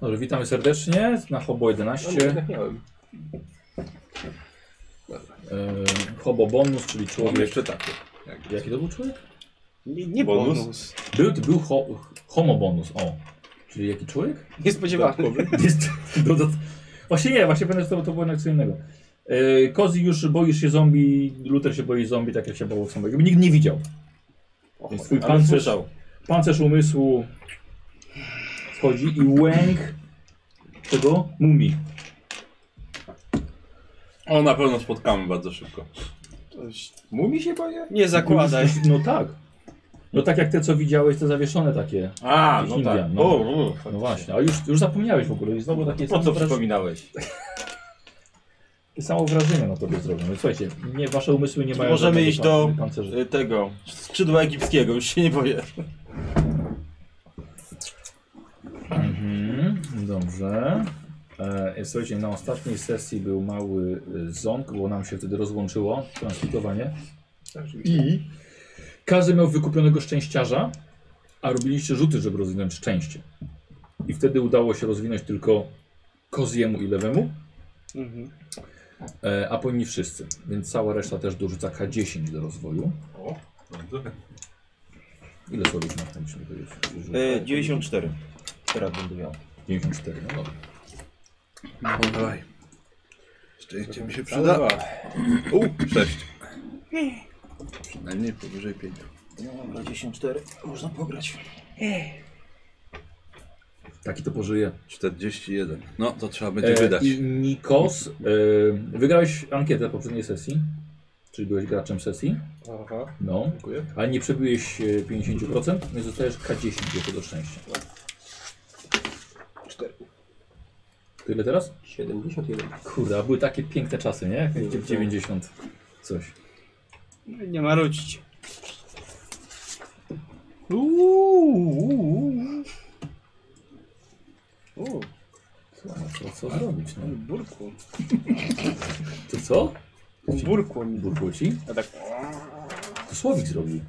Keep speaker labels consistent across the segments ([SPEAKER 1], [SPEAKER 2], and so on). [SPEAKER 1] Dobrze, witamy serdecznie na Hobo
[SPEAKER 2] No,
[SPEAKER 1] 11.
[SPEAKER 3] miałem.
[SPEAKER 1] Yy, Hobo bonus, czyli
[SPEAKER 3] Mam
[SPEAKER 1] człowiek.
[SPEAKER 3] jeszcze takie. jakby.
[SPEAKER 1] Jaki to był człowiek?
[SPEAKER 4] Nie, nie
[SPEAKER 3] Bonus?
[SPEAKER 4] bonus.
[SPEAKER 1] Był, był ho, homo bonus, o. Czyli jaki człowiek?
[SPEAKER 4] Niespodziewany.
[SPEAKER 3] Dodatkowy.
[SPEAKER 1] Jest, dodat... Właśnie nie, właśnie będę to, to było na co innego. Yy, Kozi już boisz się zombie, Luther się boi zombie, tak jak się bało samego. Nikt nie widział. Więc twój
[SPEAKER 3] Ale
[SPEAKER 1] pancerz,
[SPEAKER 3] słyszał.
[SPEAKER 1] pancerz umysłu wchodzi i łęk tego mumii.
[SPEAKER 3] O, na pewno spotkamy bardzo szybko.
[SPEAKER 4] Toś-
[SPEAKER 3] Mówi się boję?
[SPEAKER 4] Nie zakładaj.
[SPEAKER 1] No tak. No tak jak te co widziałeś, te zawieszone takie.
[SPEAKER 3] A,
[SPEAKER 1] Jakiś
[SPEAKER 3] no
[SPEAKER 1] Indian,
[SPEAKER 3] tak.
[SPEAKER 1] no.
[SPEAKER 3] O, o, faktycznie.
[SPEAKER 1] No właśnie, a już, już zapomniałeś w ogóle i znowu takie
[SPEAKER 3] Po co
[SPEAKER 1] samo, wraż...
[SPEAKER 3] przypominałeś?
[SPEAKER 1] samo wrażenie na tobie zrobią. No Słuchajcie, nie, wasze umysły nie mają
[SPEAKER 4] Możemy
[SPEAKER 1] żadnego
[SPEAKER 4] iść do-
[SPEAKER 1] pan- pancerza.
[SPEAKER 3] Y, Tego, skrzydła egipskiego, już się nie boję.
[SPEAKER 1] Mhm, dobrze. E, słuchajcie, na ostatniej sesji był mały e, ząk, bo nam się wtedy rozłączyło transmitowanie. I każdy miał wykupionego szczęściarza, a robiliście rzuty, żeby rozwinąć szczęście. I wtedy udało się rozwinąć tylko Koziemu i Lewemu.
[SPEAKER 4] Mhm.
[SPEAKER 1] E, a powinni wszyscy, więc cała reszta też dorzuca K10 do rozwoju.
[SPEAKER 3] O, dobrze.
[SPEAKER 1] Ile słowik masz tam musimy powiedzieć?
[SPEAKER 4] E, 94. Teraz będę miał.
[SPEAKER 1] 94, no dobra.
[SPEAKER 5] No dawaj. Szczęście mi się
[SPEAKER 3] Przyda.
[SPEAKER 5] przyda.
[SPEAKER 3] U, sześć.
[SPEAKER 5] Przynajmniej powyżej 5.
[SPEAKER 4] No dobra, 94. Można pograć.
[SPEAKER 1] Taki to pożyje.
[SPEAKER 5] 41. No to trzeba będzie
[SPEAKER 1] E,
[SPEAKER 5] wydać.
[SPEAKER 1] I Nikos, e, wygrałeś ankietę poprzedniej sesji, czyli byłeś graczem sesji,
[SPEAKER 3] Aha,
[SPEAKER 1] no,
[SPEAKER 3] dziękuję.
[SPEAKER 1] ale nie przebiłeś e, 50%, więc dostajesz K10 jako do szczęścia.
[SPEAKER 6] 4.
[SPEAKER 1] Tyle teraz?
[SPEAKER 6] 71.
[SPEAKER 1] Kurde, a były takie piękne czasy, nie? Jak 90 coś.
[SPEAKER 4] Nie ma rodzić. Uuu,
[SPEAKER 1] Co, co zrobić, no?
[SPEAKER 4] burku.
[SPEAKER 1] To co?
[SPEAKER 4] Burku mi.
[SPEAKER 1] Burkło ci?
[SPEAKER 4] A tak.
[SPEAKER 1] To Słowik zrobił.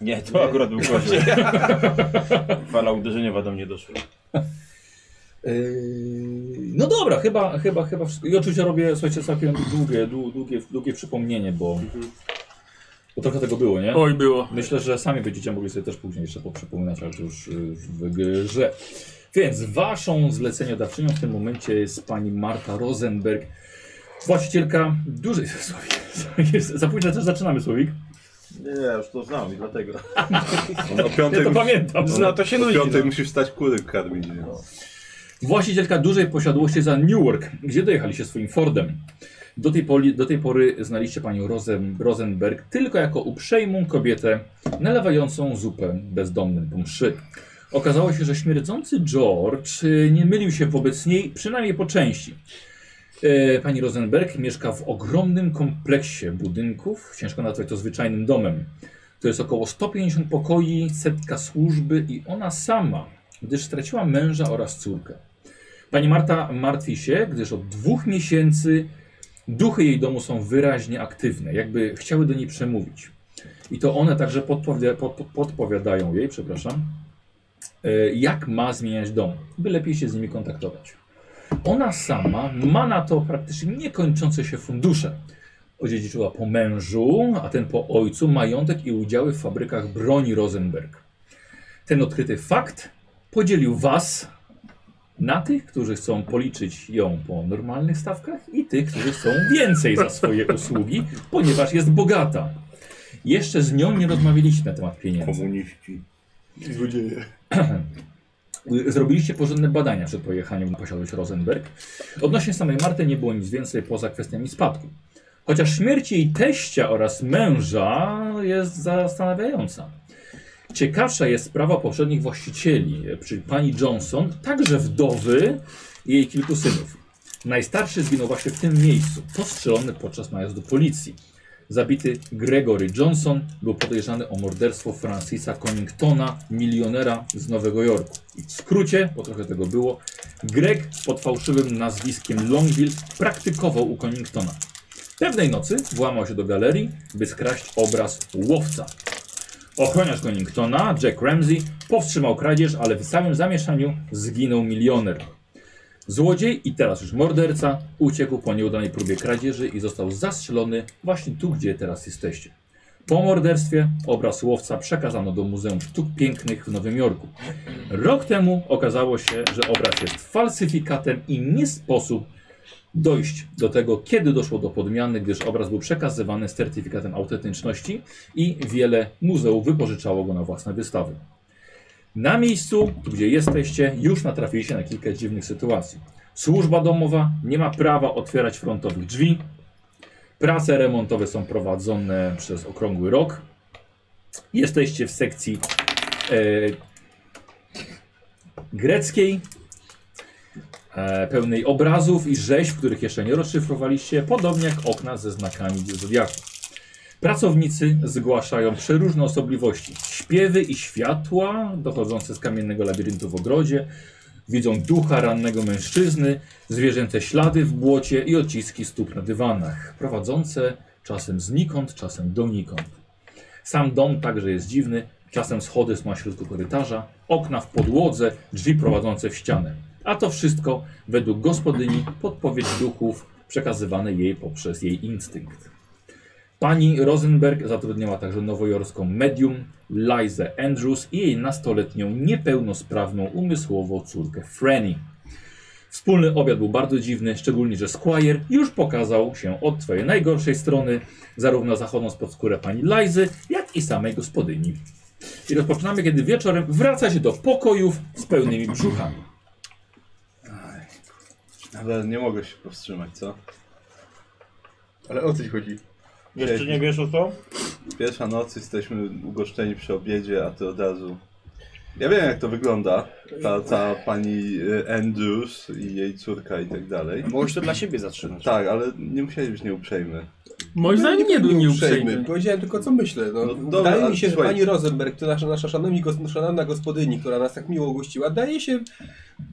[SPEAKER 3] Nie, to akurat był gorzej. Fala uderzeniowa do mnie doszła.
[SPEAKER 1] Yy, No dobra, chyba, chyba, chyba. wszystko. I oczywiście robię, słuchajcie, całkiem długie, dłu- długie, długie przypomnienie, bo, bo trochę tego było, nie?
[SPEAKER 7] Mhm. Oj, było.
[SPEAKER 1] Myślę, że sami będziecie mogli sobie też później jeszcze poprzypominać, ale to już y, już w grze. Więc waszą zleceniodawczynią w tym momencie jest pani Marta Rosenberg, właścicielka dużej... Słowik, jest- za późno też zaczynamy, Słowik.
[SPEAKER 3] Nie, już to znam i dlatego.
[SPEAKER 5] O
[SPEAKER 1] Ja
[SPEAKER 5] piątej,
[SPEAKER 1] to
[SPEAKER 5] musi,
[SPEAKER 1] pamiętam.
[SPEAKER 4] Zna to się
[SPEAKER 5] o
[SPEAKER 4] nudzi.
[SPEAKER 5] piątej
[SPEAKER 4] No.
[SPEAKER 5] musi wstać kurek karmić. nie?
[SPEAKER 1] Właścicielka dużej posiadłości za Newark, gdzie dojechaliście swoim Fordem. Do tej, poli, do tej pory znaliście panią Rosen, Rosenberg tylko jako uprzejmą kobietę nalewającą zupę bezdomnym po mszy. Okazało się, że śmierdzący George y, nie mylił się wobec niej, przynajmniej po części. E, Pani Rosenberg mieszka w ogromnym kompleksie budynków, ciężko nazwać to zwyczajnym domem. To jest około 150 pokoi, setka służby i ona sama, gdyż straciła męża oraz córkę. Pani Marta martwi się, gdyż od dwóch miesięcy duchy jej domu są wyraźnie aktywne, jakby chciały do niej przemówić. I to one także podpowi- pod, pod- podpowiadają jej, przepraszam, e, jak ma zmieniać dom, by lepiej się z nimi kontaktować. Ona sama ma na to praktycznie niekończące się fundusze. Odziedziczyła po mężu, a ten po ojcu majątek i udziały w fabrykach broni Rosenberg. Ten odkryty fakt podzielił was na tych, którzy chcą policzyć ją po normalnych stawkach i tych, którzy chcą więcej za swoje usługi, ponieważ jest bogata. Jeszcze z nią nie rozmawialiście na temat pieniędzy.
[SPEAKER 3] Komuniści.
[SPEAKER 4] no.
[SPEAKER 1] Y, Zrobiliście porządne badania przed pojechaniem na posiadłość Rosenberg. Odnośnie samej Marty nie było nic więcej poza kwestiami spadku. Chociaż śmierć jej teścia oraz męża jest zastanawiająca. Ciekawsza jest sprawa poprzednich właścicieli, czyli pani Johnson, także wdowy i jej kilku synów. Najstarszy zginął właśnie w tym miejscu, postrzelony podczas najazdu policji. Zabity Gregory Johnson był podejrzany o morderstwo Francisa Conningtona, milionera z Nowego Jorku. I w skrócie, bo trochę tego było, Greg pod fałszywym nazwiskiem Longville praktykował u Conningtona. Pewnej nocy włamał się do galerii, by skraść obraz łowca. Ochroniarz Conningtona, Jack Ramsey, powstrzymał kradzież, ale w samym zamieszaniu zginął milioner. Złodziej i teraz już morderca uciekł po nieudanej próbie kradzieży i został zastrzelony właśnie tu, gdzie teraz jesteście. Po morderstwie obraz łowca przekazano do Muzeum Sztuk Pięknych w Nowym Jorku. Rok temu okazało się, że obraz jest falsyfikatem i nie sposób dojść do tego, kiedy doszło do podmiany, gdyż obraz był przekazywany z certyfikatem autentyczności i wiele muzeów wypożyczało go na własne wystawy. Na miejscu, tu gdzie jesteście, już natrafiliście na kilka dziwnych sytuacji. Służba domowa nie ma prawa otwierać frontowych drzwi. Prace remontowe są prowadzone przez okrągły rok. Jesteście w sekcji e, greckiej, e, pełnej obrazów i rzeźb, których jeszcze nie rozszyfrowaliście, podobnie jak okna ze znakami zodiaku. Pracownicy zgłaszają przeróżne osobliwości. Śpiewy i światła dochodzące z kamiennego labiryntu w ogrodzie. Widzą ducha rannego mężczyzny, zwierzęce ślady w błocie i odciski stóp na dywanach, prowadzące czasem znikąd, czasem donikąd. Sam dom także jest dziwny, czasem schody są na środku korytarza, okna w podłodze, drzwi prowadzące w ścianę. A to wszystko według gospodyni podpowiedź duchów przekazywane jej poprzez jej instynkt. Pani Rosenberg zatrudniała także nowojorską medium Lizę Andrews i jej nastoletnią niepełnosprawną umysłowo córkę Franny. Wspólny obiad był bardzo dziwny, szczególnie, że Squire już pokazał się od swojej najgorszej strony, zarówno zachodząc pod skórę pani Lizy, jak i samej gospodyni. I rozpoczynamy, kiedy wieczorem wraca się do pokojów z pełnymi brzuchami.
[SPEAKER 5] Ale nie mogę się powstrzymać, co? Ale o co ci chodzi?
[SPEAKER 4] Jeszcze nie wiesz o co?
[SPEAKER 5] Pierwsza noc, jesteśmy ugoszczeni przy obiedzie, a ty od razu... Ja wiem jak to wygląda, ta, ta pani e, Andrews i jej córka i tak dalej.
[SPEAKER 4] Mogłeś to dla siebie zatrzymać.
[SPEAKER 5] Tak, ale nie musiałeś być nieuprzejmy.
[SPEAKER 6] Moim
[SPEAKER 2] No,
[SPEAKER 6] zdaniem nie był nieuprzejmy.
[SPEAKER 2] Powiedziałem tylko co myślę. No,
[SPEAKER 5] No dobra,
[SPEAKER 2] wydaje mi się, że
[SPEAKER 5] słuchaj.
[SPEAKER 2] pani Rosenberg, to nasza, nasza szanowni, gos- szanowna gospodyni, która nas tak miło gościła, daje się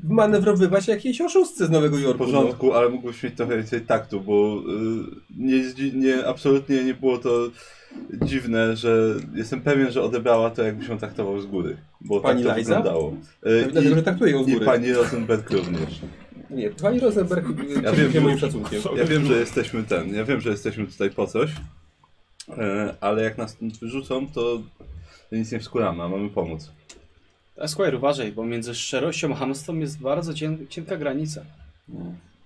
[SPEAKER 2] manewrowywać jakiejś oszustce z Nowego
[SPEAKER 5] W
[SPEAKER 2] Jorku. no.
[SPEAKER 5] porządku, ale mógłbyś mieć trochę więcej taktu, bo y, nie, zdzi- nie, absolutnie nie było to dziwne, że jestem pewien, że odebrała to jakby się traktował z góry, bo
[SPEAKER 2] Pani
[SPEAKER 5] tak to
[SPEAKER 2] Liza?
[SPEAKER 5] wyglądało.
[SPEAKER 2] No.
[SPEAKER 5] Y,
[SPEAKER 2] Dlatego, że traktuję ją z
[SPEAKER 5] i, I
[SPEAKER 2] góry.
[SPEAKER 5] pani Rosenberg również.
[SPEAKER 2] Nie, pani Rosenberg
[SPEAKER 5] Ja
[SPEAKER 2] ja
[SPEAKER 5] wiem, że-
[SPEAKER 2] moim szacunkiem.
[SPEAKER 5] Ja wiem, że jesteśmy ten, ja wiem, że jesteśmy tutaj po coś, e, ale jak nas stąd wyrzucą, to nic nie wskuramy, a mamy pomóc.
[SPEAKER 4] A Squire, uważaj, bo między szczerością a hamstwem jest bardzo cię- cienka granica.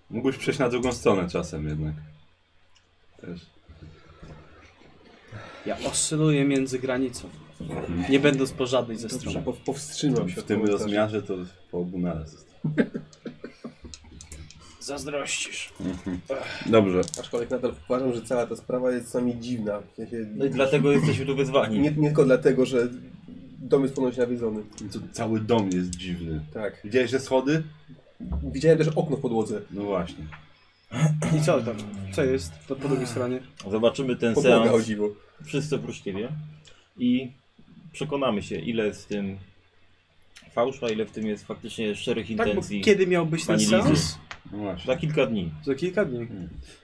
[SPEAKER 5] Mógłbyś przejść na drugą stronę czasem jednak. Też.
[SPEAKER 4] Ja oscyluję między granicą. Nie będąc po żadnej ze
[SPEAKER 2] Dobrze,
[SPEAKER 4] stron.
[SPEAKER 2] po- powstrzymam się
[SPEAKER 5] W
[SPEAKER 2] od
[SPEAKER 5] tym
[SPEAKER 2] komentarza.
[SPEAKER 5] rozmiarze to po obu naraz.
[SPEAKER 4] Zazdrościsz.
[SPEAKER 5] Dobrze.
[SPEAKER 2] Aczkolwiek nadal uważam, że cała ta sprawa jest sami dziwna. W sensie,
[SPEAKER 8] No i dlatego jesteśmy tu
[SPEAKER 2] nie,
[SPEAKER 8] wyzwani.
[SPEAKER 2] nie tylko dlatego, że dom jest ponoć nawiedzony.
[SPEAKER 5] To cały dom jest dziwny.
[SPEAKER 2] Tak.
[SPEAKER 5] Widziałeś te schody?
[SPEAKER 2] Widziałem też okno w podłodze.
[SPEAKER 5] No właśnie.
[SPEAKER 4] I co tam? Co jest to po drugiej stronie? Tak,
[SPEAKER 8] Zobaczymy ten
[SPEAKER 2] Podłoga
[SPEAKER 8] seans,
[SPEAKER 2] chodziło.
[SPEAKER 8] wszyscy oprócz ciebie. I przekonamy się, ile jest w tym fałszu, a ile w tym jest faktycznie szczerych
[SPEAKER 4] Tak, bo
[SPEAKER 8] intencji.
[SPEAKER 4] kiedy miał być ten
[SPEAKER 8] pani Lizy.
[SPEAKER 4] seans?
[SPEAKER 5] No właśnie.
[SPEAKER 8] Za
[SPEAKER 2] Tak.
[SPEAKER 8] kilka dni.
[SPEAKER 4] Za kilka dni.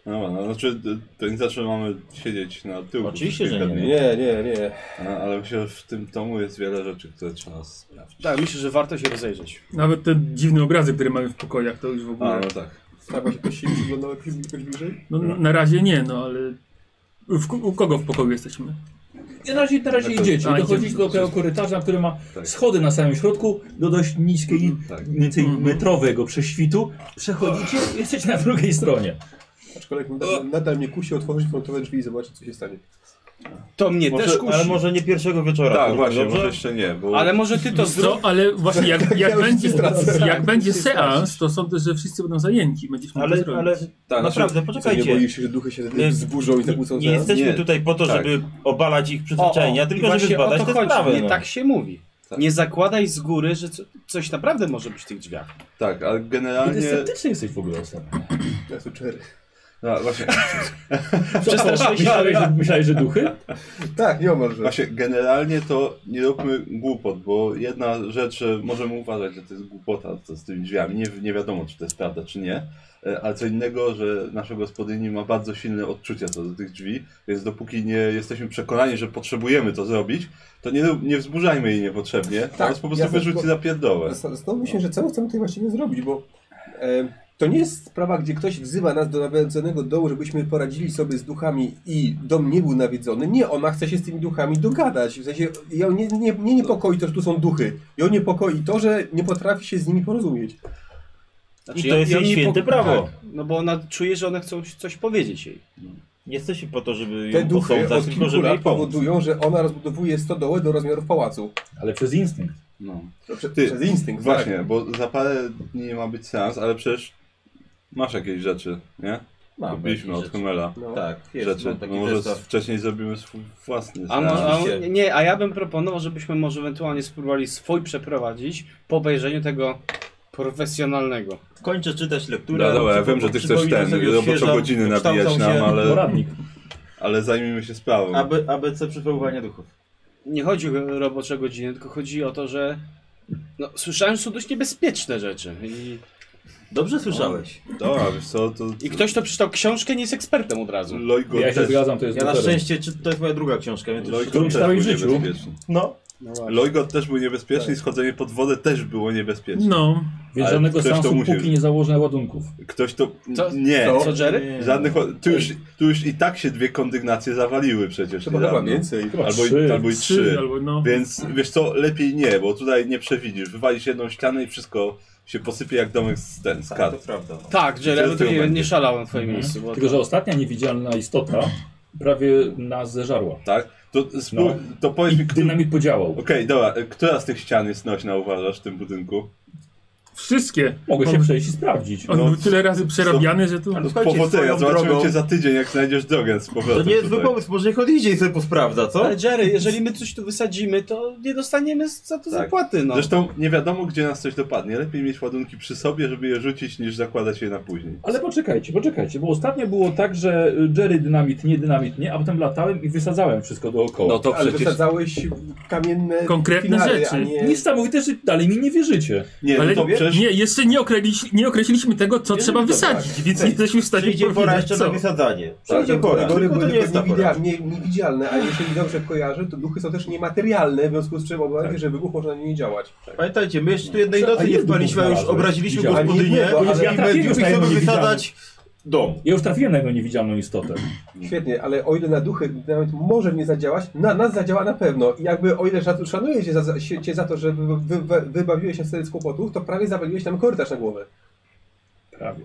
[SPEAKER 5] No ładno, znaczy to nie zawsze mamy siedzieć na tyłku.
[SPEAKER 8] Oczywiście,
[SPEAKER 5] przez kilka
[SPEAKER 8] że nie.
[SPEAKER 5] dni.
[SPEAKER 2] Nie, nie, nie.
[SPEAKER 5] A, ale myślę, że w tym domu jest wiele rzeczy, które trzeba sprawdzić.
[SPEAKER 4] Tak, myślę, że warto się rozejrzeć.
[SPEAKER 6] Nawet te dziwne obrazy, które mamy w pokojach, to już w
[SPEAKER 5] A,
[SPEAKER 6] ogóle.
[SPEAKER 5] no tak.
[SPEAKER 2] Sprawa się ktoś się przyglądał jakoś, jakoś bliżej?
[SPEAKER 6] No, na razie nie, no ale. W, u kogo w pokoju jesteśmy?
[SPEAKER 1] I na razie, na razie idziecie.
[SPEAKER 6] a,
[SPEAKER 1] Dochodzicie
[SPEAKER 6] idziemy.
[SPEAKER 1] do tego korytarza, który ma
[SPEAKER 5] Tak.
[SPEAKER 1] schody na samym środku do dość niskiej,
[SPEAKER 5] Tak.
[SPEAKER 1] mniej więcej metrowego prześwitu. Przechodzicie i jesteście na drugiej stronie.
[SPEAKER 2] Aczkolwiek nadal, nadal mnie kusi otworzyć frontowe drzwi i zobaczyć, co się stanie.
[SPEAKER 4] To mnie też
[SPEAKER 8] Może,
[SPEAKER 4] kusi.
[SPEAKER 8] ale może nie pierwszego wieczora.
[SPEAKER 5] Tak,
[SPEAKER 8] kurwa,
[SPEAKER 5] właśnie,
[SPEAKER 8] dobrze?
[SPEAKER 5] może jeszcze nie, bo
[SPEAKER 4] Ale może ty to
[SPEAKER 6] No,
[SPEAKER 4] zrób.
[SPEAKER 6] ale właśnie jak, jak,
[SPEAKER 2] już
[SPEAKER 6] będzie,
[SPEAKER 2] się stracę.
[SPEAKER 6] jak będzie seans, to sądzę, że wszyscy będą zajęci. Będziesz mógł to
[SPEAKER 8] Ale,
[SPEAKER 6] zrobić.
[SPEAKER 8] ale
[SPEAKER 5] Tak,
[SPEAKER 8] naprawdę,
[SPEAKER 2] Co, nie
[SPEAKER 8] poczekajcie.
[SPEAKER 2] boisz się, że duchy się
[SPEAKER 8] Nie-
[SPEAKER 2] zburzą i zakłócą
[SPEAKER 8] Nie, nie jesteśmy
[SPEAKER 5] Nie.
[SPEAKER 8] tutaj po to,
[SPEAKER 5] Tak.
[SPEAKER 8] żeby obalać ich przyzwyczajenia,
[SPEAKER 4] No, i
[SPEAKER 8] tylko żeby
[SPEAKER 4] właśnie o
[SPEAKER 8] zbadać
[SPEAKER 4] to
[SPEAKER 8] te
[SPEAKER 4] chodzi.
[SPEAKER 8] sprawy.
[SPEAKER 4] nie
[SPEAKER 8] No.
[SPEAKER 4] tak się mówi.
[SPEAKER 5] Tak.
[SPEAKER 4] Nie zakładaj z góry, że co, coś naprawdę może być w tych drzwiach.
[SPEAKER 5] tak, ale
[SPEAKER 1] Ty
[SPEAKER 5] generalnie...
[SPEAKER 1] sceptyczny jesteś w ogóle ostatnio.
[SPEAKER 2] Ja są cztery.
[SPEAKER 5] No, właśnie,
[SPEAKER 4] Przestraszyłeś się,
[SPEAKER 1] Myślałeś, że, myślałeś, że duchy?
[SPEAKER 2] Tak, nieomalże.
[SPEAKER 5] właśnie, generalnie to nie róbmy głupot, bo jedna rzecz, że możemy uważać, że to jest głupota co z tymi drzwiami, nie, nie wiadomo czy to jest prawda, czy nie, E, ale co innego, że nasza gospodyni ma bardzo silne odczucia co do tych drzwi, więc dopóki nie jesteśmy przekonani, że potrzebujemy to zrobić, to nie, rób- nie wzburzajmy jej niepotrzebnie, tak, po prostu
[SPEAKER 2] jasne,
[SPEAKER 5] wyrzuci
[SPEAKER 2] bo-
[SPEAKER 5] za pierdołę.
[SPEAKER 2] Zastanawiam się, że co chcemy tutaj właściwie zrobić, bo E, To nie jest sprawa, gdzie ktoś wzywa nas do nawiedzonego dołu, żebyśmy poradzili sobie z duchami i dom nie był nawiedzony. Nie, ona chce się z tymi duchami dogadać. W sensie, ja nie, nie, mnie niepokoi to, że tu są duchy. Ją niepokoi to, że nie potrafi się z nimi porozumieć.
[SPEAKER 8] I to jest
[SPEAKER 4] ja- ja
[SPEAKER 8] jej
[SPEAKER 4] nie
[SPEAKER 8] święte
[SPEAKER 4] pok-
[SPEAKER 8] prawo.
[SPEAKER 4] No bo ona czuje, że one chcą coś powiedzieć jej.
[SPEAKER 8] Nie jesteśmy po to, żeby
[SPEAKER 2] Te
[SPEAKER 8] ją
[SPEAKER 2] duchy
[SPEAKER 8] posądzać,
[SPEAKER 2] od
[SPEAKER 8] tylko
[SPEAKER 2] kilku
[SPEAKER 8] żeby jej
[SPEAKER 2] lat
[SPEAKER 8] pomóc.
[SPEAKER 2] powodują, że ona rozbudowuje stodołę do rozmiarów pałacu.
[SPEAKER 1] Ale przez instynkt.
[SPEAKER 5] No.
[SPEAKER 2] Prze,
[SPEAKER 5] Ty,
[SPEAKER 2] przez instynkt.
[SPEAKER 5] Właśnie,
[SPEAKER 2] Tak.
[SPEAKER 5] bo za parę dni ma być seans, ale przecież masz jakieś rzeczy, nie? Kupiliśmy
[SPEAKER 8] jakieś
[SPEAKER 5] od
[SPEAKER 8] rzeczy.
[SPEAKER 5] Hemela
[SPEAKER 2] No.
[SPEAKER 8] Tak, jest,
[SPEAKER 5] rzeczy.
[SPEAKER 8] mam
[SPEAKER 5] No
[SPEAKER 8] taki
[SPEAKER 5] może
[SPEAKER 8] zestaw.
[SPEAKER 5] wcześniej zrobimy swój własny
[SPEAKER 4] A,
[SPEAKER 5] seans.
[SPEAKER 4] mo- a,
[SPEAKER 8] Oczywiście.
[SPEAKER 4] nie, a ja bym proponował, żebyśmy może ewentualnie spróbowali swój przeprowadzić po obejrzeniu tego profesjonalnego.
[SPEAKER 8] Kończę czytać lekturę.
[SPEAKER 5] Dobra, dobra, ja
[SPEAKER 8] Co-
[SPEAKER 5] wiem, że ty chcesz
[SPEAKER 8] przypominam
[SPEAKER 5] ten
[SPEAKER 8] sobie,
[SPEAKER 5] roboczo
[SPEAKER 8] odświeżam,
[SPEAKER 5] godziny nabijać
[SPEAKER 8] kształcą
[SPEAKER 5] nam,
[SPEAKER 8] się
[SPEAKER 5] ale,
[SPEAKER 1] Poradnik.
[SPEAKER 5] ale zajmijmy się sprawą.
[SPEAKER 8] AB, ABC przywoływania duchów.
[SPEAKER 4] Nie chodzi o robocze godziny, tylko chodzi o to, że no, słyszałem, że są dość niebezpieczne rzeczy. I,
[SPEAKER 8] Dobrze słyszałeś.
[SPEAKER 5] Dobra, wiesz co, to
[SPEAKER 4] I ktoś, kto przeczytał książkę, nie jest ekspertem od razu.
[SPEAKER 5] Lojko
[SPEAKER 1] Ja się
[SPEAKER 5] też,
[SPEAKER 1] zgadzam, to jest
[SPEAKER 8] Ja na
[SPEAKER 1] doterem.
[SPEAKER 8] szczęście, czy, to jest moja druga książka, więc już...
[SPEAKER 5] Lojko też
[SPEAKER 1] czytałem
[SPEAKER 5] był
[SPEAKER 1] w życiu.
[SPEAKER 5] niebezpieczny.
[SPEAKER 8] No.
[SPEAKER 4] No właśnie.
[SPEAKER 5] Lojgot też był niebezpieczny i
[SPEAKER 8] Tak.
[SPEAKER 5] schodzenie pod wodę też było niebezpieczne.
[SPEAKER 6] No.
[SPEAKER 1] Więc
[SPEAKER 5] Ale
[SPEAKER 1] żadnego
[SPEAKER 5] ktoś to
[SPEAKER 1] sensu,
[SPEAKER 5] musi-
[SPEAKER 1] póki nie założę ładunków.
[SPEAKER 5] Ktoś to...
[SPEAKER 4] Co?
[SPEAKER 5] Nie,
[SPEAKER 4] Co, Jerry?
[SPEAKER 8] Nie.
[SPEAKER 5] żadnych... Tu już, tu już i tak się dwie kondygnacje zawaliły przecież.
[SPEAKER 2] Trzeba
[SPEAKER 5] niedawno.
[SPEAKER 2] chyba więcej.
[SPEAKER 1] Chyba
[SPEAKER 5] Albo i-
[SPEAKER 1] trzy.
[SPEAKER 5] albo i-
[SPEAKER 6] Trzy,
[SPEAKER 5] trzy.
[SPEAKER 6] albo no.
[SPEAKER 5] Więc wiesz co, lepiej nie, bo tutaj nie przewidzisz. Wywalisz jedną ścianę i wszystko się posypie jak domek z, ten, z
[SPEAKER 8] Tak, to
[SPEAKER 5] kart.
[SPEAKER 8] prawda.
[SPEAKER 4] Tak, Jerry,
[SPEAKER 5] Jerry
[SPEAKER 4] ale tu nie,
[SPEAKER 5] będzie.
[SPEAKER 4] nie szalałem w twoim miejscu. Bo
[SPEAKER 1] Mhm. Tylko, że ostatnia niewidzialna istota prawie nas zeżarła.
[SPEAKER 5] Tak? To, spół...
[SPEAKER 1] No.
[SPEAKER 5] to powiedz
[SPEAKER 1] I
[SPEAKER 5] mi, który...
[SPEAKER 1] dynamit podziałał.
[SPEAKER 5] Okej, dobra, która z tych ścian jest nośna uważasz w tym budynku?
[SPEAKER 6] Wszystkie.
[SPEAKER 1] Mogę się
[SPEAKER 6] On-
[SPEAKER 1] przejść i sprawdzić.
[SPEAKER 6] On
[SPEAKER 5] No.
[SPEAKER 6] był tyle razy przerabiany, że tu...
[SPEAKER 2] Ale słuchajcie,
[SPEAKER 5] Powodzenia,
[SPEAKER 2] swoją
[SPEAKER 5] zobaczymy
[SPEAKER 2] drogą...
[SPEAKER 5] cię za tydzień, jak znajdziesz drogę z
[SPEAKER 8] To
[SPEAKER 5] powrotem
[SPEAKER 8] nie jest zły
[SPEAKER 5] tutaj.
[SPEAKER 8] pomysł, może niech odjedzie i sobie posprawdza, co?
[SPEAKER 4] Ale Jerry, jeżeli my coś tu wysadzimy, to nie dostaniemy za to
[SPEAKER 5] Tak.
[SPEAKER 4] zapłaty, no.
[SPEAKER 5] Zresztą nie wiadomo, gdzie nas coś dopadnie. Lepiej mieć ładunki przy sobie, żeby je rzucić, niż zakładać je na później.
[SPEAKER 1] Ale poczekajcie, poczekajcie, bo ostatnio było tak, że Jerry dynamit, nie dynamit, nie, a potem latałem i wysadzałem wszystko dookoła.
[SPEAKER 5] No to
[SPEAKER 2] Ale
[SPEAKER 5] przecież...
[SPEAKER 2] wysadzałeś kamienne
[SPEAKER 6] Konkretne
[SPEAKER 2] filary,
[SPEAKER 6] rzeczy.
[SPEAKER 2] A nie...
[SPEAKER 1] Niesamowite, że dalej mi nie wierzycie.
[SPEAKER 5] Nie,
[SPEAKER 6] Ale
[SPEAKER 5] no to
[SPEAKER 6] nie,
[SPEAKER 5] przecież...
[SPEAKER 6] nie, jeszcze nie, określi, nie określiliśmy tego, co
[SPEAKER 8] Nie,
[SPEAKER 6] trzeba
[SPEAKER 8] to
[SPEAKER 6] wysadzić, więc tak nie jesteśmy w stanie
[SPEAKER 8] Przyjdzie pora
[SPEAKER 6] powiedzieć,
[SPEAKER 8] jeszcze na
[SPEAKER 6] co.
[SPEAKER 8] wysadzanie.
[SPEAKER 2] Tak,
[SPEAKER 8] Przyjdzie pora,
[SPEAKER 2] Gory
[SPEAKER 8] tylko
[SPEAKER 2] były
[SPEAKER 8] to nie jest ta
[SPEAKER 2] tylko
[SPEAKER 8] pora.
[SPEAKER 2] niewidia- nie- niewidzialne, a jeśli dobrze kojarzę, to duchy są też niematerialne, w związku z czym obawiam się, że wybuch może na nie nie działać.
[SPEAKER 8] Pamiętajcie, my jeszcze tu jednej
[SPEAKER 1] Co? A
[SPEAKER 8] nocy nie
[SPEAKER 1] ile
[SPEAKER 8] wpaliśmy, a już
[SPEAKER 1] znalazłeś?
[SPEAKER 8] obraziliśmy
[SPEAKER 1] Widziałem.
[SPEAKER 8] gospodynię
[SPEAKER 2] Ale nie, bo- ale
[SPEAKER 8] i
[SPEAKER 1] ja trafiłem
[SPEAKER 8] będziemy
[SPEAKER 1] już na
[SPEAKER 8] chcemy
[SPEAKER 1] jedną
[SPEAKER 8] wysadzać dom.
[SPEAKER 1] Ja już trafiłem na jego niewidzialną istotę.
[SPEAKER 2] Świetnie, ale o ile na duchy nawet może nie zadziałać, na nas zadziała na pewno. I jakby o ile szac- szanuję cię za- za, się- cię za to, że wy, wy, wy, wybawiłeś się wtedy z kłopotów, to prawie zawaliłeś nam korytarz na głowę.
[SPEAKER 1] Prawie.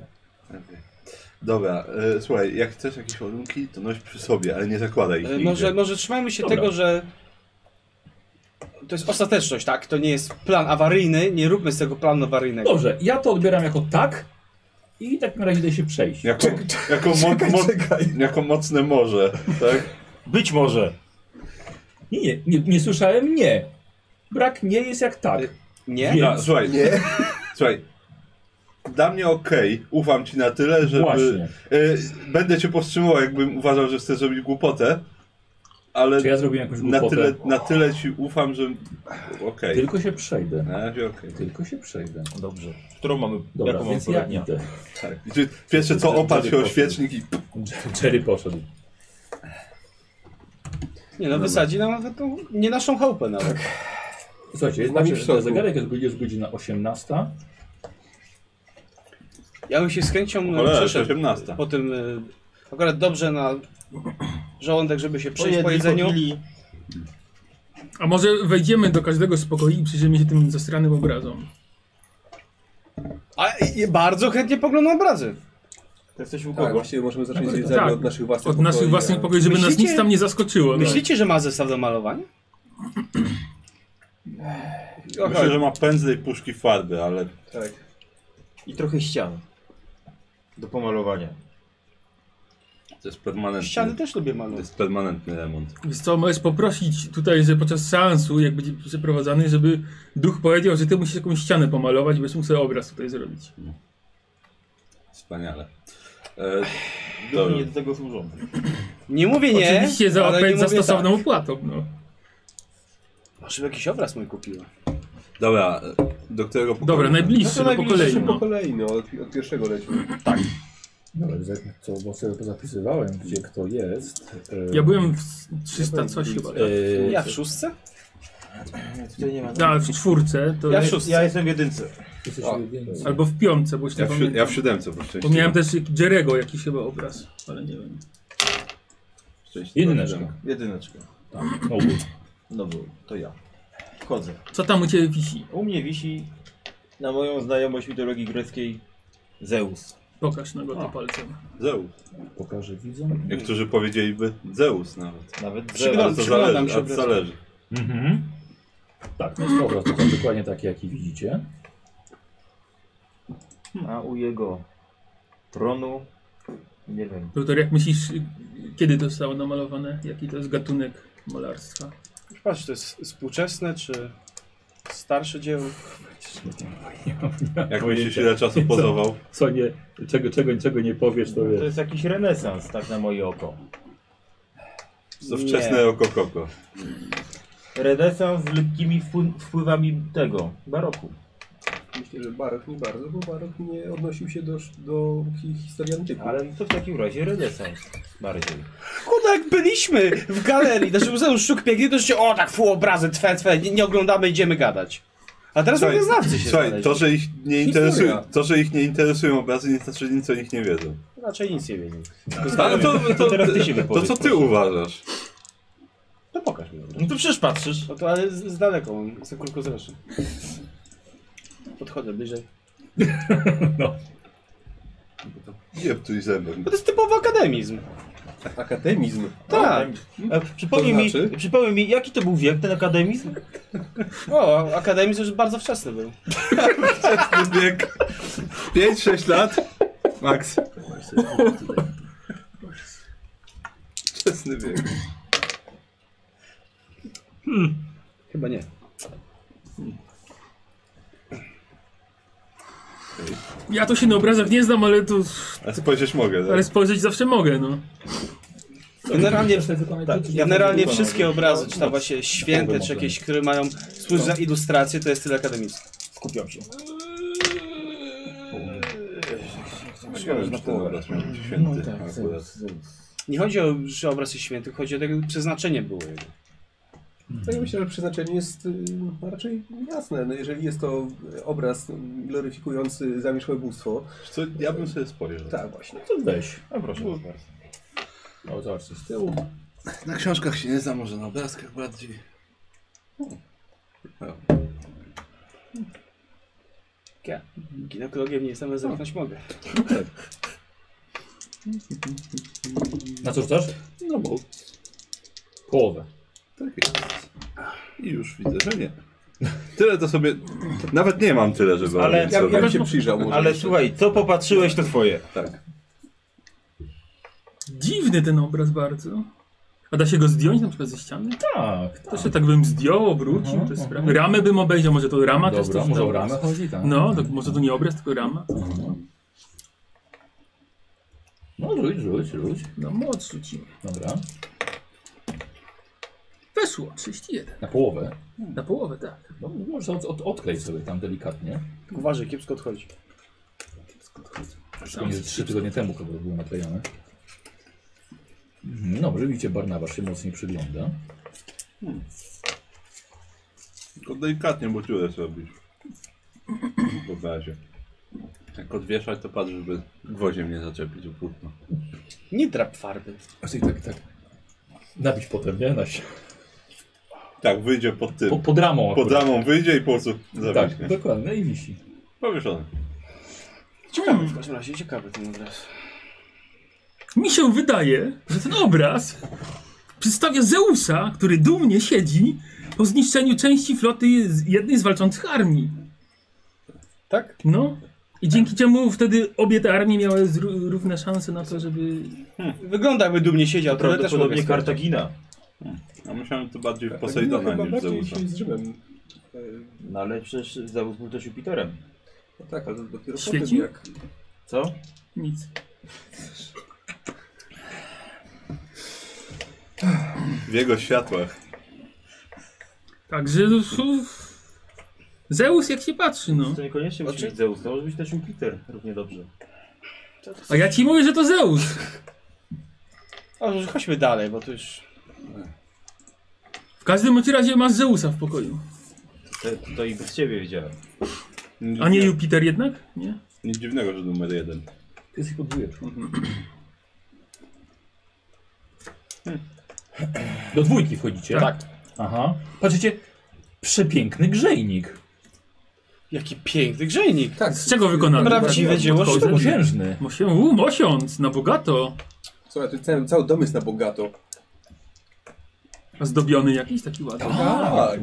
[SPEAKER 5] Dobra, e, słuchaj, jak chcesz jakieś ładunki, to noś przy sobie, ale nie zakładaj ich
[SPEAKER 4] E,
[SPEAKER 5] nigdzie.
[SPEAKER 4] Może, może trzymajmy się
[SPEAKER 1] Dobra.
[SPEAKER 4] tego, że to jest ostateczność, tak? To nie jest plan awaryjny, nie róbmy z tego planu awaryjnego.
[SPEAKER 1] Dobrze, ja to odbieram jako tak i tak na razie daję się przejść.
[SPEAKER 5] Jako, jako, mo- mo- jako mocne morze, tak?
[SPEAKER 8] Być może.
[SPEAKER 1] Nie, nie, nie, nie słyszałem nie. Brak nie jest jak tak.
[SPEAKER 4] Nie?
[SPEAKER 1] Więc-
[SPEAKER 5] A, No, słuchaj,
[SPEAKER 2] Nie.
[SPEAKER 5] słuchaj. Dla mnie okej, ufam ci na tyle, żeby...
[SPEAKER 1] Właśnie.
[SPEAKER 5] E, będę cię powstrzymywał, jakbym uważał, że chcesz zrobić głupotę, ale
[SPEAKER 1] Czy ja zrobiłem jakąś
[SPEAKER 5] na,
[SPEAKER 1] głupotę?
[SPEAKER 5] tyle, na tyle ci ufam, że... Okej,
[SPEAKER 1] Tylko się przejdę.
[SPEAKER 5] na razie okej.
[SPEAKER 1] Tylko się przejdę.
[SPEAKER 8] Dobrze. Którą mamy?
[SPEAKER 1] Dobra,
[SPEAKER 8] jaką mamy
[SPEAKER 1] więc ja
[SPEAKER 8] poradnię?
[SPEAKER 1] idę.
[SPEAKER 5] Tak. I ty Pierwsze co, oparł się o świecznik i...
[SPEAKER 1] Jerry poszedł.
[SPEAKER 4] Nie no, wysadzi nam nawet tą, nie naszą chałupę nawet.
[SPEAKER 1] Słuchajcie,
[SPEAKER 2] nami
[SPEAKER 1] znaczy,
[SPEAKER 2] w szoku.
[SPEAKER 1] że zegarek jest, jest godzina 18.
[SPEAKER 4] Ja bym się z chęcią e,
[SPEAKER 5] Cholera,
[SPEAKER 4] przeszedł
[SPEAKER 5] 18.
[SPEAKER 4] po tym, e, akurat dobrze na żołądek, żeby się przejść po
[SPEAKER 8] Pojedli,
[SPEAKER 4] jedzeniu.
[SPEAKER 8] popili.
[SPEAKER 6] A może wejdziemy do każdego z pokoi i przyjrzymy się tym zastranym obrazom.
[SPEAKER 4] A i- bardzo chętnie poglądam obrazy.
[SPEAKER 8] To jesteś u
[SPEAKER 2] Tak,
[SPEAKER 8] kogo?
[SPEAKER 2] właściwie możemy zacząć
[SPEAKER 6] Tak,
[SPEAKER 2] tak,
[SPEAKER 6] tak.
[SPEAKER 2] od naszych własnych
[SPEAKER 6] Od naszych
[SPEAKER 2] pokoi,
[SPEAKER 6] własnych tak.
[SPEAKER 2] a-
[SPEAKER 6] pokoi, żeby nas
[SPEAKER 4] Myślicie-
[SPEAKER 6] nic tam nie zaskoczyło. No.
[SPEAKER 4] Myślicie, że ma zestaw do malowania?
[SPEAKER 5] Myślę, że ma pędzle i puszki farby, ale
[SPEAKER 2] Tak.
[SPEAKER 8] I trochę ścian. Do pomalowania.
[SPEAKER 5] to jest permanentny.
[SPEAKER 4] Ściany też lubię
[SPEAKER 5] To
[SPEAKER 4] malować.
[SPEAKER 5] jest permanentny remont.
[SPEAKER 6] Wiesz co, możesz poprosić tutaj, że podczas seansu, jak będzie przeprowadzany, żeby duch powiedział, że ty musisz jakąś ścianę pomalować, byś mógł sobie obraz tutaj zrobić.
[SPEAKER 5] Wspaniale. E,
[SPEAKER 8] Duchy
[SPEAKER 5] Dobra.
[SPEAKER 8] nie do tego służą.
[SPEAKER 4] Nie mówię nie,
[SPEAKER 6] Oczywiście za,
[SPEAKER 4] ale nie
[SPEAKER 6] za
[SPEAKER 4] mówię
[SPEAKER 6] stosowną opłatą. No.
[SPEAKER 4] tak. Może jakiś obraz mój kupiła.
[SPEAKER 5] dobra, e, do którego pokoju?
[SPEAKER 6] Dobra,
[SPEAKER 2] No
[SPEAKER 6] najbliższy,
[SPEAKER 2] to
[SPEAKER 6] no po kolei.
[SPEAKER 2] najbliższy po
[SPEAKER 6] No.
[SPEAKER 2] kolei, no, od, od pierwszego lećmy.
[SPEAKER 1] Dobra, No, co, bo sobie pozapisywałem, gdzie kto jest. e,
[SPEAKER 6] Ja byłem w 300 coś chyba. tak.
[SPEAKER 4] Ja w szóstce?
[SPEAKER 8] Tutaj nie ma.
[SPEAKER 6] A, w czwórce to
[SPEAKER 4] Ja
[SPEAKER 6] jest
[SPEAKER 4] szóstce.
[SPEAKER 8] Ja jestem w jedynce.
[SPEAKER 1] Jesteś
[SPEAKER 5] A,
[SPEAKER 1] ulubieńcem.
[SPEAKER 6] Albo w piątce, bo już nie
[SPEAKER 5] Ja w, si-
[SPEAKER 6] pamiętam.
[SPEAKER 5] ja w siódemce po szczęście.
[SPEAKER 6] Bo miałem też Jerego jakiś chyba obraz, ale nie wiem.
[SPEAKER 5] szczęście.
[SPEAKER 1] Jedyneczka.
[SPEAKER 8] Jedyneczka.
[SPEAKER 1] O,
[SPEAKER 8] No bo to ja. Wchodzę.
[SPEAKER 6] Co tam u Ciebie wisi?
[SPEAKER 8] U mnie wisi na moją znajomość mitologii greckiej Zeus.
[SPEAKER 6] Pokaż na go to palcem.
[SPEAKER 5] Zeus.
[SPEAKER 1] pokażę widzom.
[SPEAKER 5] Niektórzy powiedzieliby Zeus nawet.
[SPEAKER 8] Nawet
[SPEAKER 4] Przygląd-
[SPEAKER 8] drzewa.
[SPEAKER 5] Ale to
[SPEAKER 4] przyglądam
[SPEAKER 5] zależy,
[SPEAKER 4] się
[SPEAKER 5] a to
[SPEAKER 4] obrazom.
[SPEAKER 5] zależy.
[SPEAKER 1] Mhm. Tak, no jest to obraz dokładnie- dokładnie taki, jaki widzicie.
[SPEAKER 8] A u jego tronu, nie wiem,
[SPEAKER 6] Doktor, jak myślisz, y, kiedy to zostało namalowane? Jaki to jest gatunek malarstwa?
[SPEAKER 4] Patrz, to jest współczesne czy starsze dzieło?
[SPEAKER 5] Jak
[SPEAKER 1] Pojęcia.
[SPEAKER 5] myślisz ile czasu pozował?
[SPEAKER 1] Co nie, czego, czego, czego nie powiesz, No, to
[SPEAKER 8] To
[SPEAKER 1] wiesz.
[SPEAKER 8] jest jakiś renesans, tak na moje oko.
[SPEAKER 5] To wczesne oko koko.
[SPEAKER 7] No,
[SPEAKER 8] Renesans z lekkimi wpły- wpływami tego, baroku.
[SPEAKER 7] Myślę, że barok nie bardzo, bo barok nie odnosił się do, do hi- historii antyku.
[SPEAKER 8] Ale to w takim razie renesans bardziej.
[SPEAKER 4] Kurde, jak byliśmy w galerii, znaczy Muzeum Sztuk Pięknych, to się o tak fu obrazy, twe, twe, nie, nie oglądamy, idziemy gadać. A teraz
[SPEAKER 5] Słuchaj,
[SPEAKER 4] mówię, znawcy się
[SPEAKER 5] Słuchaj,
[SPEAKER 4] znaleźli.
[SPEAKER 5] to że, ich nie
[SPEAKER 7] Historia.
[SPEAKER 5] interesują, to, że ich nie interesują obrazy, nie znaczy, że nic o nich nie wiedzą.
[SPEAKER 4] Raczej nic nie wiedzieli.
[SPEAKER 5] Ale to, to,
[SPEAKER 8] teraz ty się
[SPEAKER 5] to
[SPEAKER 8] wypowiedz,
[SPEAKER 5] co ty
[SPEAKER 8] proszę.
[SPEAKER 5] uważasz?
[SPEAKER 4] To pokaż mi. obraz.
[SPEAKER 8] No to przecież patrzysz.
[SPEAKER 4] No to ale z, z daleko, mam, jestem krótkozroczny. Podchodzę bliżej.
[SPEAKER 5] Nie tu zębem.
[SPEAKER 4] No to jest typowy akademizm.
[SPEAKER 7] Akademizm.
[SPEAKER 4] Tak.
[SPEAKER 8] E, Przypomnij,
[SPEAKER 7] To znaczy?
[SPEAKER 8] mi, przypomnij mi, jaki to był wiek, ten akademizm?
[SPEAKER 4] O, akademizm już bardzo wczesny był.
[SPEAKER 5] Bieg 5-6 lat. Max. Wczesny bieg.
[SPEAKER 4] Chyba nie.
[SPEAKER 6] Ja to się na obrazach nie znam, ale to,
[SPEAKER 5] A spojrzeć mogę, tak?
[SPEAKER 6] ale spojrzeć zawsze mogę, no.
[SPEAKER 4] Generalnie,
[SPEAKER 1] tak,
[SPEAKER 4] generalnie wszystkie obrazy, czy tam właśnie święte, czy jakieś, które mają służyć za ilustrację, to jest styl akademicki.
[SPEAKER 8] Skupiam się.
[SPEAKER 5] Szkoda, że na ten obraz miał być
[SPEAKER 7] No
[SPEAKER 5] święty
[SPEAKER 7] tak,
[SPEAKER 5] akurat.
[SPEAKER 4] Nie chodzi o że obraz jest święty, chodzi o to, jakie przeznaczenie było jego.
[SPEAKER 7] To ja No myślę, że przeznaczenie jest y, raczej jasne. No, jeżeli jest to obraz gloryfikujący zamierzchłebóstwo,
[SPEAKER 5] Wiesz Co, ja bym sobie spojrzał.
[SPEAKER 7] tak właśnie.
[SPEAKER 1] To weź.
[SPEAKER 8] A proszę bardzo.
[SPEAKER 1] O, zobacz, z tyłu.
[SPEAKER 5] Na książkach się nie zna, może na obrazkach bardziej.
[SPEAKER 4] Ja ginekologiem nie jestem, ale zamknąć mogę.
[SPEAKER 1] Na co rzucasz?
[SPEAKER 5] No bo
[SPEAKER 1] Połowę.
[SPEAKER 5] tak jest. I już widzę, że nie. Tyle to sobie... Nawet nie mam tyle, żeby
[SPEAKER 8] Ale
[SPEAKER 5] ale
[SPEAKER 7] Ja, ja bym
[SPEAKER 5] sobie.
[SPEAKER 7] się przyjrzał może.
[SPEAKER 8] Ale słuchaj, co popatrzyłeś, to twoje.
[SPEAKER 5] Tak.
[SPEAKER 6] Dziwny ten obraz bardzo. A da się go zdjąć na przykład ze ściany?
[SPEAKER 1] Tak, tak.
[SPEAKER 6] To się tak bym zdjął, obrócił,
[SPEAKER 1] Mhm,
[SPEAKER 6] to jest
[SPEAKER 1] mhm.
[SPEAKER 6] sprawa. Ramę bym obejrzał, może to rama też
[SPEAKER 1] Dobra,
[SPEAKER 6] coś
[SPEAKER 1] może
[SPEAKER 6] tam
[SPEAKER 1] o ramę
[SPEAKER 6] jest.
[SPEAKER 1] chodzi, tak.
[SPEAKER 6] No, to, może to nie obraz, tylko rama.
[SPEAKER 1] No rzuć, rzuć, rzuć.
[SPEAKER 6] No moc rzucimy.
[SPEAKER 1] Dobra.
[SPEAKER 6] Weszło, 31.
[SPEAKER 1] Na połowę.
[SPEAKER 6] Na połowę, tak.
[SPEAKER 1] No, możesz od, od, odklej sobie tam delikatnie.
[SPEAKER 4] Uważaj, kiepsko odchodzi.
[SPEAKER 1] Przypomnę, że trzy tygodnie temu chyba były naklejane. Mhm, Dobrze, widzicie, Barnabasz się mocniej przygląda.
[SPEAKER 5] Tylko delikatnie, bo dziurę zrobić. W obrazie. Jak odwieszać, to patrz, żeby gwoździem nie zaczepić o płótno.
[SPEAKER 4] Nie drap farby.
[SPEAKER 1] A ty tak, tak. Napić potem, nie? Na się-
[SPEAKER 5] Tak, wyjdzie pod tym.
[SPEAKER 1] Po, pod ramą
[SPEAKER 5] Pod
[SPEAKER 1] akurat.
[SPEAKER 5] ramą wyjdzie i po prostu zawiśnie.
[SPEAKER 1] Tak, dokładnie. No i wisi.
[SPEAKER 5] Powieszony.
[SPEAKER 4] Ciekawy w każdym razie, ciekawy ten obraz.
[SPEAKER 6] Mi się wydaje, że ten obraz przedstawia Zeusa, który dumnie siedzi po zniszczeniu części floty z jednej z walczących armii.
[SPEAKER 4] Tak?
[SPEAKER 6] No. I dzięki czemu wtedy obie te armie miały zró- równe szanse na to, żeby...
[SPEAKER 4] Wygląda jakby dumnie siedział, to też mogę
[SPEAKER 8] Prawdopodobnie
[SPEAKER 4] stwierdzić.
[SPEAKER 8] Kartagina.
[SPEAKER 5] Ja myślałem to Tak, bardziej w
[SPEAKER 7] Posejdona
[SPEAKER 5] Posejdona
[SPEAKER 7] No, chyba
[SPEAKER 5] niż w
[SPEAKER 7] bardziej
[SPEAKER 5] Zeusa.
[SPEAKER 7] się z Rzymem. e,
[SPEAKER 8] No ale przecież Zeus był też Jupiterem.
[SPEAKER 7] No tak, ale dopiero
[SPEAKER 6] Świeci?
[SPEAKER 7] potem jak...
[SPEAKER 8] Co?
[SPEAKER 6] Nic.
[SPEAKER 5] W jego światłach.
[SPEAKER 6] Także... uf, Zeus jak się patrzy, no.
[SPEAKER 8] To niekoniecznie
[SPEAKER 7] Znaczy-
[SPEAKER 8] musi być Zeus, to może być też Jupiter równie dobrze.
[SPEAKER 6] A ja ci mówię, że to Zeus.
[SPEAKER 4] O, że chodźmy dalej, bo tu już...
[SPEAKER 6] W każdym bądź razie masz Zeusa w pokoju.
[SPEAKER 8] To, to i bez ciebie wiedziałem.
[SPEAKER 6] A nie Jupiter jednak? Nie.
[SPEAKER 5] Nic dziwnego, że numer jeden.
[SPEAKER 1] Ty jesteś pod dwójeczką. Do dwójki wchodzicie?
[SPEAKER 6] Tak.
[SPEAKER 1] Aha. Patrzycie, przepiękny grzejnik.
[SPEAKER 4] Jaki piękny grzejnik.
[SPEAKER 2] Tak,
[SPEAKER 6] Z czego wykonany?
[SPEAKER 4] Prawdziwe dzieło
[SPEAKER 6] Podchodzę.
[SPEAKER 4] sztuki.
[SPEAKER 1] Mosiężny.
[SPEAKER 6] Mosię, u, mosiąc, na bogato.
[SPEAKER 2] Słuchaj, tu cały, cały dom jest na bogato.
[SPEAKER 6] Zdobiony jakiś taki ładny.
[SPEAKER 2] Tak.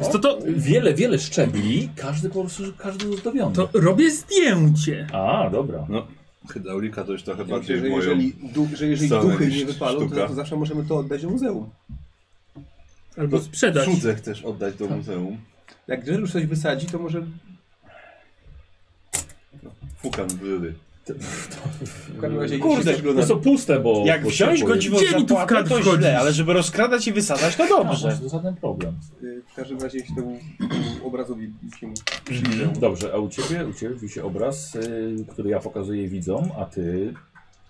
[SPEAKER 6] Więc To, to,
[SPEAKER 1] Wiele, wiele szczebli, każdy po prostu, każdy zdobiony.
[SPEAKER 6] to robię zdjęcie.
[SPEAKER 1] A, dobra.
[SPEAKER 5] Hydraulika to już trochę
[SPEAKER 2] Ja myślę,
[SPEAKER 5] bardziej
[SPEAKER 2] że
[SPEAKER 5] w moją...
[SPEAKER 2] jeżeli, duch, że jeżeli
[SPEAKER 5] stronę
[SPEAKER 2] duchy
[SPEAKER 5] niż
[SPEAKER 2] nie wypalą, to,
[SPEAKER 5] sztuka.
[SPEAKER 2] to zawsze możemy to oddać do muzeum.
[SPEAKER 6] Albo sprzedać.
[SPEAKER 5] Cudze No, chcesz oddać do muzeum.
[SPEAKER 2] Jak Grzel już coś wysadzi, to może
[SPEAKER 5] Fukam w ryby.
[SPEAKER 2] w każdym razie
[SPEAKER 4] Kurde,
[SPEAKER 2] jeśli coś go
[SPEAKER 1] No co puste, bo...
[SPEAKER 4] Jak
[SPEAKER 1] bo
[SPEAKER 4] wziąć
[SPEAKER 1] ciepło
[SPEAKER 4] go
[SPEAKER 1] jest.
[SPEAKER 4] dziwą
[SPEAKER 6] Gdzie mi tu w
[SPEAKER 4] zapłatę,
[SPEAKER 6] kadr
[SPEAKER 4] to
[SPEAKER 6] wchodzisz?
[SPEAKER 4] źle, ale żeby rozkradać i wysadzać, to
[SPEAKER 1] A,
[SPEAKER 4] dobrze.
[SPEAKER 1] może to żaden problem.
[SPEAKER 2] Y, W każdym razie jeśli temu temu obrazowi się
[SPEAKER 1] Mhm. Dobrze, a u ciebie, u ciebie wisi obraz, y, który ja pokazuję widzom, a ty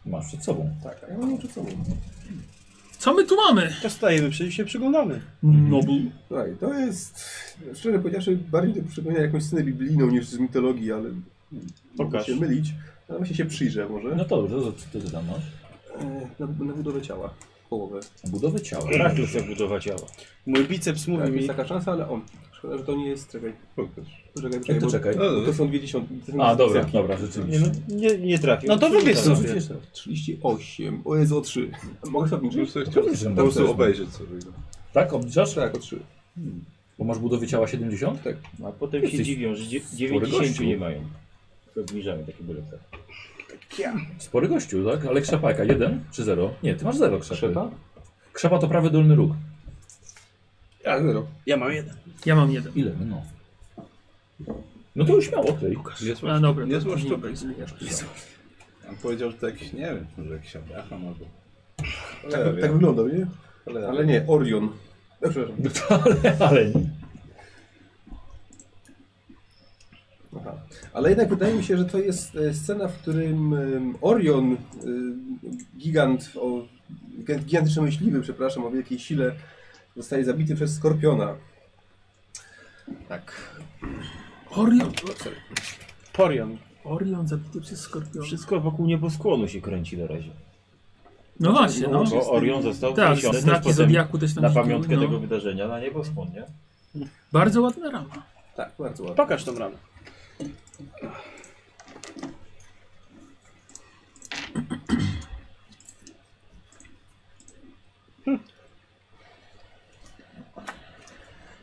[SPEAKER 1] masz przed sobą.
[SPEAKER 2] Tak, a ja mam przed sobą.
[SPEAKER 6] Co my tu mamy?
[SPEAKER 4] To stajemy, przecież się przyglądamy.
[SPEAKER 6] Nobel.
[SPEAKER 2] Słuchaj, to jest, szczerze powiedziawszy, bardziej to przypomina jakąś scenę biblijną niż z mitologii, ale mogę
[SPEAKER 8] Pokaż.
[SPEAKER 2] się mylić. Ale właśnie się przyjrzę może.
[SPEAKER 1] No to dobrze, to ty ty tam masz.
[SPEAKER 2] E, Na, na budowę ciała. Połowę.
[SPEAKER 1] Budowę ciała.
[SPEAKER 8] Rakiel chce budować ciała.
[SPEAKER 4] Mój biceps mówi
[SPEAKER 2] Tak,
[SPEAKER 4] mi...
[SPEAKER 2] jest taka szansa, ale on. Szkoda, że to nie jest, czekaj.
[SPEAKER 5] Pokaż.
[SPEAKER 2] Poczekaj,
[SPEAKER 1] Jak
[SPEAKER 2] poczekaj,
[SPEAKER 1] E, to
[SPEAKER 2] bo,
[SPEAKER 1] czekaj?
[SPEAKER 2] bo to są 20. to są
[SPEAKER 1] A, dobra,
[SPEAKER 2] cyfry.
[SPEAKER 1] dobra,
[SPEAKER 8] Nie,
[SPEAKER 1] rzeczywiście.
[SPEAKER 8] no, nie, nie trafił.
[SPEAKER 4] No to wybierz
[SPEAKER 8] Rzucił
[SPEAKER 4] sobie.
[SPEAKER 2] 38. O jest o 3. Mogę sobie
[SPEAKER 5] Możesz
[SPEAKER 2] obniżyć?
[SPEAKER 5] sobie
[SPEAKER 1] Oczywiście,
[SPEAKER 5] chcieć
[SPEAKER 1] że
[SPEAKER 5] po
[SPEAKER 1] tak to
[SPEAKER 5] prostu
[SPEAKER 1] jest.
[SPEAKER 5] obejrzeć sobie go.
[SPEAKER 1] Tak, obliczasz?
[SPEAKER 2] Tak, o 3.
[SPEAKER 1] Bo masz budowy ciała 70?
[SPEAKER 8] A potem
[SPEAKER 1] Jesteś
[SPEAKER 8] się dziwią, że dzie-
[SPEAKER 1] gościu.
[SPEAKER 8] 90 nie mają. To Obniżamy takie bylety.
[SPEAKER 1] Spory gościu, tak? Ale krzapa jaka? 1 czy 0? Nie, ty masz 0 krzepy.
[SPEAKER 2] Krzepa?
[SPEAKER 1] Krzepa to prawy dolny róg.
[SPEAKER 2] Ja zero.
[SPEAKER 4] Ja mam jeden.
[SPEAKER 6] Ja mam jeden.
[SPEAKER 1] Ile? No. No to już śmiało, okej.
[SPEAKER 5] Nie zła,
[SPEAKER 6] A dobra, to
[SPEAKER 5] nie zła
[SPEAKER 6] później
[SPEAKER 5] sztuka.
[SPEAKER 6] obejrzysz.
[SPEAKER 5] On powiedział, że to jakiś, nie wiem, może jakiś Abraham albo...
[SPEAKER 2] Tak,
[SPEAKER 5] Cholera wie.
[SPEAKER 2] tak wyglądał, nie?
[SPEAKER 5] Cholera
[SPEAKER 2] Ale nie, Orion. No, przepraszam.
[SPEAKER 1] Ale, ale nie.
[SPEAKER 2] Aha. Ale jednak wydaje mi się, że to jest e, scena, w którym em, Orion, em, gigant o gi- gigantyczny myśliwy, przepraszam, o wielkiej sile, zostaje zabity przez skorpiona. Tak.
[SPEAKER 6] Orion,
[SPEAKER 4] Porion.
[SPEAKER 6] Orion zabity przez skorpiona.
[SPEAKER 8] Wszystko wokół nieboskłonu się kręci na razie.
[SPEAKER 6] No właśnie, no.
[SPEAKER 8] Bo Orion został
[SPEAKER 6] Tak,
[SPEAKER 8] wniesiony też
[SPEAKER 6] znaki
[SPEAKER 8] potem
[SPEAKER 6] Zodiaku też tam
[SPEAKER 8] na
[SPEAKER 6] się
[SPEAKER 8] pamiątkę
[SPEAKER 6] no.
[SPEAKER 8] tego wydarzenia na nieboskłon, nie?
[SPEAKER 6] Bardzo ładna rama.
[SPEAKER 2] Tak, bardzo ładnie.
[SPEAKER 4] Pokaż tą ramę.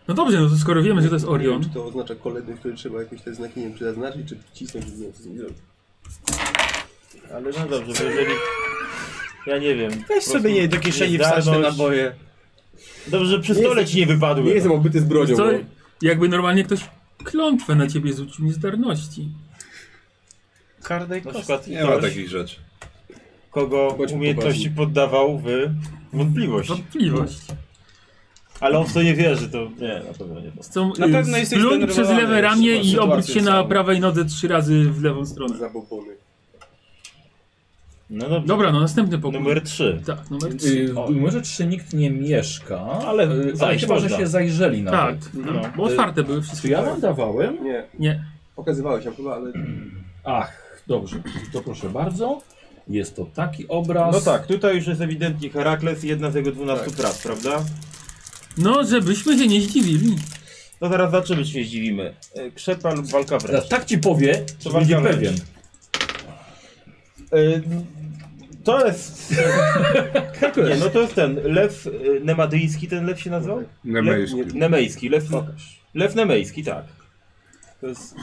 [SPEAKER 6] No dobrze, no to skoro wiemy, że to jest
[SPEAKER 2] Nie wiem,
[SPEAKER 6] Orion.
[SPEAKER 2] czy to oznacza kolejny, który trzeba jakoś te znaki, nie wiem, czy zaznaczyć, czy wcisnąć, nie wiem, co z nim zrobić.
[SPEAKER 8] Ale no dobrze, bo jeżeli... Ja nie wiem. po
[SPEAKER 4] Weź
[SPEAKER 8] prostu
[SPEAKER 4] sobie jej do kieszeni wsadź te
[SPEAKER 8] niezdarność.
[SPEAKER 4] naboje.
[SPEAKER 8] Dobrze, że przy stole ci nie wypadły.
[SPEAKER 2] Nie jestem obyty z bronią.
[SPEAKER 6] Co,
[SPEAKER 2] no.
[SPEAKER 6] jakby normalnie ktoś klątwę na ciebie rzucił niezdarności.
[SPEAKER 4] Karnej
[SPEAKER 8] Na
[SPEAKER 4] kostki.
[SPEAKER 8] przykład
[SPEAKER 5] Nie ma
[SPEAKER 8] ktoś,
[SPEAKER 5] takich rzeczy.
[SPEAKER 8] kogo
[SPEAKER 2] Bądźmy
[SPEAKER 8] umiejętności poddawał w wątpliwość.
[SPEAKER 6] Wątpliwość.
[SPEAKER 8] Ale on w to nie wierzy, to nie, na pewno nie.
[SPEAKER 6] Chcą,
[SPEAKER 4] Na
[SPEAKER 6] y,
[SPEAKER 4] pewno jesteś
[SPEAKER 6] splunąć przez
[SPEAKER 4] zdenerwowany
[SPEAKER 6] lewe
[SPEAKER 4] już
[SPEAKER 6] ramię
[SPEAKER 4] tą
[SPEAKER 6] i obróć się
[SPEAKER 4] sytuacją
[SPEAKER 6] na
[SPEAKER 4] całą.
[SPEAKER 6] prawej nodze trzy razy w lewą stronę.
[SPEAKER 2] Zabobony.
[SPEAKER 8] No dobrze.
[SPEAKER 6] Dobra, no następny pokój.
[SPEAKER 8] Numer 3.
[SPEAKER 6] Tak, numer trzy.
[SPEAKER 1] Y, W numerze 3 nikt nie mieszka,
[SPEAKER 8] Ale
[SPEAKER 1] y, ale
[SPEAKER 8] zajść
[SPEAKER 1] chyba, że
[SPEAKER 8] można.
[SPEAKER 1] się zajrzeli na
[SPEAKER 6] Tak,
[SPEAKER 8] No.
[SPEAKER 6] bo otwarte były
[SPEAKER 1] Czy
[SPEAKER 6] wszystkie.
[SPEAKER 1] ja wam dawałem?
[SPEAKER 2] Nie,
[SPEAKER 6] Nie.
[SPEAKER 2] pokazywałeś nam chyba, ale
[SPEAKER 1] Ach, dobrze, to proszę bardzo. Jest to taki obraz.
[SPEAKER 8] No tak, tutaj już jest ewidentnie Herakles i jedna z jego 12 prac, prawda?
[SPEAKER 6] No, żebyśmy się nie zdziwili.
[SPEAKER 8] No zaraz zaczynamy się zdziwimy. E, Krzepa lub walka wręcz.
[SPEAKER 1] Teraz tak ci powie, że
[SPEAKER 8] wam
[SPEAKER 1] będzie
[SPEAKER 8] dałem?
[SPEAKER 1] pewien.
[SPEAKER 8] E, To jest. Nie,
[SPEAKER 1] Herkules.
[SPEAKER 8] no to jest ten lew e, nemadyjski, ten lew się nazywał?
[SPEAKER 5] Nemejski.
[SPEAKER 8] Lew, nie, nemejski, lew. Lew nemejski, tak. To jest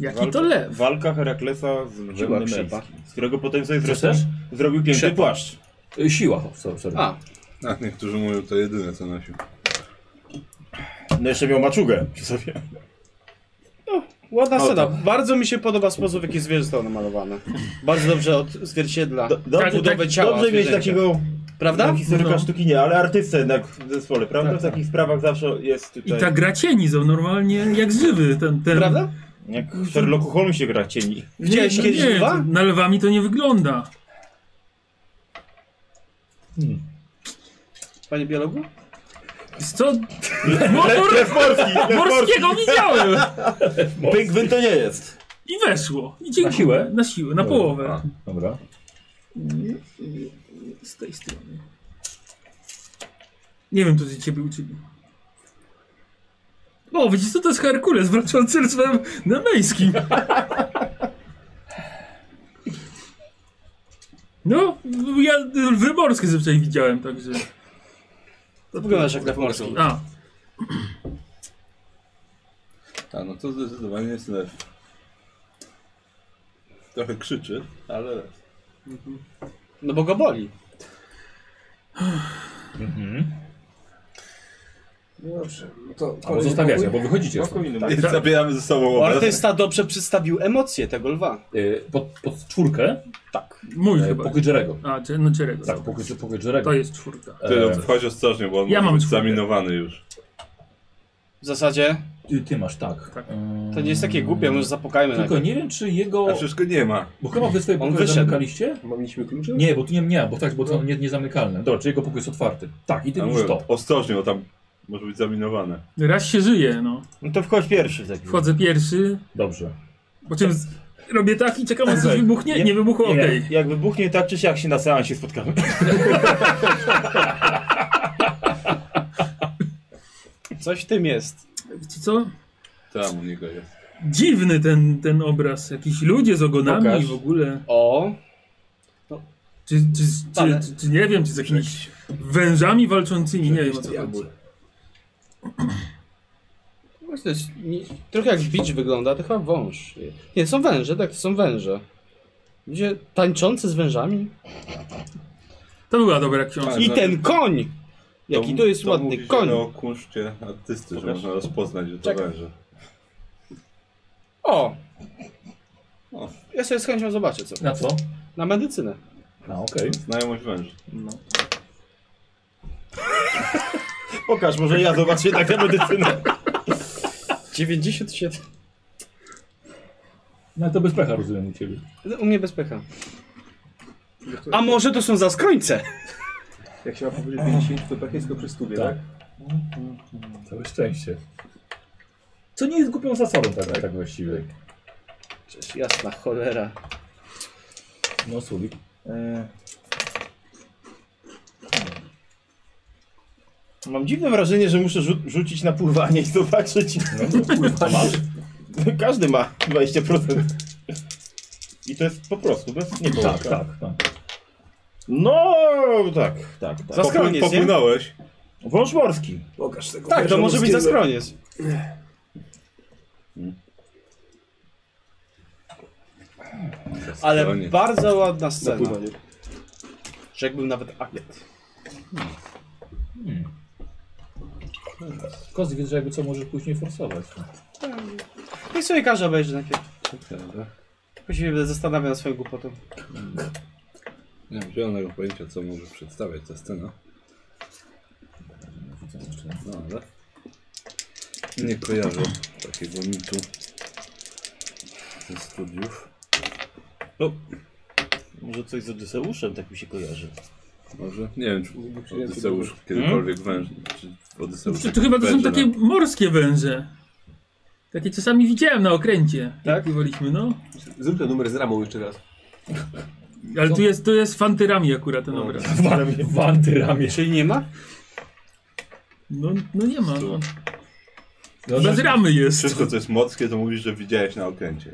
[SPEAKER 6] Jaki
[SPEAKER 8] walka,
[SPEAKER 6] to lew?
[SPEAKER 8] walka Heraklesa z lwem
[SPEAKER 4] Siła
[SPEAKER 8] nemejskim,
[SPEAKER 4] krzepa.
[SPEAKER 8] z którego potem sobie
[SPEAKER 1] Co
[SPEAKER 8] zresztą
[SPEAKER 1] chcesz?
[SPEAKER 8] zrobił piękny
[SPEAKER 4] Krzepa.
[SPEAKER 8] płaszcz.
[SPEAKER 1] Y, Siła, sorry. sorry.
[SPEAKER 4] A,
[SPEAKER 5] Ach, niektórzy mówią, to jedyne co nosił.
[SPEAKER 8] No jeszcze miał maczugę przy sobie.
[SPEAKER 4] ładna
[SPEAKER 8] O,
[SPEAKER 4] scena. Bardzo mi się podoba sposób, w jaki zwierzę zostało namalowane. Bardzo dobrze odzwierciedla
[SPEAKER 8] Do, do,
[SPEAKER 6] Tak,
[SPEAKER 4] budowę
[SPEAKER 6] tak,
[SPEAKER 4] ciała
[SPEAKER 8] dobrze mieć
[SPEAKER 4] zwierzęcia.
[SPEAKER 8] takiego
[SPEAKER 4] Prawda?
[SPEAKER 8] No, historyka
[SPEAKER 6] No.
[SPEAKER 8] sztuki nie, ale artystę jednak w zespole, prawda? w takich sprawach zawsze jest
[SPEAKER 6] I tak-
[SPEAKER 8] tutaj.
[SPEAKER 6] ta gra cieni są normalnie jak żywy. Ten, ten...
[SPEAKER 4] Prawda?
[SPEAKER 8] Jak w Sherlocku Holmesie gra cieni.
[SPEAKER 4] Widziałeś
[SPEAKER 6] Nie, no
[SPEAKER 4] kiedyś
[SPEAKER 6] nie,
[SPEAKER 4] lwa?
[SPEAKER 6] to Na lwami to nie wygląda.
[SPEAKER 4] Panie biologu?
[SPEAKER 6] Wiesz Co? Motor
[SPEAKER 3] morski!
[SPEAKER 6] morskiego widziałem!
[SPEAKER 3] Pingwin to nie jest.
[SPEAKER 6] I weszło. I dziękuję.
[SPEAKER 1] Na siłę? No, tak.
[SPEAKER 6] Na siłę, na połowę.
[SPEAKER 1] Y, A, dobra.
[SPEAKER 6] Z tej strony. Nie wiem, co z ciebie uczyli. O, widzisz, co to jest Herkules walczący lwem nemejskim. No, ja lwy morskie zazwyczaj widziałem, także...
[SPEAKER 4] Wyglądasz jak lew morski.
[SPEAKER 6] A,
[SPEAKER 5] A no to zdecydowanie jest lew. Trochę krzyczy, ale lew.
[SPEAKER 4] No bo go boli.
[SPEAKER 7] Dobrze, no to
[SPEAKER 1] Albo zostawiacie, bo
[SPEAKER 4] No,
[SPEAKER 1] wychodzicie. stąd.
[SPEAKER 2] Tak,
[SPEAKER 5] Więc zabieramy ze sobą
[SPEAKER 4] Bo
[SPEAKER 5] obraz.
[SPEAKER 4] Artysta dobrze przedstawił emocje tego lwa.
[SPEAKER 1] Y, Pod, pod czwórkę
[SPEAKER 6] mój
[SPEAKER 1] e,
[SPEAKER 6] chyba.
[SPEAKER 1] pokój Jerego.
[SPEAKER 6] A, czy, no Czerego.
[SPEAKER 1] Tak, pokój, pokój Jerego.
[SPEAKER 6] To jest czwórka.
[SPEAKER 5] Ty no,
[SPEAKER 1] E,
[SPEAKER 5] wchodź ostrożnie, bo on
[SPEAKER 6] Ja
[SPEAKER 5] ja
[SPEAKER 6] mam
[SPEAKER 5] mam być
[SPEAKER 6] czwórkę.
[SPEAKER 5] zaminowany już.
[SPEAKER 4] W zasadzie
[SPEAKER 1] ty, ty masz, tak.
[SPEAKER 6] Tak.
[SPEAKER 1] Ym,
[SPEAKER 4] to nie jest takie głupie, może zapukajmy na
[SPEAKER 1] Tylko nie wiem, czy jego...
[SPEAKER 5] A przecież go nie ma.
[SPEAKER 1] Bo chyba wy swoje
[SPEAKER 4] On
[SPEAKER 1] pokoje
[SPEAKER 4] wyszedł.
[SPEAKER 1] zamykaliście?
[SPEAKER 7] Mieliśmy klucze?
[SPEAKER 1] Nie, bo tu nie, nie, bo tak, bo to nie, niezamykalne. Dobra, czy jego pokój jest otwarty. Tak, i ty
[SPEAKER 5] A
[SPEAKER 1] mówisz
[SPEAKER 5] mówię,
[SPEAKER 1] to.
[SPEAKER 5] ostrożnie, bo tam może być zaminowane.
[SPEAKER 6] Raz się żyje, no.
[SPEAKER 3] No to wchodź pierwszy w takim
[SPEAKER 6] Wchodzę pierwszy,
[SPEAKER 1] Dobrze.
[SPEAKER 6] po czym z... robię tak i czekam, aż coś
[SPEAKER 3] Słuchaj,
[SPEAKER 6] wybuchnie.
[SPEAKER 3] ja-
[SPEAKER 6] Nie wybuchło,
[SPEAKER 3] Nie,
[SPEAKER 6] okej.
[SPEAKER 3] Jak wybuchnie tak czy siak się na seansie spotkamy.
[SPEAKER 4] Coś w tym jest.
[SPEAKER 6] Wiecie co?
[SPEAKER 5] Tam u niego jest.
[SPEAKER 6] Dziwny ten, ten obraz. Jakiś ludzie z ogonami
[SPEAKER 3] Pokaż.
[SPEAKER 6] w ogóle.
[SPEAKER 4] O,
[SPEAKER 6] Czy, czy,
[SPEAKER 4] Ale-
[SPEAKER 6] czy, czy, czy nie wiem, czy z jakimiś wężami walczącymi, nie wiem o co
[SPEAKER 7] diabły.
[SPEAKER 6] chodzi.
[SPEAKER 4] właśnie to jest nie, trochę jak bicz wygląda, to chyba wąż. Nie, są węże, tak, to są węże. Ludzie tańczący z wężami.
[SPEAKER 6] To była dobra książka.
[SPEAKER 5] no,
[SPEAKER 4] I ten koń! Jaki to jest ładny
[SPEAKER 5] mówi się
[SPEAKER 4] koń.
[SPEAKER 5] o kunszcie artysty, że można rozpoznać, że to
[SPEAKER 4] Czekaj.
[SPEAKER 5] węże.
[SPEAKER 4] O!
[SPEAKER 5] O.
[SPEAKER 4] Ja sobie z chęcią zobaczę co.
[SPEAKER 1] Na co?
[SPEAKER 4] Na medycynę.
[SPEAKER 1] A, okej.
[SPEAKER 5] Znajomość węży.
[SPEAKER 3] Pokaż, może ja zobaczę jednak na medycynę.
[SPEAKER 4] 97.
[SPEAKER 1] No to bez pecha rozumiem u ciebie.
[SPEAKER 4] No, U mnie bez pecha. A może to są zaskrońce?
[SPEAKER 7] Jak się ma powyżej 50, to tak jest tylko przy stubie, tak?
[SPEAKER 1] Całe szczęście. Co nie jest głupią zasadą tak, tak właściwie.
[SPEAKER 4] Przecież jasna cholera.
[SPEAKER 1] No, Sulik.
[SPEAKER 3] Mam dziwne wrażenie, że muszę rzu rzucić na pływanie i zobaczyć.
[SPEAKER 1] No, kurwa, masz.
[SPEAKER 3] Każdy ma 20%. I to jest po prostu, bez nie było.
[SPEAKER 1] Tak, tak, tak.
[SPEAKER 3] No, tak, tak, tak.
[SPEAKER 4] Za skroniec, nie?
[SPEAKER 5] Popłynąłeś.
[SPEAKER 3] Wąż morski.
[SPEAKER 7] Pokaż tego.
[SPEAKER 4] Tak, to może być
[SPEAKER 7] za
[SPEAKER 4] zaskroniec. Ale
[SPEAKER 5] Zaskroniec.
[SPEAKER 4] bardzo ładna scena.
[SPEAKER 7] Zapływanie.
[SPEAKER 4] Że jakbym nawet akt.
[SPEAKER 1] Kozy wiesz, że jakby co możesz później forsować.
[SPEAKER 4] Niech sobie każdy obejrzy najpierw. Później będę zastanawiał nad swoją głupotą.
[SPEAKER 5] Nie mam zielonego pojęcia, co może przedstawiać ta scena. No ale... Nie kojarzę takiego mitu ze studiów.
[SPEAKER 3] No, może coś z Odyseuszem, tak mi się kojarzy.
[SPEAKER 5] Może? Nie wiem, czy
[SPEAKER 7] przyjęty
[SPEAKER 5] Odyseusz kiedykolwiek węż... Czy Odyseusz
[SPEAKER 6] To, to chyba to są
[SPEAKER 5] węże no.
[SPEAKER 6] takie
[SPEAKER 5] nam-
[SPEAKER 6] morskie węże. Takie czasami widziałem na okręcie. Tak? Pływaliśmy, no.
[SPEAKER 7] Zrób ten numer z ramą jeszcze raz.
[SPEAKER 6] Ale tu jest, tu jest fantyrami akurat
[SPEAKER 5] No.
[SPEAKER 6] ten obraz.
[SPEAKER 1] W antyramie.
[SPEAKER 4] Czyli nie ma?
[SPEAKER 6] No, no nie ma. No. Bez ramy jest.
[SPEAKER 5] Wszystko, co jest mockie, to mówisz, że widziałeś na okręcie.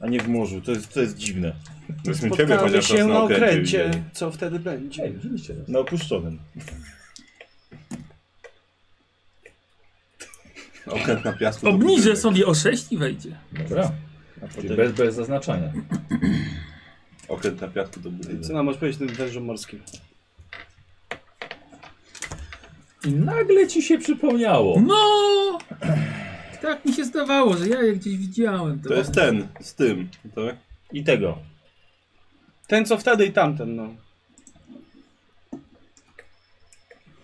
[SPEAKER 3] A nie w morzu, to jest, to jest dziwne.
[SPEAKER 5] Myśmy ciebie
[SPEAKER 4] Spotkamy
[SPEAKER 5] chociaż
[SPEAKER 4] się
[SPEAKER 5] raz
[SPEAKER 4] na
[SPEAKER 5] widzieli.
[SPEAKER 4] okręcie. Co wtedy będzie?
[SPEAKER 1] Ej, tak. widzieliście raz.
[SPEAKER 3] Na opuszczonym.
[SPEAKER 5] Okręt na piasku. to
[SPEAKER 6] Obniżę
[SPEAKER 5] budynek.
[SPEAKER 6] sobie o 6 i wejdzie.
[SPEAKER 1] Dobra.
[SPEAKER 3] A
[SPEAKER 1] Czyli
[SPEAKER 3] potem...
[SPEAKER 1] bez, bez zaznaczania.
[SPEAKER 5] Okręt na piasku to budynek.
[SPEAKER 4] Co nam możesz powiedzieć tym wężom morskim?
[SPEAKER 1] I nagle ci się przypomniało.
[SPEAKER 6] No! Tak mi się zdawało, że ja je gdzieś widziałem. To,
[SPEAKER 5] To jest ten, z tym, tak?
[SPEAKER 3] I tego.
[SPEAKER 4] Ten co wtedy i tamten, no.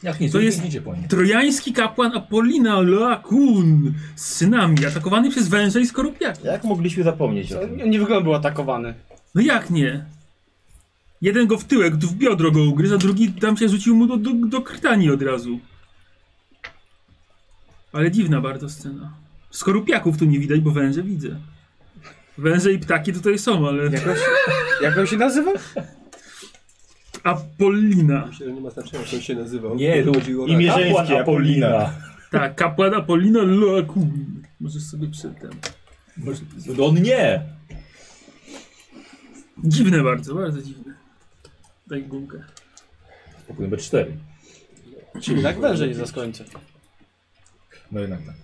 [SPEAKER 1] Jak nie,
[SPEAKER 6] To
[SPEAKER 1] to
[SPEAKER 6] jest-
[SPEAKER 1] jest... idzie po nim.
[SPEAKER 6] Trojański kapłan Apolina Lakun z synami, atakowany przez węża i skorupiaki.
[SPEAKER 3] Jak mogliśmy zapomnieć o
[SPEAKER 4] Co?
[SPEAKER 3] tym?
[SPEAKER 4] Nie nie wygląda był atakowany.
[SPEAKER 6] No jak nie? Jeden go w tyłek, tu w biodro go ugryza, drugi tam się rzucił mu do, do, do krtani od razu. Ale dziwna bardzo scena. Skorupiaków tu nie widać, bo węże widzę. Węże i ptaki tutaj są, ale...
[SPEAKER 7] Jakoś,
[SPEAKER 4] Jak on się nazywa?
[SPEAKER 6] Apollina.
[SPEAKER 7] myślę, że nie ma znaczenia, jak on się nazywał.
[SPEAKER 1] Nie, to
[SPEAKER 7] chodziło o
[SPEAKER 3] imię-
[SPEAKER 7] nas.
[SPEAKER 3] Mierzeński,
[SPEAKER 1] Kapłan Apolina.
[SPEAKER 6] Tak, kapłan Apollina Loacum. Możesz sobie przed tym.
[SPEAKER 1] No on nie!
[SPEAKER 6] Dziwne bardzo, bardzo dziwne. Daj gumkę.
[SPEAKER 1] Pokój numer 4.
[SPEAKER 4] Czyli tak węże nie zaskończę.
[SPEAKER 1] No jednak tak.
[SPEAKER 7] tak.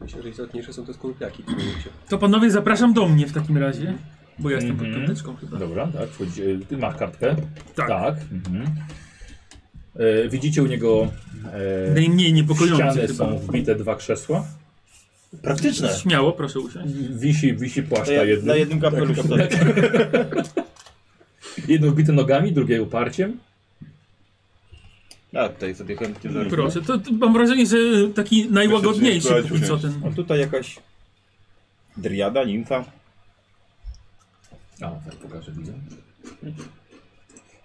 [SPEAKER 7] Myślę, że istotniejsze są te skorupiaki w tym momencie.
[SPEAKER 6] To panowie zapraszam do mnie w takim razie. Bo ja jestem pod
[SPEAKER 1] Mhm.
[SPEAKER 6] piąteczką chyba.
[SPEAKER 1] Dobra, tak. Wchodzi, e, ty masz kartkę.
[SPEAKER 6] Tak.
[SPEAKER 1] mhm. E, widzicie u niego e,
[SPEAKER 6] Najmniej
[SPEAKER 1] w
[SPEAKER 6] niepokojące
[SPEAKER 1] ścianę
[SPEAKER 6] chyba.
[SPEAKER 1] są wbite dwa krzesła.
[SPEAKER 3] Praktyczne.
[SPEAKER 6] Śmiało, proszę usiąść.
[SPEAKER 1] Wisi, wisi płaszcz na jednym.
[SPEAKER 8] na jednym kapeluszu. Tak,
[SPEAKER 1] Jedno wbite nogami, drugie uparciem.
[SPEAKER 3] A tutaj sobie chętnie zaraz.
[SPEAKER 6] Proszę, to, to mam wrażenie, że taki najłagodniejszy
[SPEAKER 5] Proszę cię
[SPEAKER 6] póki co
[SPEAKER 5] wprowadzić,
[SPEAKER 6] ten.
[SPEAKER 8] A tutaj jakaś driada, nimfa.
[SPEAKER 1] A, tak pokażę, widzę.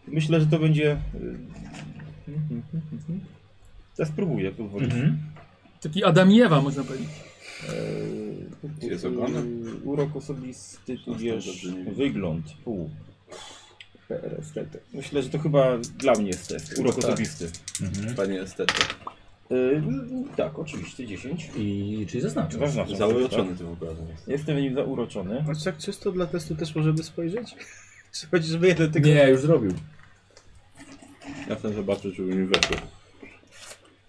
[SPEAKER 8] Myślę, że to będzie... y, Ja spróbuję pozwolić.
[SPEAKER 1] Mhm.
[SPEAKER 6] Taki Adam i Ewa można powiedzieć.
[SPEAKER 8] Eee,
[SPEAKER 5] Jest oglądany?
[SPEAKER 8] y, Urok osobisty, tudzież
[SPEAKER 5] dobrze nie wiem.
[SPEAKER 8] wygląd. Pół. PRS, tak, tak. Myślę, że to chyba dla mnie jest test. Urok
[SPEAKER 5] Tak.
[SPEAKER 8] osobisty.
[SPEAKER 5] Panie estety.
[SPEAKER 8] Eee, tak, oczywiście, 10.
[SPEAKER 1] I czyli zaznaczę.
[SPEAKER 8] Zaznaczam sobie,
[SPEAKER 5] Zauroczony tym obrazem.
[SPEAKER 8] tak? Jestem nim zauroczony.
[SPEAKER 4] A tak czysto dla testu też możemy spojrzeć? Czy chodzi, żeby jeden tylko...
[SPEAKER 1] Nie, już zrobił.
[SPEAKER 5] Ja chcę zobaczyć, żeby mi weszło.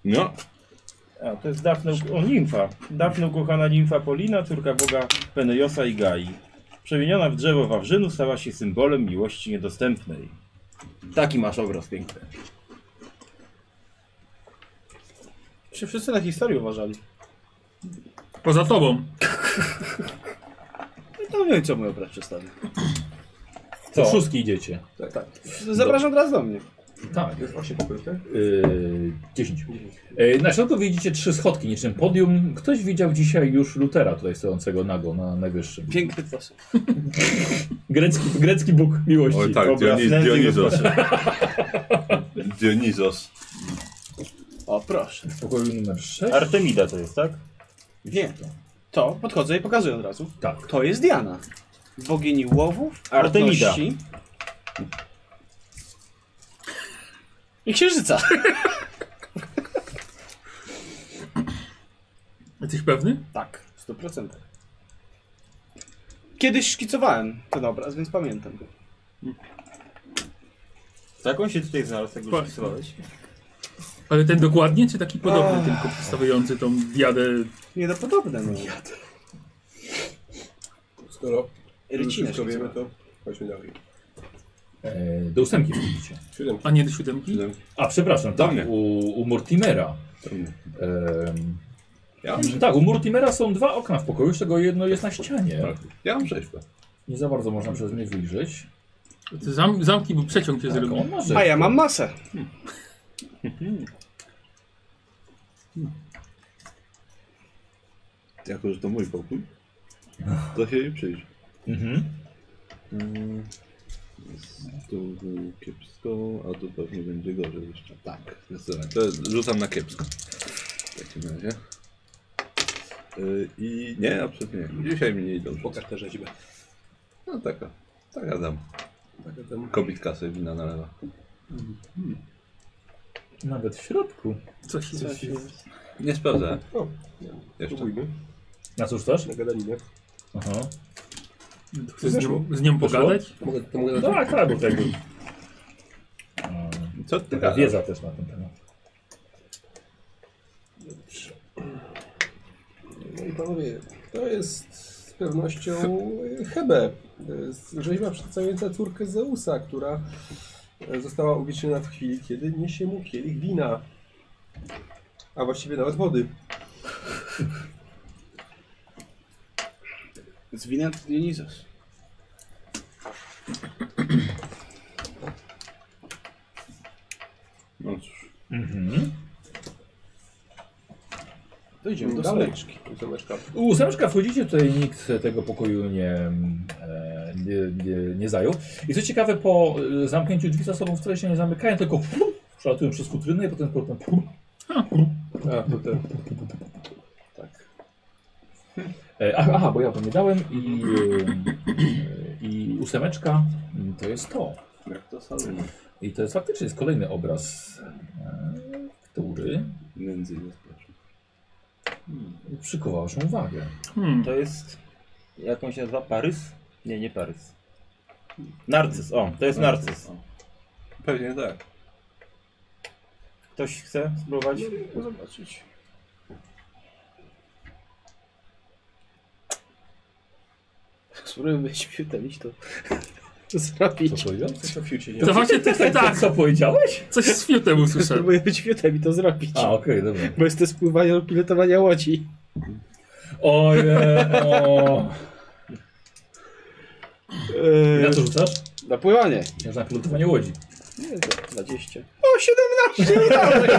[SPEAKER 5] No,
[SPEAKER 8] A, to jest Dafne, o nimfa. Dafne ukochana nimfa Polina, córka boga Penejosa i Gai. Przemieniona w drzewo wawrzynu stała się symbolem miłości niedostępnej. Taki masz obraz piękny.
[SPEAKER 4] Się wszyscy na historii uważali.
[SPEAKER 6] Poza tobą.
[SPEAKER 4] No wiem, co mój obraz przedstawił.
[SPEAKER 1] Co? Do szóstki idziecie.
[SPEAKER 7] Tak, tak.
[SPEAKER 4] Zapraszam teraz do mnie.
[SPEAKER 1] Tak.
[SPEAKER 7] Jest 8 pokojów, tak?
[SPEAKER 1] Yy, 10. Yy, na środku widzicie trzy schodki, niczym podium. Ktoś widział dzisiaj już Lutera tutaj stojącego nago na najwyższym.
[SPEAKER 4] Piękny sposób.
[SPEAKER 1] Grecki, grecki bóg miłości.
[SPEAKER 5] oj tak,
[SPEAKER 3] Obraz
[SPEAKER 5] Dioniz,
[SPEAKER 3] nędzy i
[SPEAKER 5] Dionizos. Dionizos.
[SPEAKER 4] O, proszę.
[SPEAKER 1] W pokoju numer 6.
[SPEAKER 8] Artemida to jest, tak?
[SPEAKER 4] Nie. To podchodzę i pokazuję od razu.
[SPEAKER 1] Tak.
[SPEAKER 4] To jest Diana. Bogini łowów,
[SPEAKER 8] Artemida.
[SPEAKER 4] płodności I księżyca.
[SPEAKER 6] Jesteś pewny?
[SPEAKER 4] Tak, 100%. Kiedyś szkicowałem ten obraz, więc pamiętam go.
[SPEAKER 8] Tak on się tutaj znalazł, jak
[SPEAKER 6] Tak.
[SPEAKER 8] już rysowałeś.
[SPEAKER 6] Ale ten dokładnie, czy taki podobny, tylko przedstawiający tą diadę?
[SPEAKER 4] Nie do podobne, no.
[SPEAKER 7] Skoro
[SPEAKER 4] Rycinę
[SPEAKER 7] wszystko wiemy,
[SPEAKER 4] szkicowałem.
[SPEAKER 7] to chodźmy dalej.
[SPEAKER 1] Yy, do ósemki wchodzicie.
[SPEAKER 7] 7.
[SPEAKER 6] A nie do siódemki?
[SPEAKER 1] A przepraszam,
[SPEAKER 5] Do
[SPEAKER 1] tak,
[SPEAKER 5] mnie.
[SPEAKER 1] u, u Mortimera. Em,
[SPEAKER 5] Ja mam,
[SPEAKER 1] tak, u Mortimera są dwa okna w pokoju, z czego jedno jest na ścianie.
[SPEAKER 5] Tak. ja mam rzeźbę.
[SPEAKER 1] Nie za bardzo można przez nie wyjrzeć.
[SPEAKER 6] To Zam, zamki, bo przeciąg się
[SPEAKER 1] Tak,
[SPEAKER 6] zrobił.
[SPEAKER 1] on ma rzeźbę.
[SPEAKER 4] A ja mam masę.
[SPEAKER 5] Jako, że to mój pokój, to się jej przyjrzy.
[SPEAKER 1] Mhm.
[SPEAKER 5] Mm, Tu było kiepsko, a tu pewnie będzie gorzej jeszcze. Tak, zdecydowanie. To rzucam na kiepsko. W takim razie. Y, I nie, absolutnie nie. Dzisiaj mi nie idą.
[SPEAKER 7] Pokaż tę rzeźbę.
[SPEAKER 5] No taka. Taka dam.
[SPEAKER 7] Tak, a tam-
[SPEAKER 5] Kobitka sobie wina nalewa.
[SPEAKER 1] Nawet w środku.
[SPEAKER 6] Coś jest.
[SPEAKER 5] Nie sprawdzę.
[SPEAKER 7] O,
[SPEAKER 5] Jeszcze.
[SPEAKER 7] Spróbujmy.
[SPEAKER 1] Na cóż też?
[SPEAKER 7] Na gadaninę.
[SPEAKER 1] Aha.
[SPEAKER 6] To Chcesz z nią, z nią pogadać?
[SPEAKER 7] Mogę, to mogę na
[SPEAKER 1] Tak, tak, bo tak.
[SPEAKER 5] Co ty
[SPEAKER 1] Taka
[SPEAKER 5] gadasz?
[SPEAKER 1] wiedza też na ten temat.
[SPEAKER 7] No i panowie, to jest z pewnością e, Hebe. To jest Rzeźba przedstawiająca córkę Zeusa, która e, została uwieczniona w chwili, kiedy niesie mu kielich wina. A właściwie nawet wody.
[SPEAKER 4] Zwinęty Dionizos.
[SPEAKER 5] No cóż.
[SPEAKER 1] Mhm.
[SPEAKER 4] Dojdziemy do
[SPEAKER 7] Dalej.
[SPEAKER 4] stoleczki.
[SPEAKER 7] Zomeczka.
[SPEAKER 1] Ósemeczka wchodzicie, tutaj nikt tego pokoju nie, e, nie, nie, nie zajął. I co ciekawe, po e, zamknięciu drzwi za sobą wcale się nie zamykają, tylko przelatują przez kutrynę i potem potem
[SPEAKER 2] A, to ten.
[SPEAKER 1] E, Aha, aha, bo ja wam nie dałem i, e, i ósemeczka mm, to jest to.
[SPEAKER 5] Jak to salony.
[SPEAKER 1] I to jest faktycznie jest kolejny obraz, e, który
[SPEAKER 5] Między innymi bezpieczne.
[SPEAKER 1] przykuwał waszą uwagę.
[SPEAKER 6] Hmm.
[SPEAKER 8] To jest. Jak on się nazywa? Parys? Nie, nie Parys. Narcyz, o, to jest narcyz.
[SPEAKER 5] Pewnie tak.
[SPEAKER 8] Ktoś chce spróbować?
[SPEAKER 5] Zobaczyć.
[SPEAKER 4] Spróbujmy śmiertelić to. zrobić.
[SPEAKER 1] Co powiedział?
[SPEAKER 6] To właśnie ty, tak,
[SPEAKER 1] Co powiedziałeś?
[SPEAKER 6] coś z fiutem usłyszałem.
[SPEAKER 4] Spróbuję być fiutem i to zrobić.
[SPEAKER 1] A, okej, dobra.
[SPEAKER 4] Bo jest to spływanie do pilotowania łodzi.
[SPEAKER 1] Ojej, o.
[SPEAKER 4] Yy,
[SPEAKER 1] Na co rzucasz?
[SPEAKER 4] Na pływanie.
[SPEAKER 1] Ja na pilotowanie łodzi.
[SPEAKER 4] Nie, to 20. O, 17 udało!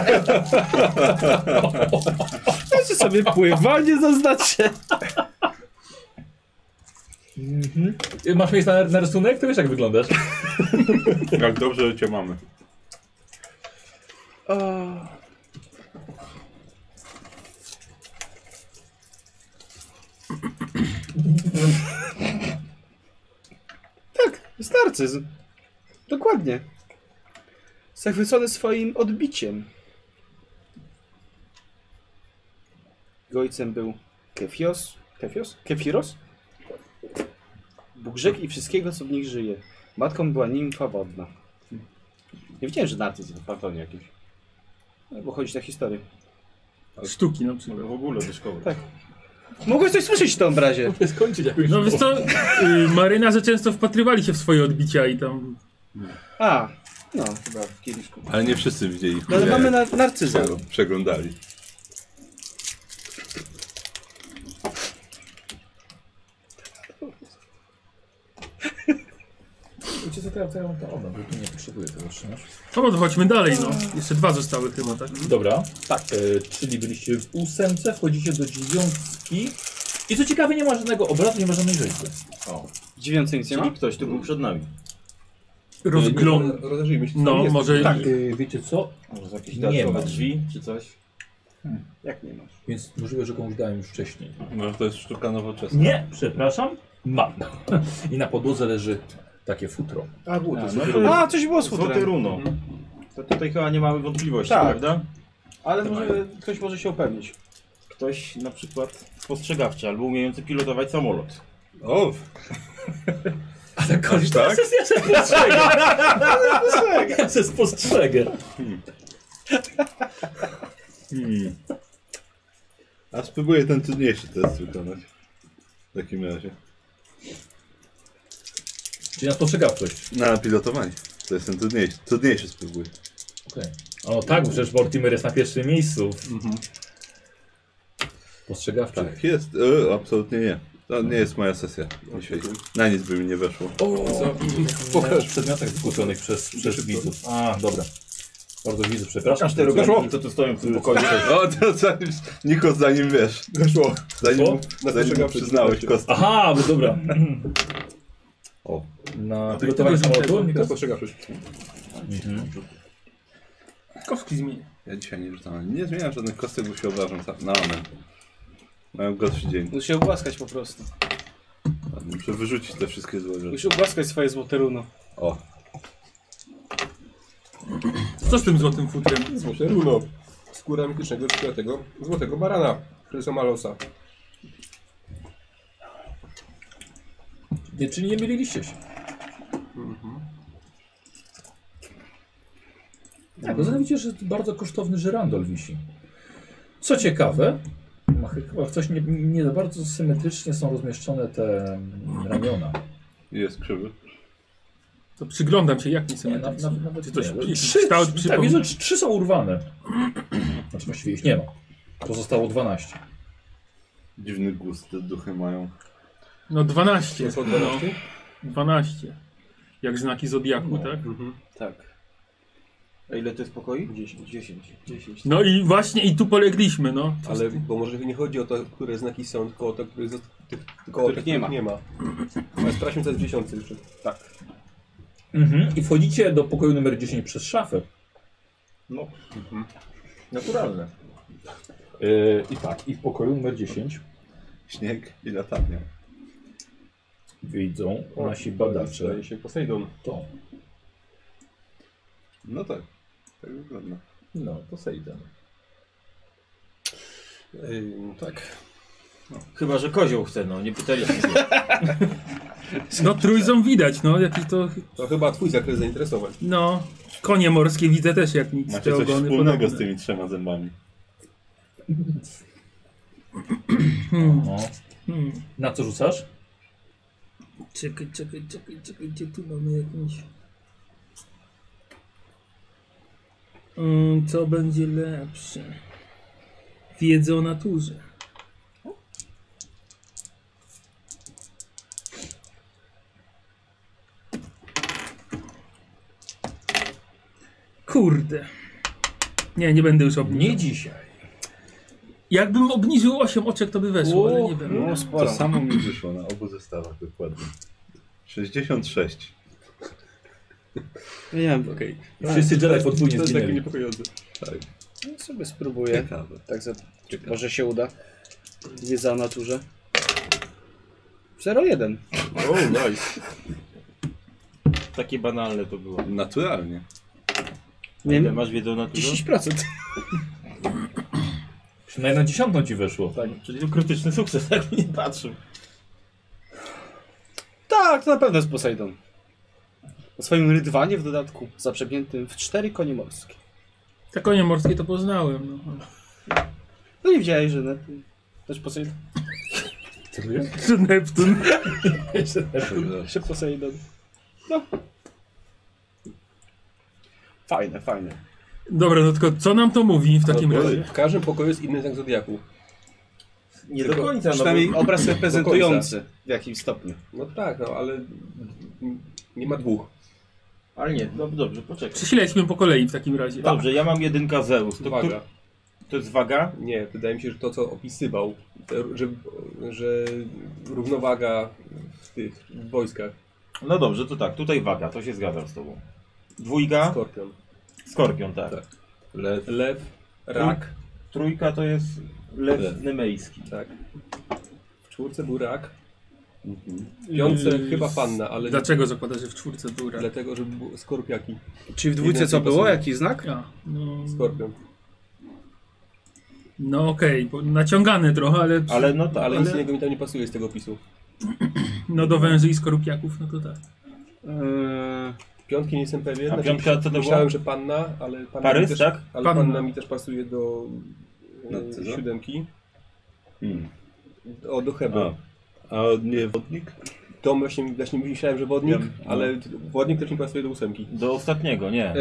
[SPEAKER 4] Znaczy sobie pływanie zaznaczę.
[SPEAKER 1] Y, Masz miejsce na, na rysunek? To wiesz jak wyglądasz.
[SPEAKER 5] Jak dobrze, że cię mamy.
[SPEAKER 4] Tak, jest narcyzm. Dokładnie. Zachwycony swoim odbiciem. Jego ojcem był Kefios. Kefios? Kefiros? Bóg rzek i wszystkiego, co w nich żyje. Matką była nimfa wodna. Nie wiedziałem, że narcyzm w pantonie jakiś. No, bo chodzi na historię.
[SPEAKER 6] Sztuki no na przykład.
[SPEAKER 8] W ogóle do szkoły.
[SPEAKER 4] Mogłeś coś słyszeć w tym obrazie.
[SPEAKER 1] Skończyć jakąś
[SPEAKER 6] No wiesz co, y, marynarze często wpatrywali się w swoje odbicia i tam...
[SPEAKER 4] A, no, chyba w kieliszku.
[SPEAKER 5] Ale nie wszyscy widzieli.
[SPEAKER 4] No, ale
[SPEAKER 5] Nie,
[SPEAKER 4] mamy na, narcyzm.
[SPEAKER 5] prze- Przeglądali.
[SPEAKER 1] Wiecie co, to ja, to ja mam to oddam, bo tu nie potrzebuję tego trzymać.
[SPEAKER 6] No to chodźmy dalej, no. Jeszcze dwa zostały chyba, tak?
[SPEAKER 1] Dobra, tak, e, czyli byliście w ósemce, wchodzicie do dziewiątki. I co ciekawe, nie ma żadnego obrazu, nie ma żadnej rzeczy.
[SPEAKER 4] Dziewiący nic nie ma?
[SPEAKER 8] Czyli ktoś tu był przed nami.
[SPEAKER 6] Rozgląd...
[SPEAKER 7] Rozejrzyjmy się. co
[SPEAKER 6] No,
[SPEAKER 7] tam jest.
[SPEAKER 6] może...
[SPEAKER 1] Tak. Y, wiecie co?
[SPEAKER 8] Może są jakieś
[SPEAKER 1] Nie ma.
[SPEAKER 8] dodatkowe drzwi czy coś? Jak nie ma?
[SPEAKER 1] Więc możliwe, że komuś dałem już wcześniej.
[SPEAKER 5] Może No, to jest sztuka nowoczesna.
[SPEAKER 1] Nie, przepraszam, mam. I na podłodze leży takie futro.
[SPEAKER 8] A, było to,
[SPEAKER 4] A,
[SPEAKER 8] no
[SPEAKER 4] A, coś było z
[SPEAKER 8] Złote
[SPEAKER 4] futrem.
[SPEAKER 8] runo. Mhm. To tutaj chyba nie mamy wątpliwości,
[SPEAKER 4] Tak.
[SPEAKER 8] prawda?
[SPEAKER 4] Ale
[SPEAKER 7] Tak.
[SPEAKER 4] może, ktoś może się upewnić.
[SPEAKER 8] Ktoś na przykład spostrzegawczy albo umiejący pilotować samolot.
[SPEAKER 3] O,
[SPEAKER 1] Ale koleś,
[SPEAKER 5] tak?
[SPEAKER 1] teraz ja się spostrzegę. Ja się spostrzegę.
[SPEAKER 5] Hmm. A spróbuję ten trudniejszy test wykonać. W takim razie.
[SPEAKER 1] Czyli na spostrzegawczość.
[SPEAKER 5] Na pilotowanie. To jest ten trudniejszy. Trudniejszy spróbuj.
[SPEAKER 1] Okej. O tak, bo przecież Mortimer jest na pierwszym miejscu. Spostrzegawczy.
[SPEAKER 5] Tak jest. E, absolutnie nie. To nie jest moja sesja dzisiaj. Na nic by mi nie weszło.
[SPEAKER 1] Pokaż przedmiotach zgłoszonych przez, przez widzów. A, dobra. Bardzo widzów, przepraszam.
[SPEAKER 8] Aż te rogaczki, co tu stoją w tym pokoju.
[SPEAKER 5] O, to zanim, Niko, zanim wiesz.
[SPEAKER 7] Weszło.
[SPEAKER 5] Zanim,
[SPEAKER 1] Co?
[SPEAKER 5] zanim mu przyznałeś kostkę.
[SPEAKER 1] Aha, bo dobra.
[SPEAKER 5] O.
[SPEAKER 1] Na pilotowanie samolotu?
[SPEAKER 7] Teraz postrzegawczość.
[SPEAKER 1] Mhm.
[SPEAKER 6] Kowski zmieni.
[SPEAKER 5] Ja dzisiaj nie rzucam. Nie zmieniam żadnych kostek, bo się obrażam sam. Na one. Mają gorszy dzień.
[SPEAKER 4] Musisz się ogłaskać po prostu.
[SPEAKER 5] Muszę wyrzucić te wszystkie złe rzeczy.
[SPEAKER 4] Musisz ogłaskać swoje złote runo.
[SPEAKER 5] O.
[SPEAKER 6] Co z tym złotym futrem?
[SPEAKER 7] Złote runo. Skóra mitycznego czwartego złotego barana. Krysa Malosa.
[SPEAKER 1] Nie, czyli nie myliliście się.
[SPEAKER 6] Mhm.
[SPEAKER 1] Tak, bo widzicie, że bardzo kosztowny żyrandol wisi. Co ciekawe, ma chyba w coś nie, nie za bardzo symetrycznie są rozmieszczone te mm, ramiona.
[SPEAKER 5] Jest krzywy.
[SPEAKER 6] To przyglądam się, jak mi
[SPEAKER 1] Nie,
[SPEAKER 6] sobie
[SPEAKER 1] na, na, nawet
[SPEAKER 6] Czy coś
[SPEAKER 1] nie, ale
[SPEAKER 6] jakiś
[SPEAKER 1] trzy,
[SPEAKER 6] kształt
[SPEAKER 1] tak,
[SPEAKER 6] przypomina?
[SPEAKER 1] widzę, że trzy są urwane. Znaczy właściwie ich nie ma. Pozostało 12.
[SPEAKER 5] Dziwny gust te duchy mają.
[SPEAKER 6] No 12.
[SPEAKER 7] To są
[SPEAKER 6] No,
[SPEAKER 7] 12?
[SPEAKER 6] 12. Jak znaki Zodiaku, tak?
[SPEAKER 4] Tak.
[SPEAKER 8] A ile to jest pokoi?
[SPEAKER 7] 10. 10. 10.
[SPEAKER 6] No i właśnie i tu polegliśmy, no. Co
[SPEAKER 7] Ale,
[SPEAKER 6] z tym?
[SPEAKER 7] bo może nie chodzi o to, które znaki są, tylko o to, które zost- tych, tylko o
[SPEAKER 4] Których
[SPEAKER 7] tych,
[SPEAKER 4] nie ma.
[SPEAKER 7] nie ma. Ale sprawdźmy, co jest w dziesiątce jeszcze. Tak.
[SPEAKER 1] Mhm. I wchodzicie do pokoju numer 10 przez szafę.
[SPEAKER 8] Naturalne.
[SPEAKER 1] E, I tak, i w pokoju numer 10
[SPEAKER 5] Śnieg i latarnia.
[SPEAKER 1] widzą nasi badacze
[SPEAKER 2] Zdaje się Posejdon.
[SPEAKER 1] to.
[SPEAKER 5] No tak, tak wygląda.
[SPEAKER 1] No, Posejdon.
[SPEAKER 2] Ym, tak.
[SPEAKER 8] Chyba, że kozioł chce, no nie pytaliśmy się.
[SPEAKER 6] No trójzą widać, no jakiś to...
[SPEAKER 2] To chyba twój zakres zainteresowań.
[SPEAKER 6] No, konie morskie widzę też jak nic.
[SPEAKER 5] Macie
[SPEAKER 6] te
[SPEAKER 5] coś
[SPEAKER 6] ogony
[SPEAKER 5] wspólnego
[SPEAKER 6] podobne.
[SPEAKER 5] z tymi trzema zębami.
[SPEAKER 6] Hmm,
[SPEAKER 1] No.
[SPEAKER 6] hmm.
[SPEAKER 1] Na co rzucasz?
[SPEAKER 6] Czekaj, czekaj, czekaj, czekaj, gdzie tu mamy jakąś... Mm, co będzie lepsze? Wiedzę o naturze. Kurde. Nie, nie będę już obniżał.
[SPEAKER 1] Nie dzisiaj.
[SPEAKER 6] Jakbym obniżył 8 oczek, to by weszło, ale nie wiem.
[SPEAKER 4] No
[SPEAKER 5] To
[SPEAKER 4] sporo.
[SPEAKER 5] samo mi wyszło na obu zestawach dokładnie. 66.
[SPEAKER 4] Nie wiem,
[SPEAKER 1] Okej. I wszyscy Jedi podwójnie zginęli.
[SPEAKER 5] niepokojące. Tak,
[SPEAKER 4] no sobie spróbuję.
[SPEAKER 5] ciekawe.
[SPEAKER 4] Tak za... Może się uda. Wiedza o naturze. 0,1.
[SPEAKER 5] O, oh, nice.
[SPEAKER 8] Takie banalne to było.
[SPEAKER 5] Naturalnie.
[SPEAKER 8] Nie
[SPEAKER 4] Nie
[SPEAKER 8] Ile
[SPEAKER 4] wiem,
[SPEAKER 8] masz wiedzę na
[SPEAKER 4] 10%.
[SPEAKER 1] Przynajmniej na dziesiątą ci weszło.
[SPEAKER 8] Tak, czyli to krytyczny sukces, tak nie patrzył.
[SPEAKER 4] Tak, to na pewno jest Poseidon. O swoim rydwanie w dodatku, zaprzęgniętym w cztery konie morskie.
[SPEAKER 6] Te konie morskie to poznałem. No.
[SPEAKER 4] No nie widziałeś, że na tym też Poseidon?
[SPEAKER 6] Że Neptun.
[SPEAKER 4] Się Poseidon. No. Fajne, fajne.
[SPEAKER 6] Dobra, no tylko co nam to mówi w takim
[SPEAKER 2] No,
[SPEAKER 6] razie?
[SPEAKER 2] W każdym pokoju jest inny znak zodiaku.
[SPEAKER 8] Nie
[SPEAKER 2] Tylko
[SPEAKER 8] do końca, no
[SPEAKER 4] Przynajmniej
[SPEAKER 8] bo...
[SPEAKER 4] obraz reprezentujący w jakimś stopniu.
[SPEAKER 2] No tak, no ale mm, nie ma dwóch.
[SPEAKER 8] Ale nie, no dobrze, poczekaj.
[SPEAKER 6] Przesileliśmy po kolei w takim
[SPEAKER 4] Tak.
[SPEAKER 6] razie.
[SPEAKER 8] Dobrze, ja mam jedynka Zeus. To, któr-
[SPEAKER 2] Uwaga.
[SPEAKER 8] to jest waga?
[SPEAKER 2] Nie, wydaje mi się, że to co opisywał, te, że, że równowaga w tych wojskach
[SPEAKER 8] No dobrze, to tak, tutaj waga, to się zgadzam z tobą. Dwójka?
[SPEAKER 2] skorpion.
[SPEAKER 8] Skorpion, tak.
[SPEAKER 2] Tak.
[SPEAKER 5] Lew.
[SPEAKER 2] Lew, rak,
[SPEAKER 8] Trójka to jest lew
[SPEAKER 5] Lew.
[SPEAKER 8] nemejski.
[SPEAKER 2] tak. W czwórce był rak,
[SPEAKER 5] Mhm.
[SPEAKER 2] w piątce
[SPEAKER 6] Yy,
[SPEAKER 2] chyba panna, ale
[SPEAKER 6] Dlaczego zakładasz, że w czwórce był rak?
[SPEAKER 2] dlatego, że był skorpiaki.
[SPEAKER 4] Czyli w
[SPEAKER 2] dwójce co było?
[SPEAKER 4] Jaki znak?
[SPEAKER 6] A, no
[SPEAKER 2] Skorpion.
[SPEAKER 6] no okej, bo naciągane trochę, ale,
[SPEAKER 8] Ale no tak,
[SPEAKER 2] Ale, nic
[SPEAKER 8] ale...
[SPEAKER 2] innego mi tam nie pasuje z tego opisu.
[SPEAKER 6] no do węży i skorupiaków, no to tak.
[SPEAKER 5] Eee,
[SPEAKER 2] Piątki nie jestem pewien.
[SPEAKER 8] A
[SPEAKER 2] znaczy,
[SPEAKER 8] piątka co to
[SPEAKER 2] Myślałem,
[SPEAKER 8] było?
[SPEAKER 2] że panna, ale panna, mi,
[SPEAKER 8] Parys,
[SPEAKER 2] też,
[SPEAKER 8] tak?
[SPEAKER 2] ale
[SPEAKER 6] Panna.
[SPEAKER 2] panna. mi też pasuje do
[SPEAKER 5] Na
[SPEAKER 2] yy,
[SPEAKER 5] cyzo?
[SPEAKER 2] siódemki.
[SPEAKER 5] Hmm.
[SPEAKER 2] O, do Hebra.
[SPEAKER 8] No.
[SPEAKER 5] A. A nie wodnik?
[SPEAKER 2] Dom właśnie, właśnie myślałem, że wodnik,
[SPEAKER 5] Ja- no.
[SPEAKER 2] ale wodnik też mi pasuje do ósemki.
[SPEAKER 8] Do ostatniego, nie.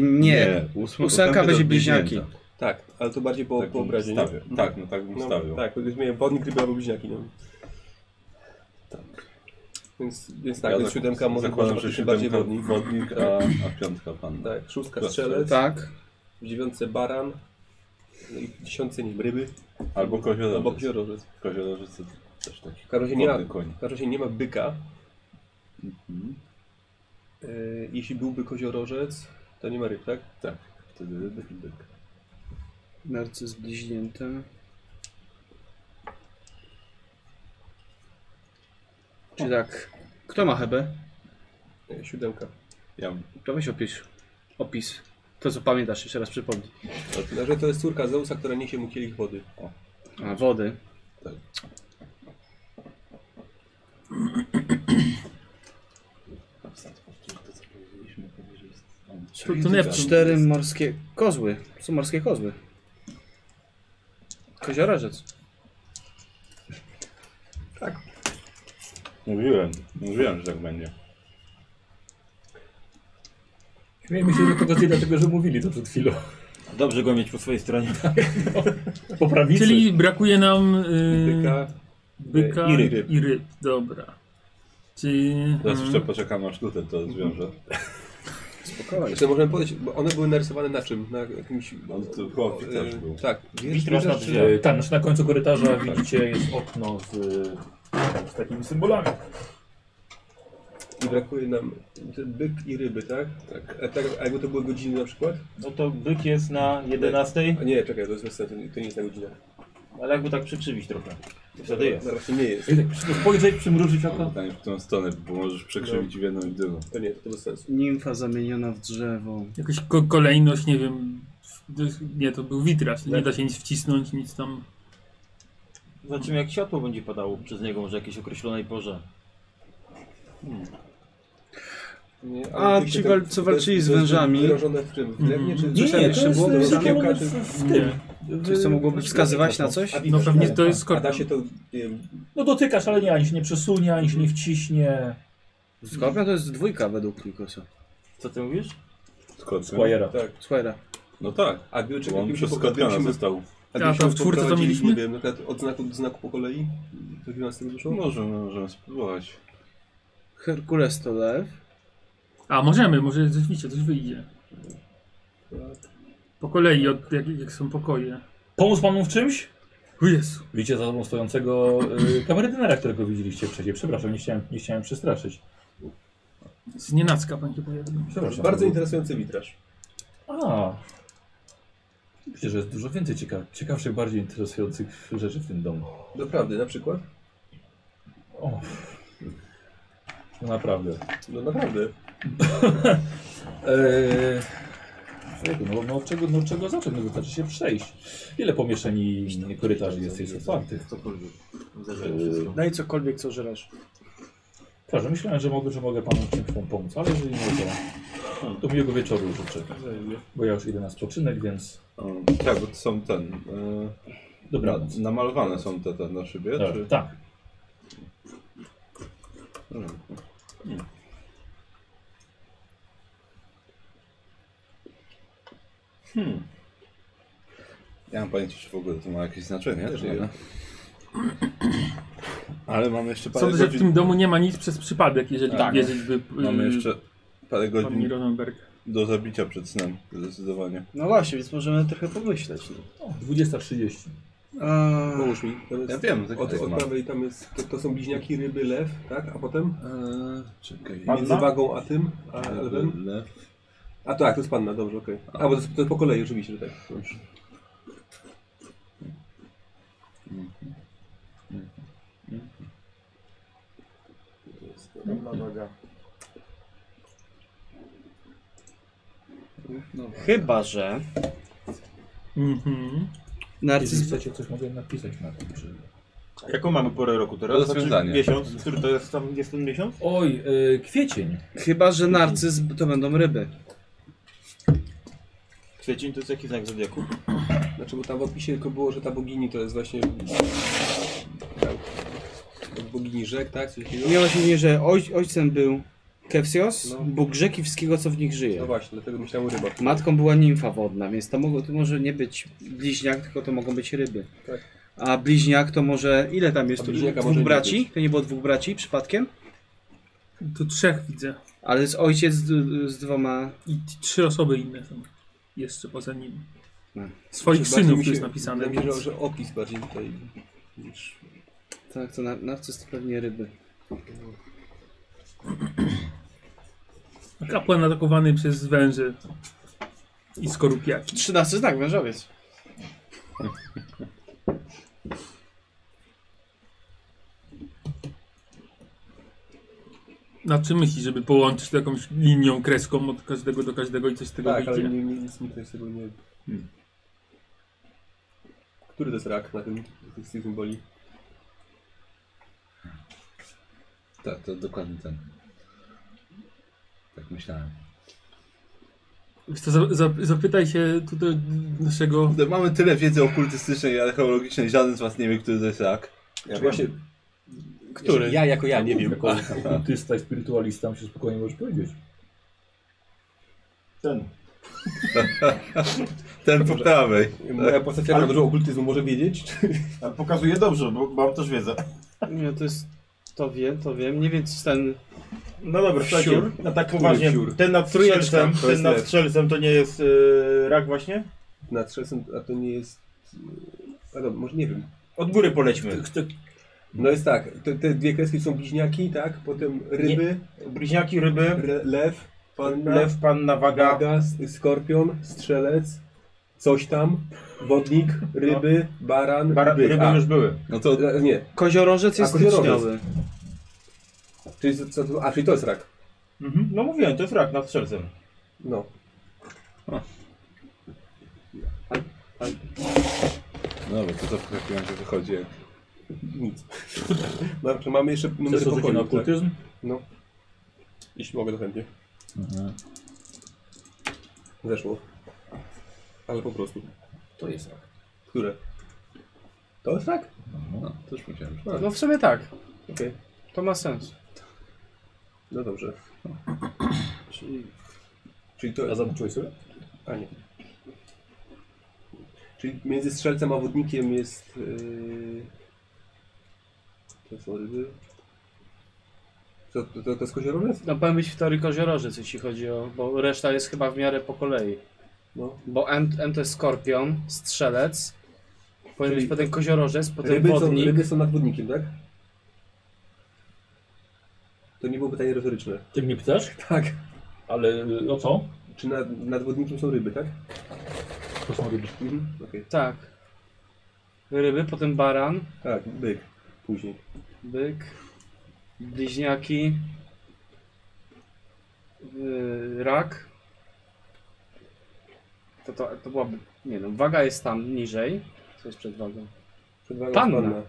[SPEAKER 5] Nie. Ósma,
[SPEAKER 4] E, Eee, Ósemka
[SPEAKER 5] potem
[SPEAKER 4] będzie
[SPEAKER 5] będą
[SPEAKER 4] bliźniaki.
[SPEAKER 5] bliźnięta.
[SPEAKER 2] Tak, ale to bardziej po,
[SPEAKER 5] Tak
[SPEAKER 2] po
[SPEAKER 5] bym
[SPEAKER 2] obrazie, nie?
[SPEAKER 5] stawiał. Tak, no tak bym
[SPEAKER 2] No,
[SPEAKER 5] stawiał.
[SPEAKER 2] tak, bo gdybyś miał wodnik, ryby albo bliźniaki, no. Więc, więc tak,
[SPEAKER 5] Tak. Ja
[SPEAKER 2] więc
[SPEAKER 5] zak-
[SPEAKER 2] siódemka może
[SPEAKER 5] zakładam,
[SPEAKER 2] być
[SPEAKER 5] że
[SPEAKER 2] faktycznie
[SPEAKER 5] siódemka
[SPEAKER 2] bardziej
[SPEAKER 5] wodnik,
[SPEAKER 2] wodnik.
[SPEAKER 5] wodnik a, a piątka pan.
[SPEAKER 2] Tak, szóstka
[SPEAKER 5] Tak.
[SPEAKER 2] strzelec,
[SPEAKER 4] Tak.
[SPEAKER 2] w dziewiątce baran, no i w dziesiątce nie wiem, ryby,
[SPEAKER 5] Albo
[SPEAKER 2] albo
[SPEAKER 5] koziorożec.
[SPEAKER 2] koziorożec.
[SPEAKER 5] Koziorożec to też taki
[SPEAKER 2] W każdym razie nie ma,
[SPEAKER 5] wodny koń.
[SPEAKER 2] w każdym razie nie ma byka.
[SPEAKER 5] Mhm.
[SPEAKER 2] Yy, jeśli byłby koziorożec, to nie ma ryb, tak?
[SPEAKER 5] Tak, wtedy ryby i byk.
[SPEAKER 4] Narcyz bliźnięta. Czy tak? Kto ma hebę?
[SPEAKER 2] Yy, siódemka.
[SPEAKER 5] Ja mam
[SPEAKER 4] To weź opis. Opis. To co pamiętasz, jeszcze raz przypomnij.
[SPEAKER 2] Także to jest córka Zeusa, która niesie mu kielich wody.
[SPEAKER 4] A, wody.
[SPEAKER 6] To, to Neptun.
[SPEAKER 4] Cztery morskie kozły. Są morskie kozły. Koziorożec.
[SPEAKER 5] Mówiłem, mówiłem, że tak będzie.
[SPEAKER 1] Śmiejmy się tylko do tej, dlatego że mówili to przed chwilą.
[SPEAKER 8] Dobrze go mieć po swojej stronie.
[SPEAKER 1] Po prawicy.
[SPEAKER 6] Czyli brakuje nam y,
[SPEAKER 2] Byka,
[SPEAKER 6] byka
[SPEAKER 8] i
[SPEAKER 6] i
[SPEAKER 8] ryb.
[SPEAKER 6] ryb. Dobra. Czyli...
[SPEAKER 5] Teraz
[SPEAKER 4] Mhm.
[SPEAKER 6] mm,
[SPEAKER 5] jeszcze poczekam aż tutaj to zwiąże.
[SPEAKER 4] Spokojnie.
[SPEAKER 2] Jeszcze możemy powiedzieć, bo one były narysowane na czym? Na jakimś...
[SPEAKER 5] On tu chłopi też
[SPEAKER 2] e,
[SPEAKER 5] był.
[SPEAKER 2] Tak.
[SPEAKER 8] Witraż na drzwiach.
[SPEAKER 1] E, Tak, znaczy na końcu korytarza e, widzicie jest okno z, z takimi symbolami.
[SPEAKER 2] I brakuje nam t- byk i ryby, tak?
[SPEAKER 5] Tak.
[SPEAKER 2] A, tak, a jakby to były godziny na przykład?
[SPEAKER 8] No to byk jest na 11,
[SPEAKER 2] A nie, czekaj, to jest bez sensu, to nie jest na godzinę.
[SPEAKER 8] ale jakby tak przykrzywić trochę. To Wtedy
[SPEAKER 2] No
[SPEAKER 8] jest.
[SPEAKER 2] właśnie nie jest.
[SPEAKER 1] I tak spojrzeć, przymrużyć oko.
[SPEAKER 5] Pytanie w tą stronę, bo możesz przekrzywić w jedną i w drugą.
[SPEAKER 2] To nie, to bez sensu.
[SPEAKER 4] Nimfa zamieniona w drzewo.
[SPEAKER 6] Jakaś ko kolejność, nie wiem. Nie, to był witraż. Nie da się nic wcisnąć, nic tam.
[SPEAKER 8] Zobaczymy jak światło będzie padało przez niego, może jakiejś określonej porze.
[SPEAKER 2] Nie,
[SPEAKER 4] A,
[SPEAKER 2] tych
[SPEAKER 4] ci
[SPEAKER 2] się
[SPEAKER 4] wal-
[SPEAKER 2] tam-
[SPEAKER 4] co
[SPEAKER 2] to jest-
[SPEAKER 4] walczyli z
[SPEAKER 2] to jest
[SPEAKER 4] wężami? Mhm.
[SPEAKER 2] Wyrażone w czym? W drewnie, czy
[SPEAKER 4] Nie,
[SPEAKER 2] czy
[SPEAKER 4] nie, to
[SPEAKER 2] jeszcze
[SPEAKER 4] jest-
[SPEAKER 2] było
[SPEAKER 4] to jest
[SPEAKER 2] kiełka,
[SPEAKER 1] element
[SPEAKER 2] czy-
[SPEAKER 1] w Znaczy,
[SPEAKER 6] Nie.
[SPEAKER 4] Czy to mogłoby wskazywać na coś?
[SPEAKER 2] A
[SPEAKER 6] No
[SPEAKER 2] widzisz,
[SPEAKER 6] pewnie
[SPEAKER 2] tak.
[SPEAKER 6] to jest
[SPEAKER 2] A da
[SPEAKER 6] skorpion.
[SPEAKER 2] się to, nie wiem,
[SPEAKER 1] No dotykasz, ale nie, ani się nie przesunie, ani się nie wciśnie.
[SPEAKER 4] Skorpion to jest dwójka według Nikosa.
[SPEAKER 8] Co ty mówisz?
[SPEAKER 5] Skorpion?
[SPEAKER 1] Squire.
[SPEAKER 2] tak.
[SPEAKER 4] Squire.
[SPEAKER 5] No tak,
[SPEAKER 2] A gdyby
[SPEAKER 5] bo
[SPEAKER 2] czekał,
[SPEAKER 5] on
[SPEAKER 2] gdyby się
[SPEAKER 5] przez Skorpiona
[SPEAKER 2] pokazał,
[SPEAKER 5] został.
[SPEAKER 6] A
[SPEAKER 2] gdybyśmy
[SPEAKER 6] tam w czwórce co
[SPEAKER 2] poprowadzili,
[SPEAKER 6] mieliśmy?
[SPEAKER 2] Nie wiem, na przykład od znaku do znaku po kolei. To by nas z tym wyszło? No,
[SPEAKER 5] Możemy, możemy spróbować.
[SPEAKER 4] Herkules to lew.
[SPEAKER 6] A możemy, może rzeczywiście coś wyjdzie. Po kolei, od, jak, jak są pokoje.
[SPEAKER 1] Pomóc panu w czymś?
[SPEAKER 6] O Jezu.
[SPEAKER 1] Widzicie za tobą stojącego y, kameradynera, którego widzieliście wcześniej. Przepraszam, nie chciałem, nie chciałem przestraszyć.
[SPEAKER 6] Z nienacka pan się pojawił.
[SPEAKER 1] Przepraszam.
[SPEAKER 2] Bardzo interesujący witraż.
[SPEAKER 1] A. Myślę, że jest dużo więcej ciekaw, ciekawszych, bardziej interesujących rzeczy w tym domu.
[SPEAKER 2] Doprawdy, na przykład?
[SPEAKER 1] O. No naprawdę.
[SPEAKER 2] No naprawdę.
[SPEAKER 1] Eee, Ojejku, no, no, od czego, no od czego zacząć? No wystarczy się przejść. Ile pomieszczeń i korytarzy jest, jest otwartych?
[SPEAKER 8] Cokolwiek. Zażerę wszystko.
[SPEAKER 4] Daj cokolwiek, co żerasz.
[SPEAKER 1] Proszę, myślałem, że mogę, że mogę panu w czymś tam pomóc, ale jeżeli nie, to, to miłego wieczoru życzę. Bo ja już idę na spoczynek, więc
[SPEAKER 5] O, tak, bo to są ten. E, na,
[SPEAKER 1] dobranoc.
[SPEAKER 5] namalowane są te, te na szybie,
[SPEAKER 1] Dobra,
[SPEAKER 5] czy?
[SPEAKER 1] tak.
[SPEAKER 5] Dobra. Hmm. Ja mam pojęcie, czy w ogóle to ma jakieś znaczenie, czy nie. Ale mamy jeszcze parę
[SPEAKER 6] Sądzę, że w
[SPEAKER 5] godzin.
[SPEAKER 6] tym domu nie ma nic przez przypadek, jeżeli
[SPEAKER 5] Tak.
[SPEAKER 6] wierzyć by y,
[SPEAKER 5] Mamy jeszcze parę
[SPEAKER 6] pani
[SPEAKER 5] godzin
[SPEAKER 6] Ronenberg.
[SPEAKER 5] do zabicia przed snem, zdecydowanie.
[SPEAKER 4] No właśnie, więc możemy trochę pomyśleć. No.
[SPEAKER 1] O, 20.30.
[SPEAKER 4] A,
[SPEAKER 2] Połóż mi. To jest,
[SPEAKER 5] Ja wiem, tak
[SPEAKER 2] od,
[SPEAKER 5] jest.
[SPEAKER 2] od prawej tam jest, to, to są bliźniaki, ryby, lew, tak? A potem?
[SPEAKER 5] Eee, czekaj.
[SPEAKER 2] Między wagą a tym, a lewem.
[SPEAKER 5] Lew.
[SPEAKER 2] A tak, to jest panna, dobrze, okej. A bo to, to po kolei oczywiście, że tak.
[SPEAKER 4] chyba, że
[SPEAKER 6] Mhm.
[SPEAKER 1] Jeśli
[SPEAKER 4] narcyz...
[SPEAKER 1] chcecie, coś mogę napisać na tym. Czy...
[SPEAKER 8] Jaką mamy porę roku teraz?
[SPEAKER 5] To rozwiązanie.
[SPEAKER 8] Znaczy miesiąc, który to jest, tam, jest ten miesiąc?
[SPEAKER 1] Oj, y, kwiecień.
[SPEAKER 4] Chyba, że narcyz to będą ryby.
[SPEAKER 8] Kwiecień to jest jaki znak zodiaku?
[SPEAKER 2] Znaczy, bo tam w opisie tylko było, że ta bogini to jest właśnie... Tak. Bogini rzek, tak? Coś takiego?
[SPEAKER 4] Miała się nie, że oj, ojcem był Kefsios,
[SPEAKER 2] No.
[SPEAKER 4] Bóg rzeki wszystkiego, co w nich
[SPEAKER 2] No
[SPEAKER 4] żyje.
[SPEAKER 2] właśnie, dlatego myślałem o rybach.
[SPEAKER 4] Matką była nimfa wodna, więc to, mogło, to może nie być bliźniak, tylko to mogą być ryby.
[SPEAKER 2] Tak.
[SPEAKER 4] A bliźniak to może... Ile tam
[SPEAKER 2] A
[SPEAKER 4] jest? Tu
[SPEAKER 2] bliźniaka
[SPEAKER 4] dwóch
[SPEAKER 2] może nie
[SPEAKER 4] braci?
[SPEAKER 2] być.
[SPEAKER 4] To nie było dwóch braci przypadkiem?
[SPEAKER 6] Tu trzech widzę.
[SPEAKER 4] Ale jest ojciec z, z dwoma...
[SPEAKER 6] I t- trzy osoby inne są jeszcze poza nim.
[SPEAKER 4] Hmm.
[SPEAKER 6] Swoich
[SPEAKER 2] Znaczy, bardziej
[SPEAKER 6] synów
[SPEAKER 2] mi
[SPEAKER 6] tu
[SPEAKER 2] się
[SPEAKER 6] jest napisane,
[SPEAKER 2] wydaje,
[SPEAKER 6] więc...
[SPEAKER 2] że, że opis bardziej tutaj niż...
[SPEAKER 4] Tak, to nar- narcyz to pewnie ryby.
[SPEAKER 6] Kapłan atakowany przez węże i skorupiaki.
[SPEAKER 4] Trzynasty znak, wężowiec.
[SPEAKER 6] Na czym myślisz, żeby połączyć to jakąś linią, kreską od każdego do każdego i coś z tego
[SPEAKER 2] Tak, ale
[SPEAKER 6] wyjdzie?
[SPEAKER 2] nie, nie, nic mi tutaj z tego nie... Który to jest rak na tym, z tych symboli?
[SPEAKER 5] Tak, to dokładnie ten. Tak myślałem.
[SPEAKER 6] Wiesz co, za, za, zapytaj się tutaj naszego...
[SPEAKER 5] Kurde, Mamy tyle wiedzy okultystycznej i archeologicznej, żaden z was nie wie, który to jest rak.
[SPEAKER 9] Ja
[SPEAKER 2] Właśnie,
[SPEAKER 9] Który? Ja jako ja nie wiem.
[SPEAKER 1] Jako kultysta i spirytualista mi się spokojnie możesz powiedzieć.
[SPEAKER 8] Ten.
[SPEAKER 5] Ten po prawej.
[SPEAKER 2] moja postać jak
[SPEAKER 8] Ale-
[SPEAKER 2] dużo okultyzmu może wiedzieć? Czy...
[SPEAKER 8] A pokazuje dobrze, bo mam też wiedzę.
[SPEAKER 4] Nie, to jest... To wiem, to wiem. Nie wiem, czy ten...
[SPEAKER 8] No dobra, słuchajcie,
[SPEAKER 2] Wsiór?
[SPEAKER 8] no tak
[SPEAKER 2] Który
[SPEAKER 8] poważnie,
[SPEAKER 2] wsiór?
[SPEAKER 8] ten nad
[SPEAKER 4] Trójeczka,
[SPEAKER 8] strzelcem,
[SPEAKER 2] to
[SPEAKER 8] ten
[SPEAKER 2] jest
[SPEAKER 8] nad
[SPEAKER 2] lew.
[SPEAKER 8] strzelcem to nie jest yy, rak właśnie?
[SPEAKER 2] Na trzesem, a to nie jest... A dobra, może nie wiem.
[SPEAKER 8] Od góry polećmy.
[SPEAKER 1] Kto,
[SPEAKER 2] No jest tak, te, te dwie kreski są bliźniaki, tak? Potem ryby,
[SPEAKER 8] Bliźniaki, ryby,
[SPEAKER 2] re, lew, panna,
[SPEAKER 8] lew, panna, waga.
[SPEAKER 2] gaga, s- skorpion, strzelec, coś tam, wodnik, ryby, baran,
[SPEAKER 8] Bara,
[SPEAKER 2] byk.
[SPEAKER 8] ryby
[SPEAKER 2] A,
[SPEAKER 8] już były.
[SPEAKER 2] No to... e, Nie,
[SPEAKER 4] Koziorożec jest
[SPEAKER 2] A, koziorożec.
[SPEAKER 4] styczniowy.
[SPEAKER 2] czyli, co- co- a, czyli to jest rak.
[SPEAKER 8] Mhm. No mówiłem, to jest rak nad strzelcem.
[SPEAKER 2] No.
[SPEAKER 5] No dobra, to co w takim razie wychodzi?
[SPEAKER 2] Nic. Dobrze, Znaczy, mamy jeszcze
[SPEAKER 1] Chcesz
[SPEAKER 2] numer
[SPEAKER 1] rzucić na
[SPEAKER 2] pokoju, tak?
[SPEAKER 1] okultyzm?
[SPEAKER 2] No. Jeśli mogę, to chętnie.
[SPEAKER 5] Mhm.
[SPEAKER 2] Weszło. Ale po prostu.
[SPEAKER 1] To jest rak.
[SPEAKER 2] Które? To jest rak?
[SPEAKER 5] No, też myślałem, że...
[SPEAKER 4] No w sumie tak.
[SPEAKER 2] Okej.
[SPEAKER 4] To ma sens.
[SPEAKER 2] No dobrze.
[SPEAKER 4] Czyli
[SPEAKER 2] Czyli to
[SPEAKER 1] A zaznaczyłeś sobie?
[SPEAKER 2] A nie. Czyli między strzelcem a wodnikiem jest. Yy... To są ryby. To, to, to, to jest koziorowiec?
[SPEAKER 4] no powinien być w teorii koziorożec, jeśli chodzi o... Bo reszta jest chyba w miarę po kolei.
[SPEAKER 2] No.
[SPEAKER 4] Bo M, M to jest skorpion, strzelec. Powinien
[SPEAKER 2] Czyli-
[SPEAKER 4] być potem koziorożec, potem
[SPEAKER 2] Ryby są,
[SPEAKER 4] wodnik.
[SPEAKER 2] ryby są nad wodnikiem, tak? To nie było pytanie retoryczne.
[SPEAKER 1] Ty mnie pytasz?
[SPEAKER 2] Tak.
[SPEAKER 1] Ale y, o co?
[SPEAKER 2] Czy nad, nad wodnikiem są ryby, tak?
[SPEAKER 1] To są ryby.
[SPEAKER 2] Mhm. Okej.
[SPEAKER 4] Tak. Ryby, potem baran,
[SPEAKER 2] Tak, byk. Później.
[SPEAKER 4] byk, bliźniaki, yy, rak. To, to, to byłaby... Nie no, waga jest tam niżej. Co jest przed wagą?
[SPEAKER 2] Przedwaga
[SPEAKER 4] Panna.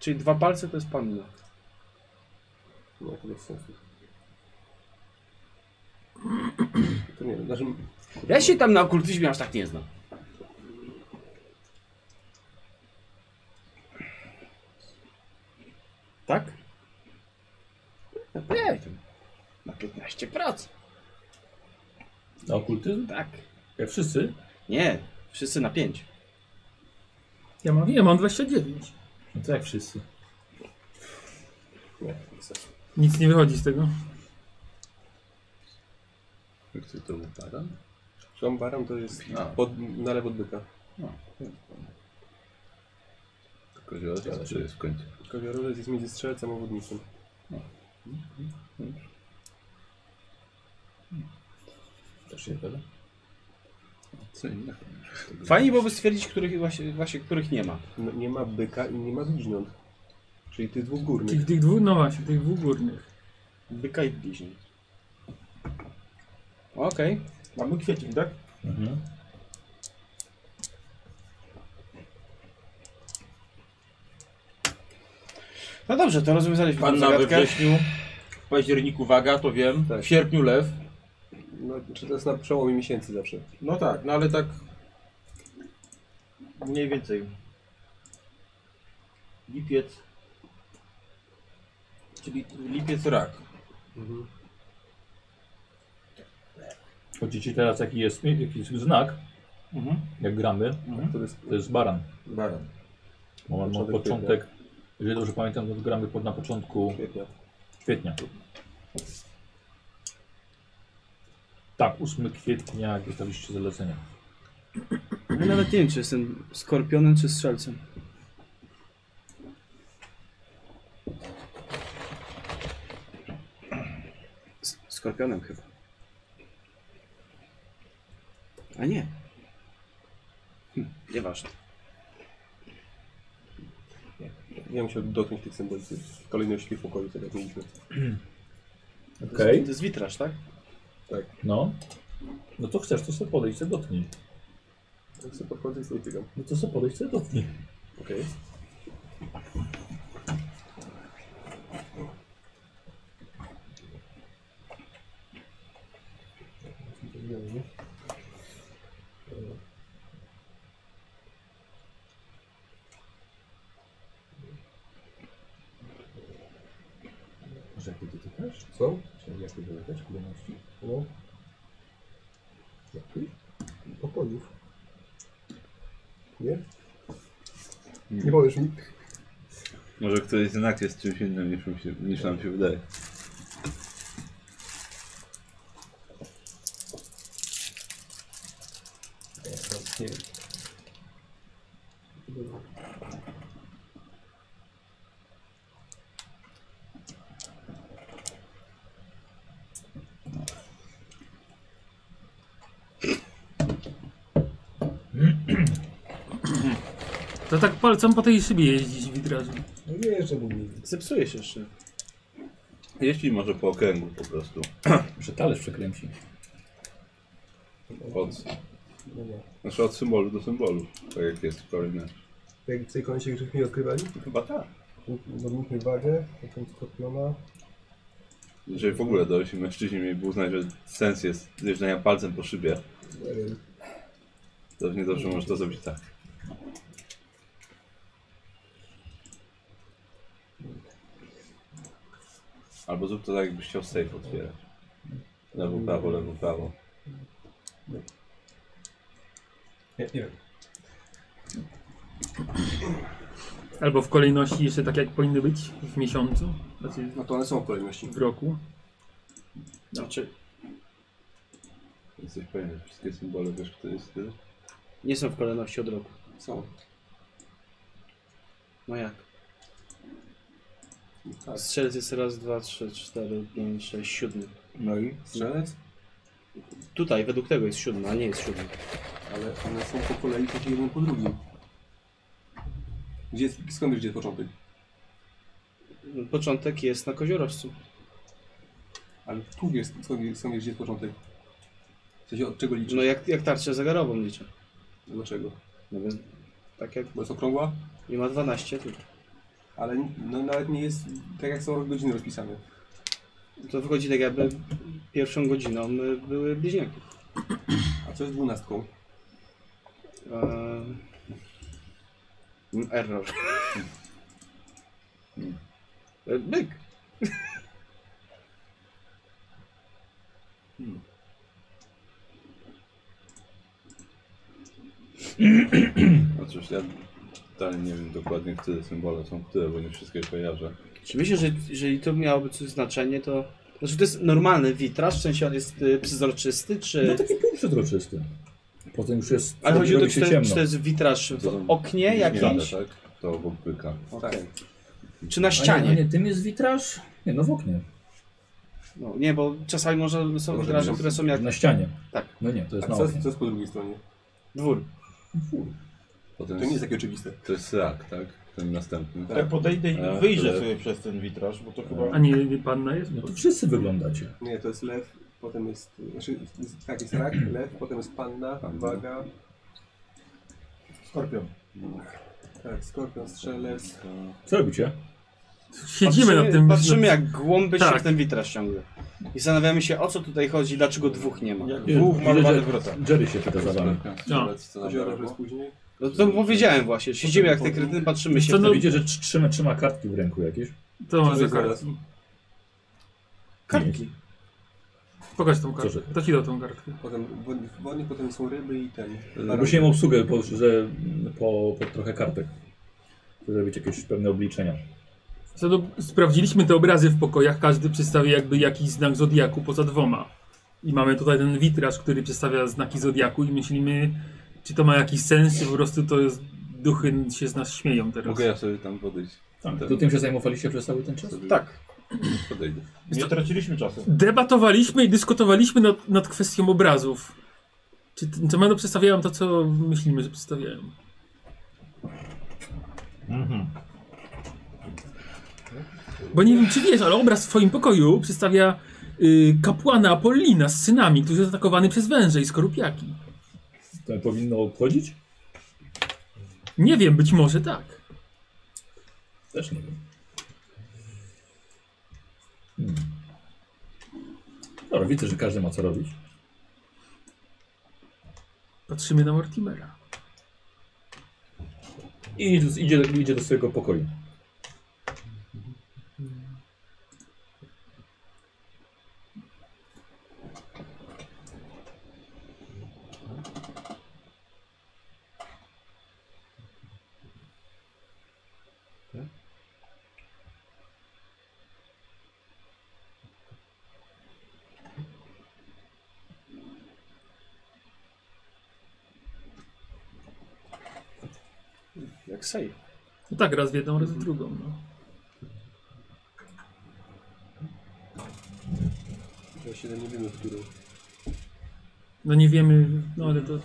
[SPEAKER 4] Czyli dwa palce to jest panna.
[SPEAKER 2] No, to bez sensu. To nie wiem, znaczy
[SPEAKER 4] Ja się tam na okultyzmie aż tak nie znam. Tak? No pewnie. Na 15%.
[SPEAKER 1] Na okultyzm?
[SPEAKER 4] Tak.
[SPEAKER 1] Jak wszyscy?
[SPEAKER 4] Nie, wszyscy na 5.
[SPEAKER 6] Ja mam, ja mam 29.
[SPEAKER 1] No to jak wszyscy.
[SPEAKER 6] Nic nie wychodzi z tego.
[SPEAKER 5] Jak ty to upada?
[SPEAKER 2] Szlam baran to jest
[SPEAKER 5] A.
[SPEAKER 2] pod, na lewo od byka.
[SPEAKER 5] Koziorowiec, czy jest w końcu?
[SPEAKER 2] Koziorożec jest między strzelcem a wodnikiem.
[SPEAKER 1] Też się zgadza.
[SPEAKER 5] Co innego.
[SPEAKER 4] Fajnie byłoby stwierdzić, których właśnie, właśnie których nie ma.
[SPEAKER 2] No, nie ma byka i nie ma bliźniąt. Czyli tych dwóch
[SPEAKER 6] Tych,
[SPEAKER 2] górnych.
[SPEAKER 6] tych dwóch, no właśnie, tych dwóch górnych.
[SPEAKER 4] Byka i bliźniąt. Okej.
[SPEAKER 8] Mamy kwiecień, tak?
[SPEAKER 1] Mhm.
[SPEAKER 4] No dobrze, to rozwiązaliśmy tę
[SPEAKER 8] Panna we
[SPEAKER 4] zagadkę.
[SPEAKER 8] wrześniu, w październiku waga, to wiem.
[SPEAKER 2] Tak.
[SPEAKER 8] W sierpniu lew.
[SPEAKER 2] No, czy to jest na przełomie miesięcy zawsze.
[SPEAKER 8] No tak, no ale tak mniej więcej. Lipiec. Czyli lipiec rak.
[SPEAKER 1] Chodzi ci teraz jaki jest, jaki jest znak,
[SPEAKER 8] Mhm.
[SPEAKER 1] jak gramy,
[SPEAKER 2] To jest
[SPEAKER 1] to jest Mhm. baran.
[SPEAKER 8] Baran.
[SPEAKER 1] Bo mam
[SPEAKER 2] Początek
[SPEAKER 1] początek, jeżeli dobrze pamiętam, to gramy pod, na początku
[SPEAKER 2] kwietnia.
[SPEAKER 1] kwietnia. Tak, 8 kwietnia, jak dostaliście zalecenia.
[SPEAKER 4] Ja nawet nie wiem, czy jestem skorpionem, czy strzelcem. S- Skorpionem chyba. A nie. Hm, nieważne.
[SPEAKER 2] Ja musiał dotknąć tych symboli. W kolejności w pokoju, tak jak mieliśmy.
[SPEAKER 4] To jest, to jest witraż, tak?
[SPEAKER 1] No. No to chcesz, to sobie podejść, sobie dotknij.
[SPEAKER 2] Tak sobie podchodzę i sobie biegam.
[SPEAKER 1] No to sobie podejść, sobie dotknij.
[SPEAKER 2] Okej.
[SPEAKER 1] Może jak ty dotykasz?
[SPEAKER 2] Co?
[SPEAKER 1] Czy jak ty dotykasz kolejności? No.
[SPEAKER 2] Pokojów. Nie? Nie powiesz mi.
[SPEAKER 5] Może ktoś znak jest czymś innym niż, mi się, niż nam się wydaje.
[SPEAKER 2] Dobra.
[SPEAKER 6] To tak palcem po tej szybie jeździć witrażem.
[SPEAKER 2] No wiesz, że mówi.
[SPEAKER 4] Zepsuje się jeszcze.
[SPEAKER 5] Jeśli może po okręgu po prostu.
[SPEAKER 1] Że talerz przekręci.
[SPEAKER 5] Od,
[SPEAKER 1] no,
[SPEAKER 2] Dobra.
[SPEAKER 5] znaczy od symbolu do symbolu. Tak jak jest w kolejności.
[SPEAKER 2] Jak w tej końcu żeśmy nie odkrywali?
[SPEAKER 5] Chyba tak.
[SPEAKER 2] Zrobiliśmy wagę, potem skorpiona.
[SPEAKER 5] Jeżeli w ogóle dorośli mężczyźni mieliby uznać, że sens jest zjeżdżania palcem po szybie,
[SPEAKER 2] Nie wiem.
[SPEAKER 5] to nie zawsze może to zrobić tak. Albo zrób to tak, jakbyś chciał safe otwierać. Lewo, prawo, lewo, prawo.
[SPEAKER 2] Nie, nie wiem.
[SPEAKER 6] Albo w kolejności jeszcze tak jak powinny być w miesiącu, znaczy
[SPEAKER 7] No to one są w kolejności.
[SPEAKER 6] w roku.
[SPEAKER 4] Znaczy,
[SPEAKER 5] Jesteś pewien, że wszystkie symbole wiesz, kto jest ty?
[SPEAKER 4] nie są w kolejności od roku.
[SPEAKER 7] Są.
[SPEAKER 4] No jak?
[SPEAKER 7] Tak.
[SPEAKER 4] Strzelec jest raz, dwa, trzy, cztery, pięć, sześć, siódmy.
[SPEAKER 7] No i? Strzelec?
[SPEAKER 4] Tutaj według tego jest siódmy, a nie jest siódmy.
[SPEAKER 7] Ale one są po kolei takie jeden po drugim. Gdzie jest, skąd wiesz, gdzie jest początek?
[SPEAKER 4] Początek jest na koziorożcu.
[SPEAKER 7] Ale tu wiesz, skąd, wiesz- skąd wiesz, gdzie jest początek? W sensie od czego liczysz?
[SPEAKER 4] No jak, jak tarczę zegarową liczę.
[SPEAKER 7] Dlaczego?
[SPEAKER 4] No więc tak jak
[SPEAKER 7] Bo jest okrągła,
[SPEAKER 4] nie ma 12 tylko.
[SPEAKER 7] ale no, nawet nie jest tak, jak są godziny rozpisane.
[SPEAKER 4] To wychodzi tak jakby pierwszą godziną y, były bliźniaki.
[SPEAKER 7] A co jest dwunastką?
[SPEAKER 4] Eee... mm, Error. E, Byk.
[SPEAKER 5] Znaczy, ja dalej nie wiem dokładnie, które symbole są które, bo nie wszystkie kojarzę.
[SPEAKER 4] Czy myślę, że jeżeli to miałoby coś znaczenie, to... Znaczy to jest normalny witraż, w sensie on jest y, przezroczysty, czy...
[SPEAKER 1] No taki półprzezroczysty. Potem już jest,
[SPEAKER 4] Ale chodzi o to,
[SPEAKER 1] robi
[SPEAKER 4] czy
[SPEAKER 1] się
[SPEAKER 4] to, jest,
[SPEAKER 1] ciemno.
[SPEAKER 4] czy to jest witraż w oknie
[SPEAKER 5] Bliźniane,
[SPEAKER 4] jakimś,
[SPEAKER 5] tak? To obok byka.
[SPEAKER 7] Tak.
[SPEAKER 4] czy na
[SPEAKER 1] A nie, a
[SPEAKER 4] ścianie.
[SPEAKER 1] nie, tym jest witraż? Nie, no w oknie.
[SPEAKER 4] No, nie, bo czasami może są
[SPEAKER 7] Może
[SPEAKER 4] witraże,
[SPEAKER 7] być.
[SPEAKER 4] które są jak
[SPEAKER 1] Na ścianie.
[SPEAKER 4] Tak.
[SPEAKER 1] No nie, to jest
[SPEAKER 7] A
[SPEAKER 1] na
[SPEAKER 7] co jest,
[SPEAKER 1] oknie. No
[SPEAKER 7] co jest po drugiej stronie?
[SPEAKER 4] dwór.
[SPEAKER 5] Potem
[SPEAKER 7] To nie Tak. jest
[SPEAKER 5] jest,
[SPEAKER 7] takie oczywiste.
[SPEAKER 5] to jest rak, tak? Ten następny. E,
[SPEAKER 8] Ja podejdę i
[SPEAKER 5] A,
[SPEAKER 8] wyjrzę
[SPEAKER 5] tyle.
[SPEAKER 8] sobie przez ten witraż, bo to chyba...
[SPEAKER 6] A nie, nie panna jest?
[SPEAKER 1] No to wszyscy wyglądacie.
[SPEAKER 7] Nie, to jest lew, potem jest... Znaczy, jest- tak, jest rak, lew, potem jest panna,
[SPEAKER 5] Panna.
[SPEAKER 7] waga,
[SPEAKER 8] Skorpion.
[SPEAKER 7] tak, skorpion, strzelec.
[SPEAKER 1] Co robicie?
[SPEAKER 6] Siedzimy na tym.
[SPEAKER 4] patrzymy jak głąby się
[SPEAKER 6] Tak.
[SPEAKER 4] w ten witraż ciągle. I zastanawiamy się, o co tutaj chodzi, dlaczego dwóch nie ma.
[SPEAKER 8] Jak
[SPEAKER 1] Nie,
[SPEAKER 8] wół
[SPEAKER 1] widzę,
[SPEAKER 8] malowany
[SPEAKER 1] że-
[SPEAKER 8] wrota.
[SPEAKER 1] Jerry się pyta za wami.
[SPEAKER 7] Kozioro, że jest później.
[SPEAKER 4] No to powiedziałem właśnie, że siedzimy jak te kredyty, patrzymy się
[SPEAKER 6] Co
[SPEAKER 4] w
[SPEAKER 6] no-
[SPEAKER 4] te...
[SPEAKER 1] Widzicie, że trz- trzyma, trzyma kartki w ręku jakieś.
[SPEAKER 6] To mam
[SPEAKER 7] Co
[SPEAKER 6] za
[SPEAKER 7] jest
[SPEAKER 6] kartę.
[SPEAKER 7] zaraz?
[SPEAKER 4] kartki.
[SPEAKER 6] Pokaż tą kartę.
[SPEAKER 1] Proszę.
[SPEAKER 6] To ci da tą kartkę.
[SPEAKER 7] Potem wodnik, wodnik, potem są ryby i ten.
[SPEAKER 1] Prosiłem o obsługę po, że, po, po trochę kartek. Żeby Zrobić jakieś pewne obliczenia.
[SPEAKER 6] Co do, sprawdziliśmy te obrazy w pokojach, każdy przedstawia jakby jakiś znak Zodiaku poza dwoma. I mamy tutaj ten witraż, który przedstawia znaki Zodiaku i myślimy, czy to ma jakiś sens, czy po prostu to jest, duchy się z nas śmieją teraz.
[SPEAKER 5] Mogę ja sobie tam podejść.
[SPEAKER 1] Tak.
[SPEAKER 5] Tak.
[SPEAKER 1] To tym się zajmowaliście przez cały ten czas?
[SPEAKER 5] Tak. Podejdę.
[SPEAKER 8] Nie traciliśmy czasu.
[SPEAKER 6] Debatowaliśmy i dyskutowaliśmy nad, nad kwestią obrazów. Czy t- co będą przedstawiają to, co myślimy, że przedstawiają. Bo nie wiem, czy wiesz, ale obraz w twoim pokoju przedstawia y, kapłana Apollina z synami, który jest atakowany przez węże i skorupiaki.
[SPEAKER 1] To powinno obchodzić?
[SPEAKER 6] Nie wiem, być może tak.
[SPEAKER 1] Też nie wiem. Hmm. Dobra, widzę, że każdy ma co robić.
[SPEAKER 6] Patrzymy na Mortimera.
[SPEAKER 1] I idzie, idzie, idzie do swojego pokoju.
[SPEAKER 4] Jak sej.
[SPEAKER 6] No tak, raz w jedną, raz w drugą. No.
[SPEAKER 7] Ja się nie wiemy, w którą.
[SPEAKER 6] no nie wiemy, no ale to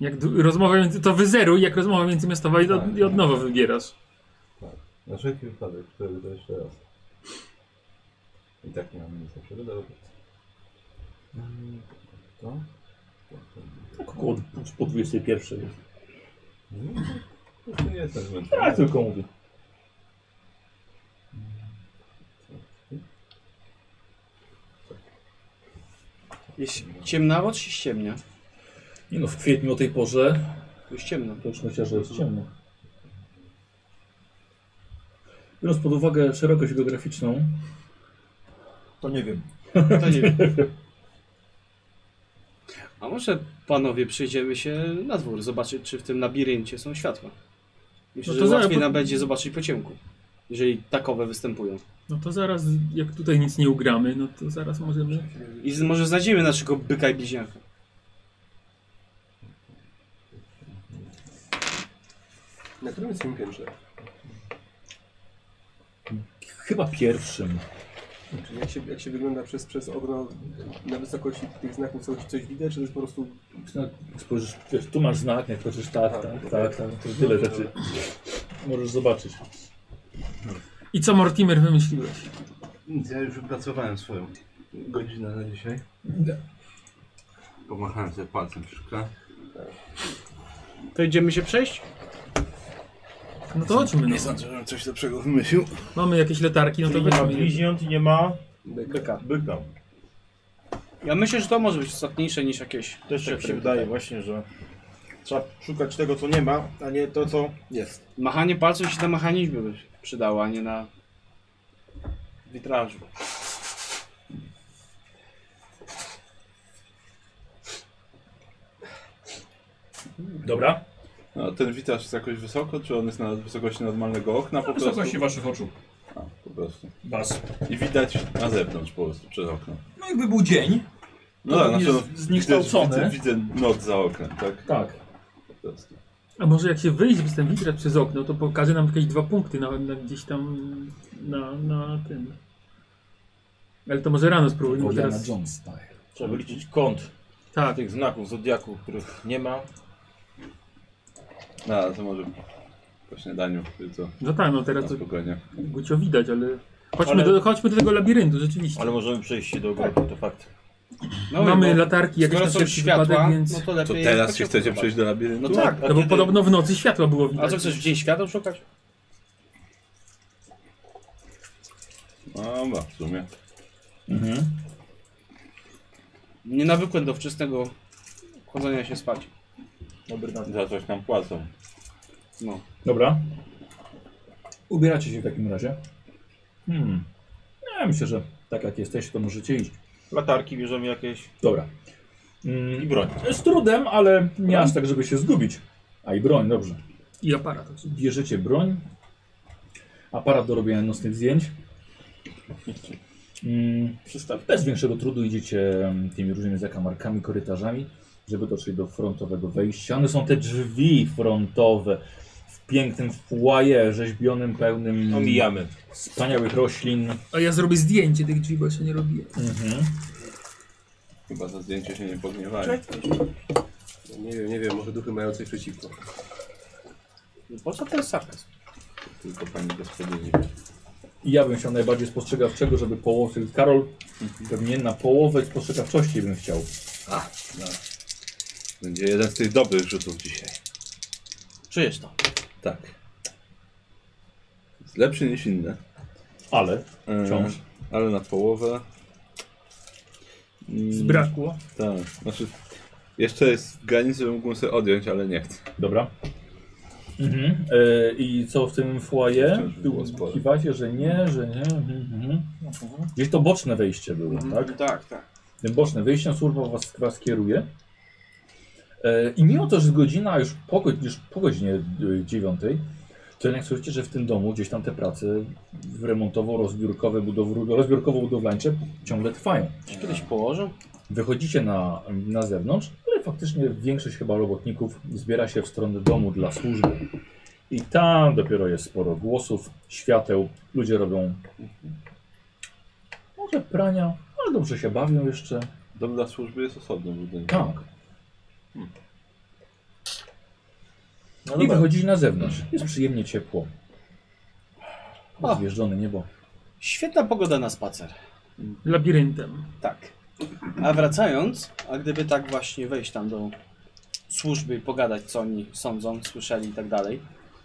[SPEAKER 6] Jak d- rozmowa między, to wyzeruj, jak rozmowa międzymiastowa i, od,
[SPEAKER 5] Tak.
[SPEAKER 6] i od nowa wybierasz.
[SPEAKER 5] Na wszelki wypadek, przerobię to jeszcze raz. I tak nie mam nic do przerobienia. To?
[SPEAKER 1] Tak około d- po 21 jest.
[SPEAKER 5] To nie jestem zmęczony.
[SPEAKER 1] Tak tylko mówię.
[SPEAKER 4] Jest ciemnawo czy się ściemnia?
[SPEAKER 1] Nie no, w kwietniu o tej porze
[SPEAKER 4] Już ciemno.
[SPEAKER 1] to już myślę, że jest ciemno. Biorąc pod uwagę szerokość geograficzną,
[SPEAKER 2] To nie wiem.
[SPEAKER 4] To nie wiem. A może panowie przyjdziemy się na dwór, zobaczyć czy w tym labiryncie są światła. Myślę,
[SPEAKER 6] No to
[SPEAKER 4] że
[SPEAKER 6] zaraz
[SPEAKER 4] łatwiej
[SPEAKER 6] po-
[SPEAKER 4] nam będzie zobaczyć po ciemku, jeżeli takowe występują.
[SPEAKER 6] No to zaraz, jak tutaj nic nie ugramy, no to zaraz możemy...
[SPEAKER 4] I z- może znajdziemy naszego byka i bliźniaka.
[SPEAKER 7] Na którym jest tym piętrze?
[SPEAKER 1] chyba pierwszym.
[SPEAKER 7] Czy jak się, jak się wygląda przez, przez okno na wysokości tych znaków coś, coś widać, czy to jest po prostu...
[SPEAKER 1] No, Spojrzysz, wiesz, tu masz znak, jak patrzysz tak, tak, tak, tak, to tyle rzeczy. Możesz zobaczyć.
[SPEAKER 6] I co Mortimer wymyśliłeś?
[SPEAKER 5] Nic, ja już wypracowałem swoją godzinę na dzisiaj. Pomachałem sobie palcem przy szkle.
[SPEAKER 4] To idziemy się przejść?
[SPEAKER 6] No to chodźmy, no.
[SPEAKER 5] sądzę, żebym coś lepszego wymyślił.
[SPEAKER 6] Mamy jakieś letarki, no to
[SPEAKER 8] Czyli nie ma
[SPEAKER 6] weźmy. je.
[SPEAKER 8] bliźniąt i nie ma
[SPEAKER 4] Byka.
[SPEAKER 8] byka.
[SPEAKER 4] Ja myślę, że to może być istotniejsze niż jakieś.
[SPEAKER 8] Też tak się
[SPEAKER 4] szyfry.
[SPEAKER 8] wydaje właśnie, że trzeba szukać tego, co nie ma, a nie to, co jest.
[SPEAKER 4] Machanie palców się na mechanizmie by przydało, a nie na witrażu.
[SPEAKER 1] Dobra?
[SPEAKER 5] No, a ten witraż jest jakoś wysoko, czy on jest na wysokości normalnego okna po
[SPEAKER 1] Na wysokości
[SPEAKER 5] prostu?
[SPEAKER 1] waszych oczu.
[SPEAKER 5] A, po prostu.
[SPEAKER 1] Was.
[SPEAKER 5] I widać na zewnątrz po prostu, przez okno.
[SPEAKER 1] No jakby był dzień.
[SPEAKER 5] No
[SPEAKER 1] To
[SPEAKER 5] tak,
[SPEAKER 1] jest
[SPEAKER 5] znaczy no,
[SPEAKER 1] zniekształcone.
[SPEAKER 5] Widzę, widzę noc za oknem, tak?
[SPEAKER 1] Tak.
[SPEAKER 5] Po prostu.
[SPEAKER 6] A może jak się wyjdzie przez ten witraż przez okno, to pokaże nam jakieś dwa punkty na, na gdzieś tam na, na tym. Ale to może rano spróbujmy teraz.
[SPEAKER 1] Jones style.
[SPEAKER 8] Trzeba wyliczyć kąt
[SPEAKER 6] Tak,
[SPEAKER 8] tych znaków zodiaku, których nie ma.
[SPEAKER 5] No, ale to może po śniadaniu, czy co?
[SPEAKER 6] no tak, no teraz
[SPEAKER 5] Na
[SPEAKER 6] to
[SPEAKER 5] spokojnie.
[SPEAKER 6] Gucio widać, ale... Chodźmy,
[SPEAKER 8] Ale-
[SPEAKER 6] Do, chodźmy do tego labiryntu, rzeczywiście.
[SPEAKER 8] Ale możemy przejść się do ogrodu, to fakt.
[SPEAKER 4] No
[SPEAKER 6] Mamy
[SPEAKER 4] bo
[SPEAKER 6] latarki jakieś
[SPEAKER 4] skoro
[SPEAKER 6] na
[SPEAKER 4] są
[SPEAKER 6] wszelki
[SPEAKER 4] światła,
[SPEAKER 6] wypadek, więc...
[SPEAKER 4] no
[SPEAKER 6] No,
[SPEAKER 4] to
[SPEAKER 5] To
[SPEAKER 4] lepiej jest po
[SPEAKER 5] teraz się
[SPEAKER 4] ciemku
[SPEAKER 5] chcecie
[SPEAKER 4] zobaczyć.
[SPEAKER 5] przejść do labiryntu?
[SPEAKER 8] No tak, a
[SPEAKER 6] bo
[SPEAKER 8] kiedy-
[SPEAKER 6] podobno w nocy światła było widać.
[SPEAKER 4] A co chcesz, w dzień świateł szukać?
[SPEAKER 5] No, no, w sumie.
[SPEAKER 4] Nie nawykłem do wczesnego chodzenia się spać.
[SPEAKER 5] Za coś nam płacą.
[SPEAKER 4] No.
[SPEAKER 1] Dobra. Ubieracie się w takim razie. Hmm. Ja myślę, że tak jak jesteście, to możecie iść.
[SPEAKER 8] Latarki bierzemy jakieś
[SPEAKER 1] Dobra.
[SPEAKER 8] i
[SPEAKER 1] Mm,
[SPEAKER 8] broń.
[SPEAKER 1] z trudem, ale nie aż tak, żeby się zgubić. A i broń, dobrze.
[SPEAKER 6] I aparat.
[SPEAKER 1] Bierzecie broń, aparat do robienia nocnych zdjęć. Mm, Bez większego trudu idziecie mm, tymi różnymi zakamarkami, korytarzami, żeby dotrzeć do frontowego wejścia. One są te drzwi frontowe w pięknym foyer rzeźbionym, pełnym
[SPEAKER 8] Omijamy.
[SPEAKER 1] wspaniałych roślin.
[SPEAKER 6] A ja zrobię zdjęcie tych drzwi, bo jeszcze nie robiłem.
[SPEAKER 1] Mhm.
[SPEAKER 5] Chyba za zdjęcie się nie pogniewają.
[SPEAKER 7] Nie wiem, nie wiem, może duchy mają coś przeciwko.
[SPEAKER 4] No Po co ten sarkazm?
[SPEAKER 5] Tylko pani gospodyni.
[SPEAKER 1] I ja bym chciał najbardziej spostrzegawczego, żeby połowę, Karol, pewnie na połowę spostrzegawczości bym chciał.
[SPEAKER 5] Będzie jeden z tych dobrych rzutów dzisiaj.
[SPEAKER 4] Czujesz to?
[SPEAKER 5] Tak. Jest lepszy niż inne.
[SPEAKER 1] Ale
[SPEAKER 5] E,
[SPEAKER 1] Wciąż.
[SPEAKER 5] Ale na połowę. Mm,
[SPEAKER 6] Zbrakło.
[SPEAKER 5] Tak. Znaczy, jeszcze jest w granicy, że mógłbym sobie odjąć, ale nie chcę.
[SPEAKER 1] Dobra. Mhm. E, I co w tym foyer?
[SPEAKER 5] Wciąż było sporo.
[SPEAKER 1] Kiwacie, że nie, że nie. Mhm. Gdzieś to boczne wejście było,
[SPEAKER 5] Mhm.
[SPEAKER 1] tak?
[SPEAKER 4] Tak, tak.
[SPEAKER 1] Tym boczne wejście służba was, was kieruje. E, I mimo to, że jest godzina już po, godz- już po godzinie y, dziewiątej, to jednak słyszycie, że w tym domu gdzieś tam te prace remontowo-rozbiórkowe, budow- rozbiórkowo-budowlańcze ciągle trwają.
[SPEAKER 4] Czy kiedyś położą?
[SPEAKER 1] Wychodzicie na, na zewnątrz, ale faktycznie większość chyba robotników zbiera się w stronę domu dla służby. I tam dopiero jest sporo głosów, świateł, ludzie robią może prania, ale dobrze się bawią jeszcze.
[SPEAKER 5] Dom dla służby jest osobnym budynkiem.
[SPEAKER 1] Tak. I
[SPEAKER 2] dobra.
[SPEAKER 1] wychodzisz na zewnątrz. Jest przyjemnie ciepło. Rozjeżdżone niebo.
[SPEAKER 4] Świetna pogoda na spacer.
[SPEAKER 6] Labiryntem.
[SPEAKER 4] Tak. A wracając, a gdyby tak właśnie wejść tam do służby i pogadać, co oni sądzą, słyszeli i tak dalej.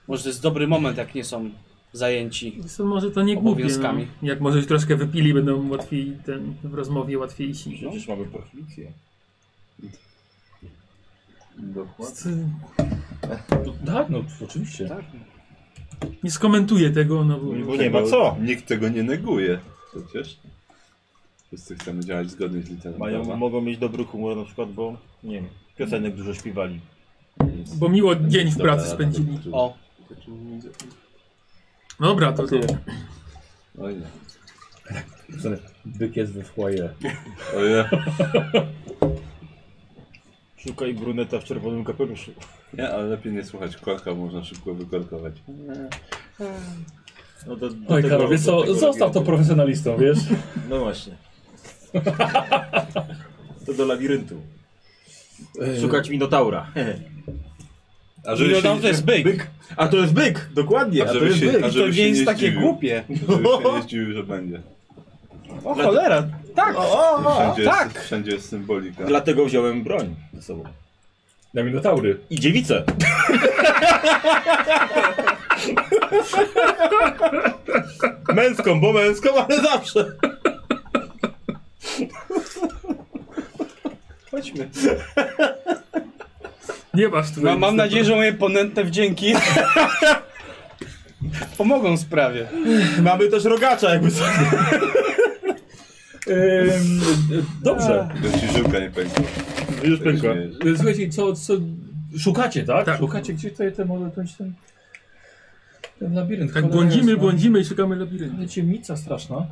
[SPEAKER 4] Może to jest dobry moment, jak nie są zajęci.
[SPEAKER 6] Więc to może to nie głupie. No.
[SPEAKER 4] Obowiązkami.
[SPEAKER 6] Jak może już troszkę wypili, będą łatwiej ten, w rozmowie łatwiejsi.
[SPEAKER 8] Przecież mamy prohibicję.
[SPEAKER 2] Dokładnie.
[SPEAKER 6] C-
[SPEAKER 1] Tak, no oczywiście.
[SPEAKER 4] Tak?
[SPEAKER 6] Nie skomentuję tego, no bo...
[SPEAKER 8] Bo nie ma co.
[SPEAKER 5] Nikt tego nie neguje. Przecież. Wszyscy chcemy działać zgodnie z literą
[SPEAKER 8] Mają,
[SPEAKER 5] prawa.
[SPEAKER 8] mogą mieć dobry humor na przykład, bo nie wiem, piosenek dużo śpiewali.
[SPEAKER 6] Bo miło dzień w
[SPEAKER 5] Dobra,
[SPEAKER 6] pracy spędzili.
[SPEAKER 5] dobra.
[SPEAKER 4] O,
[SPEAKER 6] No Dobra, to, to
[SPEAKER 5] Oj nie.
[SPEAKER 1] Byk jest we foyer.
[SPEAKER 5] Oj nie.
[SPEAKER 8] Szukaj bruneta w czerwonym kapeluszu.
[SPEAKER 5] nie, ale lepiej nie słuchać korka, bo można szybko wykorkować.
[SPEAKER 8] No do, do
[SPEAKER 1] Oj
[SPEAKER 8] tego-
[SPEAKER 1] Karol, wiesz
[SPEAKER 8] do
[SPEAKER 1] co,
[SPEAKER 8] tego
[SPEAKER 1] zostaw to
[SPEAKER 8] labiryntu.
[SPEAKER 1] profesjonalistą, wiesz?
[SPEAKER 8] No właśnie. to do labiryntu. Szukać minotaura.
[SPEAKER 5] A żeby
[SPEAKER 4] no
[SPEAKER 5] się,
[SPEAKER 4] tam to jest byk.
[SPEAKER 8] A to jest byk! Dokładnie,
[SPEAKER 5] A
[SPEAKER 8] a, to
[SPEAKER 5] żeby
[SPEAKER 8] jest
[SPEAKER 5] się-
[SPEAKER 8] byk.
[SPEAKER 5] a
[SPEAKER 4] I to
[SPEAKER 5] żeby się
[SPEAKER 4] nie jest
[SPEAKER 5] nie
[SPEAKER 4] takie
[SPEAKER 5] zdziwił.
[SPEAKER 4] głupie.
[SPEAKER 5] żeby się nie zdziwił, że będzie.
[SPEAKER 4] O cholera, tak.
[SPEAKER 5] Wszędzie,
[SPEAKER 4] tak.
[SPEAKER 5] jest, wszędzie jest symbolika.
[SPEAKER 8] Dlatego wziąłem broń ze sobą.
[SPEAKER 1] Na minotaury.
[SPEAKER 8] I dziewicę. męską, bo męską, ale zawsze.
[SPEAKER 4] Chodźmy.
[SPEAKER 6] nie masz tu.
[SPEAKER 4] Ma, No, mam nadzieję, że moje ponętne wdzięki pomogą sprawie.
[SPEAKER 8] Mamy też rogacza jakby co.
[SPEAKER 1] dobrze.
[SPEAKER 5] To ci żyłka nie pękła.
[SPEAKER 8] Już
[SPEAKER 5] Tak
[SPEAKER 8] pękła.
[SPEAKER 5] śmiejesz.
[SPEAKER 1] E, Słuchajcie, co, co... Szukacie, tak?
[SPEAKER 6] Tak.
[SPEAKER 1] Szukacie gdzie tutaj ten, może ten, ten, ten labirynt.
[SPEAKER 6] Tak
[SPEAKER 1] Cholera
[SPEAKER 6] błądzimy,
[SPEAKER 1] jasna.
[SPEAKER 6] błądzimy i szukamy labiryntu.
[SPEAKER 1] Ale Ciemnica straszna.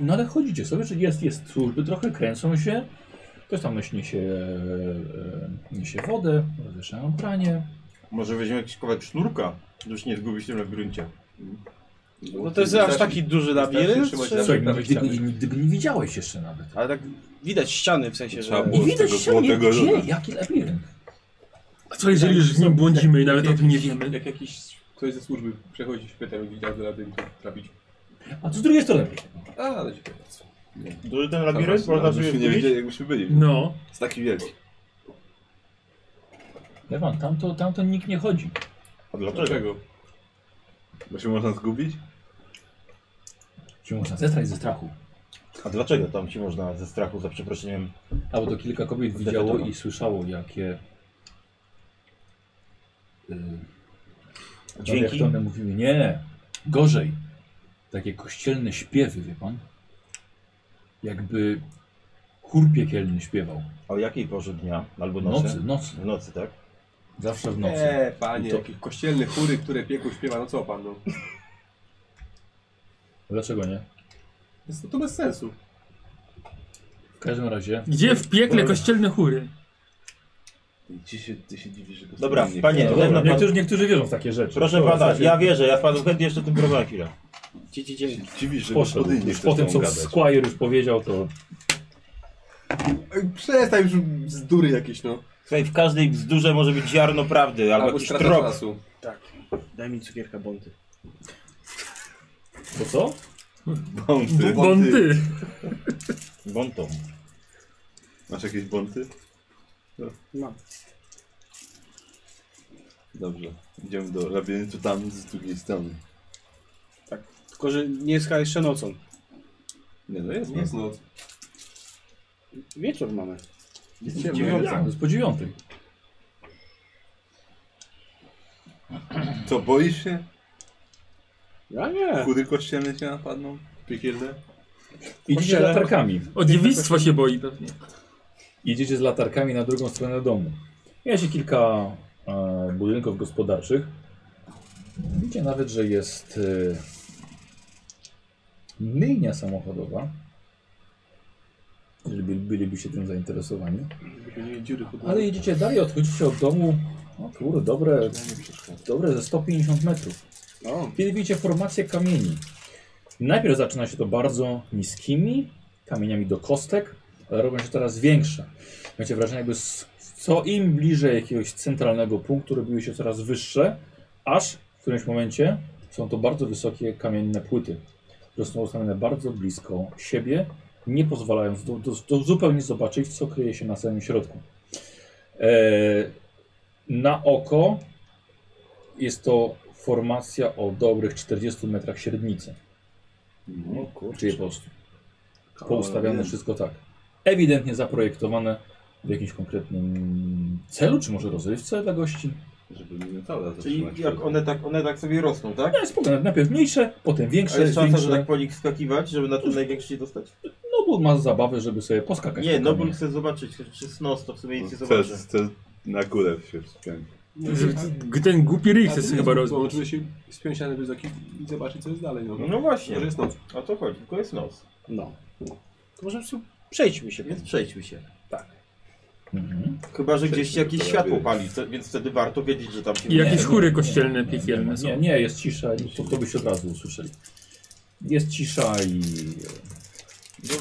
[SPEAKER 1] No ale chodzicie sobie, że jest, jest służby, trochę kręcą się. Ktoś tam nosi niesie, e, niesie wodę, zaczynają pranie.
[SPEAKER 8] Może weźmiemy jakiś kawałek sznurka, żeby się nie zgubić w tym labiryncie.
[SPEAKER 4] No to jest aż taki duży labirynt.
[SPEAKER 5] trzymać
[SPEAKER 4] Czy...
[SPEAKER 5] labirynt.
[SPEAKER 1] Słuchaj, nigdy, go- nigdy go nie widziałeś jeszcze nawet.
[SPEAKER 4] Ale tak widać ściany w sensie,
[SPEAKER 5] Trzeba
[SPEAKER 4] że...
[SPEAKER 5] było
[SPEAKER 1] I
[SPEAKER 5] z
[SPEAKER 1] widać
[SPEAKER 5] tego
[SPEAKER 1] się nie
[SPEAKER 5] złotego
[SPEAKER 1] gdzie,
[SPEAKER 5] rodu.
[SPEAKER 1] jaki labirynt.
[SPEAKER 6] A co jeżeli już w nim błądzimy i nawet o tym nie wiemy?
[SPEAKER 2] Jak jakiś ktoś ze służby przechodzi, pytał, widział do labiryntu trafić.
[SPEAKER 1] A co z drugiej strony?
[SPEAKER 2] A, ale się pyta.
[SPEAKER 8] Duży ten
[SPEAKER 5] Dobra,
[SPEAKER 8] labirynt, można sobie
[SPEAKER 5] żebyśmy nie
[SPEAKER 8] zgubić?
[SPEAKER 5] wiedzieli, jakbyśmy byli.
[SPEAKER 6] No,
[SPEAKER 5] Jest taki wielki.
[SPEAKER 1] Lewan, tamto, tamto nikt nie chodzi.
[SPEAKER 8] A dlaczego?
[SPEAKER 2] Dlaczego?
[SPEAKER 5] Bo się można zgubić?
[SPEAKER 1] Się można zestrać ze strachu.
[SPEAKER 8] A dlaczego tam ci można ze strachu, za przeproszeniem,
[SPEAKER 1] Albo to kilka kobiet widziało i słyszało, jakie Jak
[SPEAKER 8] dźwięki?
[SPEAKER 1] to one mówiły, nie, gorzej. Takie kościelne śpiewy, wie pan? Jakby chór piekielny śpiewał.
[SPEAKER 8] A o jakiej porze dnia? Albo
[SPEAKER 1] W
[SPEAKER 8] nocy?
[SPEAKER 1] nocy, nocy.
[SPEAKER 8] W nocy, tak?
[SPEAKER 1] Zawsze
[SPEAKER 8] No
[SPEAKER 1] w nocy.
[SPEAKER 7] Nie, E, panie,
[SPEAKER 1] I to-
[SPEAKER 7] jakieś kościelne chóry, które piekło śpiewa, no co pan, no.
[SPEAKER 1] Dlaczego nie?
[SPEAKER 7] Jest to, to bez sensu.
[SPEAKER 1] W każdym razie.
[SPEAKER 6] gdzie w piekle kościelne chóry?
[SPEAKER 5] Ty się, ty się dziwisz, że go
[SPEAKER 8] Dobra,
[SPEAKER 5] sobie nie
[SPEAKER 8] panie,
[SPEAKER 5] chce.
[SPEAKER 8] na pewno pan...
[SPEAKER 1] niektórzy, niektórzy wierzą w tak. takie rzeczy.
[SPEAKER 8] Proszę
[SPEAKER 1] Dobra,
[SPEAKER 8] pana,
[SPEAKER 1] słuchajcie,
[SPEAKER 8] ja wierzę, ja panu chętnie jeszcze tym prowadzę chwilę.
[SPEAKER 4] Dzie, dzie, dzie.
[SPEAKER 5] Dziwisz, że
[SPEAKER 1] Poszedł.
[SPEAKER 5] gospodyni nie
[SPEAKER 1] Już
[SPEAKER 5] chcesz
[SPEAKER 1] po tym,
[SPEAKER 5] z
[SPEAKER 1] co
[SPEAKER 5] tobą gadać.
[SPEAKER 1] Squire już powiedział, to
[SPEAKER 7] Ej, Przestań już bzdury jakieś, no.
[SPEAKER 8] Słuchaj, w każdej bzdurze może być ziarno prawdy, albo,
[SPEAKER 7] Albo
[SPEAKER 8] jakiś
[SPEAKER 7] strata
[SPEAKER 8] trop.
[SPEAKER 7] czasu.
[SPEAKER 4] Daj mi cukierka bonty.
[SPEAKER 1] to co?
[SPEAKER 5] Bąty.
[SPEAKER 6] Błądy.
[SPEAKER 8] Bontą.
[SPEAKER 5] Masz jakieś bąty?
[SPEAKER 4] Mam.
[SPEAKER 5] Dobrze. Idziemy do labiryntu tam z drugiej strony.
[SPEAKER 4] Tylko, że nie jest chyba jeszcze nocą.
[SPEAKER 5] Nie no, jest.
[SPEAKER 2] Nie jest noc.
[SPEAKER 4] Wieczór mamy.
[SPEAKER 1] To jest po dziewiątej.
[SPEAKER 5] Co, boisz się?
[SPEAKER 4] Ja nie.
[SPEAKER 5] Kudy kościelne cię napadną? Piekielne?
[SPEAKER 1] Idziecie z
[SPEAKER 4] Kościele.
[SPEAKER 1] latarkami.
[SPEAKER 6] O dziewictwo się boi pewnie.
[SPEAKER 1] Idziecie z latarkami na drugą stronę domu. Jest się kilka e, budynków gospodarczych. Widzicie nawet, że jest e, myjnia samochodowa. Jeżeli by, bylibyście tym zainteresowani. Ale jedziecie dalej, odchodzicie od domu. O kurde, dobre, dobre ze 150 metrów.
[SPEAKER 4] O,
[SPEAKER 1] Kiedy widzicie formację kamieni. Najpierw zaczyna się to bardzo niskimi kamieniami do kostek, ale robią się coraz większe. Macie wrażenie, jakby s- Co im bliżej jakiegoś centralnego punktu robiły się coraz wyższe, aż w którymś momencie są to bardzo wysokie kamienne płyty, które są ustawione bardzo blisko siebie, nie pozwalając do, do, do zupełnie zobaczyć, co kryje się na samym środku. E, na oko jest to formacja o dobrych 40 metrach średnicy.
[SPEAKER 5] No, kurczę.
[SPEAKER 1] Czyli po prostu. Poustawiane wszystko tak. Ewidentnie zaprojektowane w jakimś konkretnym celu, czy może rozrywce dla gości.
[SPEAKER 5] Żeby minetala
[SPEAKER 8] Czyli jak one tak, one tak sobie rosną, tak?
[SPEAKER 1] No jest spokojne, najpierw mniejsze, potem
[SPEAKER 8] A
[SPEAKER 1] większe,
[SPEAKER 8] jest szansa, że
[SPEAKER 1] większe.
[SPEAKER 8] tak po nich skakiwać, żeby na ten największy się dostać?
[SPEAKER 5] Tak,
[SPEAKER 1] Nobul ma zabawę, żeby sobie poskakać.
[SPEAKER 8] Nie,
[SPEAKER 1] po
[SPEAKER 8] no bo
[SPEAKER 1] kamieniu.
[SPEAKER 8] chcę zobaczyć, czy snos to w sumie nic nie
[SPEAKER 5] Chcę,
[SPEAKER 8] zobaczę.
[SPEAKER 5] chcę na górę się wspiąć.
[SPEAKER 6] Żeby t- Ten głupi ryj chce
[SPEAKER 2] A ty
[SPEAKER 6] sobie chyba
[SPEAKER 2] jest- bo
[SPEAKER 6] rozbić.
[SPEAKER 2] Możemy się spiąć na wysoki i zobaczyć, co jest dalej. No,
[SPEAKER 8] No właśnie,
[SPEAKER 2] Może jest noc.
[SPEAKER 8] o to chodzi, tylko jest nos.
[SPEAKER 4] No. To może po prostu przejdźmy się. Tak.
[SPEAKER 8] Więc przejdźmy się.
[SPEAKER 1] Mhm.
[SPEAKER 8] Chyba, że gdzieś
[SPEAKER 5] Przejdźmy,
[SPEAKER 8] jakieś
[SPEAKER 5] to
[SPEAKER 8] światło
[SPEAKER 5] robię.
[SPEAKER 8] pali, wte- więc wtedy warto wiedzieć, że tam się...
[SPEAKER 6] I jakieś
[SPEAKER 1] Nie,
[SPEAKER 6] chóry
[SPEAKER 1] nie,
[SPEAKER 6] kościelne,
[SPEAKER 1] nie,
[SPEAKER 6] piekielne są.
[SPEAKER 1] Nie, nie, jest cisza, i to, to byście od razu usłyszeli. Jest cisza i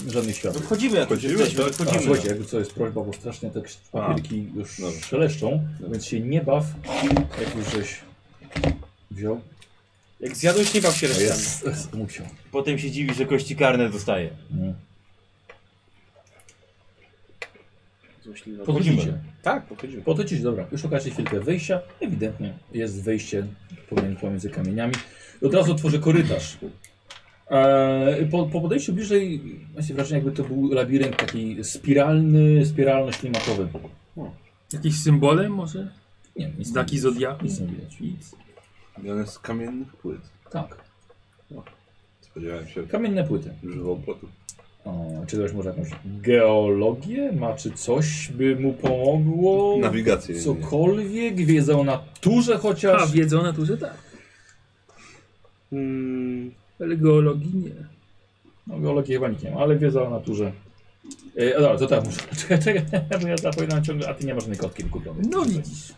[SPEAKER 1] e, żadnych
[SPEAKER 8] No
[SPEAKER 1] światów.
[SPEAKER 8] wchodzimy jak już
[SPEAKER 5] Wchodzimy,
[SPEAKER 8] jesteśmy,
[SPEAKER 5] tak?
[SPEAKER 8] tak?
[SPEAKER 1] A,
[SPEAKER 8] wchodzimy.
[SPEAKER 1] słuchajcie, jakby co jest prośba, bo strasznie te krz- papierki już
[SPEAKER 5] Dobra.
[SPEAKER 1] szeleszczą, więc się nie baw, jak już żeś wziął.
[SPEAKER 4] Jak zjadłeś, nie baw się
[SPEAKER 1] A
[SPEAKER 4] resztami.
[SPEAKER 1] jest, jest musiał.
[SPEAKER 8] Potem się dziwi, że kości karne dostaje.
[SPEAKER 1] Nie.
[SPEAKER 4] Złośliwa.
[SPEAKER 1] Podchodzicie.
[SPEAKER 4] Tak, pochodzimy.
[SPEAKER 1] Podchodzicie, dobra. Już okaże chwilkę wyjścia. Ewidentnie jest wejście pomiędzy, pomiędzy kamieniami. I Od razu otworzę korytarz. Eee, po, po podejściu bliżej, macie wrażenie, jakby to był labirynt taki spiralny, spiralno-ślimatowy.
[SPEAKER 6] Jakieś symbole może?
[SPEAKER 1] Nie, nic
[SPEAKER 6] Znaki zodiaku?
[SPEAKER 1] Nic nie widać. Nic.
[SPEAKER 5] Miałem z kamiennych płyt.
[SPEAKER 1] Tak,
[SPEAKER 5] Spodziewałem się
[SPEAKER 1] kamienne płyty.
[SPEAKER 5] żywopłotu.
[SPEAKER 1] O, czy ktoś może jakąś geologię ma, czy coś by mu pomogło?
[SPEAKER 5] Nawigację.
[SPEAKER 1] Cokolwiek, wiedzę o naturze
[SPEAKER 6] A,
[SPEAKER 1] chociaż.
[SPEAKER 6] wiedzą na to, że tak. Ale geologii nie.
[SPEAKER 1] No, geologii chyba nikt nie ma, ale wiedza o naturze. Yy, a dobra, to tak muszę. Czekaj, czekaj, bo ja zapominam ciągle, a ty nie masz żadnej kotki wykupionej.
[SPEAKER 6] No widzisz.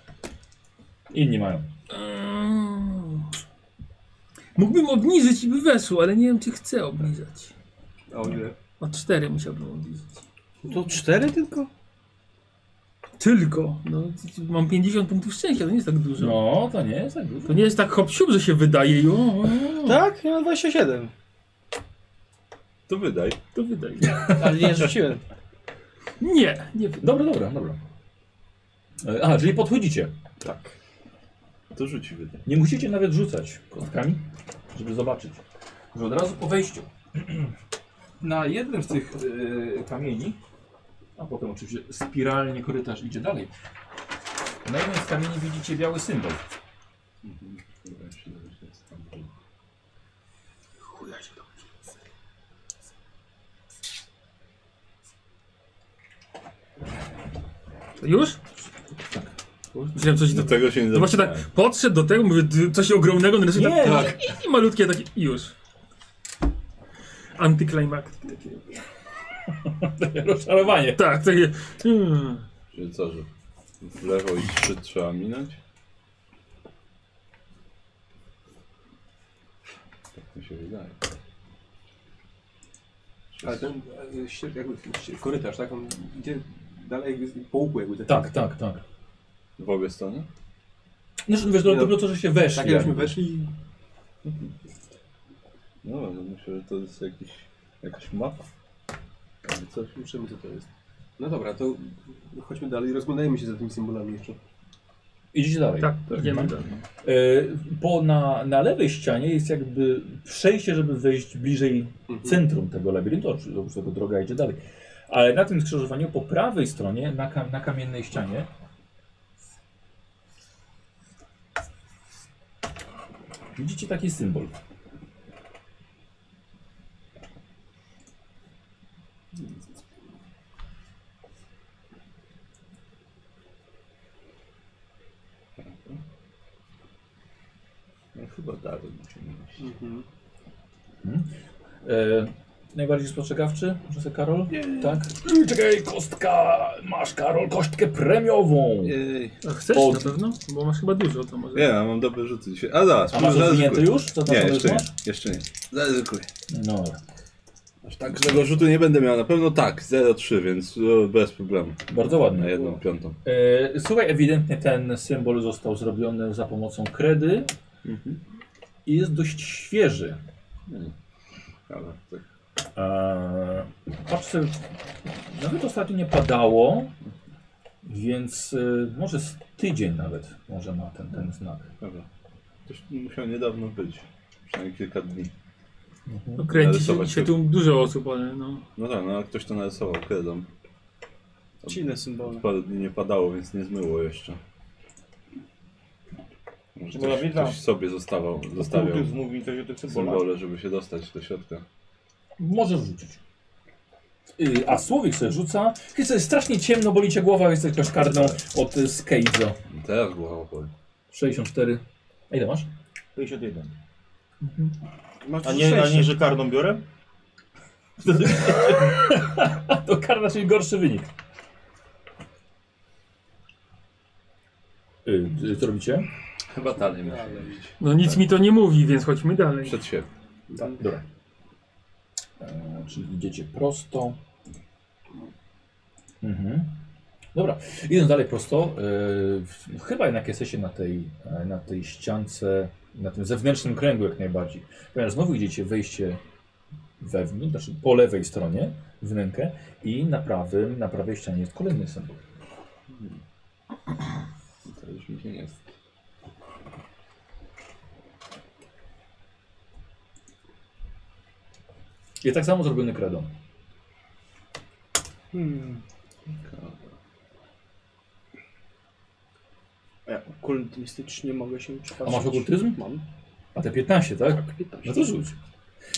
[SPEAKER 1] Inni mają.
[SPEAKER 6] Mm. Mógłbym obniżyć i by weszło, ale nie wiem, czy chcę obniżać.
[SPEAKER 2] A o ile?
[SPEAKER 6] O cztery musiałbym obniżyć.
[SPEAKER 4] To cztery tylko?
[SPEAKER 6] Tylko. No, mam 50 punktów szczęścia, to nie jest tak dużo.
[SPEAKER 1] No, to nie jest tak dużo.
[SPEAKER 6] To nie jest tak hop siup, że się wydaje i o, o, o,
[SPEAKER 4] Tak, ja mam 27.
[SPEAKER 5] To wydaj.
[SPEAKER 6] to wydaje.
[SPEAKER 4] Ale nie rzuciłem.
[SPEAKER 6] Nie, nie wydaje.
[SPEAKER 1] Dobra, dobra, dobra. Yy, A, czyli podchodzicie.
[SPEAKER 5] To rzuci wydaj.
[SPEAKER 1] Nie musicie nawet rzucać kostkami, żeby zobaczyć. Że od razu po wejściu. Na jednym z tych e, kamieni, a potem oczywiście spiralnie korytarz idzie dalej. Na jednym z kamieni widzicie biały symbol.
[SPEAKER 6] To Już? Myślałem coś
[SPEAKER 5] Do
[SPEAKER 6] do...
[SPEAKER 5] tego się nie
[SPEAKER 6] To właśnie tak
[SPEAKER 5] dowiedziałem.
[SPEAKER 6] podszedł do tego, mówię, ty- coś ogromnego, no raczej
[SPEAKER 1] Nie,
[SPEAKER 6] tak, tak. I malutkie takie, i już. Antyklimaktyki takie.
[SPEAKER 1] Rozczarowanie.
[SPEAKER 6] Tak, takie. Hmm.
[SPEAKER 5] Czyli co, że w lewo i trzy trzeba minąć? Tak mi się wydaje.
[SPEAKER 2] Ale ten e, ścież, jakby, ście- korytarz, tak? On idzie dalej jakby z- po łuku jakby.
[SPEAKER 1] Tak, tak, tak.
[SPEAKER 5] W obie strony?
[SPEAKER 1] Znaczy, wiesz,
[SPEAKER 2] no,
[SPEAKER 1] no, to, że się weszli.
[SPEAKER 2] Tak jakbyśmy weszli
[SPEAKER 5] No, no myślę, że to jest jakiś, jakaś mapa. Albo coś.
[SPEAKER 2] i słyszymy co to jest. No dobra, to chodźmy dalej, rozglądajmy się za tymi symbolami jeszcze.
[SPEAKER 1] Idziecie dalej.
[SPEAKER 6] Tak, idziemy dalej.
[SPEAKER 1] E, po na, na lewej ścianie jest jakby przejście, żeby wejść bliżej centrum tego labiryntu. Oczywiście oprócz tego droga idzie dalej. Ale na tym skrzyżowaniu po prawej stronie, na, kam na kamiennej ścianie, widzicie taki symbol.
[SPEAKER 5] No, chyba dalej musimy iść.
[SPEAKER 1] Hmm? E, najbardziej spostrzegawczy, może sobie Karol? Tak. Yy, Czekaj, kostka! Masz, Karol, kostkę premiową!
[SPEAKER 5] Jej.
[SPEAKER 6] A chcesz
[SPEAKER 1] Od-
[SPEAKER 6] na pewno? Bo masz chyba dużo, to może.
[SPEAKER 5] Nie, ja mam dobre rzuty dzisiaj. A zaraz,
[SPEAKER 1] A masz
[SPEAKER 5] zaryzykuję.
[SPEAKER 1] rozwinięty już? Co tam
[SPEAKER 5] Nie,
[SPEAKER 1] sobie
[SPEAKER 5] jeszcze nie,
[SPEAKER 1] masz?
[SPEAKER 5] jeszcze nie. Zaryzykuję.
[SPEAKER 1] No. dobra.
[SPEAKER 5] E, Tak, tego rzutu nie będę miał. Na pewno tak, 0,3, więc e, bez problemu.
[SPEAKER 1] Bardzo ładne.
[SPEAKER 5] Na jedną piątą.
[SPEAKER 1] E, słuchaj, ewidentnie ten symbol został zrobiony za pomocą kredy i jest dość świeży.
[SPEAKER 5] Ale tak.
[SPEAKER 1] Eee, patrzę, nawet ostatnio nie padało, więc e, może z tydzień nawet może ma ten, ten znak.
[SPEAKER 5] Dobra. Coś musiał niedawno być. Przynajmniej kilka dni.
[SPEAKER 6] No, kręci się,
[SPEAKER 5] Narysować
[SPEAKER 6] się
[SPEAKER 5] to.
[SPEAKER 6] tu dużo osób, ale no.
[SPEAKER 5] No tak, no ale ktoś to narysował kredą.
[SPEAKER 4] Czy inne symbole?
[SPEAKER 5] Parę dni nie padało, więc nie zmyło jeszcze. Może
[SPEAKER 8] Była
[SPEAKER 5] ktoś,
[SPEAKER 8] widza.
[SPEAKER 5] ktoś sobie zostawał, zostawiał
[SPEAKER 8] Kultus mówi mi coś o tych symbolach.
[SPEAKER 5] symbole, żeby się dostać do środka.
[SPEAKER 1] Możesz rzucić. Y, A słowik sobie rzuca. Jest jest strasznie ciemno, boli cię głowa, jesteś też karną od y, Skeizo.
[SPEAKER 5] Teraz głowa opoli.
[SPEAKER 1] 64. A ile masz?
[SPEAKER 8] 51.
[SPEAKER 4] Masz
[SPEAKER 8] A nie, a
[SPEAKER 4] sześć.
[SPEAKER 8] nie że karną biorę?
[SPEAKER 1] To karna, czyli gorszy wynik. Y, y, Co robicie?
[SPEAKER 5] Chyba
[SPEAKER 8] tak,
[SPEAKER 5] dalej musi iść.
[SPEAKER 6] No nic mi to nie mówi, więc chodźmy dalej.
[SPEAKER 5] Przed siebie.
[SPEAKER 8] Tak.
[SPEAKER 1] Tak, Dobra. E, czyli idziecie prosto. Mhm. Dobra, idąc dalej prosto, e, w- chyba jednak jesteście na tej, e, na tej ściance, na tym zewnętrznym kręgu jak najbardziej. Ponieważ znowu idziecie wejście wewnątrz, znaczy po lewej stronie wnękę i na prawym, na prawej ścianie jest kolejny symbol.
[SPEAKER 5] To już mi się nie chce.
[SPEAKER 1] Jest tak samo zrobiony kredą.
[SPEAKER 4] Ja okultystycznie mogę się przypatrzeć.
[SPEAKER 1] A masz okultyzm?
[SPEAKER 4] Mam.
[SPEAKER 1] A te 15, tak?
[SPEAKER 4] Tak, 15.
[SPEAKER 1] No to rzuć.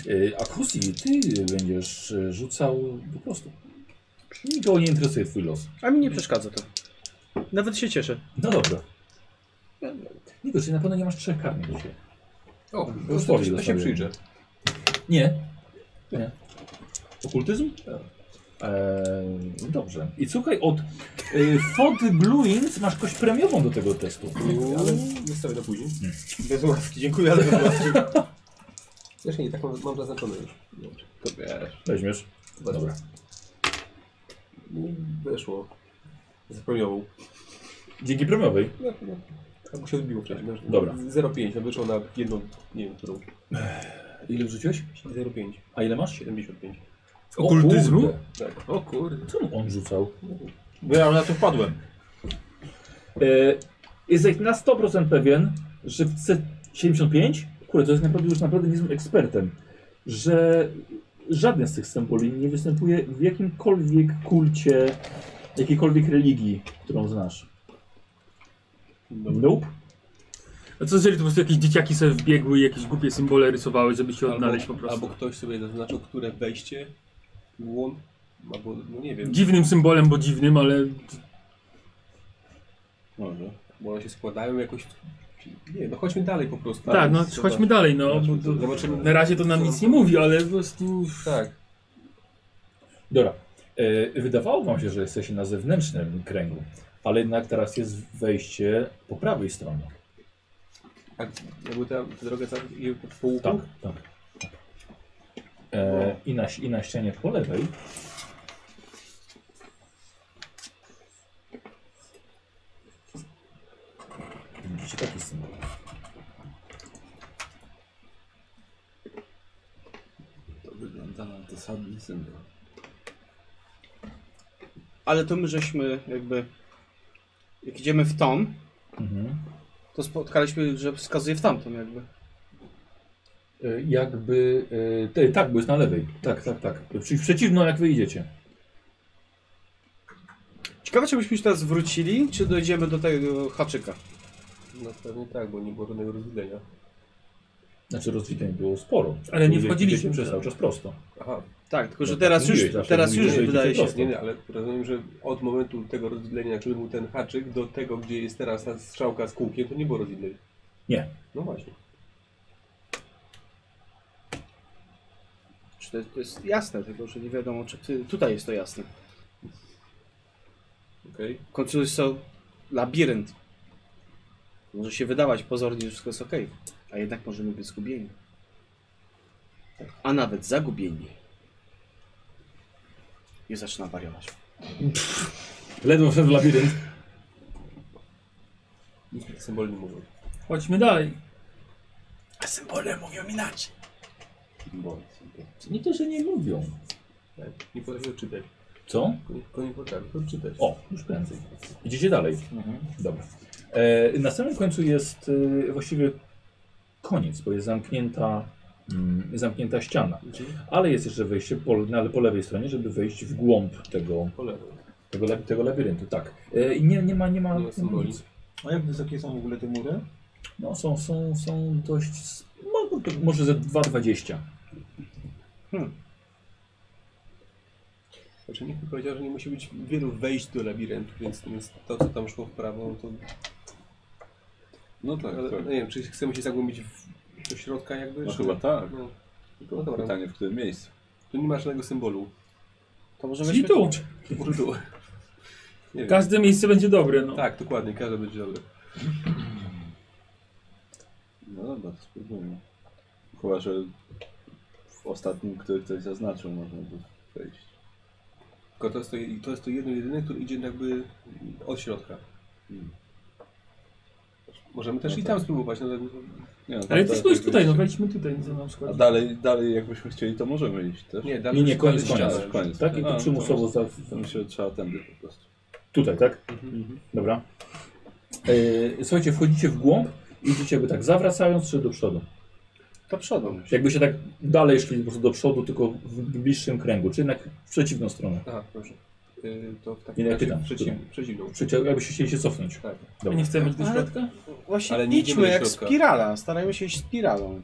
[SPEAKER 1] Yy, A Krusi, ty będziesz yy, rzucał po prostu. Nikogo nie interesuje twój los.
[SPEAKER 4] A mi nie przeszkadza to. Nawet się cieszę.
[SPEAKER 1] No dobra. Niko, czyli na pewno nie masz trzech karnych dzisiaj.
[SPEAKER 2] O,
[SPEAKER 1] to
[SPEAKER 2] No, to,
[SPEAKER 1] się-
[SPEAKER 2] się,
[SPEAKER 1] to się przyjrzę.
[SPEAKER 2] przyjrzę.
[SPEAKER 1] Nie. Nie. Okultyzm? Eee, dobrze. I słuchaj, od yy, Fody Bluins masz kość premiową do tego testu.
[SPEAKER 2] Ale zostawię to później.
[SPEAKER 7] Bez łaski, dziękuję, ale bez łaski.
[SPEAKER 2] Zresztą nie, tak mam, mam zaznaczone już.
[SPEAKER 5] To wiesz.
[SPEAKER 1] Weźmiesz. Dobra.
[SPEAKER 2] Weszło. Zapomniał.
[SPEAKER 1] Dzięki premiowej.
[SPEAKER 2] No, no. Tak mu się odbiło wcześniej. No,
[SPEAKER 1] Dobra.
[SPEAKER 2] 0,5, to wyszło na jedną, nie wiem którą.
[SPEAKER 1] Ile wrzuciłeś?
[SPEAKER 2] 0,5,
[SPEAKER 1] A ile masz?
[SPEAKER 2] 75.
[SPEAKER 1] O
[SPEAKER 6] Okultyzmu?
[SPEAKER 1] kurde.
[SPEAKER 2] Tak.
[SPEAKER 6] O kurde.
[SPEAKER 1] Czemu on rzucał?
[SPEAKER 8] Bo ja na to wpadłem.
[SPEAKER 1] E, Jesteś na 100% pewien, że w C75, kurde, to jest naprawdę już naprawdę niezłym ekspertem, że żaden z tych symboli nie występuje w jakimkolwiek kulcie, jakiejkolwiek religii, którą znasz. Nope.
[SPEAKER 6] A co jeżeli to po prostu jakieś dzieciaki sobie wbiegły i jakieś głupie symbole rysowały, żeby się odnaleźć po prostu?
[SPEAKER 2] albo ktoś sobie zaznaczył, które wejście, łąk, albo no nie wiem,
[SPEAKER 6] Dziwnym symbolem, bo dziwnym, ale
[SPEAKER 5] Może.
[SPEAKER 2] bo one się składają jakoś. w- Nie, no chodźmy dalej po prostu.
[SPEAKER 6] tak, no
[SPEAKER 2] Zobacz-
[SPEAKER 6] chodźmy dalej, no. Bo
[SPEAKER 2] Zobaczmy,
[SPEAKER 6] to,
[SPEAKER 2] zobaczymy.
[SPEAKER 6] na razie to nam nic nie mówi, ale po prostu...
[SPEAKER 2] Tak.
[SPEAKER 1] Dobra. E, wydawało wam się, że jesteście na zewnętrznym kręgu, ale jednak teraz jest wejście po prawej stronie.
[SPEAKER 2] A jakby ta droga cała i po łuku?
[SPEAKER 1] Tak, tak. E, i, na, I na ścianie po lewej. Widzicie taki symbol.
[SPEAKER 5] To wygląda na
[SPEAKER 2] Tak.
[SPEAKER 5] dosadny symbol.
[SPEAKER 4] Ale to my żeśmy jakby... Jak idziemy w tą,
[SPEAKER 1] Mhm.
[SPEAKER 4] to spotkaliśmy, że wskazuje w tamtą jakby.
[SPEAKER 1] E, jakby. E, te, tak, bo jest na lewej. Tak, tak, tak. Czyli w przeciwną jak wyjdziecie.
[SPEAKER 4] Ciekawe, czy byśmy się teraz wrócili, czy dojdziemy do tego haczyka.
[SPEAKER 2] No pewnie tak, bo nie było żadnego rozwidlenia.
[SPEAKER 1] Znaczy rozwitań było sporo.
[SPEAKER 6] Ale nie
[SPEAKER 1] Czyli
[SPEAKER 6] wchodziliśmy
[SPEAKER 1] idziecie przez
[SPEAKER 6] tam.
[SPEAKER 1] cały czas prosto.
[SPEAKER 2] Aha,
[SPEAKER 4] Tak, tylko że
[SPEAKER 1] No tak,
[SPEAKER 4] teraz już,
[SPEAKER 1] mówiłeś, zawsze
[SPEAKER 4] teraz
[SPEAKER 1] mówiłeś,
[SPEAKER 4] już
[SPEAKER 1] że
[SPEAKER 4] wydaje się.
[SPEAKER 1] idziecie
[SPEAKER 2] nie, nie, ale rozumiem, że od momentu tego rozwidlenia, który był ten haczyk, do tego, gdzie jest teraz ta strzałka z kółkiem, to nie było rozwidlenia.
[SPEAKER 1] Nie.
[SPEAKER 2] No właśnie.
[SPEAKER 4] Czy to, jest, to jest jasne, tylko że nie wiadomo, czy ty, tutaj jest to jasne.
[SPEAKER 2] Okej.
[SPEAKER 4] W końcu jest to labirynt. Może się wydawać pozornie, że wszystko jest ok, a jednak możemy być zgubieni. A nawet zagubieni. i zaczyna wariować.
[SPEAKER 1] Ledwo wszedł w labirynt.
[SPEAKER 2] Symbolnie mówią.
[SPEAKER 6] Chodźmy dalej.
[SPEAKER 4] A symbole mówią inaczej.
[SPEAKER 5] Bo...
[SPEAKER 1] Nie to, że nie mówią.
[SPEAKER 2] Tak. Nie potrafię odczytać.
[SPEAKER 1] Co?
[SPEAKER 2] Tylko nie potrafię odczytać.
[SPEAKER 1] O, już prędzej. Idziecie dalej. Dobra. E, na samym końcu jest e, właściwie koniec, bo jest zamknięta, mm, zamknięta ściana. Ale jest jeszcze wejście po, no, ale po lewej stronie, żeby wejść w głąb tego,
[SPEAKER 2] Po lewo.
[SPEAKER 1] tego, lab- tego labiryntu. Tak. E, i nie, nie ma, nie ma,
[SPEAKER 2] Nie ma symboli.
[SPEAKER 1] nic.
[SPEAKER 10] A jak wysokie są w ogóle te mury?
[SPEAKER 1] No, są, są, są dość. s- mo- to Może ze 2,20.
[SPEAKER 2] Znaczy nikt mi powiedział, że nie musi być wielu wejść do labiryntu, więc więc to co tam szło w prawo, no to...
[SPEAKER 10] No tak,
[SPEAKER 2] Ale,
[SPEAKER 10] tak.
[SPEAKER 2] Nie wiem, czy chcemy się zagłębić w, do środka jakby?
[SPEAKER 5] No
[SPEAKER 2] czy-
[SPEAKER 5] chyba tak.
[SPEAKER 2] No,
[SPEAKER 5] Tylko
[SPEAKER 2] No dobra.
[SPEAKER 5] pytanie w którym miejscu.
[SPEAKER 2] tu nie ma żadnego symbolu.
[SPEAKER 4] To może
[SPEAKER 6] Czyli
[SPEAKER 4] weźmy...
[SPEAKER 6] tu.
[SPEAKER 2] Może tu. Nie wiem.
[SPEAKER 6] Każde miejsce będzie dobre, no.
[SPEAKER 2] Tak, dokładnie, każdy będzie dobry.
[SPEAKER 5] No dobra, to spróbujmy. Chyba, że w ostatnim, który ktoś zaznaczył, można by wejść.
[SPEAKER 2] Tylko to jest to, je- to jest to jedno jedyne, które idzie jakby od środka.
[SPEAKER 5] Hmm.
[SPEAKER 2] Możemy też
[SPEAKER 5] No
[SPEAKER 2] i
[SPEAKER 5] tak.
[SPEAKER 2] tam spróbować, no tak.
[SPEAKER 5] Nie, no,
[SPEAKER 6] Ale
[SPEAKER 5] tak,
[SPEAKER 6] ty
[SPEAKER 5] tak,
[SPEAKER 6] spójrz
[SPEAKER 5] tak
[SPEAKER 6] tutaj, no
[SPEAKER 5] wyjść.
[SPEAKER 6] wejdźmy tutaj, za nam
[SPEAKER 5] A
[SPEAKER 6] skład.
[SPEAKER 5] dalej, dalej jakbyśmy chcieli, to możemy iść też.
[SPEAKER 2] Nie, dalej
[SPEAKER 1] Nie, nie,
[SPEAKER 2] już-
[SPEAKER 1] koniec,
[SPEAKER 2] dalej
[SPEAKER 1] koniec.
[SPEAKER 2] ściana już.
[SPEAKER 5] Koniec.
[SPEAKER 1] Tak? I
[SPEAKER 5] A,
[SPEAKER 1] tu przymusowo. Za,
[SPEAKER 5] To myślę, że trzeba tędy po prostu.
[SPEAKER 1] tutaj, tak? Dobra. E, słuchajcie, wchodzicie w głąb i idziecie jakby tak zawracając czy do przodu.
[SPEAKER 4] To przodem.
[SPEAKER 1] Jakby się tak dalej szli po prostu do przodu, tylko w bliższym kręgu, czy jednak w przeciwną stronę.
[SPEAKER 2] Aha, proszę. Y, to w
[SPEAKER 1] Nie,
[SPEAKER 2] takim
[SPEAKER 1] nie
[SPEAKER 2] razie
[SPEAKER 1] pytam,
[SPEAKER 2] przeciw, przeciwną.
[SPEAKER 1] Przecie, jakbyście chcieli się cofnąć.
[SPEAKER 2] Tak.
[SPEAKER 6] A nie chcemy iść do
[SPEAKER 4] Ale-
[SPEAKER 6] środka?
[SPEAKER 4] Właśnie
[SPEAKER 2] Ale nie idziemy
[SPEAKER 4] idźmy
[SPEAKER 2] do
[SPEAKER 4] jak
[SPEAKER 2] środka.
[SPEAKER 4] spirala, starajmy się iść spiralą.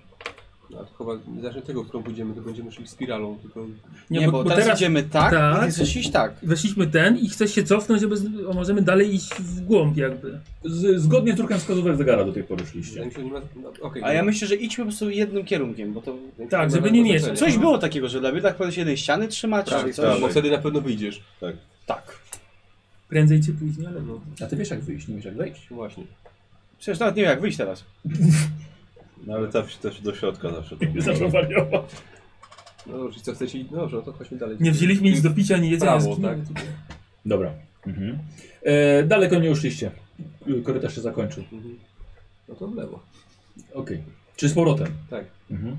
[SPEAKER 2] A No, to chyba nie zacznę tego, którą pójdziemy, to będziemy szli spiralą, tylko
[SPEAKER 4] Nie, bo, teraz, idziemy tak,
[SPEAKER 6] tak.
[SPEAKER 4] tak. i chcesz iść tak.
[SPEAKER 6] Weszliśmy ten i chcesz się cofnąć, żeby z... o, możemy dalej iść w głąb jakby.
[SPEAKER 1] Z, zgodnie z drukiem wskazówek zegara do tej pory
[SPEAKER 2] wydaje
[SPEAKER 1] szliście.
[SPEAKER 2] mi się, że nie ma... No, okej.
[SPEAKER 4] A ja myślę, że idźmy po prostu jednym kierunkiem, bo to...
[SPEAKER 6] Tak,
[SPEAKER 2] ma
[SPEAKER 6] żeby nie
[SPEAKER 2] żadnego
[SPEAKER 6] mieć.
[SPEAKER 2] znaczenia.
[SPEAKER 4] Coś było takiego, że dla tak biedach powinno się jednej ściany trzymać,
[SPEAKER 2] Tak,
[SPEAKER 4] czy
[SPEAKER 2] tak,
[SPEAKER 4] coś.
[SPEAKER 2] bo wtedy na pewno wyjdziesz.
[SPEAKER 4] Tak.
[SPEAKER 6] Prędzej czy później, ale
[SPEAKER 2] No,
[SPEAKER 1] A ty wiesz jak wyjść, nie wiesz jak wejść.
[SPEAKER 2] właśnie.
[SPEAKER 4] Przecież nawet nie wiem jak wyjść teraz.
[SPEAKER 5] No ale ta wsi też do środka zawsze.
[SPEAKER 1] Zaczął wariować.
[SPEAKER 2] No dobrze, co chcecie iść? No dobrze, no to chodźmy dalej.
[SPEAKER 6] nie wzięliśmy nic do picia, ani jedzenia.
[SPEAKER 2] Prawo,
[SPEAKER 6] zginiemy
[SPEAKER 2] tak?
[SPEAKER 6] tutaj.
[SPEAKER 1] Dobra. Mhm. E, daleko nie uszliście. Korytarz się zakończył.
[SPEAKER 2] Mhm. No to w lewo.
[SPEAKER 1] Okej. Czy z powrotem?
[SPEAKER 2] Tak.
[SPEAKER 1] Mhm.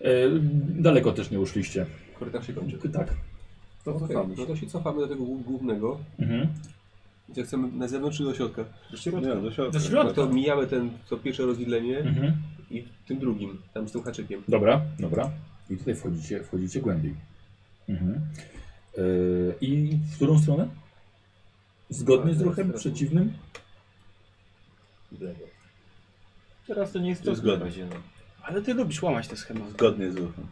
[SPEAKER 1] E, daleko też nie uszliście.
[SPEAKER 2] Korytarz się kończy.
[SPEAKER 1] Tak.
[SPEAKER 2] No, okej, no to się cofamy do tego głó- głównego.
[SPEAKER 1] Mhm.
[SPEAKER 2] Gdzie chcemy na zewnątrz czy do środka?
[SPEAKER 5] Nie, do środka.
[SPEAKER 6] Do
[SPEAKER 2] No to
[SPEAKER 6] środka.
[SPEAKER 2] mijamy ten, to pierwsze rozwidlenie
[SPEAKER 1] Mhm.
[SPEAKER 2] i w tym drugim, tam z tym haczykiem.
[SPEAKER 1] Dobra, dobra. I tutaj wchodzicie, wchodzicie głębiej. Mhm. E, I w którą stronę? Zgodnie z ruchem przeciwnym?
[SPEAKER 8] Teraz to nie jest
[SPEAKER 5] To
[SPEAKER 8] trudne.
[SPEAKER 5] zgodnie.
[SPEAKER 4] Ale ty lubisz łamać te schematy.
[SPEAKER 5] Zgodnie z ruchem.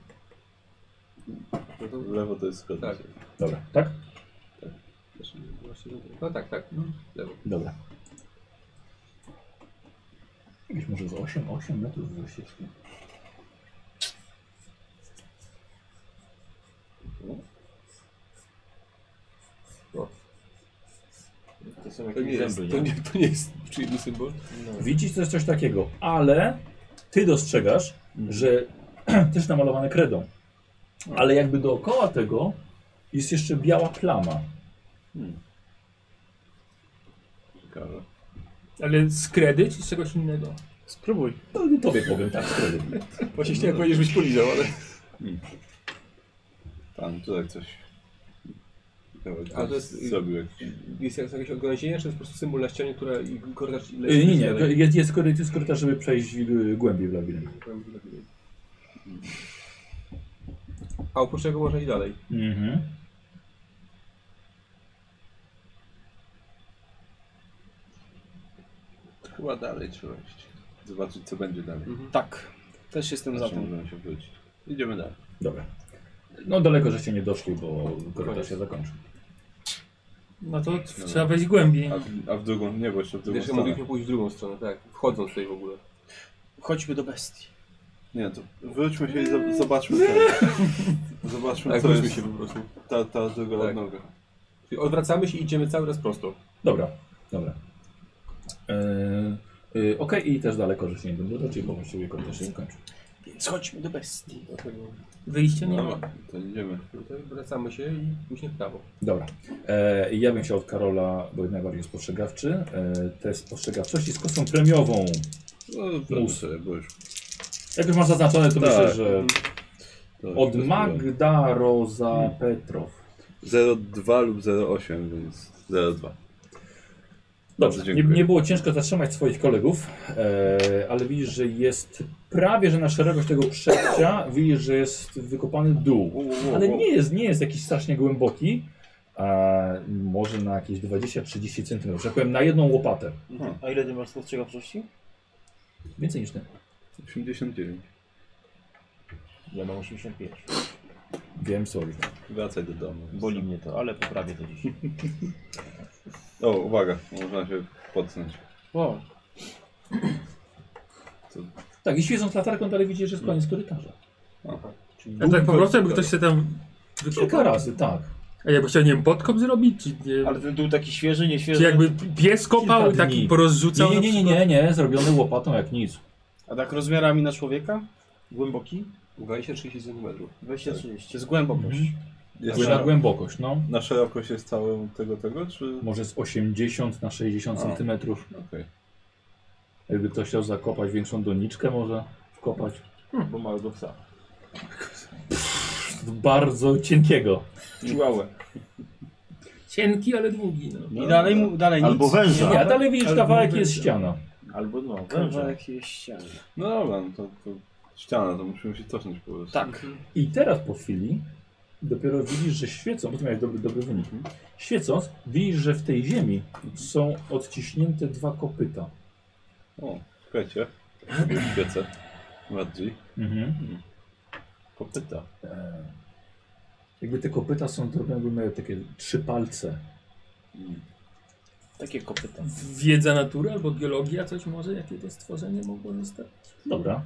[SPEAKER 2] No to
[SPEAKER 5] W lewo to jest zgodnie.
[SPEAKER 2] tak.
[SPEAKER 1] Dobra, tak?
[SPEAKER 2] Znaczy, właściwie- No tak, tak. no, Lewo.
[SPEAKER 1] Dobra. Jakieś może z 8, 8 metrów do ścieżki.
[SPEAKER 3] To są
[SPEAKER 2] To nie
[SPEAKER 3] jakieś
[SPEAKER 2] jest,
[SPEAKER 3] zęby,
[SPEAKER 2] to
[SPEAKER 3] nie?
[SPEAKER 2] nie, to nie jest przyjemny symbol.
[SPEAKER 1] Widzisz też coś takiego, ale ty dostrzegasz, że też namalowane kredą. Ale jakby dookoła tego jest jeszcze biała plama.
[SPEAKER 5] Ciekawe.
[SPEAKER 6] Ale z kredy czy z czegoś innego?
[SPEAKER 4] Spróbuj.
[SPEAKER 1] To tobie powiem tak, z kredy.
[SPEAKER 2] Właśnie chciałem powiedzieć, żebyś polizał, ale...
[SPEAKER 5] Tam tutaj coś. Ciekawe,
[SPEAKER 2] Ale to
[SPEAKER 5] ktoś
[SPEAKER 2] jest-
[SPEAKER 5] zrobił jakiś.
[SPEAKER 2] Jest jak- jakieś odgonienie, czy jest po prostu symbol na ścianie, która i korytarz
[SPEAKER 1] Y,
[SPEAKER 2] leci
[SPEAKER 1] Nie, nie,
[SPEAKER 2] dalej?
[SPEAKER 1] jest, jest, korytarz, jest korytarz, żeby przejść y, głębiej w labirynt.
[SPEAKER 2] A oprócz tego można i dalej.
[SPEAKER 1] Mhm.
[SPEAKER 5] Chyba dalej trzeba iść. Zobaczyć co będzie dalej.
[SPEAKER 4] Tak. Też jestem za
[SPEAKER 5] Znaczy,
[SPEAKER 4] tym.
[SPEAKER 5] możemy się wrócić. Idziemy dalej.
[SPEAKER 1] Dobra. No daleko żeście nie doszli, bo korytarz się zakończył.
[SPEAKER 6] No to t-
[SPEAKER 5] Dobra.
[SPEAKER 6] trzeba wejść głębiej.
[SPEAKER 5] A, a w drugą, nie, bo jeszcze w drugą
[SPEAKER 2] Wiesz, że
[SPEAKER 5] stronę.
[SPEAKER 2] mogliśmy pójść w drugą stronę, tak. Wchodząc tutaj w ogóle.
[SPEAKER 4] Chodźmy do bestii.
[SPEAKER 5] Nie, to wróćmy się i zo- zobaczmy co. Zobaczmy
[SPEAKER 2] Tak,
[SPEAKER 5] co
[SPEAKER 2] wróćmy
[SPEAKER 5] jest
[SPEAKER 2] się po prostu.
[SPEAKER 5] ta, ta druga
[SPEAKER 2] Tak.
[SPEAKER 5] odnoga.
[SPEAKER 2] Czyli odwracamy się i idziemy cały raz prosto.
[SPEAKER 1] Dobra, dobra. E, y, Yy, yy, Okej, i też daleko żeście nie doszli, bo właściwie korytarz się zakończył.
[SPEAKER 4] Więc chodźmy do bestii.
[SPEAKER 2] Dlatego
[SPEAKER 6] Wyjście nie ma.
[SPEAKER 5] Dobra, No, to idziemy.
[SPEAKER 2] tutaj wracamy się i później w prawo.
[SPEAKER 1] Dobra. E, ja bym chciał od Karola, bo jest najbardziej spostrzegawczy, e, te spostrzegawczości z kostką premiową.
[SPEAKER 5] No, sobie, bo już...
[SPEAKER 1] Jak już masz zaznaczone, to
[SPEAKER 5] Tak.
[SPEAKER 1] myślę, że
[SPEAKER 5] to
[SPEAKER 1] od
[SPEAKER 5] już
[SPEAKER 1] Magda Roza Petrow.
[SPEAKER 5] 0,2 lub 0,8, więc 0,2. Bardzo
[SPEAKER 1] Dobrze, nie,
[SPEAKER 5] dziękuję.
[SPEAKER 1] nie było ciężko zatrzymać swoich kolegów, e, ale widzisz, że jest prawie, że na szerokość tego przejścia widzisz, że jest wykopany dół. Ale nie jest, nie jest jakiś strasznie głęboki, a może na jakieś 20-30 cm, że tak powiem, na jedną łopatę.
[SPEAKER 3] A ile ty masz spostrzegawczości?
[SPEAKER 1] Więcej niż ten.
[SPEAKER 5] 89.
[SPEAKER 8] Ja mam 85.
[SPEAKER 1] Wiem, sorry.
[SPEAKER 5] Wracaj do domu.
[SPEAKER 8] Boli mnie to, ale poprawię to dziś.
[SPEAKER 5] O, uwaga, można się podsnąć.
[SPEAKER 8] O,
[SPEAKER 1] Tak, i świecąc latarką dalej widzisz, że jest koniec korytarza. Czyli
[SPEAKER 6] A tak po prostu, jakby ktoś się tam
[SPEAKER 1] Kilka
[SPEAKER 6] wykopał.
[SPEAKER 1] razy, tak.
[SPEAKER 6] A jakby chciał, nie wiem, podkop zrobić? Czy, nie,
[SPEAKER 8] ale ten był taki świeży, nieświeży.
[SPEAKER 6] czy jakby pies kopał i
[SPEAKER 1] Kilka
[SPEAKER 6] taki
[SPEAKER 1] dni.
[SPEAKER 6] porozrzucał?
[SPEAKER 1] Nie, nie,
[SPEAKER 6] na
[SPEAKER 1] nie, nie,
[SPEAKER 6] przykład?
[SPEAKER 1] nie, nie, zrobiony łopatą jak nic.
[SPEAKER 4] A tak rozmiarami na człowieka? Głęboki?
[SPEAKER 2] 20-30 cm.
[SPEAKER 4] 20-30. To jest głębokość.
[SPEAKER 5] Jest
[SPEAKER 1] Na
[SPEAKER 5] na,
[SPEAKER 1] głębokość, no.
[SPEAKER 5] na szerokość jest całego tego, tego, czy...
[SPEAKER 1] Może z 80 na 60
[SPEAKER 5] A.
[SPEAKER 1] centymetrów.
[SPEAKER 5] Okej.
[SPEAKER 1] Jakby ktoś chciał zakopać większą doniczkę, może wkopać.
[SPEAKER 5] No,
[SPEAKER 8] Bo małego psa.
[SPEAKER 1] Bardzo cienkiego.
[SPEAKER 8] Czułałe.
[SPEAKER 6] Cienki, ale długi. No.
[SPEAKER 4] I dalej, mu, dalej
[SPEAKER 3] Albo
[SPEAKER 4] nic.
[SPEAKER 3] węża.
[SPEAKER 1] Nie, a dalej widzisz
[SPEAKER 6] Tak, Ale
[SPEAKER 1] kawałek
[SPEAKER 6] mówię,
[SPEAKER 1] jest
[SPEAKER 6] że-
[SPEAKER 1] ściana.
[SPEAKER 8] Albo no, węża.
[SPEAKER 4] Kawałek jest ściany.
[SPEAKER 5] No dobra, no to, to ściana, to musimy się cofnąć po prostu.
[SPEAKER 4] Tak.
[SPEAKER 1] I teraz po chwili dopiero widzisz, że świecą, bo ty miałeś dobry, dobry wynik. Świecąc, widzisz, że w tej ziemi są odciśnięte dwa kopyta.
[SPEAKER 5] O, czekajcie. Świecę. Bardziej.
[SPEAKER 1] Mhm.
[SPEAKER 5] Kopyta.
[SPEAKER 1] E, Jakby te kopyta są drobne, jakby miały takie trzy palce.
[SPEAKER 4] Takie kopyta.
[SPEAKER 6] Wiedza natury albo biologia coś może, jakie to stworzenie mogło zostać?
[SPEAKER 1] Dobra.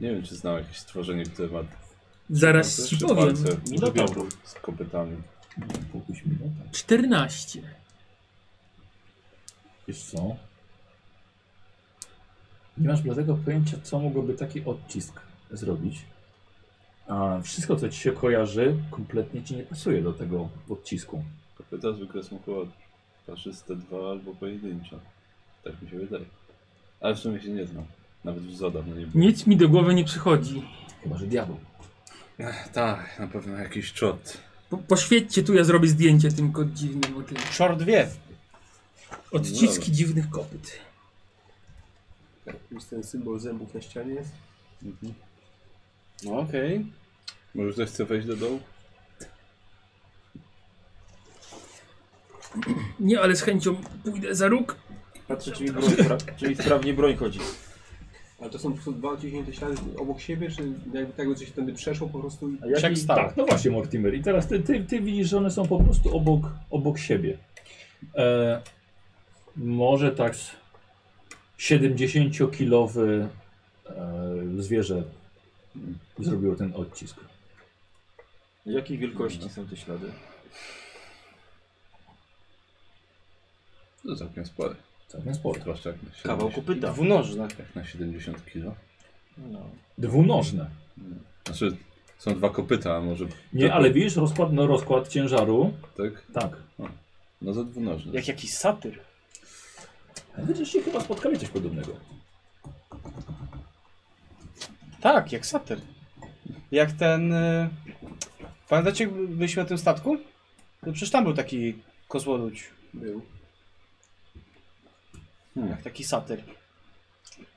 [SPEAKER 5] Nie wiem, czy znam jakieś stworzenie, które ma
[SPEAKER 2] No,
[SPEAKER 6] Zaraz ci powiem.
[SPEAKER 5] Minotaur. Z kopytami.
[SPEAKER 1] Pójdź mi, no tak.
[SPEAKER 6] 14.
[SPEAKER 1] Wiesz co? Nie masz bladego pojęcia, co mogłoby taki odcisk zrobić. A wszystko, co ci się kojarzy, kompletnie ci nie pasuje do tego odcisku.
[SPEAKER 5] Kopyta zwykle są chyba parzyste dwa albo pojedyncze. Tak mi się wydaje. Ale w sumie się nie znam. Nawet w Zodach no nie było.
[SPEAKER 6] Nic mi do głowy nie przychodzi.
[SPEAKER 1] Chyba, że diabeł.
[SPEAKER 5] Ech, tak, na pewno jakiś czot.
[SPEAKER 6] Po, poświećcie tu, ja zrobię zdjęcie tym ko- dziwnym o tym.
[SPEAKER 4] Short wie.
[SPEAKER 6] Odciski dziwnych kopyt.
[SPEAKER 2] Jest ten symbol zębów na ścianie.
[SPEAKER 4] No okej.
[SPEAKER 5] Może ktoś chce wejść do dołu?
[SPEAKER 6] Nie, ale z chęcią pójdę za róg.
[SPEAKER 8] Patrzę, czy mi, broń, spra- czy mi sprawnie broń chodzi.
[SPEAKER 2] Ale to są po prostu dwa odciśnięte ściany obok siebie, czy jakby tak by coś tędy przeszło po prostu i...
[SPEAKER 8] A jaki-
[SPEAKER 4] Wszak stało.
[SPEAKER 1] Tak, no właśnie, Mortimer. I teraz ty, ty, ty widzisz, że one są po prostu obok, obok siebie. E, może tak z 70-kilowy e, zwierzę zrobiło ten odcisk.
[SPEAKER 8] Jakiej wielkości są te ślady?
[SPEAKER 5] To No, całkiem spory.
[SPEAKER 1] Całkiem sporo.
[SPEAKER 5] Zwłaszcza jak na 70,
[SPEAKER 8] Kawał kopyta.
[SPEAKER 4] Dwunożne.
[SPEAKER 5] jak na 70 kilo.
[SPEAKER 8] No.
[SPEAKER 1] Dwunożne.
[SPEAKER 5] Znaczy, są dwa kopyta, a może...
[SPEAKER 1] Nie, ale widzisz rozkład, no, rozkład ciężaru.
[SPEAKER 5] Tak?
[SPEAKER 1] Tak.
[SPEAKER 5] No za dwunożne.
[SPEAKER 4] Jak jakiś satyr.
[SPEAKER 1] Widzisz, się chyba spotkali coś podobnego.
[SPEAKER 4] Tak, jak satyr. Jak ten... y, Pamiętacie, jak byliśmy na tym statku? No przecież tam był taki kozłodudź. Był.
[SPEAKER 5] Hmm.
[SPEAKER 4] Jak taki satyr.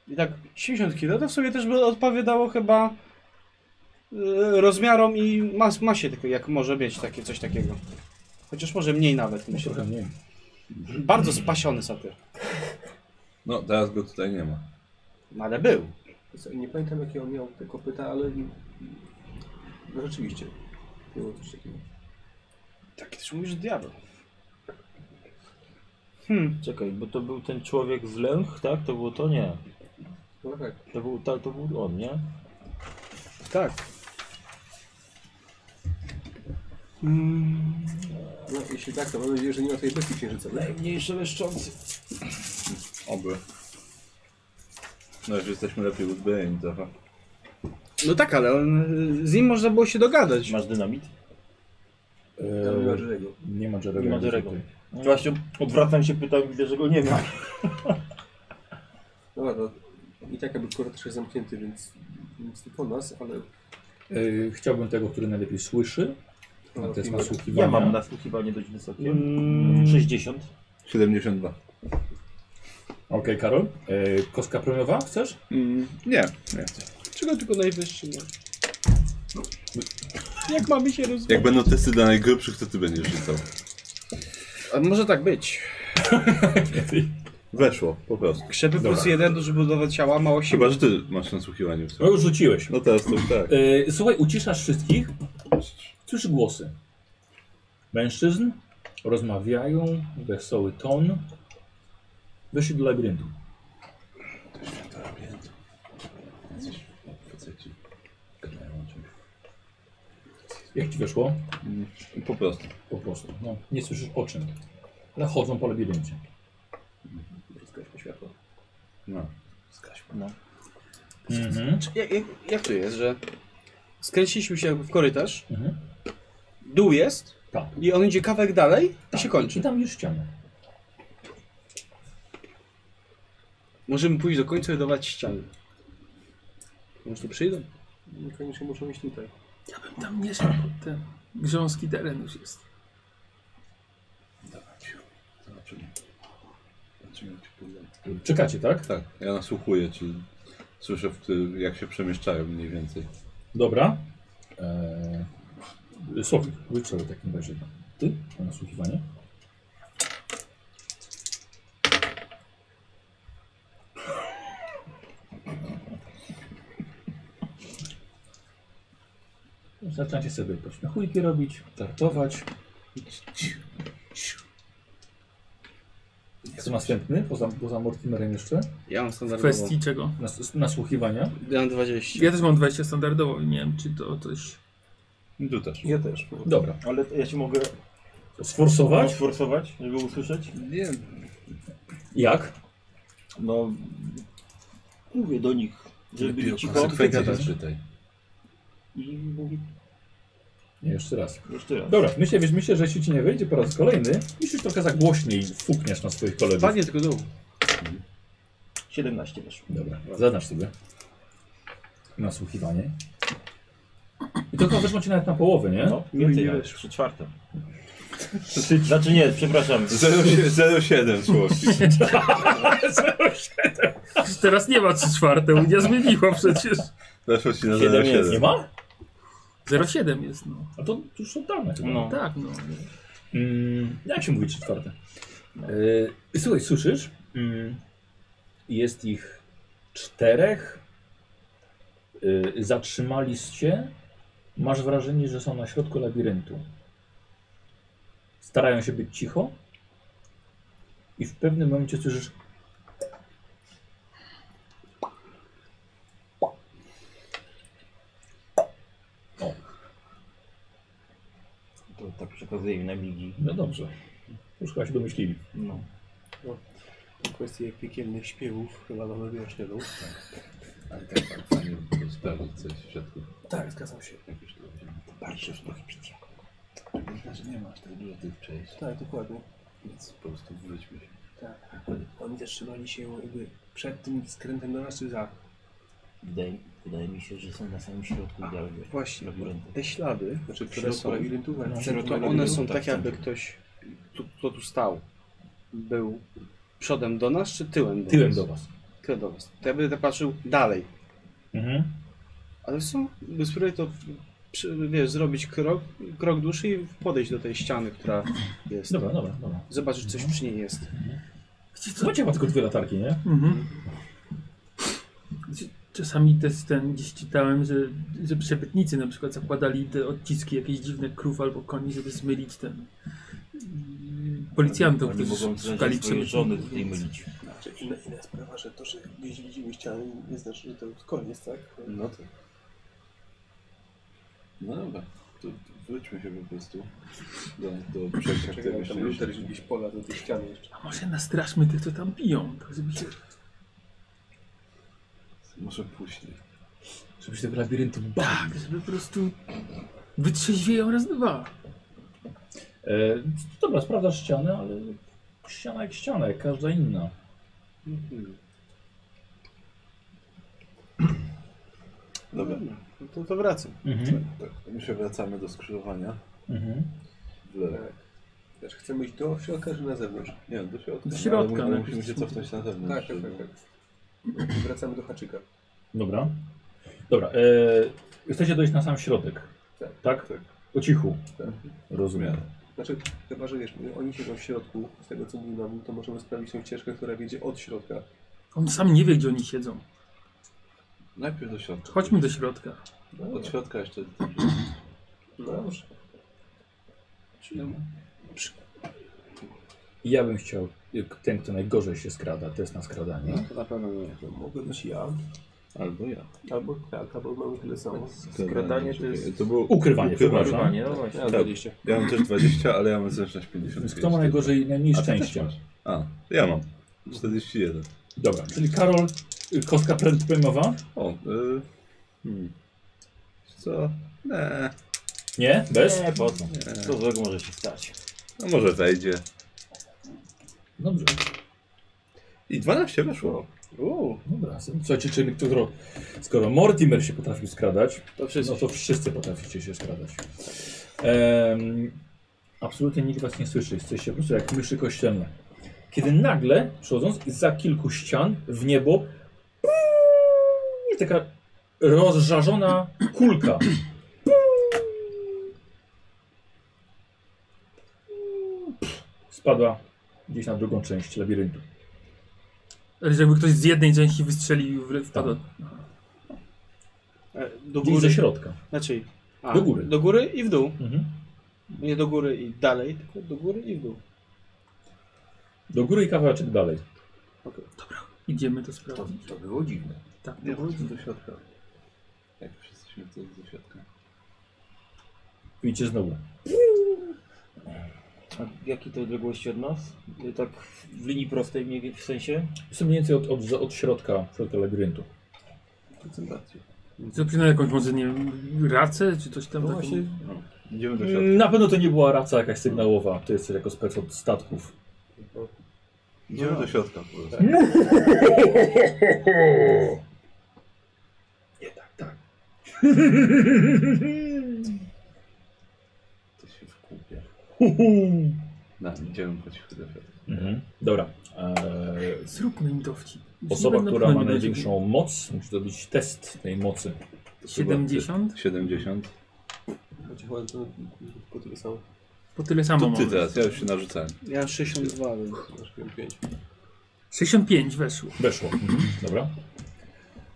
[SPEAKER 4] I tak 70 kg to w sumie też by odpowiadało chyba y, rozmiarom i mas, masie, tylko jak może mieć takie coś takiego. Chociaż może mniej nawet, myślę.
[SPEAKER 1] Trochę nie.
[SPEAKER 4] Bardzo spasiony satyr.
[SPEAKER 5] No, teraz go tutaj nie ma.
[SPEAKER 4] No ale był.
[SPEAKER 2] Co, Nie pamiętam jakie on miał te kopyta, ale... No rzeczywiście. Było coś takiego.
[SPEAKER 4] Taki też Tak mówisz diabeł.
[SPEAKER 8] Czekaj, bo to był ten człowiek z lęch, tak? To było to? Nie.
[SPEAKER 2] No tak.
[SPEAKER 8] To był, tak, to był on, nie?
[SPEAKER 4] Tak.
[SPEAKER 2] No jeśli tak, to mam nadzieję, że nie ma tej bestii księżycowej.
[SPEAKER 8] Najmniejsze leszczący.
[SPEAKER 5] Oby. No, już jesteśmy lepiej uzbrojeni trochę.
[SPEAKER 4] No tak, ale on, z nim można było się dogadać.
[SPEAKER 8] Masz dynamit?
[SPEAKER 2] E,
[SPEAKER 1] Eee, nie ma Jerego.
[SPEAKER 8] Nie ma Jerego. Właśnie odwracam się, pytam, widzę, że go nie ma.
[SPEAKER 2] Dobra, to i tak jakby korytarz jest zamknięty, więc nic tylko nas, ale...
[SPEAKER 1] Eee, chciałbym tego, który najlepiej słyszy. Na test nasłuchiwania.
[SPEAKER 8] No, Ja mam nasłuchiwanie dość wysokie.
[SPEAKER 3] Mm.
[SPEAKER 8] 60.
[SPEAKER 5] 72.
[SPEAKER 1] Okej, Karol. Eee, kostka premiowa chcesz?
[SPEAKER 5] Mm, nie, nie.
[SPEAKER 4] Czego tylko najwyższy nie? Jak mamy się rozwijać?
[SPEAKER 5] Jak będą testy dla najgrubszych, to ty będziesz rzucał.
[SPEAKER 4] A może tak być.
[SPEAKER 5] Weszło, po prostu.
[SPEAKER 4] Krzepy
[SPEAKER 1] Dobra.
[SPEAKER 4] plus jeden do budowy ciała ma 8.
[SPEAKER 5] Chyba, że ty masz nasłuchiwanie w
[SPEAKER 1] No
[SPEAKER 5] sobie.
[SPEAKER 1] już rzuciłeś.
[SPEAKER 5] No teraz to już tak.
[SPEAKER 1] Eee, słuchaj, uciszasz wszystkich. Słyszysz głosy. Mężczyzn rozmawiają, wesoły ton. Weszli do labiryntu. Jak ci weszło?
[SPEAKER 5] Po prostu.
[SPEAKER 1] Po prostu. No, nie słyszysz o czym. Ale chodzą po labiryncie.
[SPEAKER 5] No.
[SPEAKER 8] No.
[SPEAKER 1] Mhm.
[SPEAKER 4] Jak, jak, jak to jest, że skręciliśmy się w korytarz,
[SPEAKER 1] Mhm.
[SPEAKER 4] dół jest
[SPEAKER 1] Tak.
[SPEAKER 4] i on idzie kawałek dalej i się
[SPEAKER 1] Czy
[SPEAKER 4] kończy.
[SPEAKER 1] tam już ścianę?
[SPEAKER 4] Możemy pójść do końca i dawać ściany. Może tu przyjdą?
[SPEAKER 2] Niekoniecznie muszą iść tutaj.
[SPEAKER 6] Tam nie szedł pod ten grząski teren już jest.
[SPEAKER 5] Zobaczymy. Zobaczymy, jak ci pójdę.
[SPEAKER 1] Czekacie, tak?
[SPEAKER 5] Tak, ja nasłuchuję, czy słyszę, w którym- jak się przemieszczają mniej więcej.
[SPEAKER 1] Dobra. Eee, Słowik, rzuć sobie w takim razie. Ty na nasłuchiwanie. Zaczynacie sobie pośmiechujki robić, tartować. Co następny? Poza, poza Mortimerem jeszcze?
[SPEAKER 4] Ja mam
[SPEAKER 6] W
[SPEAKER 4] standardowo.
[SPEAKER 6] kwestii czego?
[SPEAKER 1] Nas, nasłuchiwania.
[SPEAKER 4] Ja mam 20.
[SPEAKER 6] Ja też mam 20 standardowo, nie wiem czy to coś...
[SPEAKER 5] I tu też.
[SPEAKER 10] Ja też.
[SPEAKER 1] Dobra.
[SPEAKER 8] Ale ja się mogę
[SPEAKER 1] Sforsować?
[SPEAKER 8] sforsować, żeby usłyszeć?
[SPEAKER 5] Nie.
[SPEAKER 1] Jak?
[SPEAKER 8] No, mówię do nich, żeby byli cicho.
[SPEAKER 5] Konsekwencje zaczytaj.
[SPEAKER 8] I mówię
[SPEAKER 1] Nie, jeszcze raz.
[SPEAKER 8] jeszcze raz.
[SPEAKER 1] Dobra, myślę, wiesz, myślę, że jeśli ci nie wejdzie po raz kolejny, myślisz trochę za głośniej fukniesz na swoich kolegów.
[SPEAKER 4] Spadnie tylko dół.
[SPEAKER 8] 17 weszło.
[SPEAKER 1] Dobra, zadasz sobie nasłuchiwanie. I to chyba weszło ci nawet na połowę, nie?
[SPEAKER 8] No, więcej
[SPEAKER 4] nie
[SPEAKER 8] weszło. Przy czwartym. Znaczy nie, przepraszam.
[SPEAKER 5] 07 słowki.
[SPEAKER 6] Teraz nie ma 3 czwarte, Unia zmieniła przecież.
[SPEAKER 5] Weszło ci na
[SPEAKER 8] Siedem jest.
[SPEAKER 5] 07.
[SPEAKER 1] Nie ma?
[SPEAKER 6] 07 jest no.
[SPEAKER 1] A to już są dane chyba.
[SPEAKER 8] No.
[SPEAKER 6] Tak no.
[SPEAKER 1] Mm, jak się mówi trzy czwarte? Yy, słuchaj, słyszysz? Mm, jest ich czterech. Yy, zatrzymaliście. Masz wrażenie, że są na środku labiryntu. Starają się być cicho. I w pewnym momencie słyszysz.
[SPEAKER 8] To tak przekazuję im na migi.
[SPEAKER 1] No dobrze. Już chyba się domyślili.
[SPEAKER 8] No.
[SPEAKER 2] W kwestii piekielnych śpiewów chyba mamy wyjaśnioną.
[SPEAKER 5] Ale tak, tak, fajnie by było sprawdzić coś w środku.
[SPEAKER 2] Tak, zgadzam się.
[SPEAKER 5] Jak już to będzie. Patrzę w prohibicja. Myślę, że nie masz tak dużo tych przejść,
[SPEAKER 2] Tak, dokładnie. Tak.
[SPEAKER 5] więc po prostu wróćmy się.
[SPEAKER 2] Oni zatrzymali się jakby przed tym skrętem do nas czy za.
[SPEAKER 8] Wydaje, wydaje mi się, że są na samym środku idealnie.
[SPEAKER 4] Właśnie.
[SPEAKER 8] Labiryntu.
[SPEAKER 4] Te ślady,
[SPEAKER 2] Znaczy,
[SPEAKER 4] Które
[SPEAKER 2] które
[SPEAKER 4] są-
[SPEAKER 2] są labiryntu, ale Znaczy,
[SPEAKER 1] No,
[SPEAKER 4] to
[SPEAKER 2] centrum
[SPEAKER 4] one są
[SPEAKER 2] labiryntu.
[SPEAKER 4] tak jakby ktoś, tu- kto tu stał, był przodem do nas czy tyłem do
[SPEAKER 1] Tyłem
[SPEAKER 4] nas?
[SPEAKER 1] do was.
[SPEAKER 4] Tyłem do nas. To ja będę patrzył dalej.
[SPEAKER 1] Mhm.
[SPEAKER 4] Ale są, by spróbuj to, przy, wiesz, zrobić krok, krok dłuższy i podejść do tej ściany, która jest.
[SPEAKER 1] Dobra, dobra, dobra.
[SPEAKER 4] Zobaczyć, coś przy niej jest.
[SPEAKER 6] Gdzie to?
[SPEAKER 1] Macie chyba tylko dwie latarki, nie?
[SPEAKER 6] Mhm. Czy- Znaczy, Czasami też ten gdzieś czytałem, że, że przepytnicy na przykład zakładali te odciski jakieś dziwne krów albo koni, żeby zmylić ten mm, policjantów,
[SPEAKER 8] Oni
[SPEAKER 6] którzy
[SPEAKER 8] mogą
[SPEAKER 6] szukali
[SPEAKER 8] szukali swoje żony tutaj
[SPEAKER 6] przepytnicy.
[SPEAKER 8] mylić.
[SPEAKER 2] Znaczy, inna, inna sprawa, że to, że gdzieś widzimy ściany, nie znaczy, że to już koniec, tak?
[SPEAKER 5] No to. No dobra, to wróćmy się po prostu do, do przejścia, którego
[SPEAKER 2] Czekaj,
[SPEAKER 5] jeszcze
[SPEAKER 2] tam
[SPEAKER 5] nie
[SPEAKER 2] był też
[SPEAKER 5] szliśmy.
[SPEAKER 2] jakieś pola do tej ściany jeszcze.
[SPEAKER 6] A może nastraszmy tych, co tam piją, tak żeby się...
[SPEAKER 5] Może później.
[SPEAKER 1] Żebyś tego labiryntu bał.
[SPEAKER 6] Tak, żeby po prostu wytrzeźwieją raz dwa.
[SPEAKER 1] E, dobra, sprawdzasz ścianę, ale ściana jak ściana, jak każda inna.
[SPEAKER 5] Dobra,
[SPEAKER 4] No to, to wracam.
[SPEAKER 1] Mhm.
[SPEAKER 5] my się wracamy do skrzyżowania.
[SPEAKER 1] Mhm.
[SPEAKER 5] W lewo.
[SPEAKER 2] Też Znaczy, chcemy iść do środka czy na zewnątrz?
[SPEAKER 5] Nie, do środka.
[SPEAKER 6] Do środka,
[SPEAKER 5] Ale, ale
[SPEAKER 6] no.
[SPEAKER 5] musimy się cofnąć na
[SPEAKER 2] Tak,
[SPEAKER 5] zewnątrz.
[SPEAKER 2] tak, tak. tak. Wracamy do haczyka.
[SPEAKER 1] Dobra. Dobra. E, chcecie dojść na sam środek.
[SPEAKER 2] Tak.
[SPEAKER 1] Tak? Po cichu.
[SPEAKER 2] Tak.
[SPEAKER 1] Rozumiem.
[SPEAKER 2] Znaczy, chyba, że wiesz, oni siedzą w środku, z tego co mówił nam, to możemy sprawić tą ścieżkę, która wiedzie od środka.
[SPEAKER 6] On sam nie wie, gdzie oni siedzą.
[SPEAKER 5] Najpierw do środka.
[SPEAKER 6] Chodźmy do środka.
[SPEAKER 5] Od środka jeszcze.
[SPEAKER 2] No dobrze.
[SPEAKER 1] Ja bym chciał, jak ten kto najgorzej się skrada, test na skradanie.
[SPEAKER 4] To na pewno nie.
[SPEAKER 2] To mogę być ja,
[SPEAKER 5] Albo ja.
[SPEAKER 2] albo tak, albo mamy tyle samo.
[SPEAKER 5] Skradanie
[SPEAKER 8] tak,
[SPEAKER 10] to jest-
[SPEAKER 5] To było
[SPEAKER 1] Ukrywanie, przepraszam.
[SPEAKER 10] Chyba, nie? No właśnie.
[SPEAKER 4] Ja 20.
[SPEAKER 5] Ja mam też 20, ale ja mam zręczność
[SPEAKER 1] Więc
[SPEAKER 5] 50.
[SPEAKER 1] kto ma najgorzej, najmniej
[SPEAKER 5] A ty też
[SPEAKER 1] szczęścia?
[SPEAKER 5] masz. A, ja mam. 41.
[SPEAKER 1] Dobra, czyli Karol, y, kostka premiowa?
[SPEAKER 5] O, y... Hmm. Wiesz Co? Nie.
[SPEAKER 1] Nie? Bez?
[SPEAKER 8] Nie, po co? Co złego może się stać?
[SPEAKER 5] No może wejdzie.
[SPEAKER 1] Dobrze.
[SPEAKER 5] I 12 weszło.
[SPEAKER 4] Uuu,
[SPEAKER 1] Dobra. Słuchajcie, czyli skoro, skoro Mortimer się potrafił skradać,
[SPEAKER 4] to wszyscy.
[SPEAKER 1] no to wszyscy potraficie się skradać. Em, absolutnie nikt was nie słyszy. Jesteście po prostu jak myszy kościelne. Kiedy nagle, przechodząc za kilku ścian w niebo, i taka rozżarzona kulka. Spadła gdzieś na drugą część labiryntu.
[SPEAKER 6] Ale jakby ktoś z jednej części wystrzelił w wpadł.
[SPEAKER 4] E, Do
[SPEAKER 1] Gdzieś ze
[SPEAKER 4] góry.
[SPEAKER 1] środka.
[SPEAKER 4] Znaczy, a,
[SPEAKER 1] Do góry.
[SPEAKER 4] Do góry i w dół.
[SPEAKER 1] Mhm.
[SPEAKER 4] Nie do góry i dalej, tylko do góry i w dół.
[SPEAKER 1] Do góry i kawałeczek dalej.
[SPEAKER 6] Idziemy to
[SPEAKER 10] To,
[SPEAKER 6] sprawdzić.
[SPEAKER 10] to było dziwne.
[SPEAKER 6] Tak,
[SPEAKER 5] Nie,
[SPEAKER 6] to było
[SPEAKER 5] chodźmy
[SPEAKER 6] dziwne.
[SPEAKER 5] do środka. Jak wszyscyśmy to do środka.
[SPEAKER 1] Widzicie znowu.
[SPEAKER 8] A jakiej to odległości od nas? Y, Tak w linii prostej mniej więcej, w sensie?
[SPEAKER 1] Jest mniej więcej od, od, od środka, środka labiryntu.
[SPEAKER 5] Koncentracja.
[SPEAKER 6] Zapisz na jakąś może, nie wiem, racę czy coś tam
[SPEAKER 2] No
[SPEAKER 6] takiego?
[SPEAKER 2] właśnie,
[SPEAKER 5] Idziemy do środka.
[SPEAKER 1] Mm, Na pewno to nie była raca jakaś sygnałowa. To jest jako spec od statków.
[SPEAKER 5] Idziemy do środka po prostu.
[SPEAKER 1] Nie tak, tak.
[SPEAKER 5] To się wkupia. No, idziemy po cichu do środka.
[SPEAKER 1] Mhm. Dobra. Eee,
[SPEAKER 6] Zróbmy im dowcip. Już nie
[SPEAKER 1] osoba,
[SPEAKER 6] będą
[SPEAKER 1] która ma
[SPEAKER 6] bronić.
[SPEAKER 1] największą moc, musi zrobić test tej mocy.
[SPEAKER 5] To
[SPEAKER 6] 70?
[SPEAKER 5] chyba ty- 70.
[SPEAKER 2] Choć chyba to po tyle samo.
[SPEAKER 6] Po tyle samo
[SPEAKER 5] To
[SPEAKER 6] mamy.
[SPEAKER 5] ty teraz, ja już się narzucałem.
[SPEAKER 4] Ja 62, więc.
[SPEAKER 2] Masz 5.
[SPEAKER 6] 65 weszło.
[SPEAKER 1] Weszło. Mhm. Dobra.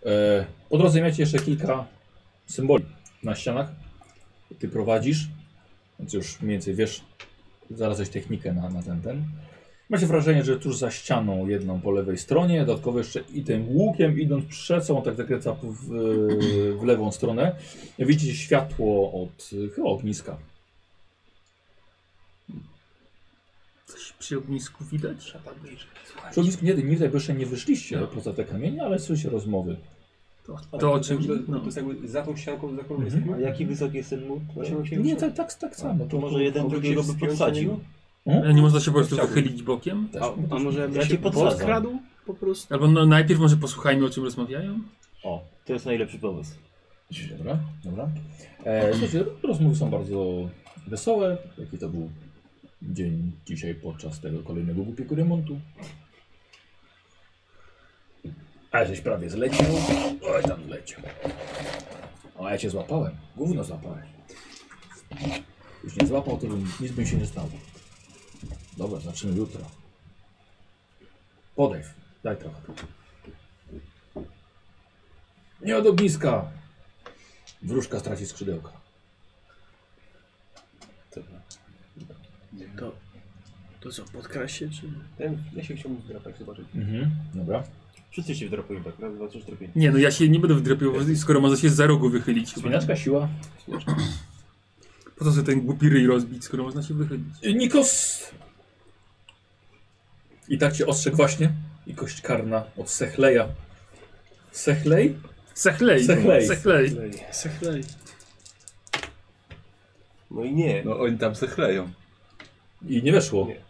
[SPEAKER 1] E, po drodze macie jeszcze kilka symboli na ścianach. Ty prowadzisz, więc już mniej więcej wiesz, zaraz weź technikę na, na ten ten. Macie wrażenie, że tuż za ścianą jedną po lewej stronie, dodatkowo jeszcze i tym łukiem idąc przed sobą, tak zakręca w, w lewą stronę. Widzicie światło od y, chyba ogniska.
[SPEAKER 6] Coś przy ognisku widać?
[SPEAKER 1] Przy ognisku nie, nigdy jeszcze nie wyszliście poza te kamienie, ale słyszycie rozmowy.
[SPEAKER 6] To, to o czym...
[SPEAKER 2] No.
[SPEAKER 6] No.
[SPEAKER 2] To jest jakby za tą ścianką, za którą
[SPEAKER 1] Mhm.
[SPEAKER 2] jesteśmy?
[SPEAKER 8] A jaki wysoki jest ten mur?
[SPEAKER 1] Nie, tak, tak, tak samo.
[SPEAKER 8] To może jeden
[SPEAKER 2] Kogoś
[SPEAKER 8] drugiego
[SPEAKER 2] się
[SPEAKER 8] by
[SPEAKER 2] wspiąć na
[SPEAKER 8] podsadził?
[SPEAKER 2] niego?
[SPEAKER 6] Ale nie można się po prostu wychylić bokiem?
[SPEAKER 1] Też.
[SPEAKER 4] A, a może
[SPEAKER 8] Ja
[SPEAKER 4] ja
[SPEAKER 8] cię
[SPEAKER 4] się
[SPEAKER 8] podsadzam.
[SPEAKER 4] podkradł po prostu?
[SPEAKER 6] Albo no, najpierw może posłuchajmy o czym rozmawiają?
[SPEAKER 1] O,
[SPEAKER 8] To jest najlepszy pomysł.
[SPEAKER 1] Dobra, dobra. E, słuchajcie, rozmowy są bardzo wesołe. Jaki to był dzień dzisiaj podczas tego kolejnego głupiego remontu? A żeś prawie zleciał. Oj, tam zleciał. O, ja cię złapałem. Gówno złapałem. Już nie złapał, to bym, nic bym się nie stało. Dobra, zaczniemy jutro. Podejdź, daj trochę. Nie od ogniska, Wróżka straci skrzydełka.
[SPEAKER 4] To, to co, podkraść się czy?
[SPEAKER 2] Ten, ja się chciałbym wdrapać, zobaczyć.
[SPEAKER 1] Mhm. Dobra.
[SPEAKER 8] Wszyscy się wdrapują tak, raz, dwa, trzy, cztery, pięć.
[SPEAKER 6] Nie, no ja się nie będę wdrapiał, skoro można się za rogu wychylić. chyba.
[SPEAKER 1] Wspinaczka siła.
[SPEAKER 6] Po co sobie ten głupi ryj rozbić, skoro można się wychylić?
[SPEAKER 1] Nikos! I tak cię ostrzegł właśnie. I kość karna od Sechleja. Sechlej?
[SPEAKER 6] Sechlej. no,
[SPEAKER 1] Sechlej.
[SPEAKER 6] Sechlej.
[SPEAKER 4] Sechlej.
[SPEAKER 2] No i nie.
[SPEAKER 5] No oni tam se chleją.
[SPEAKER 1] I nie weszło. Nie,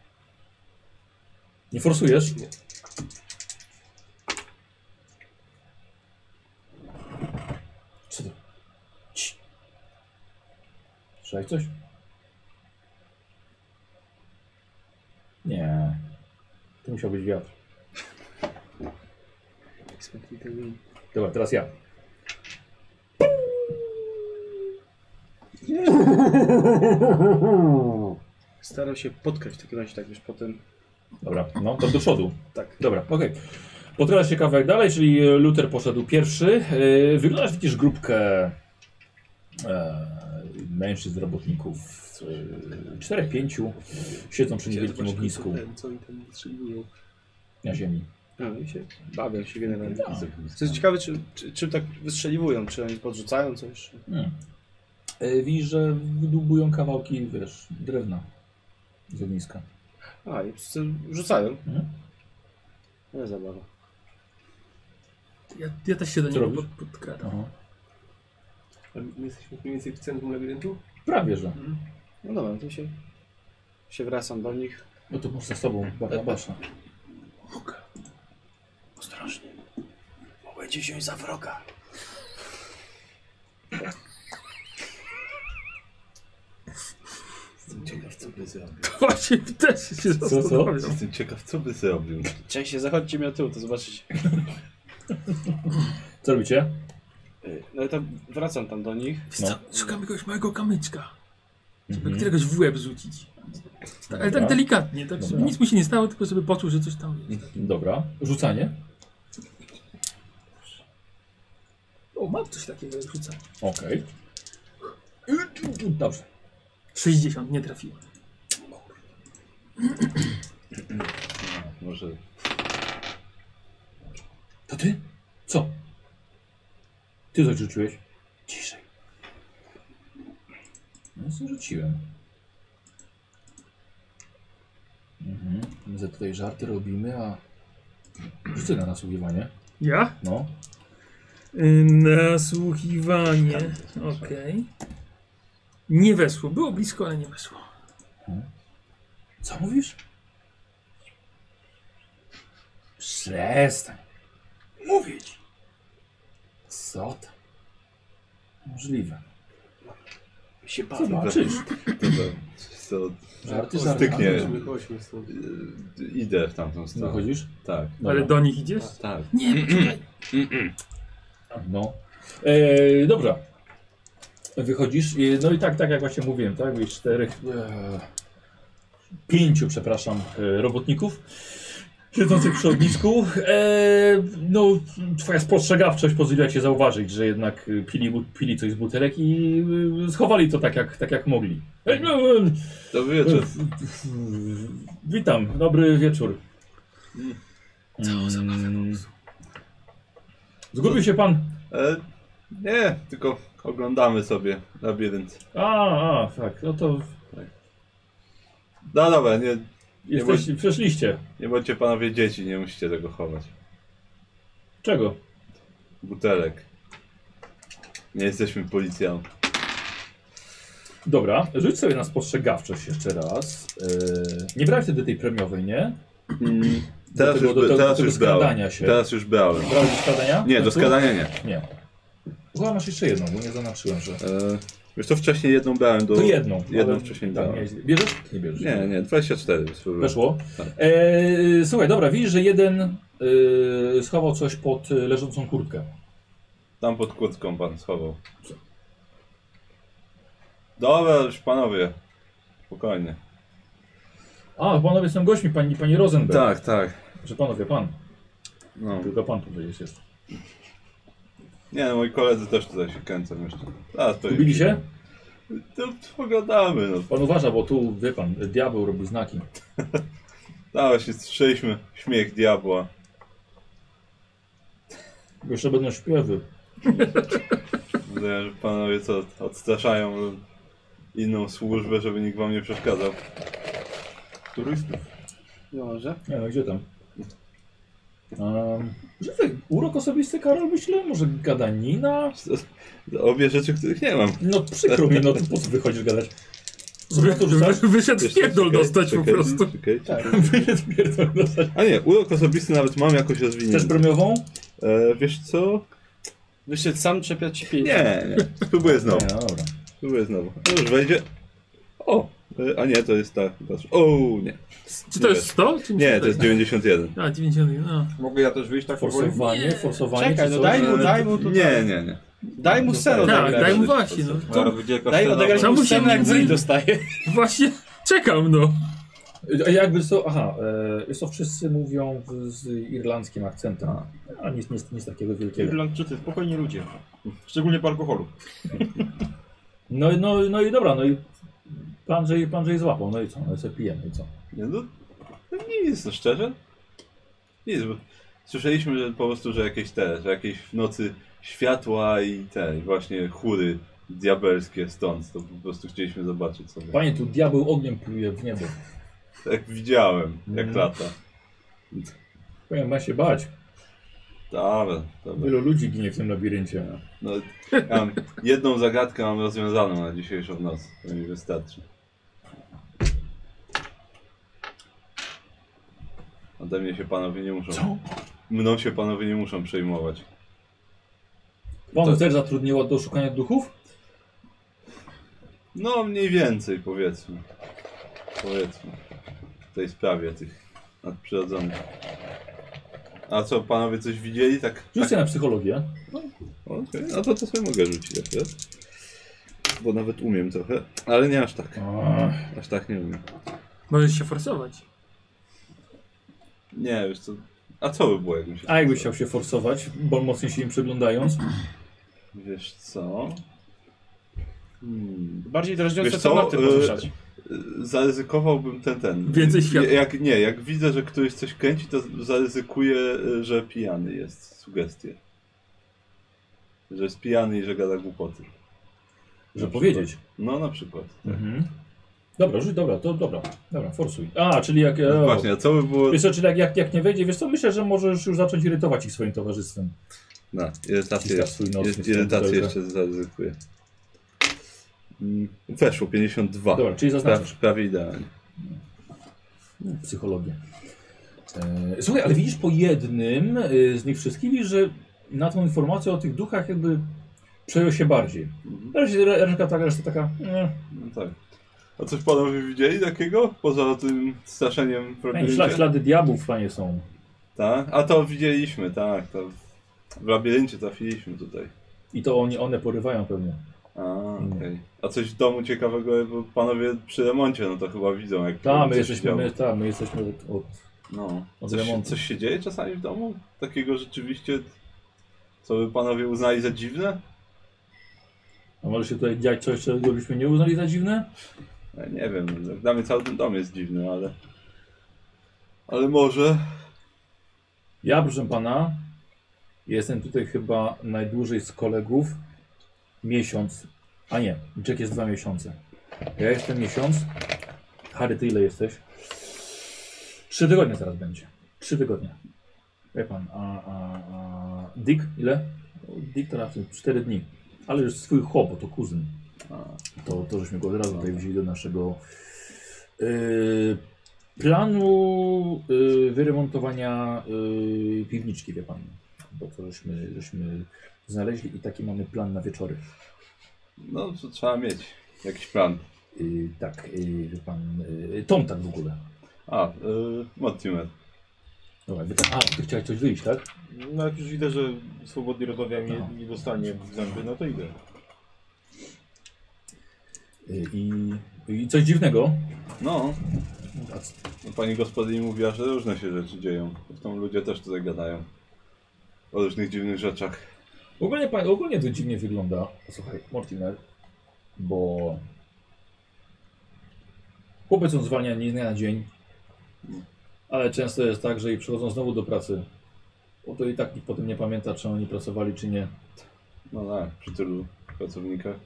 [SPEAKER 2] Nie.
[SPEAKER 1] forsujesz?
[SPEAKER 2] Nie.
[SPEAKER 1] Co to? Cii. Słyszałeś coś? Nie. To musiał być wiatr. Dobra, teraz ja.
[SPEAKER 4] Starał się potkać w takim razie, tak wiesz, potem...
[SPEAKER 1] Dobra, no to do przodu.
[SPEAKER 4] Tak.
[SPEAKER 1] Dobra, okej. Potrasz się kawałek dalej, czyli e, Luther poszedł pierwszy. E, Wyglądasz, widzisz grupkę e, mężczyzn, robotników, e, czterech, pięciu, siedzą przy niewielkim ognisku
[SPEAKER 2] Ten, co oni tam strzeliwują.
[SPEAKER 1] na ziemi.
[SPEAKER 4] No i się bawią się generalnie.
[SPEAKER 1] Tak.
[SPEAKER 4] Co jest ciekawe, czy, czy, czym tak wystrzeliwują, czy oni podrzucają coś?
[SPEAKER 1] Hmm. E, Widzisz, że wydubują kawałki, wiesz, drewna z ogniska.
[SPEAKER 4] A, i wszyscy rzucają.
[SPEAKER 1] Mhm.
[SPEAKER 4] Nie zabawa.
[SPEAKER 6] Ja, ja też się do
[SPEAKER 1] Co
[SPEAKER 6] niego pod,
[SPEAKER 1] robisz?
[SPEAKER 6] podkradam.
[SPEAKER 1] Aha.
[SPEAKER 2] A My jesteśmy mniej więcej w centrum labiryntu?
[SPEAKER 1] Prawie, że.
[SPEAKER 4] No dobra, to się, się wracam do nich.
[SPEAKER 1] No to może z sobą,
[SPEAKER 2] Tak.
[SPEAKER 1] Barnabasza.
[SPEAKER 4] Ostrożnie. Mogę cię wziąć za wroga.
[SPEAKER 5] Jestem ciekaw, co by zrobił.
[SPEAKER 6] Właśnie też się
[SPEAKER 1] co?
[SPEAKER 6] zastanawiam.
[SPEAKER 5] Jestem ciekaw, co by zrobił.
[SPEAKER 4] Cześć, się zachodźcie mi na tył, to zobaczycie.
[SPEAKER 1] Co robicie?
[SPEAKER 4] Y, No i tam wracam tam do nich.
[SPEAKER 6] Wiesz co,
[SPEAKER 5] No.
[SPEAKER 6] szukam jakiegoś małego kamyczka, żeby
[SPEAKER 1] Mhm.
[SPEAKER 6] któregoś w łeb rzucić.
[SPEAKER 5] No
[SPEAKER 6] Tak, ale tak
[SPEAKER 1] Dobra.
[SPEAKER 6] delikatnie, tak, żeby
[SPEAKER 1] Dobra.
[SPEAKER 6] nic mu się nie stało, tylko żeby poczuł, że coś tam jest.
[SPEAKER 1] Dobra. Rzucanie?
[SPEAKER 6] O, mam coś takiego, jak rzucam.
[SPEAKER 1] Okej. Dobrze.
[SPEAKER 6] 60, nie trafiłem.
[SPEAKER 5] Może
[SPEAKER 1] To ty? Co? Ty coś rzuciłeś? Ciszej. No co rzuciłem? Mhm. My za tutaj żarty robimy, a... Rzucę na nasłuchiwanie.
[SPEAKER 6] Ja? Y,
[SPEAKER 1] No.
[SPEAKER 6] Nasłuchiwanie. Okej. tak. Nie wesło, było blisko, ale nie wesło.
[SPEAKER 1] Co mówisz? Przestań. Mówić. Co to? Możliwe.
[SPEAKER 4] Się bawię.
[SPEAKER 1] Zobaczysz.
[SPEAKER 5] to, to,
[SPEAKER 1] Żarty
[SPEAKER 5] to
[SPEAKER 1] żartami.
[SPEAKER 5] styknie.
[SPEAKER 2] Chodźmy, chodźmy stąd.
[SPEAKER 5] Y, Idę w tamtą stronę.
[SPEAKER 1] Wychodzisz?
[SPEAKER 5] Tak,
[SPEAKER 6] Ale do nich idziesz?
[SPEAKER 5] tak.
[SPEAKER 6] Nie, poczekaj.
[SPEAKER 1] No. E, dobra. Wychodzisz. e, No i tak, tak jak właśnie mówiłem, tak? Jest czterech. E, pięciu, przepraszam, e, robotników. Siedzących przy ognisku. E, no, twoja spostrzegawczość pozwoliła ci zauważyć, że jednak e, pili, bu- pili coś z butelek i e, schowali to tak jak, tak jak mogli. E, no, e,
[SPEAKER 5] Dobry wieczór.
[SPEAKER 1] Witam, dobry wieczór. Mm. Zgubił się pan.
[SPEAKER 5] E, nie, tylko oglądamy sobie labirynt.
[SPEAKER 1] A, a, tak, no to
[SPEAKER 5] No dobra, nie,
[SPEAKER 1] jesteś, przeszliście.
[SPEAKER 5] nie bądźcie panowie dzieci, nie musicie tego chować.
[SPEAKER 1] Czego?
[SPEAKER 5] Butelek. Nie jesteśmy policją.
[SPEAKER 1] Dobra, rzuć sobie na spostrzegawczość jeszcze raz. Yy, nie brałeś wtedy tej premiowej, nie? tego-
[SPEAKER 5] Teraz, już,
[SPEAKER 1] Mm, do
[SPEAKER 5] be-
[SPEAKER 1] tego-
[SPEAKER 5] teraz
[SPEAKER 1] do tego
[SPEAKER 5] już brałem.
[SPEAKER 1] skradania się.
[SPEAKER 5] Teraz już brałem.
[SPEAKER 1] Brałeś do składania?
[SPEAKER 5] Nie, do
[SPEAKER 1] Znaczy?
[SPEAKER 5] skradania nie.
[SPEAKER 1] Nie. Chyba masz jeszcze jedną, bo nie zaznaczyłem, że...
[SPEAKER 5] E, wiesz to wcześniej jedną brałem do...
[SPEAKER 1] To jedną.
[SPEAKER 5] Jedną
[SPEAKER 1] ale-
[SPEAKER 5] wcześniej
[SPEAKER 1] tak,
[SPEAKER 5] brałem.
[SPEAKER 1] miałeś- Bierzesz? Nie bierzesz.
[SPEAKER 5] Nie, nie, 24
[SPEAKER 1] No
[SPEAKER 5] bez problemu.
[SPEAKER 1] Weszło.
[SPEAKER 5] Tak.
[SPEAKER 1] E, słuchaj, dobra, widzisz, że jeden e, schował coś pod e, leżącą kurtkę.
[SPEAKER 5] Tam pod kurtką pan schował. Dobra, już panowie. Spokojnie.
[SPEAKER 1] A, panowie są gośćmi, pani, pani Rosenberg.
[SPEAKER 5] Tak, tak.
[SPEAKER 1] Że panowie, pan.
[SPEAKER 5] No.
[SPEAKER 1] Tylko pan tutaj jest. jeszcze.
[SPEAKER 5] Nie, no, moi koledzy też tutaj się kręcą jeszcze. Zaraz to
[SPEAKER 1] Zgubili się?
[SPEAKER 5] To pogadamy, no.
[SPEAKER 1] Pan uważa, bo tu, wie pan, diabeł robi znaki.
[SPEAKER 5] Dawaj się strzeliśmy. Śmiech diabła.
[SPEAKER 1] Bo Jeszcze będą śpiewy.
[SPEAKER 5] Rozumiem, że panowie co, odstraszają inną służbę, żeby nikt wam nie przeszkadzał. Turystów.
[SPEAKER 4] Może.
[SPEAKER 1] Nie no, gdzie tam? no Um, żywy. Urok osobisty, Karol, myślę? Może gadanina?
[SPEAKER 5] Obie rzeczy, których nie mam.
[SPEAKER 1] No przykro mi, no to po co wychodzisz gadać? Zobacz, to rzucałem.
[SPEAKER 6] Wy- Wyszedł w pierdol
[SPEAKER 5] Czekaj,
[SPEAKER 6] dostać po
[SPEAKER 5] czekaj,
[SPEAKER 6] prostu.
[SPEAKER 5] czekaj, czekaj.
[SPEAKER 1] Wyszedł
[SPEAKER 5] A nie, urok osobisty nawet mam jakoś
[SPEAKER 1] Chcesz
[SPEAKER 5] rozwinięty.
[SPEAKER 1] premiową?
[SPEAKER 5] E, wiesz co?
[SPEAKER 4] Wyszedł sam czepiać się pięć.
[SPEAKER 5] Nie, nie. Spróbuję znowu.
[SPEAKER 1] Nie, no dobra.
[SPEAKER 5] Spróbuję znowu. No już wejdzie. O! e, A nie, to jest ta. ta- O, nie.
[SPEAKER 6] Czy to jest 100? Czy
[SPEAKER 5] Nie, to jest 91.
[SPEAKER 6] 90. A, 90, no.
[SPEAKER 7] Mogę ja też wyjść tak powoli?
[SPEAKER 1] Forsowanie, forsowanie.
[SPEAKER 4] Czekaj,
[SPEAKER 1] czy
[SPEAKER 4] no
[SPEAKER 1] coś?
[SPEAKER 4] daj mu, daj mu tutaj.
[SPEAKER 5] Nie, nie, nie.
[SPEAKER 4] Daj mu scenę
[SPEAKER 6] Tak,
[SPEAKER 4] odegrać.
[SPEAKER 6] daj mu właśnie, no.
[SPEAKER 10] Zaraz będzie jakaś
[SPEAKER 4] Daj
[SPEAKER 10] scena,
[SPEAKER 4] odegrać
[SPEAKER 10] bo-
[SPEAKER 6] Czemu
[SPEAKER 4] mu
[SPEAKER 6] się
[SPEAKER 4] scenę, jak
[SPEAKER 6] nie-
[SPEAKER 4] Bri dostaje.
[SPEAKER 6] Właśnie czekam, no.
[SPEAKER 1] A jakby co, aha, e, jest to wszyscy mówią w, z irlandzkim akcentem. A, nic, nic, nic takiego wielkiego.
[SPEAKER 8] Irlandczycy, spokojni ludzie. Szczególnie po alkoholu.
[SPEAKER 1] No, i- no, i- no i dobra, no i pan Żej, pan Żej złapał, no i co, no i sobie pijemy, i co.
[SPEAKER 5] Nie, no, no nic, no szczerze. Nic, bo słyszeliśmy że po prostu, że jakieś te, że jakieś w nocy światła i te, i właśnie chóry diabelskie stąd, to po prostu chcieliśmy zobaczyć sobie.
[SPEAKER 1] Panie, tu diabeł ogniem pluje w niebo.
[SPEAKER 5] Jak widziałem, jak
[SPEAKER 4] Mhm.
[SPEAKER 1] Mm.
[SPEAKER 5] lata.
[SPEAKER 1] Panie, ma się bać.
[SPEAKER 5] Dobra, dobra.
[SPEAKER 1] Wielu ludzi ginie w tym labiryncie.
[SPEAKER 5] No, ja mam, jedną zagadkę mam rozwiązaną na dzisiejszą noc, to mi wystarczy. Ode mnie się panowie nie muszą.
[SPEAKER 1] Co?
[SPEAKER 5] Mną się panowie nie muszą przejmować.
[SPEAKER 1] Panu też zatrudniło do szukania duchów?
[SPEAKER 5] No, mniej więcej powiedzmy. Powiedzmy. W tej sprawie tych nadprzyrodzonych. A co, panowie coś widzieli? Tak. tak.
[SPEAKER 1] Rzućcie na psychologię.
[SPEAKER 5] Okej, no to, to sobie mogę rzucić akurat. Bo nawet umiem trochę, ale nie aż tak.
[SPEAKER 1] Ach,
[SPEAKER 5] Aż tak nie umiem.
[SPEAKER 6] Możesz się forsować.
[SPEAKER 5] Nie, wiesz co. A co by było jakbym się.
[SPEAKER 1] A jakbyś chciał się forsować, bo mocniej się im przyglądając.
[SPEAKER 5] Wiesz co? Hmm.
[SPEAKER 4] Bardziej drażniące
[SPEAKER 5] Wiesz co,
[SPEAKER 4] tematy
[SPEAKER 5] y-
[SPEAKER 4] poruszać.
[SPEAKER 5] Zaryzykowałbym ten, ten.
[SPEAKER 6] Więcej światła.
[SPEAKER 5] Jak, nie, jak widzę, że ktoś coś kręci, to zaryzykuję, y, że pijany jest. Sugestie. Że jest pijany i że gada głupoty.
[SPEAKER 1] Że
[SPEAKER 5] Na
[SPEAKER 1] powiedzieć.
[SPEAKER 5] przykład. No na przykład. Tak.
[SPEAKER 1] Mhm. Dobra, rzuć, dobra, to dobra, dobra, forsuj. A, czyli jak... e,
[SPEAKER 5] No
[SPEAKER 1] o.
[SPEAKER 5] Właśnie, a co by było...
[SPEAKER 1] Wiesz co, czyli jak, jak, jak nie wejdzie, wiesz co, myślę, że możesz już zacząć irytować ich swoim towarzystwem.
[SPEAKER 5] No, irytację
[SPEAKER 1] Wciskasz swój nos,
[SPEAKER 5] jeszcze,
[SPEAKER 1] nie
[SPEAKER 5] irytację
[SPEAKER 1] wtedy,
[SPEAKER 5] jeszcze zaryzykuję. Mm, Weszło, 52.
[SPEAKER 1] Dobra, czyli
[SPEAKER 5] Prawie,
[SPEAKER 1] zaznaczasz
[SPEAKER 5] prawie idealnie.
[SPEAKER 1] psychologię. E, Słuchaj, ale widzisz po jednym e, z nich wszystkich, widzisz, że na tą informację o tych duchach jakby przejął się bardziej.
[SPEAKER 5] Mhm.
[SPEAKER 1] Reszta, reszta taka, reszta taka, e,
[SPEAKER 5] No tak. A coś panowie widzieli takiego? Poza tym straszeniem w
[SPEAKER 1] Panie,
[SPEAKER 5] labiryncie?
[SPEAKER 1] ślad, ślady diabłów panie są.
[SPEAKER 5] Tak? A to widzieliśmy, tak. To w labiryncie trafiliśmy tutaj.
[SPEAKER 1] I to oni, one porywają pewnie.
[SPEAKER 5] A, okej. A coś w domu ciekawego, bo panowie przy remoncie, no to chyba widzą, jak
[SPEAKER 1] Tak, my
[SPEAKER 5] coś
[SPEAKER 1] jesteśmy,
[SPEAKER 5] działo.
[SPEAKER 1] my, ta, my jesteśmy od, od
[SPEAKER 5] No.
[SPEAKER 1] od
[SPEAKER 5] Coś,
[SPEAKER 1] remontu.
[SPEAKER 5] coś się dzieje czasami w domu? Takiego rzeczywiście, co by panowie uznali za dziwne?
[SPEAKER 1] a może się tutaj dziać coś, czego byśmy nie uznali za dziwne?
[SPEAKER 5] Ja No, nie wiem, jak dla mnie cały ten dom jest dziwny, ale... Ale może...
[SPEAKER 1] Ja, proszę pana, jestem tutaj chyba najdłużej z kolegów. Miesiąc. A nie, Jack jest dwa miesiące. Ja jestem miesiąc. Harry, ty ile jesteś? Trzy tygodnie zaraz będzie. Trzy tygodnie. Wie pan, a, a, a Dick ile? Dick to raczej cztery dni. Ale już swój chłop, bo to kuzyn. To, to żeśmy go od razu tutaj wzięli do naszego yy, planu yy, wyremontowania yy, piwniczki, wie pan. Bo to żeśmy, żeśmy znaleźli i taki mamy plan na wieczory.
[SPEAKER 5] No, to trzeba mieć jakiś plan.
[SPEAKER 1] Yy, tak, yy, wie pan. Yy, Tom tak w ogóle.
[SPEAKER 5] A, yy, Mortimer.
[SPEAKER 1] Dobra, wy, a, ty chciałeś coś wyjść, tak?
[SPEAKER 8] No jak już widzę, że swobodnie rozmawiam i
[SPEAKER 1] No.
[SPEAKER 8] nie dostanie w zęby, no to idę.
[SPEAKER 1] Yy, I, I coś dziwnego.
[SPEAKER 5] No,
[SPEAKER 1] A c-
[SPEAKER 5] No, Pani gospodyni mówiła, że różne się rzeczy dzieją. Zresztą ludzie też tutaj gadają. O różnych dziwnych rzeczach.
[SPEAKER 1] Ogólnie, pan- ogólnie to dziwnie wygląda. Słuchaj, Mortimer, bo chłopiec on zwalnia nie z dnia na dzień, ale często jest tak, że i przychodzą znowu do pracy, bo to i tak nikt potem nie pamięta, czy oni pracowali, czy nie.
[SPEAKER 5] No tak, przy tylu pracownikach.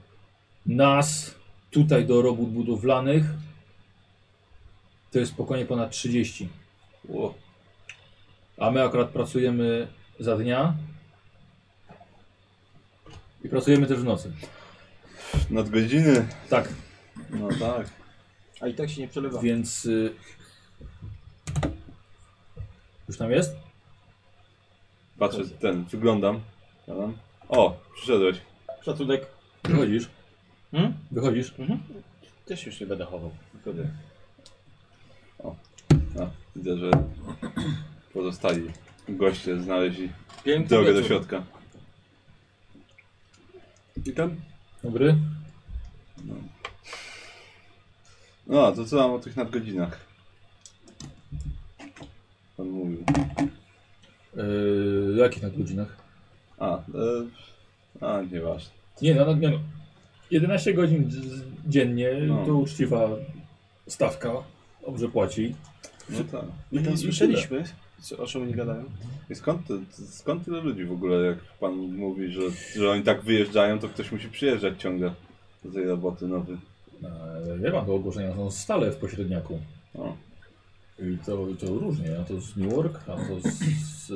[SPEAKER 1] Nas tutaj do robót budowlanych to jest spokojnie ponad 30.
[SPEAKER 5] Ło.
[SPEAKER 1] A my akurat pracujemy za dnia. I pracujemy też w nocy.
[SPEAKER 5] Nadgodziny.
[SPEAKER 1] Tak,
[SPEAKER 5] No tak.
[SPEAKER 4] A i tak się nie przelewa.
[SPEAKER 1] więc. Y... Już tam jest?
[SPEAKER 5] Patrzę, ten, wyglądam. Adam. O, przyszedłeś.
[SPEAKER 3] Szacunek.
[SPEAKER 1] Wychodzisz.
[SPEAKER 3] Hmm?
[SPEAKER 1] Wychodzisz.
[SPEAKER 3] Też już nie będę chował. Zgodę.
[SPEAKER 5] No, widzę, że pozostali goście znaleźli
[SPEAKER 2] Piękny
[SPEAKER 5] drogę do
[SPEAKER 2] wieczór.
[SPEAKER 5] środka.
[SPEAKER 2] Witam.
[SPEAKER 1] Dobry.
[SPEAKER 5] No, to co mam o tych nadgodzinach? Pan mówił.
[SPEAKER 1] Yy, o jakich nadgodzinach?
[SPEAKER 5] A, e, a nieważne.
[SPEAKER 1] Nie, no nadmiaru. 11 godzin d- d- dziennie
[SPEAKER 5] No.
[SPEAKER 1] to uczciwa stawka. Dobrze płaci.
[SPEAKER 5] No tak.
[SPEAKER 4] My nie słyszeliśmy, co, o czym oni gadają.
[SPEAKER 5] I skąd, ty- skąd tyle ludzi w ogóle, jak pan mówi, że, że oni tak wyjeżdżają, to ktoś musi przyjeżdżać ciągle do tej roboty No, nowy.
[SPEAKER 1] Eee, Ja mam do ogłoszenia, są stale w pośredniaku. No.
[SPEAKER 5] O.
[SPEAKER 1] I to, to różnie, a to z New York, a to z, z,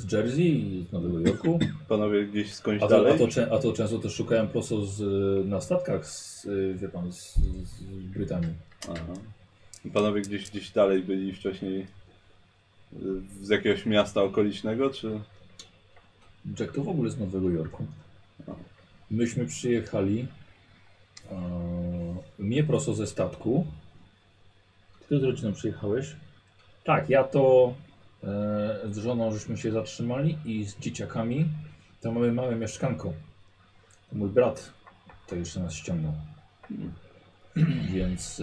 [SPEAKER 1] z Jersey, z Nowego Jorku.
[SPEAKER 5] Panowie gdzieś skądś
[SPEAKER 1] A to,
[SPEAKER 5] dalej?
[SPEAKER 1] a, to, czę- a to często też szukają prosto z, na statkach z, y, wie pan, z, z Brytami.
[SPEAKER 5] Aha. Panowie gdzieś, gdzieś dalej byli wcześniej y, z jakiegoś miasta okolicznego, czy...
[SPEAKER 1] Jack to w ogóle z Nowego Jorku. Myśmy przyjechali e, mnie prosto ze statku. Ty z rodziną przyjechałeś? Tak, ja to e, z żoną żeśmy się zatrzymali i z dzieciakami. Tam mamy małe mieszkanko. Mój brat to jeszcze nas ściągnął. Więc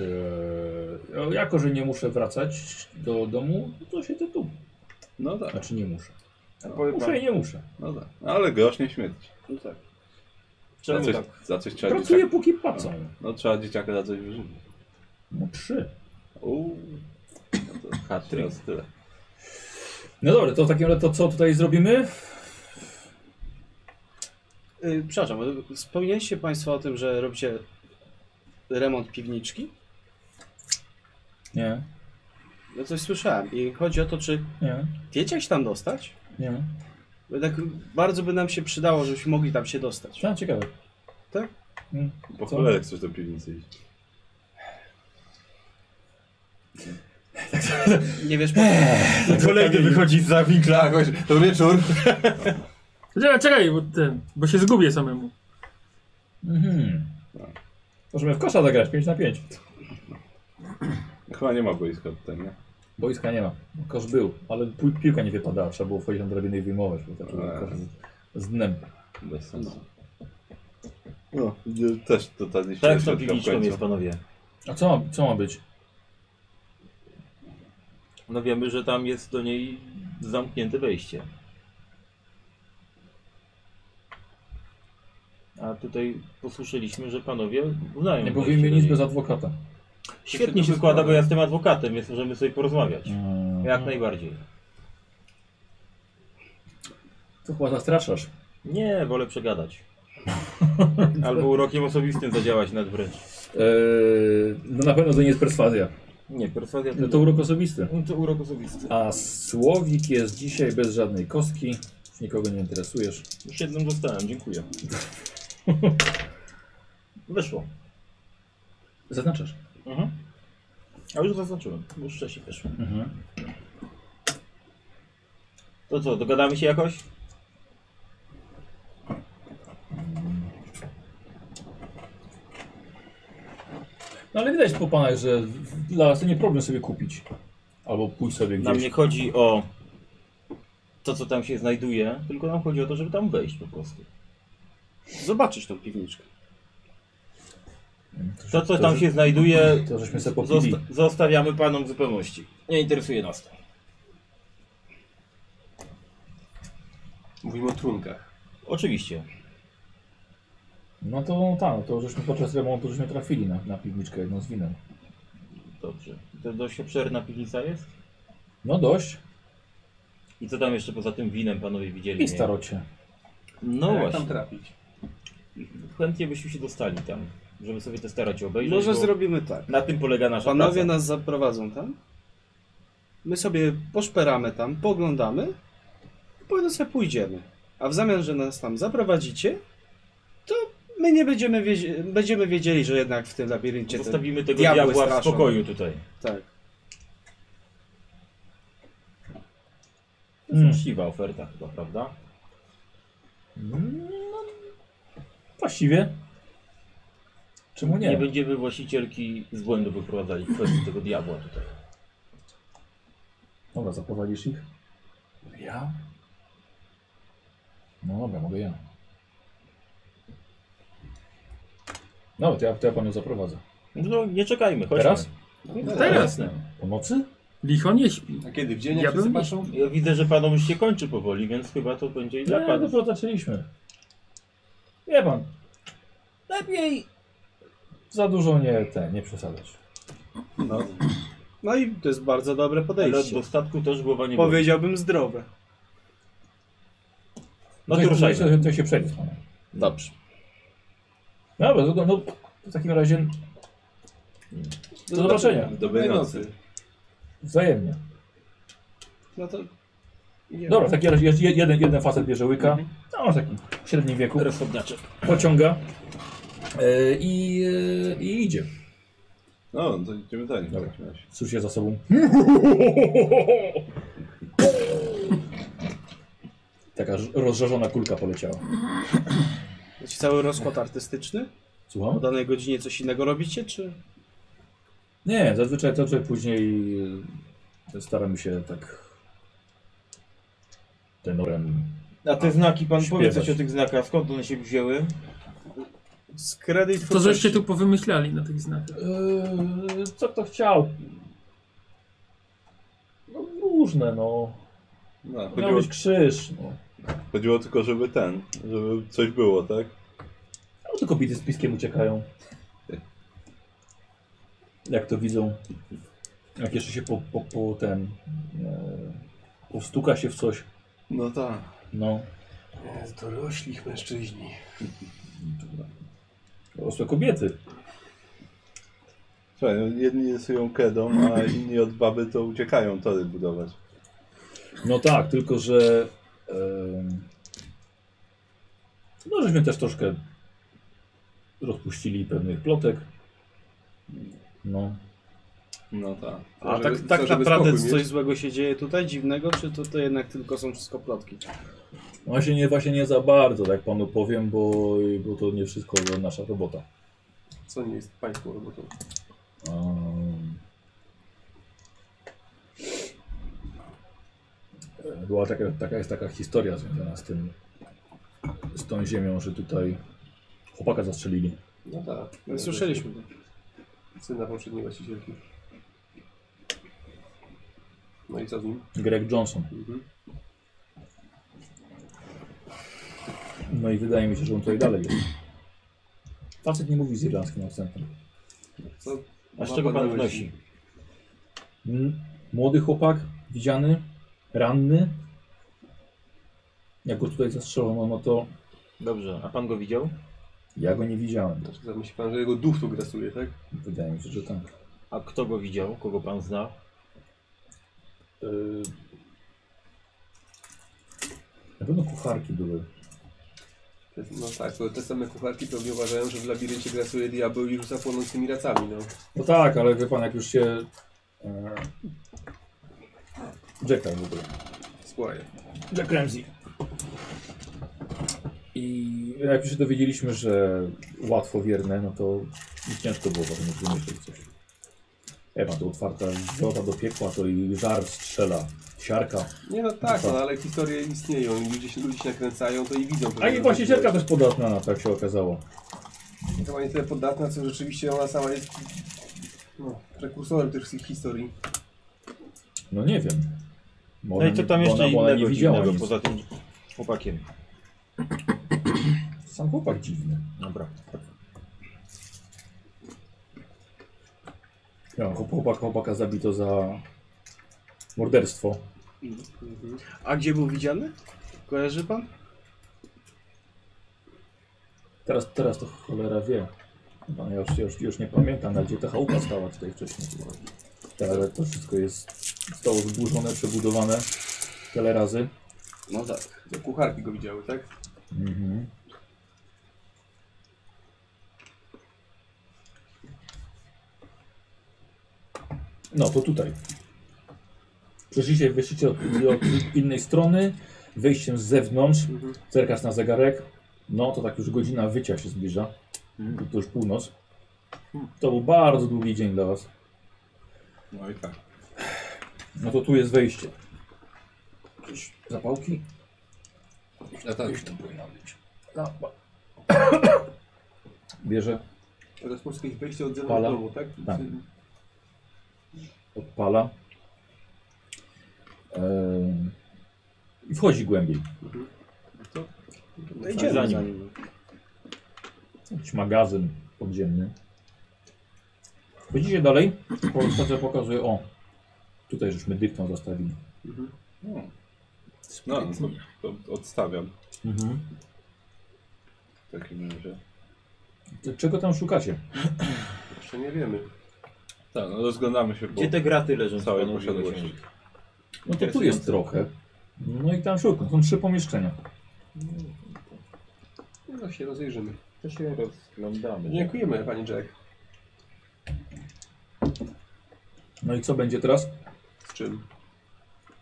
[SPEAKER 1] e, jako, że nie muszę wracać do domu, to się to tu.
[SPEAKER 5] No tak,
[SPEAKER 1] Znaczy nie muszę.
[SPEAKER 4] Powiem wam.
[SPEAKER 1] Muszę i nie muszę.
[SPEAKER 5] no tak. Ale grosz nie śmierci.
[SPEAKER 4] No tak.
[SPEAKER 5] Za
[SPEAKER 4] Czemu
[SPEAKER 5] coś,
[SPEAKER 4] tak?
[SPEAKER 5] za coś trzeba
[SPEAKER 1] Pracuję
[SPEAKER 5] dzieciaka...
[SPEAKER 1] póki płacą.
[SPEAKER 5] No trzeba dzieciaka za coś wyżywić.
[SPEAKER 1] No trzy.
[SPEAKER 5] Uuu. No to hacz teraz tyle.
[SPEAKER 1] No dobra, to w takim razie to co tutaj zrobimy?
[SPEAKER 4] Yy, przepraszam, ale wspomnieliście Państwo o tym, że robicie remont piwniczki?
[SPEAKER 1] Nie,
[SPEAKER 4] Ja No coś słyszałem i chodzi o to, czy
[SPEAKER 1] nie,
[SPEAKER 4] wiecie jak się tam dostać?
[SPEAKER 1] nie.
[SPEAKER 4] Bo tak bardzo by nam się przydało, żebyśmy mogli tam się dostać.
[SPEAKER 1] No, ciekawe. Co?
[SPEAKER 5] Po cholerę chcesz do piwnicy iść.
[SPEAKER 4] Nie wiesz, po co?
[SPEAKER 3] Kolejny wychodzi za winkla.
[SPEAKER 7] Tak, właśnie, to wieczór.
[SPEAKER 6] Czekaj, czekaj, bo, ten, bo się zgubię samemu.
[SPEAKER 1] Mhm. Możemy w kosza zagrać 5 na 5.
[SPEAKER 5] Chyba nie ma boiska tutaj, nie?
[SPEAKER 1] Boiska nie ma. Kosz był, ale pi- piłka nie wypadała. Trzeba było wchodzić na drabinę i wyjmować, bo taki
[SPEAKER 5] Eee.
[SPEAKER 1] kosz z- z dnem.
[SPEAKER 5] Bez sensu. No, nie- też totalnie się
[SPEAKER 8] Tak,
[SPEAKER 5] nie
[SPEAKER 8] to
[SPEAKER 5] spotkam w
[SPEAKER 8] piwniczką
[SPEAKER 5] końcu.
[SPEAKER 8] jest, panowie.
[SPEAKER 1] A co ma, co ma być?
[SPEAKER 8] No wiemy, że tam jest do niej zamknięte wejście. A tutaj posłyszeliśmy, że panowie uznają.
[SPEAKER 1] Nie
[SPEAKER 8] wejście
[SPEAKER 1] powiemy
[SPEAKER 8] do
[SPEAKER 1] nic
[SPEAKER 8] niej.
[SPEAKER 1] bez adwokata.
[SPEAKER 8] Świetnie się składa, bo ja jestem adwokatem, więc możemy sobie porozmawiać.
[SPEAKER 1] Mhm.
[SPEAKER 8] Jak najbardziej.
[SPEAKER 1] To chyba zastraszasz.
[SPEAKER 8] Nie, wolę przegadać. Albo urokiem osobistym zadziałać nad wręcz.
[SPEAKER 1] Eee, no na pewno to nie jest perswazja.
[SPEAKER 8] Nie, perswazja
[SPEAKER 1] No to urok osobisty.
[SPEAKER 8] No to urok osobisty.
[SPEAKER 1] A słowik jest dzisiaj bez żadnej kostki. Już nikogo nie interesujesz.
[SPEAKER 8] Już jedną dostałem, dziękuję. Wyszło.
[SPEAKER 1] Zaznaczasz.
[SPEAKER 8] Mhm. A już zaznaczyłem, już wcześniej wyszło.
[SPEAKER 1] Mhm.
[SPEAKER 8] To co, dogadamy się jakoś?
[SPEAKER 1] No ale widać po panach, że dla was to nie problem sobie kupić. Albo pójść sobie
[SPEAKER 8] Nam
[SPEAKER 1] gdzieś.
[SPEAKER 8] nie chodzi o to, co tam się znajduje, tylko nam chodzi o to, żeby tam wejść po prostu.
[SPEAKER 4] zobaczyć tą piwniczkę.
[SPEAKER 8] To, co
[SPEAKER 1] to,
[SPEAKER 8] tam
[SPEAKER 1] że-
[SPEAKER 8] się znajduje,
[SPEAKER 1] To żeśmy sobie popili.
[SPEAKER 8] zosta zostawiamy panom w zupełności. Nie interesuje nas to.
[SPEAKER 2] Mówimy o trunkach.
[SPEAKER 8] Oczywiście.
[SPEAKER 1] No to tak, no to żeśmy podczas remontu żeśmy trafili na, na piwniczkę jedną z winem.
[SPEAKER 8] Dobrze. To dość obszerna piwnica jest?
[SPEAKER 1] No dość.
[SPEAKER 8] I co tam jeszcze poza tym winem panowie widzieli?
[SPEAKER 1] I starocie.
[SPEAKER 8] No
[SPEAKER 2] jak Tak, tam
[SPEAKER 8] właśnie.
[SPEAKER 2] trafić?
[SPEAKER 8] Chętnie byśmy się dostali tam, żeby sobie te starocie obejrzeć.
[SPEAKER 4] Może
[SPEAKER 8] bo
[SPEAKER 4] zrobimy tak.
[SPEAKER 8] Na tym polega nasza
[SPEAKER 4] Panowie
[SPEAKER 8] praca.
[SPEAKER 4] nas zaprowadzą tam? My sobie poszperamy tam, poglądamy, powinno sobie pójdziemy. A w zamian, że nas tam zaprowadzicie, to my nie będziemy, wiedzie- będziemy wiedzieli, że jednak w tym labiryncie ten
[SPEAKER 8] Zostawimy tego
[SPEAKER 4] diabły
[SPEAKER 8] diabła w
[SPEAKER 4] straszą.
[SPEAKER 8] spokoju tutaj.
[SPEAKER 4] Tak.
[SPEAKER 8] To
[SPEAKER 1] Hmm.
[SPEAKER 8] jest Uczciwa oferta chyba, prawda?
[SPEAKER 1] Właściwie. Czemu
[SPEAKER 8] Nie
[SPEAKER 1] nie?
[SPEAKER 8] będziemy właścicielki z błędu wyprowadzali w kwestii tego diabła tutaj.
[SPEAKER 1] Dobra, zaprowadzisz ich? Ja? No dobra, mogę ja. No, to ja, to ja panią zaprowadzę.
[SPEAKER 8] No to nie czekajmy, chodźmy.
[SPEAKER 1] Teraz?
[SPEAKER 8] No,
[SPEAKER 6] Teraz.
[SPEAKER 8] teraz. No.
[SPEAKER 1] Po nocy?
[SPEAKER 6] Licho nie śpi.
[SPEAKER 2] A kiedy? W dzień jak
[SPEAKER 6] Ja
[SPEAKER 2] wszyscy
[SPEAKER 6] bym-
[SPEAKER 2] patrzą?
[SPEAKER 8] Ja widzę, że panom już się kończy powoli, więc chyba to będzie i dla
[SPEAKER 1] Nie, no
[SPEAKER 8] panów.
[SPEAKER 1] dopiero zaczęliśmy. Wie pan,
[SPEAKER 8] Lepiej!
[SPEAKER 1] za dużo nie, te, nie przesadzać.
[SPEAKER 4] No. no i to jest bardzo dobre
[SPEAKER 8] Ale
[SPEAKER 4] podejście.
[SPEAKER 8] do statku też głowa nie boli.
[SPEAKER 4] Powiedziałbym zdrowe.
[SPEAKER 8] No to
[SPEAKER 1] to,
[SPEAKER 8] ruszajmy.
[SPEAKER 1] to, to się przejdzie z panem.
[SPEAKER 8] Dobrze.
[SPEAKER 1] Dobra, no, to- no w takim razie do zobaczenia.
[SPEAKER 5] Dobrej nocy.
[SPEAKER 1] Wzajemnie.
[SPEAKER 4] No to
[SPEAKER 1] Dobra, w takim razie jest jed- jeden, jeden facet bierze łyka.
[SPEAKER 8] Mhm.
[SPEAKER 1] No, on taki w średnim wieku.
[SPEAKER 8] Rozchodniacze.
[SPEAKER 1] Pociąga e, i, e, i idzie.
[SPEAKER 5] No, to idziemy dalej w takim razie.
[SPEAKER 1] Słyszy za sobą. Taka ż- rozżarzona kulka poleciała.
[SPEAKER 4] Macie cały rozkład artystyczny? O
[SPEAKER 1] Słucham?
[SPEAKER 4] danej godzinie coś innego robicie, czy...
[SPEAKER 1] Nie, zazwyczaj to, że później e, staramy się tak tenorem.
[SPEAKER 8] A te znaki, pan
[SPEAKER 1] Śpiewać.
[SPEAKER 8] powie coś o tych znakach, skąd one się wzięły?
[SPEAKER 4] Z kredyt
[SPEAKER 6] To żeście tu powymyślali na tych znakach.
[SPEAKER 1] Eee, co kto chciał? No, różne, no.
[SPEAKER 5] No,
[SPEAKER 1] Miał
[SPEAKER 5] chodziło,
[SPEAKER 1] być krzyż. No.
[SPEAKER 5] chodziło tylko, żeby ten, żeby coś było, tak?
[SPEAKER 1] No to kobiety z piskiem uciekają. Jak to widzą. Jak jeszcze się po, po, po ten. E, postuka się w coś.
[SPEAKER 5] No tak.
[SPEAKER 1] No.
[SPEAKER 2] Jest doroślich mężczyźni.
[SPEAKER 1] Dorosłe kobiety.
[SPEAKER 5] Słuchaj, no, jedni rysują kedą, a inni od baby to uciekają tory budować.
[SPEAKER 1] No tak, tylko że. em, no żeśmy też troszkę rozpuścili pewnych plotek. No.
[SPEAKER 5] No tak.
[SPEAKER 4] A
[SPEAKER 2] Żeby-
[SPEAKER 4] tak,
[SPEAKER 2] co,
[SPEAKER 4] tak
[SPEAKER 2] żeby
[SPEAKER 4] naprawdę
[SPEAKER 2] spokój
[SPEAKER 4] coś
[SPEAKER 2] mieć?
[SPEAKER 4] złego się dzieje tutaj, dziwnego, czy to, to jednak tylko są wszystko plotki? No,
[SPEAKER 1] Właśnie nie, właśnie nie za bardzo, tak panu powiem, bo, bo to nie wszystko nasza robota.
[SPEAKER 2] Co nie jest pańską robotą?
[SPEAKER 1] Um, była taka, taka jest taka historia związana z tym z tą ziemią, że tutaj chłopaka zastrzelili.
[SPEAKER 2] No tak.
[SPEAKER 4] No, słyszeliśmy.
[SPEAKER 2] Syna poprzedniej właścicielki. No i co z nim?
[SPEAKER 1] Greg Johnson.
[SPEAKER 2] Mhm.
[SPEAKER 1] No i wydaje mi się, że on tutaj dalej jest. Facet nie mówi z irlandzkim akcentem.
[SPEAKER 2] Co?
[SPEAKER 8] A z
[SPEAKER 2] ma
[SPEAKER 8] czego
[SPEAKER 2] na
[SPEAKER 8] pan
[SPEAKER 2] myśli?
[SPEAKER 8] wnosi?
[SPEAKER 1] Mm, Młody chłopak, widziany, ranny. Jak go tutaj zastrzelono, no to
[SPEAKER 8] Dobrze, a pan go widział?
[SPEAKER 1] ja go nie widziałem.
[SPEAKER 2] Znaczy, to myśli pan, że jego duch tu grasuje, tak?
[SPEAKER 1] Wydaje mi się, że tak.
[SPEAKER 8] A kto go widział? Kogo pan zna?
[SPEAKER 2] Y-
[SPEAKER 1] Yy... Na pewno kucharki były.
[SPEAKER 2] To jest- No tak, to te same kucharki pewnie uważają, że w labiryncie grasuje diabeł i rzuca płonącymi racami, no.
[SPEAKER 1] No tak, ale wie pan, jak już się... E... Jacka w ogóle.
[SPEAKER 2] Słuchaj.
[SPEAKER 1] Jack Ramsey. I jak już się dowiedzieliśmy, że łatwo wierne, no to ciężko było potem wymyślić coś. Ewa, to otwarta droga do piekła, to i żar strzela, siarka.
[SPEAKER 2] Nie no tak, no, ale historie istnieją i ludzie się, ludzie się nakręcają, to i widzą.
[SPEAKER 1] A i właśnie siarka też podatna na to, jak się okazało.
[SPEAKER 2] To nie tyle podatna, co rzeczywiście ona sama jest no, prekursorem tych wszystkich historii.
[SPEAKER 1] No nie wiem. Bo
[SPEAKER 8] No i
[SPEAKER 1] ona
[SPEAKER 8] co
[SPEAKER 1] nie-
[SPEAKER 8] tam
[SPEAKER 1] bo
[SPEAKER 8] jeszcze
[SPEAKER 1] ona- bo ona
[SPEAKER 8] innego
[SPEAKER 1] nie widziała
[SPEAKER 8] dziwnego
[SPEAKER 1] nic.
[SPEAKER 8] poza tym chłopakiem?
[SPEAKER 1] Sam chłopak dziwny.
[SPEAKER 8] Dobra.
[SPEAKER 1] Ja, chłopak, chłopaka zabito za morderstwo.
[SPEAKER 4] Mhm. A gdzie był widziany? Kojarzy pan?
[SPEAKER 1] Teraz, teraz to No, cholera wie. Pan, ja, już, ja już, już nie pamiętam, ale gdzie ta chałupa stała tutaj wcześniej. ale to wszystko jest zostało wydłużone, przebudowane tyle razy.
[SPEAKER 4] No tak.
[SPEAKER 2] Do kucharki go widziały, tak?
[SPEAKER 1] Mhm. No to tutaj. Przeszliście, wyszliście od, od innej strony, wejściem z zewnątrz,
[SPEAKER 2] Mhm.
[SPEAKER 1] zerkasz na zegarek. No to tak już godzina wycia się zbliża.
[SPEAKER 2] Mhm.
[SPEAKER 1] To już północ. To był bardzo długi dzień dla was.
[SPEAKER 2] No i tak.
[SPEAKER 1] No to tu jest wejście. Jakieś zapałki?
[SPEAKER 2] No tak.
[SPEAKER 1] to powinno być. Bierze,
[SPEAKER 2] Teraz po prostu ich wejście od
[SPEAKER 1] Pala.
[SPEAKER 2] zewnątrz domu, tak? y,
[SPEAKER 1] Tak. odpala. Em, I wchodzi głębiej.
[SPEAKER 4] No idziemy za nim.
[SPEAKER 1] Jakiś magazyn podziemny. Widzicie dalej? Pokazuje, pokazuje, o. Tutaj żeśmy dyktą zostawili.
[SPEAKER 5] No, to, to odstawiam
[SPEAKER 1] Mhm.
[SPEAKER 5] w takim razie.
[SPEAKER 1] Czego tam szukacie?
[SPEAKER 2] Jeszcze nie wiemy.
[SPEAKER 5] Tak, no rozglądamy się po
[SPEAKER 8] Gdzie te graty leżą z
[SPEAKER 5] całej
[SPEAKER 8] panowie
[SPEAKER 5] posiadłości.
[SPEAKER 8] księgi?
[SPEAKER 1] No to tu jest trochę. No i tam szukam. Są trzy pomieszczenia.
[SPEAKER 2] No się rozejrzymy.
[SPEAKER 8] To się rozglądamy.
[SPEAKER 2] Dziękujemy, pani Jack.
[SPEAKER 1] No i co będzie teraz?
[SPEAKER 2] Z czym?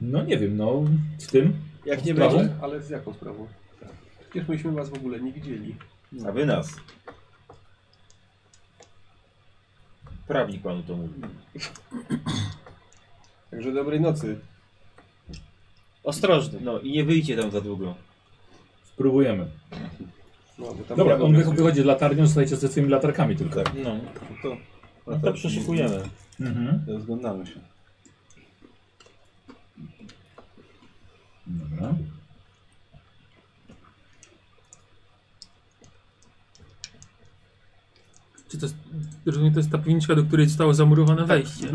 [SPEAKER 1] No nie wiem, no z tym.
[SPEAKER 4] Jak nie
[SPEAKER 1] Sprawą?
[SPEAKER 4] będzie?
[SPEAKER 2] Ale z jaką sprawą? Przecież myśmy was w ogóle nie widzieli.
[SPEAKER 8] A wy nas. Prawnik panu to mówi.
[SPEAKER 2] Także dobrej nocy.
[SPEAKER 4] Ostrożny.
[SPEAKER 8] No i nie wyjdzie tam za długo.
[SPEAKER 1] Spróbujemy.
[SPEAKER 2] No, bo tam
[SPEAKER 1] Dobra,
[SPEAKER 2] ja
[SPEAKER 1] on
[SPEAKER 2] mówię-
[SPEAKER 1] wy- wychodzi z latarnią, zostajecie ze swoimi latarkami tylko.
[SPEAKER 4] Tak.
[SPEAKER 8] No, to, no to przeszukujemy.
[SPEAKER 1] Mhm.
[SPEAKER 5] Rozglądamy się.
[SPEAKER 1] Dobra.
[SPEAKER 6] Czy to jest, rozumiem, to jest ta piwniczka, do której zostało zamurowane wejście.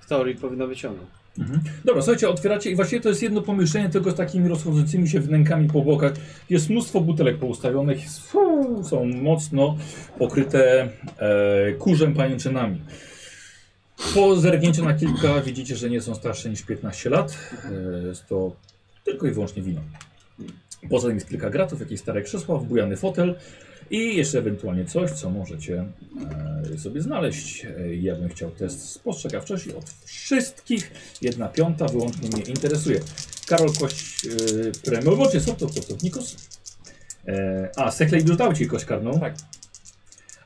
[SPEAKER 4] W teorii powinno wyciągnąć.
[SPEAKER 1] Mhm. Dobra, słuchajcie, otwieracie i właściwie to jest jedno pomieszczenie, tylko z takimi rozchodzącymi się wnękami po bokach. Jest mnóstwo butelek poustawionych, jest- fuu, są mocno pokryte e, kurzem pajęczynami. Po zerknięciu na kilka widzicie, że nie są starsze niż 15 lat. E, Jest to tylko i wyłącznie wino. Poza tym jest kilka gratów, jakieś stare krzesła, wbujany fotel i jeszcze ewentualnie coś, co możecie e, sobie znaleźć. E, ja bym chciał test spostrzegawczości od wszystkich. Jedna piąta wyłącznie mnie interesuje. Karol Kość e, premiowoczy, są to Nikos. E, a, Seklej już dał ci kość karną. Tak.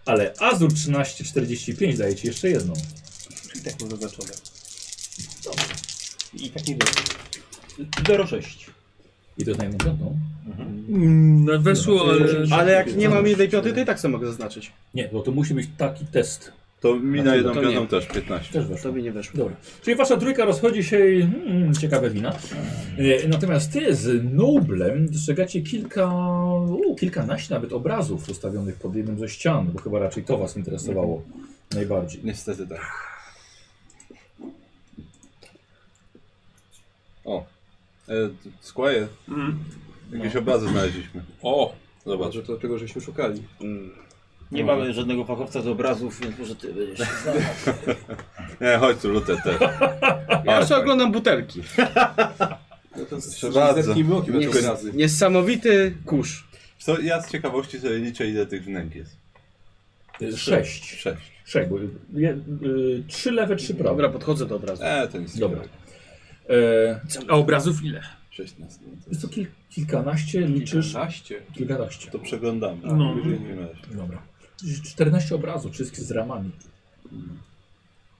[SPEAKER 1] Ale Azur 1345 daje ci jeszcze jedną.
[SPEAKER 2] I tak mam zaznaczone.
[SPEAKER 8] I tak nie do. Doro 6.
[SPEAKER 1] I to No. najmniej piątą.
[SPEAKER 6] Mm, no, weszło, ale...
[SPEAKER 4] Ale jak nie mam jednej piątej, to i tak sobie mogę zaznaczyć.
[SPEAKER 1] Nie, bo to musi być taki test.
[SPEAKER 5] To mi na
[SPEAKER 1] Znaczy,
[SPEAKER 5] jedną
[SPEAKER 4] to
[SPEAKER 5] piątą
[SPEAKER 4] nie.
[SPEAKER 5] też 15.
[SPEAKER 1] Też weszło.
[SPEAKER 4] To mi nie weszło.
[SPEAKER 1] Dobra. Czyli wasza trójka rozchodzi się i mm, ciekawe wina. E, Natomiast ty z Noblem dostrzegacie kilka, u, kilkanaście nawet obrazów ustawionych pod jednym ze ścian, bo chyba raczej to was interesowało najbardziej.
[SPEAKER 5] Niestety tak. O. E, Squire. Jakieś obrazy znaleźliśmy.
[SPEAKER 2] O!
[SPEAKER 5] Zobacz.
[SPEAKER 2] Może to tego, żeśmy szukali.
[SPEAKER 8] Nie mamy żadnego fachowca z obrazów, więc może ty będziesz.
[SPEAKER 5] Nie, chodź tu, lutę te.
[SPEAKER 4] Ja
[SPEAKER 5] Ale
[SPEAKER 4] jeszcze
[SPEAKER 5] tak.
[SPEAKER 4] oglądam butelki.
[SPEAKER 2] No to
[SPEAKER 5] bardzo.
[SPEAKER 2] zerknijmy okiem na
[SPEAKER 4] Nie,
[SPEAKER 2] to razy.
[SPEAKER 4] niesamowity kurz.
[SPEAKER 5] Co, ja z ciekawości sobie liczę ile tych wnęk jest.
[SPEAKER 1] E, Sześć.
[SPEAKER 5] Sześć.
[SPEAKER 1] Sześć. bo je- y, Trzy lewe, trzy prawe.
[SPEAKER 4] Dobra, podchodzę do obrazu.
[SPEAKER 5] E, to nic
[SPEAKER 1] Dobra. E,
[SPEAKER 5] ciekawego.
[SPEAKER 6] A obrazów ile?
[SPEAKER 5] 16. no to-
[SPEAKER 1] jest to kil, kilkanaście, liczysz?
[SPEAKER 2] 13.
[SPEAKER 1] Kilkanaście.
[SPEAKER 5] To przeglądamy.
[SPEAKER 6] No.
[SPEAKER 5] W takim razie.
[SPEAKER 1] Dobra. 14 obrazów, wszystkie z ramami.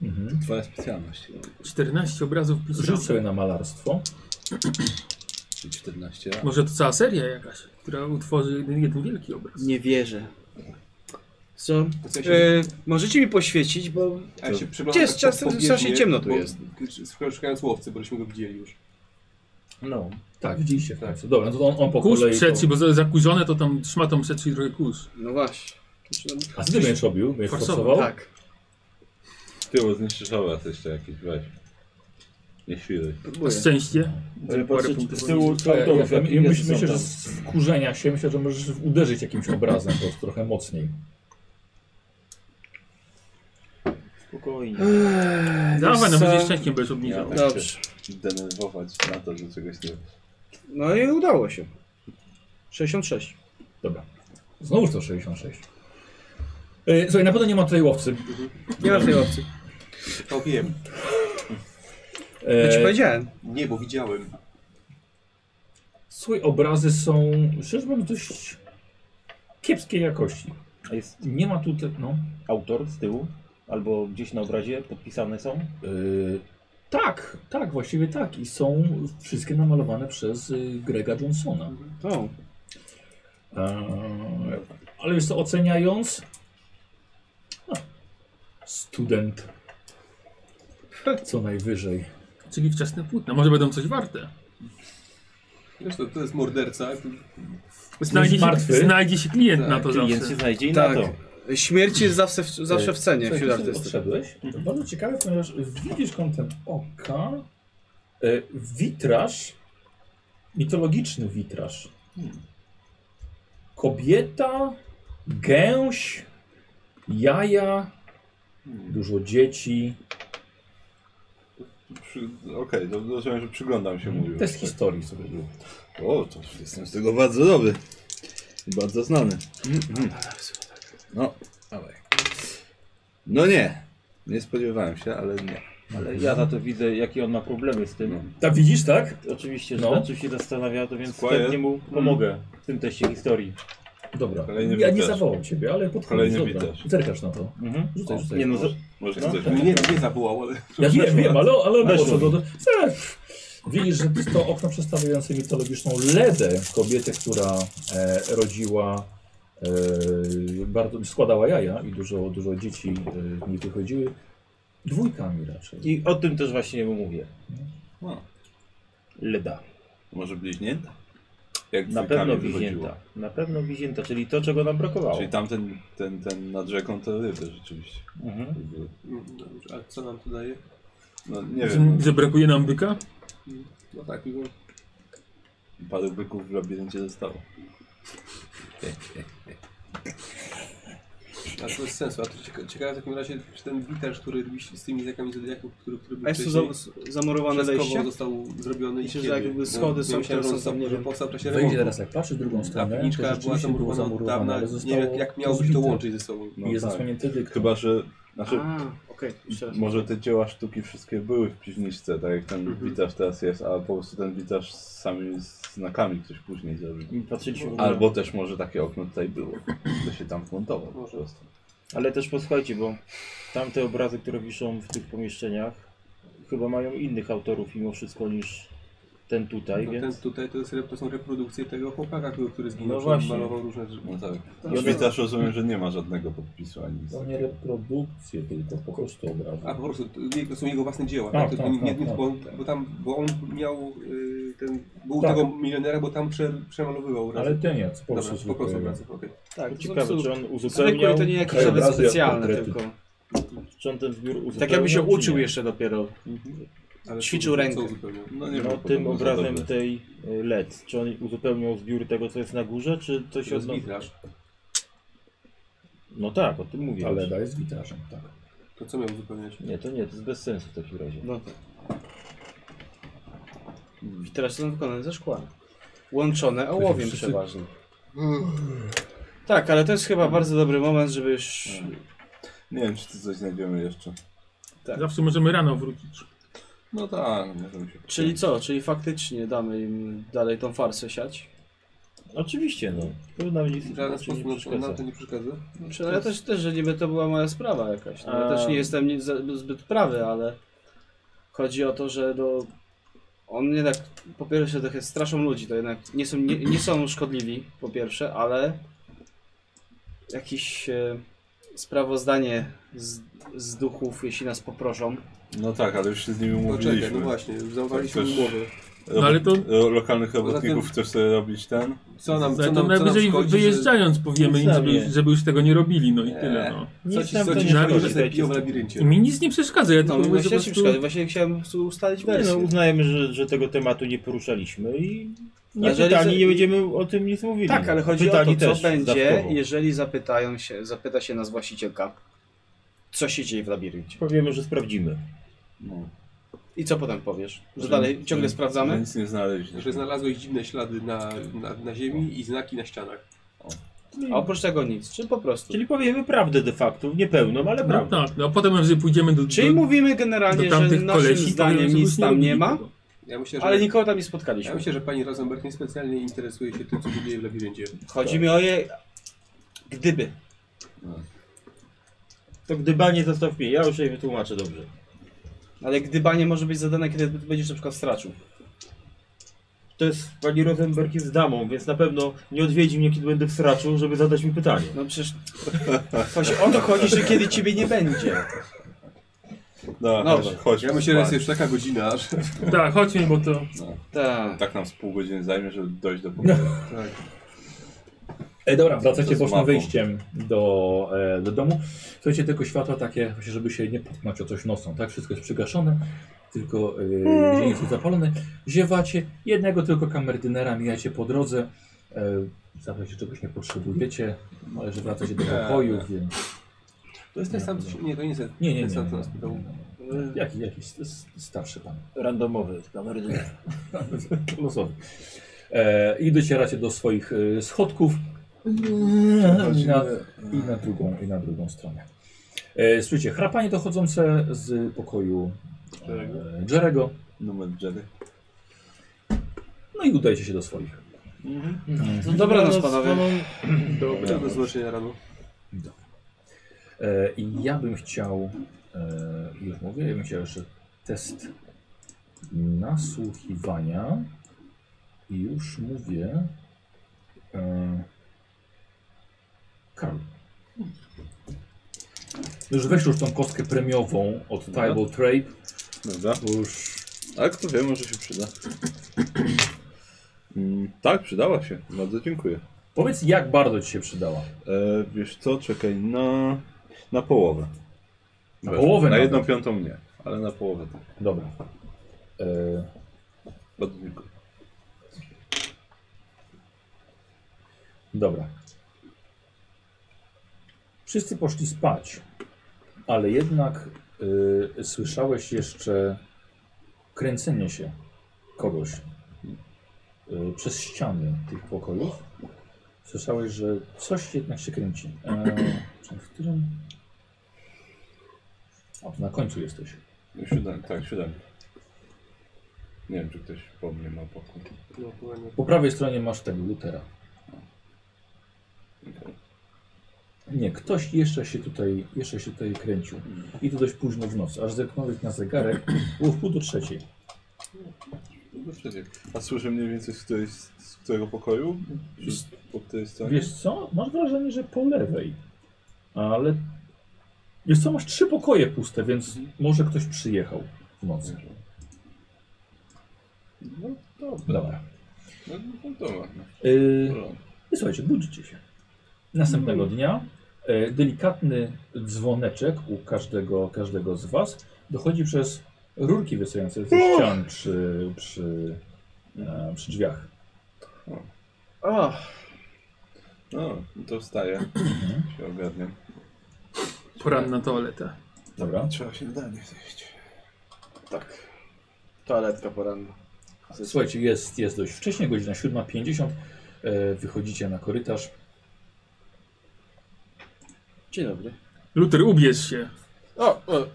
[SPEAKER 1] Mhm.
[SPEAKER 5] Twoja specjalność.
[SPEAKER 6] 14 obrazów plus
[SPEAKER 1] Rzuć
[SPEAKER 6] ramka.
[SPEAKER 1] sobie na malarstwo.
[SPEAKER 5] Czyli 14 lat.
[SPEAKER 6] Może to cała seria jakaś, która utworzy jeden, jeden wielki obraz.
[SPEAKER 4] Nie wierzę. Co?
[SPEAKER 2] To co ja się-
[SPEAKER 4] E, możecie mi poświecić, bo
[SPEAKER 2] a ja się przyglądam
[SPEAKER 4] Gdzie jest
[SPEAKER 2] tak
[SPEAKER 4] czas?
[SPEAKER 2] pobieżnie,
[SPEAKER 4] Strasznie ciemno tu
[SPEAKER 2] bo-
[SPEAKER 4] jest.
[SPEAKER 2] Szukając łowcy, bo żeśmy go widzieli już.
[SPEAKER 1] No. Tak, widzieliście w końcu. Dobra, no to on, on po
[SPEAKER 6] Kurz
[SPEAKER 1] kolei...
[SPEAKER 6] przeci,
[SPEAKER 1] To...
[SPEAKER 6] bo za- zakurzone to tam szmatą przeci trochę kurz.
[SPEAKER 4] No właśnie. Zaczynam-
[SPEAKER 1] A co ty będziesz robił? Będziesz
[SPEAKER 6] Forsował,
[SPEAKER 1] forsował?
[SPEAKER 4] Tak.
[SPEAKER 5] Ty, bo zniszczysz obraz jeszcze jakiś, weź. Nie świruj.
[SPEAKER 6] Na
[SPEAKER 4] Próbuję.
[SPEAKER 6] szczęście.
[SPEAKER 8] Ale patrzeć
[SPEAKER 6] punktów
[SPEAKER 8] z tyłu,
[SPEAKER 1] Ja,
[SPEAKER 8] co
[SPEAKER 4] Tak,
[SPEAKER 1] ja,
[SPEAKER 8] to
[SPEAKER 1] ja,
[SPEAKER 8] jakie
[SPEAKER 1] ja myśl,
[SPEAKER 8] jest
[SPEAKER 1] myślę, że
[SPEAKER 8] tam.
[SPEAKER 1] z wkurzenia się, myślę, że możesz uderzyć jakimś obrazem po prostu trochę mocniej.
[SPEAKER 8] Spokojnie.
[SPEAKER 6] Dawaj, no
[SPEAKER 4] co?
[SPEAKER 6] będzie szczęście, będziesz obniżał.
[SPEAKER 5] Ja.
[SPEAKER 4] Dobrze.
[SPEAKER 5] Denerwować na to, że czegoś nie
[SPEAKER 4] No i udało się. 66.
[SPEAKER 1] Dobra. Znowuż to 66. Yy, słuchaj, na pewno nie ma tutaj łowcy.
[SPEAKER 4] Nie ma tej opcji.
[SPEAKER 10] To wiem.
[SPEAKER 4] Ja ci
[SPEAKER 1] E,
[SPEAKER 4] Znaczy, powiedziałem.
[SPEAKER 10] Nie, bo widziałem.
[SPEAKER 1] Słuchaj, obrazy są, szczerze mówiąc, dość kiepskiej jakości.
[SPEAKER 8] A jest
[SPEAKER 1] Nie ma tutaj, no.
[SPEAKER 8] autor z tyłu? Albo gdzieś na obrazie podpisane są?
[SPEAKER 1] Yy, tak, tak, właściwie tak. I są wszystkie namalowane przez y, Grega Johnsona.
[SPEAKER 4] O,
[SPEAKER 1] Eee, ale wiesz co, oceniając... A, student. Co najwyżej.
[SPEAKER 6] Czyli wczesne płótna. Może będą coś warte.
[SPEAKER 2] Zresztą to jest morderca.
[SPEAKER 6] Znajdzie się,
[SPEAKER 1] martwy.
[SPEAKER 6] znajdzie się klient
[SPEAKER 2] Tak,
[SPEAKER 6] na to
[SPEAKER 8] Klient się
[SPEAKER 6] zawsze.
[SPEAKER 8] znajdzie i
[SPEAKER 4] tak.
[SPEAKER 8] na to.
[SPEAKER 4] Śmierć jest zawsze w, zawsze w cenie
[SPEAKER 1] Słuchaj,
[SPEAKER 4] wśród
[SPEAKER 1] tu sobie
[SPEAKER 8] tak
[SPEAKER 4] artystów.
[SPEAKER 1] Odszedłeś. To
[SPEAKER 8] Mhm.
[SPEAKER 1] bardzo ciekawe, ponieważ widzisz kątem oka e, witraż, mitologiczny witraż.
[SPEAKER 8] Hmm.
[SPEAKER 1] Kobieta, gęś, jaja,
[SPEAKER 8] Hmm.
[SPEAKER 1] dużo dzieci.
[SPEAKER 5] Przy... Okej, okay, rozumiem, że przyglądam się mówił.
[SPEAKER 1] Test historii sobie zrób.
[SPEAKER 5] O, to jestem z tego bardzo dobry. I Bardzo znany. No, dawaj. No nie. Nie spodziewałem się, ale nie.
[SPEAKER 8] Ale ja na to widzę, jakie on ma problemy z tym.
[SPEAKER 1] Tak widzisz, tak?
[SPEAKER 8] Oczywiście, że
[SPEAKER 1] No.
[SPEAKER 8] nad czym się zastanawia, to więc
[SPEAKER 5] Squire?
[SPEAKER 8] chętnie mu pomogę w tym teście historii.
[SPEAKER 1] Dobra.
[SPEAKER 5] Kolejny
[SPEAKER 1] ja nie
[SPEAKER 5] witraż.
[SPEAKER 1] zawołam ciebie, ale pod koniec.
[SPEAKER 5] Kolejny
[SPEAKER 1] Dobra.
[SPEAKER 5] witraż.
[SPEAKER 1] Zerkasz na to.
[SPEAKER 8] Mhm.
[SPEAKER 1] Rzucaj, rzucaj.
[SPEAKER 8] Nie no, za-
[SPEAKER 5] Może
[SPEAKER 8] No,
[SPEAKER 5] chcesz
[SPEAKER 8] tak.
[SPEAKER 5] mi-
[SPEAKER 2] Nie, nie zawołał, ale
[SPEAKER 1] Ja wiem, wiem, ale, ale
[SPEAKER 8] Weszło
[SPEAKER 1] poszło
[SPEAKER 8] mi.
[SPEAKER 1] do... do- Ech. Widzisz, że to jest to okno przedstawiające mitologiczną Ledę, kobietę, która e, rodziła, e, bardzo, składała jaja i dużo, dużo dzieci e, nie wychodziły. Dwójkami raczej.
[SPEAKER 8] I o tym też właśnie mu mówię.
[SPEAKER 5] No. O,
[SPEAKER 8] Leda.
[SPEAKER 5] Może bliźnięta? Jak
[SPEAKER 8] Na
[SPEAKER 5] dwójkami
[SPEAKER 8] pewno
[SPEAKER 5] wychodziło.
[SPEAKER 8] wizięta. Na pewno wizięta, czyli to, czego nam brakowało.
[SPEAKER 5] Czyli tamten ten, ten nad rzeką to ryby rzeczywiście.
[SPEAKER 8] Mhm.
[SPEAKER 2] Mm, Dobrze, ale co nam tu daje?
[SPEAKER 5] No nie
[SPEAKER 8] Znaczy
[SPEAKER 6] Że-
[SPEAKER 5] wiem,
[SPEAKER 6] Że brakuje nam byka?
[SPEAKER 2] No tak, mimo...
[SPEAKER 5] no, paru byków w labiryncie zostało.
[SPEAKER 2] A to bez sensu. A to cieka ciekawe w takim razie, czy ten witarz, który robiliście z tymi znakami zodiaku, który, który był
[SPEAKER 4] A jest tu
[SPEAKER 2] wcześniej,
[SPEAKER 4] za, zamorowane
[SPEAKER 2] przez
[SPEAKER 4] wejście?
[SPEAKER 2] kogo został zrobiony i
[SPEAKER 4] Myślę,
[SPEAKER 2] kiedy? No,
[SPEAKER 4] że jakby schody
[SPEAKER 2] Bo
[SPEAKER 4] są
[SPEAKER 2] myślałem, że
[SPEAKER 4] teraz,
[SPEAKER 2] został
[SPEAKER 4] nie
[SPEAKER 2] może
[SPEAKER 4] wiem.
[SPEAKER 2] powstał w czasie
[SPEAKER 1] Wejdzie
[SPEAKER 2] remontu.
[SPEAKER 1] teraz jak patrzy Tak, w drugą
[SPEAKER 2] Ta
[SPEAKER 1] stronę, to
[SPEAKER 2] piwniczka była
[SPEAKER 1] rzeczywiście było
[SPEAKER 2] zamurowana od dawna,
[SPEAKER 1] zamurowane, ale
[SPEAKER 2] ale
[SPEAKER 1] zostało
[SPEAKER 2] nie wiem jak miałoby się to
[SPEAKER 1] rozbite.
[SPEAKER 2] łączyć ze sobą.
[SPEAKER 1] I jest
[SPEAKER 5] No tak.
[SPEAKER 1] zasłonięty dyktą.
[SPEAKER 5] Chyba, że... Znaczy,
[SPEAKER 4] A, okej. jeszcze raz.
[SPEAKER 5] Może te dzieła sztuki wszystkie były w piwniczce, tak jak ten
[SPEAKER 8] Mhm.
[SPEAKER 5] witarz teraz jest, a po prostu ten witarz z samymi znakami ktoś później zrobił.
[SPEAKER 8] I Patrzyliśmy w Albo.
[SPEAKER 5] Albo też może takie okno tutaj było, to się tam wmontował po prostu.
[SPEAKER 8] Ale też posłuchajcie, bo tamte obrazy, które wiszą w tych pomieszczeniach, chyba mają innych autorów mimo wszystko niż ten tutaj,
[SPEAKER 2] No ten
[SPEAKER 1] Tak
[SPEAKER 8] więc...
[SPEAKER 2] tutaj to, jest, rep- to są reprodukcje tego chłopaka, który, który zginął,
[SPEAKER 8] No
[SPEAKER 2] że on
[SPEAKER 8] właśnie.
[SPEAKER 2] malował różne rzeczy.
[SPEAKER 5] No tak.
[SPEAKER 8] I one-
[SPEAKER 5] Witarz rozumiem, że nie ma żadnego podpisu ani nic.
[SPEAKER 8] Tak.
[SPEAKER 1] To nie reprodukcje, tylko po prostu obrazy.
[SPEAKER 2] A po prostu to je- to są jego własne dzieła,
[SPEAKER 1] Tak,
[SPEAKER 2] tak? To
[SPEAKER 1] tak,
[SPEAKER 2] nie, nie,
[SPEAKER 1] tak, tak.
[SPEAKER 2] Bo, on, bo tam, bo on miał y, ten, był
[SPEAKER 1] Tak.
[SPEAKER 2] tego milionera, bo tam prze, przemalowywał obrazy.
[SPEAKER 1] Ale te nie, po
[SPEAKER 2] Dobra,
[SPEAKER 1] prostu
[SPEAKER 2] po prostu
[SPEAKER 1] zwykłe.
[SPEAKER 2] obrazy, okej.
[SPEAKER 4] Tak,
[SPEAKER 8] Ciekawe, czy on
[SPEAKER 4] Zwykłe
[SPEAKER 8] uzupełniał,
[SPEAKER 4] i to nie jakieś
[SPEAKER 1] krajobrazy
[SPEAKER 4] nawet
[SPEAKER 1] jak
[SPEAKER 4] specjalne,
[SPEAKER 1] portrety.
[SPEAKER 4] tylko.
[SPEAKER 8] czy on ten zbiór uzupełniał,
[SPEAKER 4] Tak jakby się
[SPEAKER 8] czy
[SPEAKER 4] uczył
[SPEAKER 8] nie.
[SPEAKER 4] jeszcze dopiero.
[SPEAKER 2] Ale
[SPEAKER 4] Ćwiczył
[SPEAKER 2] co- co
[SPEAKER 4] rękę.
[SPEAKER 2] uzupełniał?
[SPEAKER 5] No nie
[SPEAKER 8] No tym
[SPEAKER 5] wiem, podobno za
[SPEAKER 8] obrazem
[SPEAKER 5] dobre.
[SPEAKER 8] tej y, LED, czy on uzupełniał zbiór tego, co jest na górze, czy coś
[SPEAKER 2] To jest
[SPEAKER 8] odnosi?
[SPEAKER 2] witraż.
[SPEAKER 8] No tak, o tym mówię.
[SPEAKER 1] Ale daje z gitarzem, tak.
[SPEAKER 2] To co miał uzupełniać?
[SPEAKER 8] Nie, to nie, to jest bez sensu w takim razie.
[SPEAKER 4] No tak. I teraz są wykonane ze szkła. Łączone ołowiem przeważnie. Tak, ale to jest chyba bardzo dobry moment, żeby już...
[SPEAKER 5] Nie wiem, czy tu coś znajdziemy jeszcze.
[SPEAKER 4] Tak.
[SPEAKER 6] Zawsze możemy rano wrócić.
[SPEAKER 5] No tak, możemy się...
[SPEAKER 4] Czyli co? Czyli faktycznie damy im dalej tą farsę siać?
[SPEAKER 8] Oczywiście, no. To nam nic
[SPEAKER 2] W żaden
[SPEAKER 8] nie
[SPEAKER 2] sposób nam-
[SPEAKER 8] przeszkadza.
[SPEAKER 2] nam to nie przeszkadza.
[SPEAKER 4] Znaczy, no ja też, też, że niby to była moja sprawa jakaś. No, ja
[SPEAKER 8] A-
[SPEAKER 4] też nie jestem ni- za- zbyt prawy, ale chodzi o to, że do... on jednak po pierwsze trochę straszą ludzi, to jednak nie są, nie, nie są szkodliwi po pierwsze, ale jakieś e, sprawozdanie z, z duchów, jeśli nas poproszą.
[SPEAKER 5] No tak, ale już się z nimi
[SPEAKER 2] No czekaj, no
[SPEAKER 5] umówiliśmy.
[SPEAKER 2] właśnie, już zauważyliśmy
[SPEAKER 1] Tak,
[SPEAKER 5] Coś-
[SPEAKER 2] umowy.
[SPEAKER 5] Robot-
[SPEAKER 6] No ale to-
[SPEAKER 5] ro- Lokalnych robotników
[SPEAKER 2] tym-
[SPEAKER 5] chcesz sobie robić ten?
[SPEAKER 2] Co nam, co
[SPEAKER 6] Ale
[SPEAKER 2] nam,
[SPEAKER 6] to
[SPEAKER 2] co nam
[SPEAKER 6] najwyżej
[SPEAKER 2] szkodzi,
[SPEAKER 6] wyjeżdżając powiemy im, żeby,
[SPEAKER 8] Zostawię.
[SPEAKER 6] żeby już tego nie robili, no i
[SPEAKER 5] Nie.
[SPEAKER 6] tyle. No.
[SPEAKER 2] że...
[SPEAKER 8] Nic
[SPEAKER 2] Coś nam
[SPEAKER 8] nam to nie
[SPEAKER 2] szkodzi, że
[SPEAKER 8] szkodzi.
[SPEAKER 2] się zabiją w labiryncie.
[SPEAKER 6] Mi nic nie przeszkadza, ja
[SPEAKER 4] No,
[SPEAKER 6] tylko
[SPEAKER 4] no
[SPEAKER 6] mówię, że
[SPEAKER 4] właśnie,
[SPEAKER 6] po
[SPEAKER 4] ci
[SPEAKER 6] prostu...
[SPEAKER 4] przeszkadza. właśnie chciałem po prostu ustalić
[SPEAKER 8] Nie, no,
[SPEAKER 4] wersję.
[SPEAKER 8] uznajemy, że, że tego tematu nie poruszaliśmy i nie
[SPEAKER 4] Jeżeli
[SPEAKER 8] pytani,
[SPEAKER 4] ze-
[SPEAKER 8] nie będziemy o tym nic mówili.
[SPEAKER 4] Tak, ale chodzi
[SPEAKER 8] pytani
[SPEAKER 4] o to, co
[SPEAKER 8] no. też
[SPEAKER 4] będzie,
[SPEAKER 8] dodatkowo.
[SPEAKER 4] jeżeli zapytają się, zapyta się nas właścicielka. co się dzieje w labiryncie.
[SPEAKER 8] Powiemy, że sprawdzimy.
[SPEAKER 5] No,
[SPEAKER 4] I co potem powiesz? Że dalej ciągle
[SPEAKER 5] no
[SPEAKER 4] sprawdzamy?
[SPEAKER 5] nic nie znaleźliśmy.
[SPEAKER 2] Że znalazłeś dziwne ślady na, na, na ziemi i znaki na ścianach.
[SPEAKER 4] A oprócz tego nic, czy po prostu?
[SPEAKER 8] Czyli powiemy prawdę de facto, niepełną, ale
[SPEAKER 6] No
[SPEAKER 8] prawdę.
[SPEAKER 6] tak, no a potem jak sobie pójdziemy do,
[SPEAKER 4] Czyli
[SPEAKER 6] do,
[SPEAKER 4] mówimy
[SPEAKER 6] do
[SPEAKER 4] generalnie, że
[SPEAKER 6] tamtych
[SPEAKER 4] naszym
[SPEAKER 6] kolesi,
[SPEAKER 4] zdaniem nic tam nie ma,
[SPEAKER 2] Ja myślę, że,
[SPEAKER 4] ale nikogo tam nie
[SPEAKER 2] ja
[SPEAKER 4] spotkaliśmy.
[SPEAKER 2] myślę, że pani Rosenberg niespecjalnie interesuje się tym, co się dzieje w labiryncie.
[SPEAKER 4] Chodzi mi o jej... Gdyby.
[SPEAKER 8] To gdybanie zostaw mnie, ja już jej wytłumaczę dobrze.
[SPEAKER 4] Ale gdybanie może być zadane, kiedy będziesz na przykład stracił.
[SPEAKER 8] To jest, pani Rosenberg jest damą, więc na pewno nie odwiedzi mnie, kiedy będę w sraczu, żeby zadać mi pytanie.
[SPEAKER 4] No przecież... Właśnie o to chodzi, że kiedy ciebie nie będzie.
[SPEAKER 5] No,
[SPEAKER 4] No,
[SPEAKER 5] chodź, chodź.
[SPEAKER 2] Ja myślę, że jest
[SPEAKER 5] spać.
[SPEAKER 2] już taka godzina, że
[SPEAKER 6] Tak, chodźmy, bo to...
[SPEAKER 4] Tak.
[SPEAKER 5] Tak nam z pół godziny zajmie, żeby dojść do pokoju.
[SPEAKER 1] E, dobra,
[SPEAKER 5] To
[SPEAKER 1] wracacie
[SPEAKER 5] z
[SPEAKER 1] bocznym
[SPEAKER 5] mapą.
[SPEAKER 1] wyjściem do, e, do domu. Słuchajcie, tylko światła takie, właśnie, żeby się nie potknąć o coś nocą, tak? Wszystko jest przygaszone, tylko e, dzień jest zapalony. Ziewacie, jednego tylko kamerdynera mijacie po drodze. E, Zapewne czegoś nie potrzebujecie, ale że wracacie do pokoju, więc...
[SPEAKER 2] to jest ten sam, co się... Nie, to nie jest ten,
[SPEAKER 1] Nie, nie, nie.
[SPEAKER 2] ten sam,
[SPEAKER 1] nie,
[SPEAKER 2] co nas pytał.
[SPEAKER 1] nie. Jaki, jakiś s- starszy pan.
[SPEAKER 8] Randomowy, kamery.
[SPEAKER 1] Losowy. No E, I docieracie do swoich e, schodków. I na, i, na drugą, I na drugą stronę. E, słyszycie chrapanie dochodzące z pokoju e, Jerego.
[SPEAKER 5] Numer Jerry.
[SPEAKER 1] No i udajcie się do swoich.
[SPEAKER 4] Dobranoc, No panowie.
[SPEAKER 2] Do, do zobaczenia rano.
[SPEAKER 1] E, I ja bym chciał, e, już mówię, ja bym chciał jeszcze test nasłuchiwania. I już mówię. E, Karol. No Już weź już tą kostkę premiową od Tribal Trade,
[SPEAKER 5] Dobra.
[SPEAKER 1] bo już
[SPEAKER 5] Ale kto wie, może się przyda. Mm, tak, przydała się. Bardzo dziękuję.
[SPEAKER 1] Powiedz, jak bardzo ci się przydała.
[SPEAKER 5] E, wiesz co, czekaj, na, na połowę.
[SPEAKER 1] Na połowę
[SPEAKER 5] Na
[SPEAKER 1] nawet.
[SPEAKER 5] jedną piątą nie, ale na połowę tak.
[SPEAKER 1] Dobra. E,
[SPEAKER 5] Bardzo dziękuję.
[SPEAKER 1] dobra. Wszyscy poszli spać, ale jednak e, słyszałeś jeszcze kręcenie się kogoś e, przez ściany tych pokojów. Słyszałeś, że coś jednak się kręci. E, czy w którym? O, to na końcu jesteś.
[SPEAKER 5] No, Siódem, tak, siódem. Nie wiem, czy ktoś po mnie ma pokój.
[SPEAKER 2] No, chyba nie.
[SPEAKER 1] Po prawej stronie masz tego Lutera.
[SPEAKER 5] Okej.
[SPEAKER 1] Nie, ktoś jeszcze się tutaj, jeszcze się tutaj kręcił. I to dość późno w nocy. Aż zerknąłeś na zegarek, było w pół do trzeciej.
[SPEAKER 5] No, przecież. A słyszę mniej więcej z, której, z którego pokoju? Czy z- po której stronie?
[SPEAKER 1] Wiesz co? Masz wrażenie, że po lewej. Ale... Wiesz co? Masz trzy pokoje puste, więc może ktoś przyjechał w nocy.
[SPEAKER 5] No dobra.
[SPEAKER 1] Dobra.
[SPEAKER 5] No, no dobra. No,
[SPEAKER 1] Y,
[SPEAKER 5] dobra.
[SPEAKER 1] I słuchajcie, budzicie się. Następnego dnia e, delikatny dzwoneczek u każdego, każdego z Was dochodzi przez rurki wystające ze ścian przy, przy, e, przy drzwiach.
[SPEAKER 4] O,
[SPEAKER 5] No, no to wstaję. się ogarniam.
[SPEAKER 6] Poranna toaleta.
[SPEAKER 1] Dobra.
[SPEAKER 5] Trzeba się dalej zejść.
[SPEAKER 4] tak. Toaletka poranna.
[SPEAKER 1] Słuchajcie, jest, jest dość wcześnie, godzina 7.50. E, wychodzicie na korytarz.
[SPEAKER 4] Dzień dobry.
[SPEAKER 6] Luter, ubierz się.
[SPEAKER 4] O, o.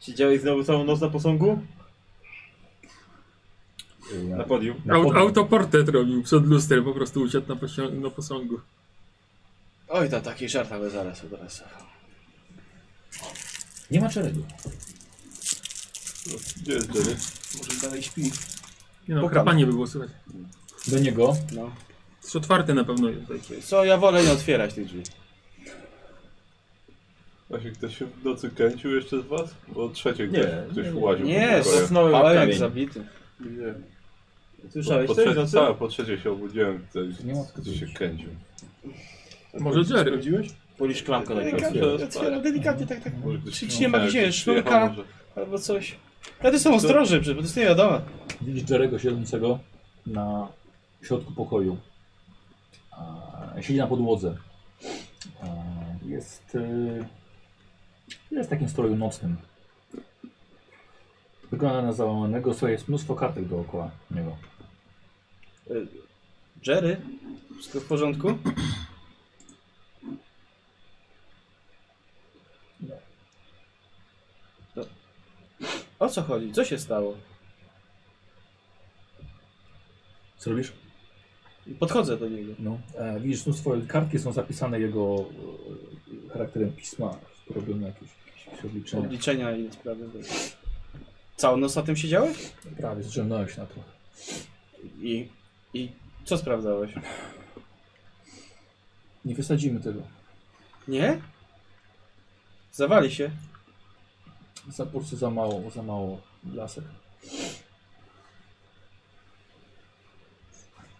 [SPEAKER 8] Siedziałeś znowu całą noc na posągu?
[SPEAKER 1] E,
[SPEAKER 8] Na podium.
[SPEAKER 1] na
[SPEAKER 6] Aut,
[SPEAKER 1] podwórku.
[SPEAKER 6] autoportret robił przed lustrem, po prostu usiadł na, posią- na posągu.
[SPEAKER 4] Oj, to taki żart, ale zaraz, zaraz.
[SPEAKER 1] Nie ma czerego.
[SPEAKER 5] Gdzie jest Jerry?
[SPEAKER 2] Może dalej śpi.
[SPEAKER 6] Nie no,
[SPEAKER 4] Pukam.
[SPEAKER 6] krapanie by było słychać.
[SPEAKER 1] Do niego.
[SPEAKER 4] No.
[SPEAKER 6] Jest otwarte na pewno. jest.
[SPEAKER 4] Co, ja wolę nie otwierać tych drzwi.
[SPEAKER 5] Właśnie ktoś się w nocy kręcił jeszcze z was? Bo od trzeciej
[SPEAKER 8] Nie,
[SPEAKER 5] ktoś, ktoś łaził
[SPEAKER 4] Nie,
[SPEAKER 5] po pokoju. No,
[SPEAKER 8] Zasnąłem
[SPEAKER 4] ale jak
[SPEAKER 8] kamień.
[SPEAKER 4] zabity.
[SPEAKER 8] Słyszałeś
[SPEAKER 5] po,
[SPEAKER 8] coś?
[SPEAKER 5] po, trzecie,
[SPEAKER 8] nocy?
[SPEAKER 5] tak, po trzeciej się obudziłem, ktoś,
[SPEAKER 1] Nie ma
[SPEAKER 5] ktoś się kręcił.
[SPEAKER 6] Może Jerry.
[SPEAKER 5] Sprawdziłeś?
[SPEAKER 4] Polisz klamkę na
[SPEAKER 5] Delikatnie,
[SPEAKER 4] końcu.
[SPEAKER 5] otwieram,
[SPEAKER 4] Otwieram delikatnie, tak, tak.
[SPEAKER 5] Może ktoś
[SPEAKER 4] Czy ci nie ma
[SPEAKER 5] przyjechał,
[SPEAKER 4] gdzie?
[SPEAKER 5] przyjechał
[SPEAKER 4] Szmyka?
[SPEAKER 5] może.
[SPEAKER 4] Albo coś. Ja ty są ostrożny, przecież, bo to jest nie wiadomo.
[SPEAKER 1] Widzisz Jerego siedzącego na środku pokoju. A, Siedzi na podłodze. A, Jest e, Jest w takim stroju nocnym. Wygląda na załamanego, co jest mnóstwo kartek dookoła niego.
[SPEAKER 4] Jerry, wszystko w porządku? To- No. O co chodzi? Co się stało?
[SPEAKER 1] Co robisz?
[SPEAKER 4] Podchodzę do niego.
[SPEAKER 1] No. E, widzisz, mnóstwo kartki są zapisane jego e, charakterem pisma. Robione jakieś, jakieś obliczenia.
[SPEAKER 4] Obliczenia i sprawy. Całą noc na tym siedziałeś?
[SPEAKER 1] Prawie zrzemnąłeś na to.
[SPEAKER 4] I, I co sprawdzałeś?
[SPEAKER 1] Nie wysadzimy tego.
[SPEAKER 4] Nie? Zawali się.
[SPEAKER 1] Za, po prostu za mało, za mało lasek.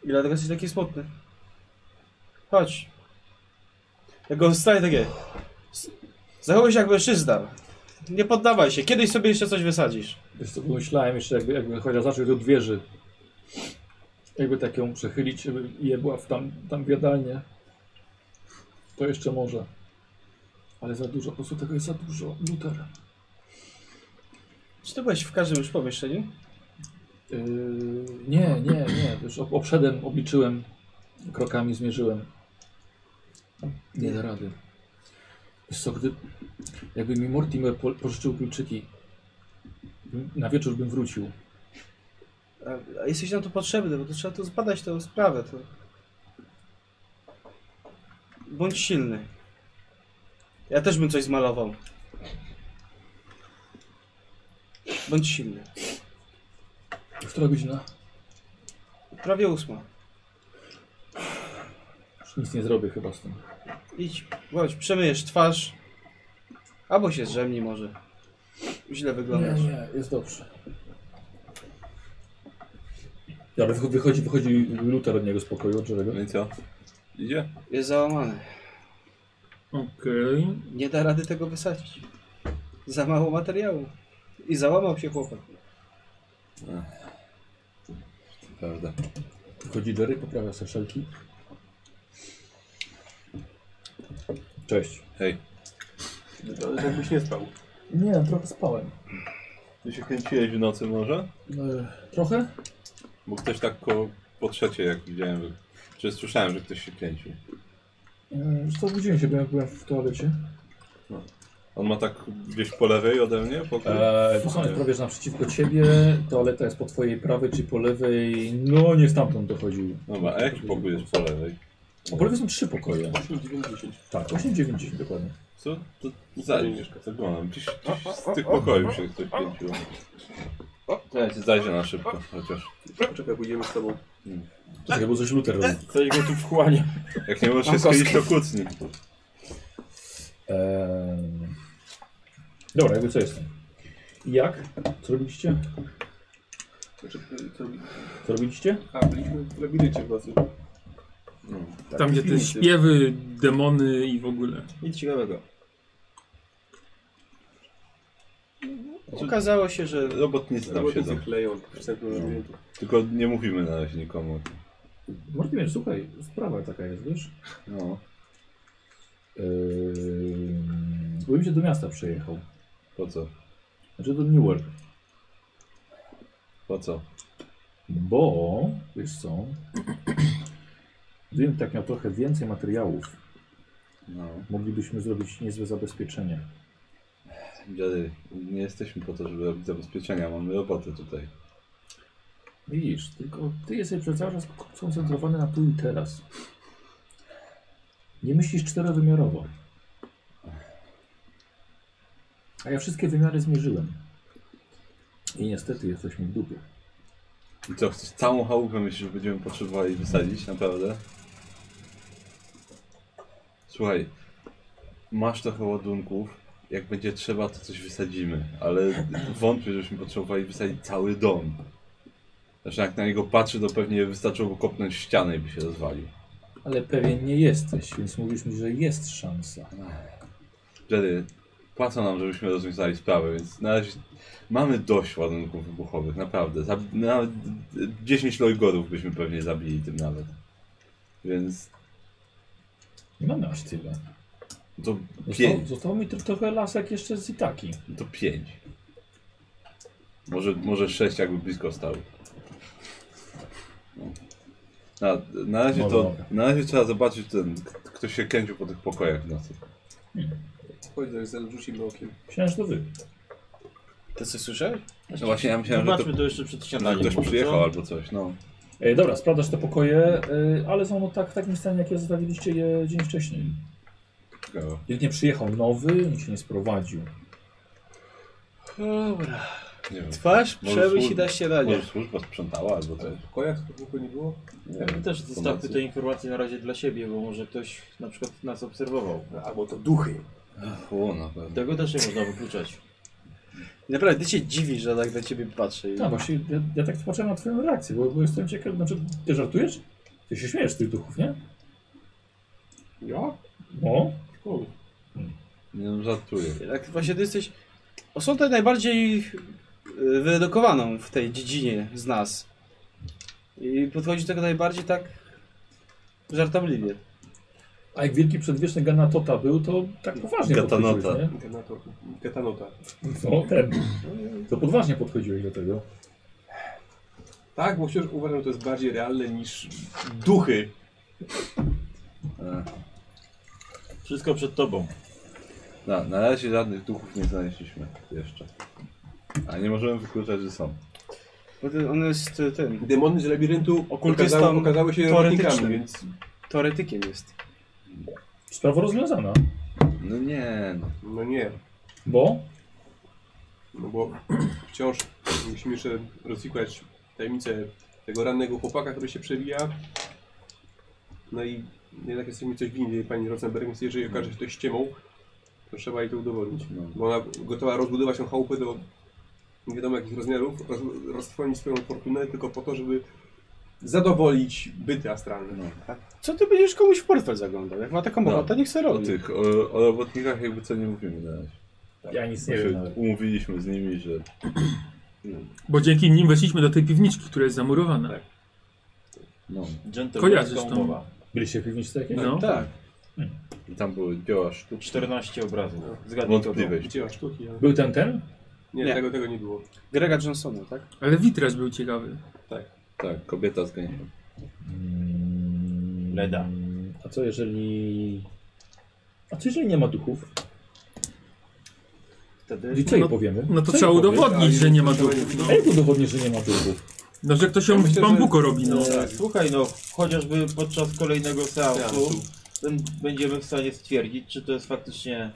[SPEAKER 4] I dlatego jesteś taki smutny. Chodź. Ja go wstaję takie. S- Zachowuj się jak mężczyzna. Nie poddawaj się. Kiedyś sobie jeszcze coś wysadzisz.
[SPEAKER 1] Wiesz co, pomyślałem jeszcze, jakby, jakby chociaż zaczął od wieży. Jakby tak ją przechylić, żeby je była w tam, tam w jadalnie. To jeszcze może. Ale za dużo, po prostu tego jest za dużo. Luther.
[SPEAKER 4] Czy ty byłeś w każdym już pomieszczeniu?
[SPEAKER 1] Yy, nie, nie, nie. Już ob- obszedłem, obliczyłem, krokami zmierzyłem. Nie da rady. Wiesz co, gdy, jakby mi Mortimer po- pożyczył kluczyki, bym- na wieczór bym wrócił.
[SPEAKER 4] A, a jesteś nam tu potrzebny, bo to trzeba tu zbadać tę sprawę. To... Bądź silny. Ja też bym coś zmalował. Bądź silny.
[SPEAKER 1] Która godzina?
[SPEAKER 4] Prawie ósma.
[SPEAKER 1] Już nic nie zrobię chyba z tym.
[SPEAKER 4] Idź, chodź, przemyjesz twarz. Albo się zrzemnij może. Źle wyglądasz.
[SPEAKER 1] Nie, nie, jest dobrze. Dobra, wycho- wychodzi, wychodzi Luther od niego z pokoju, od Jerego.
[SPEAKER 5] No i co? Idzie?
[SPEAKER 4] Jest załamany.
[SPEAKER 6] Okej.
[SPEAKER 4] Nie da rady tego wysadzić. Za mało materiału. I załamał się chłopak.
[SPEAKER 5] Prawda.
[SPEAKER 1] Wychodzi Jerry, poprawia sobie szelki. Cześć.
[SPEAKER 5] Hej.
[SPEAKER 7] Wyglądasz jakbyś nie spał.
[SPEAKER 1] Nie, trochę spałem.
[SPEAKER 5] Ty się kręciłeś w nocy może?
[SPEAKER 1] trochę?
[SPEAKER 5] Bo ktoś tak koło, po trzecie jak widziałem, że- czy słyszałem, że ktoś się kręcił.
[SPEAKER 1] E, Już to obudziłem się, bo ja byłem w toalecie.
[SPEAKER 5] On ma tak gdzieś po lewej ode mnie? Pokój?
[SPEAKER 1] Eee, to są prawie że naprzeciwko ciebie, toaleta jest po twojej prawej czy po lewej. No nie stamtąd dochodził.
[SPEAKER 5] Dobra, a jaki pokój jest po lewej?
[SPEAKER 1] A po lewej są trzy pokoje.
[SPEAKER 2] 8,90.
[SPEAKER 1] Tak, 8-9 dokładnie.
[SPEAKER 5] Co? To zajrzysz, zaglądam. Gdzieś, gdzieś z tych pokojów się ktoś kręcił. Ja ci zajrzę na szybko chociaż.
[SPEAKER 2] Czekaj, pójdziemy z tobą.
[SPEAKER 1] Czekaj, bo coś Luther robi.
[SPEAKER 8] Coś go tu wchłania.
[SPEAKER 5] Jak nie możesz się skryć, to kucnij.
[SPEAKER 1] Ehm, Dobra, jakby co jest? Jak? Co robiliście?
[SPEAKER 2] Znaczy, co robi-
[SPEAKER 1] Co robiliście?
[SPEAKER 2] A, byliśmy w labiryncie w nocy.
[SPEAKER 6] Tam gdzie te
[SPEAKER 2] piwnicy.
[SPEAKER 6] śpiewy, demony i w ogóle.
[SPEAKER 3] Nic ciekawego.
[SPEAKER 4] Okazało się, że
[SPEAKER 5] Robotnicy tam siedzą.
[SPEAKER 2] Robotnicy kleją przystępną labiryntu.
[SPEAKER 5] Tylko nie mówimy na razie nikomu.
[SPEAKER 1] Mortimer, słuchaj, sprawa taka jest, wiesz?
[SPEAKER 5] No.
[SPEAKER 1] Ehm, Bo bym się do miasta przejechał.
[SPEAKER 5] Po co?
[SPEAKER 1] Znaczy do Newark.
[SPEAKER 5] Po co?
[SPEAKER 1] Bo, wiesz co, gdybym tak miał trochę więcej materiałów,
[SPEAKER 5] No.
[SPEAKER 1] moglibyśmy zrobić niezłe zabezpieczenie.
[SPEAKER 5] Dziady, nie jesteśmy po to, żeby robić zabezpieczenia. Mamy roboty tutaj.
[SPEAKER 1] Widzisz, tylko ty jesteś przez cały czas skoncentrowany na tu i teraz. Nie myślisz czterowymiarowo. A ja wszystkie wymiary zmierzyłem. I niestety jesteśmy w dupie.
[SPEAKER 5] I co, chcesz całą chałupę myślisz, że będziemy potrzebowali wysadzić, naprawdę? Słuchaj, masz trochę ładunków, jak będzie trzeba, to coś wysadzimy, ale wątpię, żebyśmy potrzebowali wysadzić cały dom. Zresztą jak na niego patrzy, to pewnie wystarczyłoby kopnąć ścianę i by się rozwalił.
[SPEAKER 1] Ale pewien nie jesteś, więc mówisz mi, że jest szansa.
[SPEAKER 5] Wtedy płacą nam, żebyśmy rozwiązali sprawę, więc na razie mamy dość ładunków wybuchowych, naprawdę. Zab- nawet 10 lojgorów byśmy pewnie zabili tym nawet. Więc
[SPEAKER 1] Nie mamy aż tyle.
[SPEAKER 5] To
[SPEAKER 1] Zostało,
[SPEAKER 5] pięć.
[SPEAKER 1] zostało mi tro- trochę lasek jeszcze z Itaki.
[SPEAKER 5] To pięć. Może, może sześć jakby blisko stały. Na, na, razie
[SPEAKER 1] Dobra,
[SPEAKER 5] to,
[SPEAKER 1] dobra.
[SPEAKER 5] na razie trzeba zobaczyć ten, k- ktoś się kędził po tych pokojach w nocy.
[SPEAKER 2] Chodź, zaraz zaraz rzucimy okiem.
[SPEAKER 1] Myślałem, że to wy.
[SPEAKER 4] To co słyszałeś?
[SPEAKER 5] Znaczy, właśnie ja myślałem, że to,
[SPEAKER 8] Zobaczmy to jeszcze przed
[SPEAKER 5] że
[SPEAKER 8] śniadaniem.
[SPEAKER 5] ktoś
[SPEAKER 8] może, co?
[SPEAKER 5] przyjechał albo coś. No.
[SPEAKER 1] E, dobra, sprawdzasz te pokoje, e, ale są no tak, w takim stanie, jak je zostawiliście je dzień wcześniej.
[SPEAKER 5] Ciekawe.
[SPEAKER 1] Nikt nie przyjechał nowy, nikt się nie sprowadził.
[SPEAKER 4] Dobra.
[SPEAKER 5] Nie wiem.
[SPEAKER 4] Twarz,
[SPEAKER 5] Może
[SPEAKER 4] przemyśl
[SPEAKER 5] służba-
[SPEAKER 4] i dasz się danie.
[SPEAKER 5] Może służba sprzątała albo coś.
[SPEAKER 2] W pokojach spokojnie nie było?
[SPEAKER 5] Nie
[SPEAKER 8] Ja
[SPEAKER 5] wiem.
[SPEAKER 8] bym też zostawmy
[SPEAKER 5] Informacje.
[SPEAKER 8] te informacje na razie dla siebie, bo może ktoś na przykład nas obserwował.
[SPEAKER 2] Albo to duchy.
[SPEAKER 5] Ach, O, na pewno.
[SPEAKER 8] Tego też nie można wykluczać.
[SPEAKER 4] Naprawdę, ty się dziwisz, że tak na ciebie patrzę.
[SPEAKER 1] No właśnie, ja, ja tak patrzę na twoją reakcję, bo, bo jestem ciekaw, znaczy, ty żartujesz? Ty się śmiejesz z tych duchów, nie?
[SPEAKER 2] Ja?
[SPEAKER 1] No.
[SPEAKER 2] Cool.
[SPEAKER 5] Nie no, żartuję.
[SPEAKER 4] Tak właśnie ty jesteś osobą najbardziej y, wyedukowaną w tej dziedzinie z nas. I podchodzi do tego najbardziej tak żartobliwie.
[SPEAKER 1] A jak wielki przedwieczny Ganatota był, to tak poważnie
[SPEAKER 5] Gatanota.
[SPEAKER 1] podchodziłeś, nie?
[SPEAKER 2] Kanato- Katanota.
[SPEAKER 1] No, ten. To podważnie podchodziłeś do tego.
[SPEAKER 2] Tak, bo wciąż uważam, że to jest bardziej realne niż duchy.
[SPEAKER 5] E,
[SPEAKER 8] Wszystko przed tobą.
[SPEAKER 5] Na, na razie żadnych duchów nie znaleźliśmy jeszcze. A nie możemy wykluczać, że są.
[SPEAKER 4] Bo ty- on jest y, tym,
[SPEAKER 2] Demony z labiryntu
[SPEAKER 4] Okultystą
[SPEAKER 2] okazały, okazały się robotnikami,
[SPEAKER 4] teoretycznym.
[SPEAKER 2] więc
[SPEAKER 4] teoretykiem jest.
[SPEAKER 1] Sprawa rozwiązana,
[SPEAKER 5] No nie, no.
[SPEAKER 2] no nie.
[SPEAKER 1] bo
[SPEAKER 2] No bo wciąż musimy jeszcze rozwikłać tajemnicę tego rannego chłopaka, który się przewija. No i jednak jesteśmy coś winni pani Rosenberg, więc jeżeli okaże się to ściemą, to trzeba jej to udowodnić.
[SPEAKER 5] No.
[SPEAKER 2] Bo ona gotowa rozbudować tą chałupę do nie wiadomo jakich rozmiarów, roz, roztrwonić swoją fortunę tylko po to, żeby zadowolić byty astralne.
[SPEAKER 5] no.
[SPEAKER 4] Co ty będziesz komuś w portfel zaglądał? Jak ma taką
[SPEAKER 5] No.
[SPEAKER 4] ochotę, niech se
[SPEAKER 5] O
[SPEAKER 4] robi.
[SPEAKER 5] tych, o, o robotnikach jakby co nie mówimy na razie.
[SPEAKER 1] ja nic nie wiem.
[SPEAKER 5] Znaczy, umówiliśmy z nimi, że
[SPEAKER 6] Bo dzięki nim weszliśmy do tej piwniczki, która jest zamurowana.
[SPEAKER 2] Tak.
[SPEAKER 5] no.
[SPEAKER 6] Kojarzysz
[SPEAKER 8] Dżentelmeńska
[SPEAKER 6] tą-
[SPEAKER 8] umowa.
[SPEAKER 1] Byliście w piwniczce jakieś?
[SPEAKER 6] No.
[SPEAKER 4] Tak.
[SPEAKER 5] I tam były dzieła sztuki
[SPEAKER 8] 14 obrazów. Zgadnij to.
[SPEAKER 5] wątpliwej.
[SPEAKER 2] Dzieła sztuki, ale...
[SPEAKER 1] Był ten, ten?
[SPEAKER 2] Nie,
[SPEAKER 4] Nie.
[SPEAKER 2] Tego, tego nie było.
[SPEAKER 4] Grega Johnsona, tak?
[SPEAKER 6] Ale witraż był ciekawy.
[SPEAKER 5] Tak, kobieta z gęsią.
[SPEAKER 8] Leda.
[SPEAKER 1] A co jeżeli... A co jeżeli nie ma duchów?
[SPEAKER 8] Wtedy
[SPEAKER 1] I co jej
[SPEAKER 6] No-
[SPEAKER 1] powiemy?
[SPEAKER 6] No to
[SPEAKER 1] Co jej
[SPEAKER 6] trzeba
[SPEAKER 1] powiemy?
[SPEAKER 6] udowodnić, że nie ma
[SPEAKER 2] Trzeba
[SPEAKER 6] duchów. No,
[SPEAKER 1] A jak udowodnisz, że nie ma duchów?
[SPEAKER 6] no że ktoś ją
[SPEAKER 2] Myślę,
[SPEAKER 6] z
[SPEAKER 2] że-
[SPEAKER 6] bambuko robi. No.
[SPEAKER 8] E, Słuchaj, no, chociażby podczas kolejnego seansu ben- będziemy w stanie stwierdzić, czy to jest faktycznie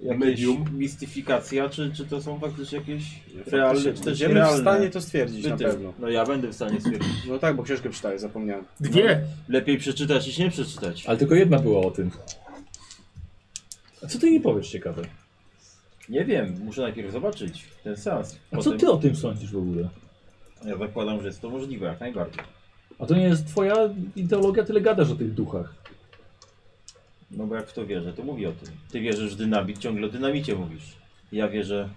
[SPEAKER 8] jakaś
[SPEAKER 2] Medium.
[SPEAKER 8] mistyfikacja, czy, czy to są faktycznie jakieś realne, czy też
[SPEAKER 4] Będziemy w
[SPEAKER 8] realne
[SPEAKER 4] stanie to stwierdzić
[SPEAKER 8] byty.
[SPEAKER 4] na pewno.
[SPEAKER 8] No ja będę w stanie stwierdzić.
[SPEAKER 4] No tak, bo książkę czytałeś, zapomniałem.
[SPEAKER 6] Dwie.
[SPEAKER 8] Lepiej przeczytać niż nie przeczytać.
[SPEAKER 1] Ale tylko jedna była o tym. A co ty jej powiesz ciekawe?
[SPEAKER 8] Nie wiem, muszę najpierw zobaczyć ten seans.
[SPEAKER 1] A co
[SPEAKER 8] Potem-
[SPEAKER 1] ty o tym sądzisz w ogóle?
[SPEAKER 8] Ja zakładam, że jest to możliwe, jak najbardziej.
[SPEAKER 1] A to nie jest twoja ideologia, tyle gadasz o tych duchach.
[SPEAKER 8] No bo jak w to wierzę, to mówię o tym. Ty wierzysz w dynamit, ciągle o dynamicie mówisz. Ja wierzę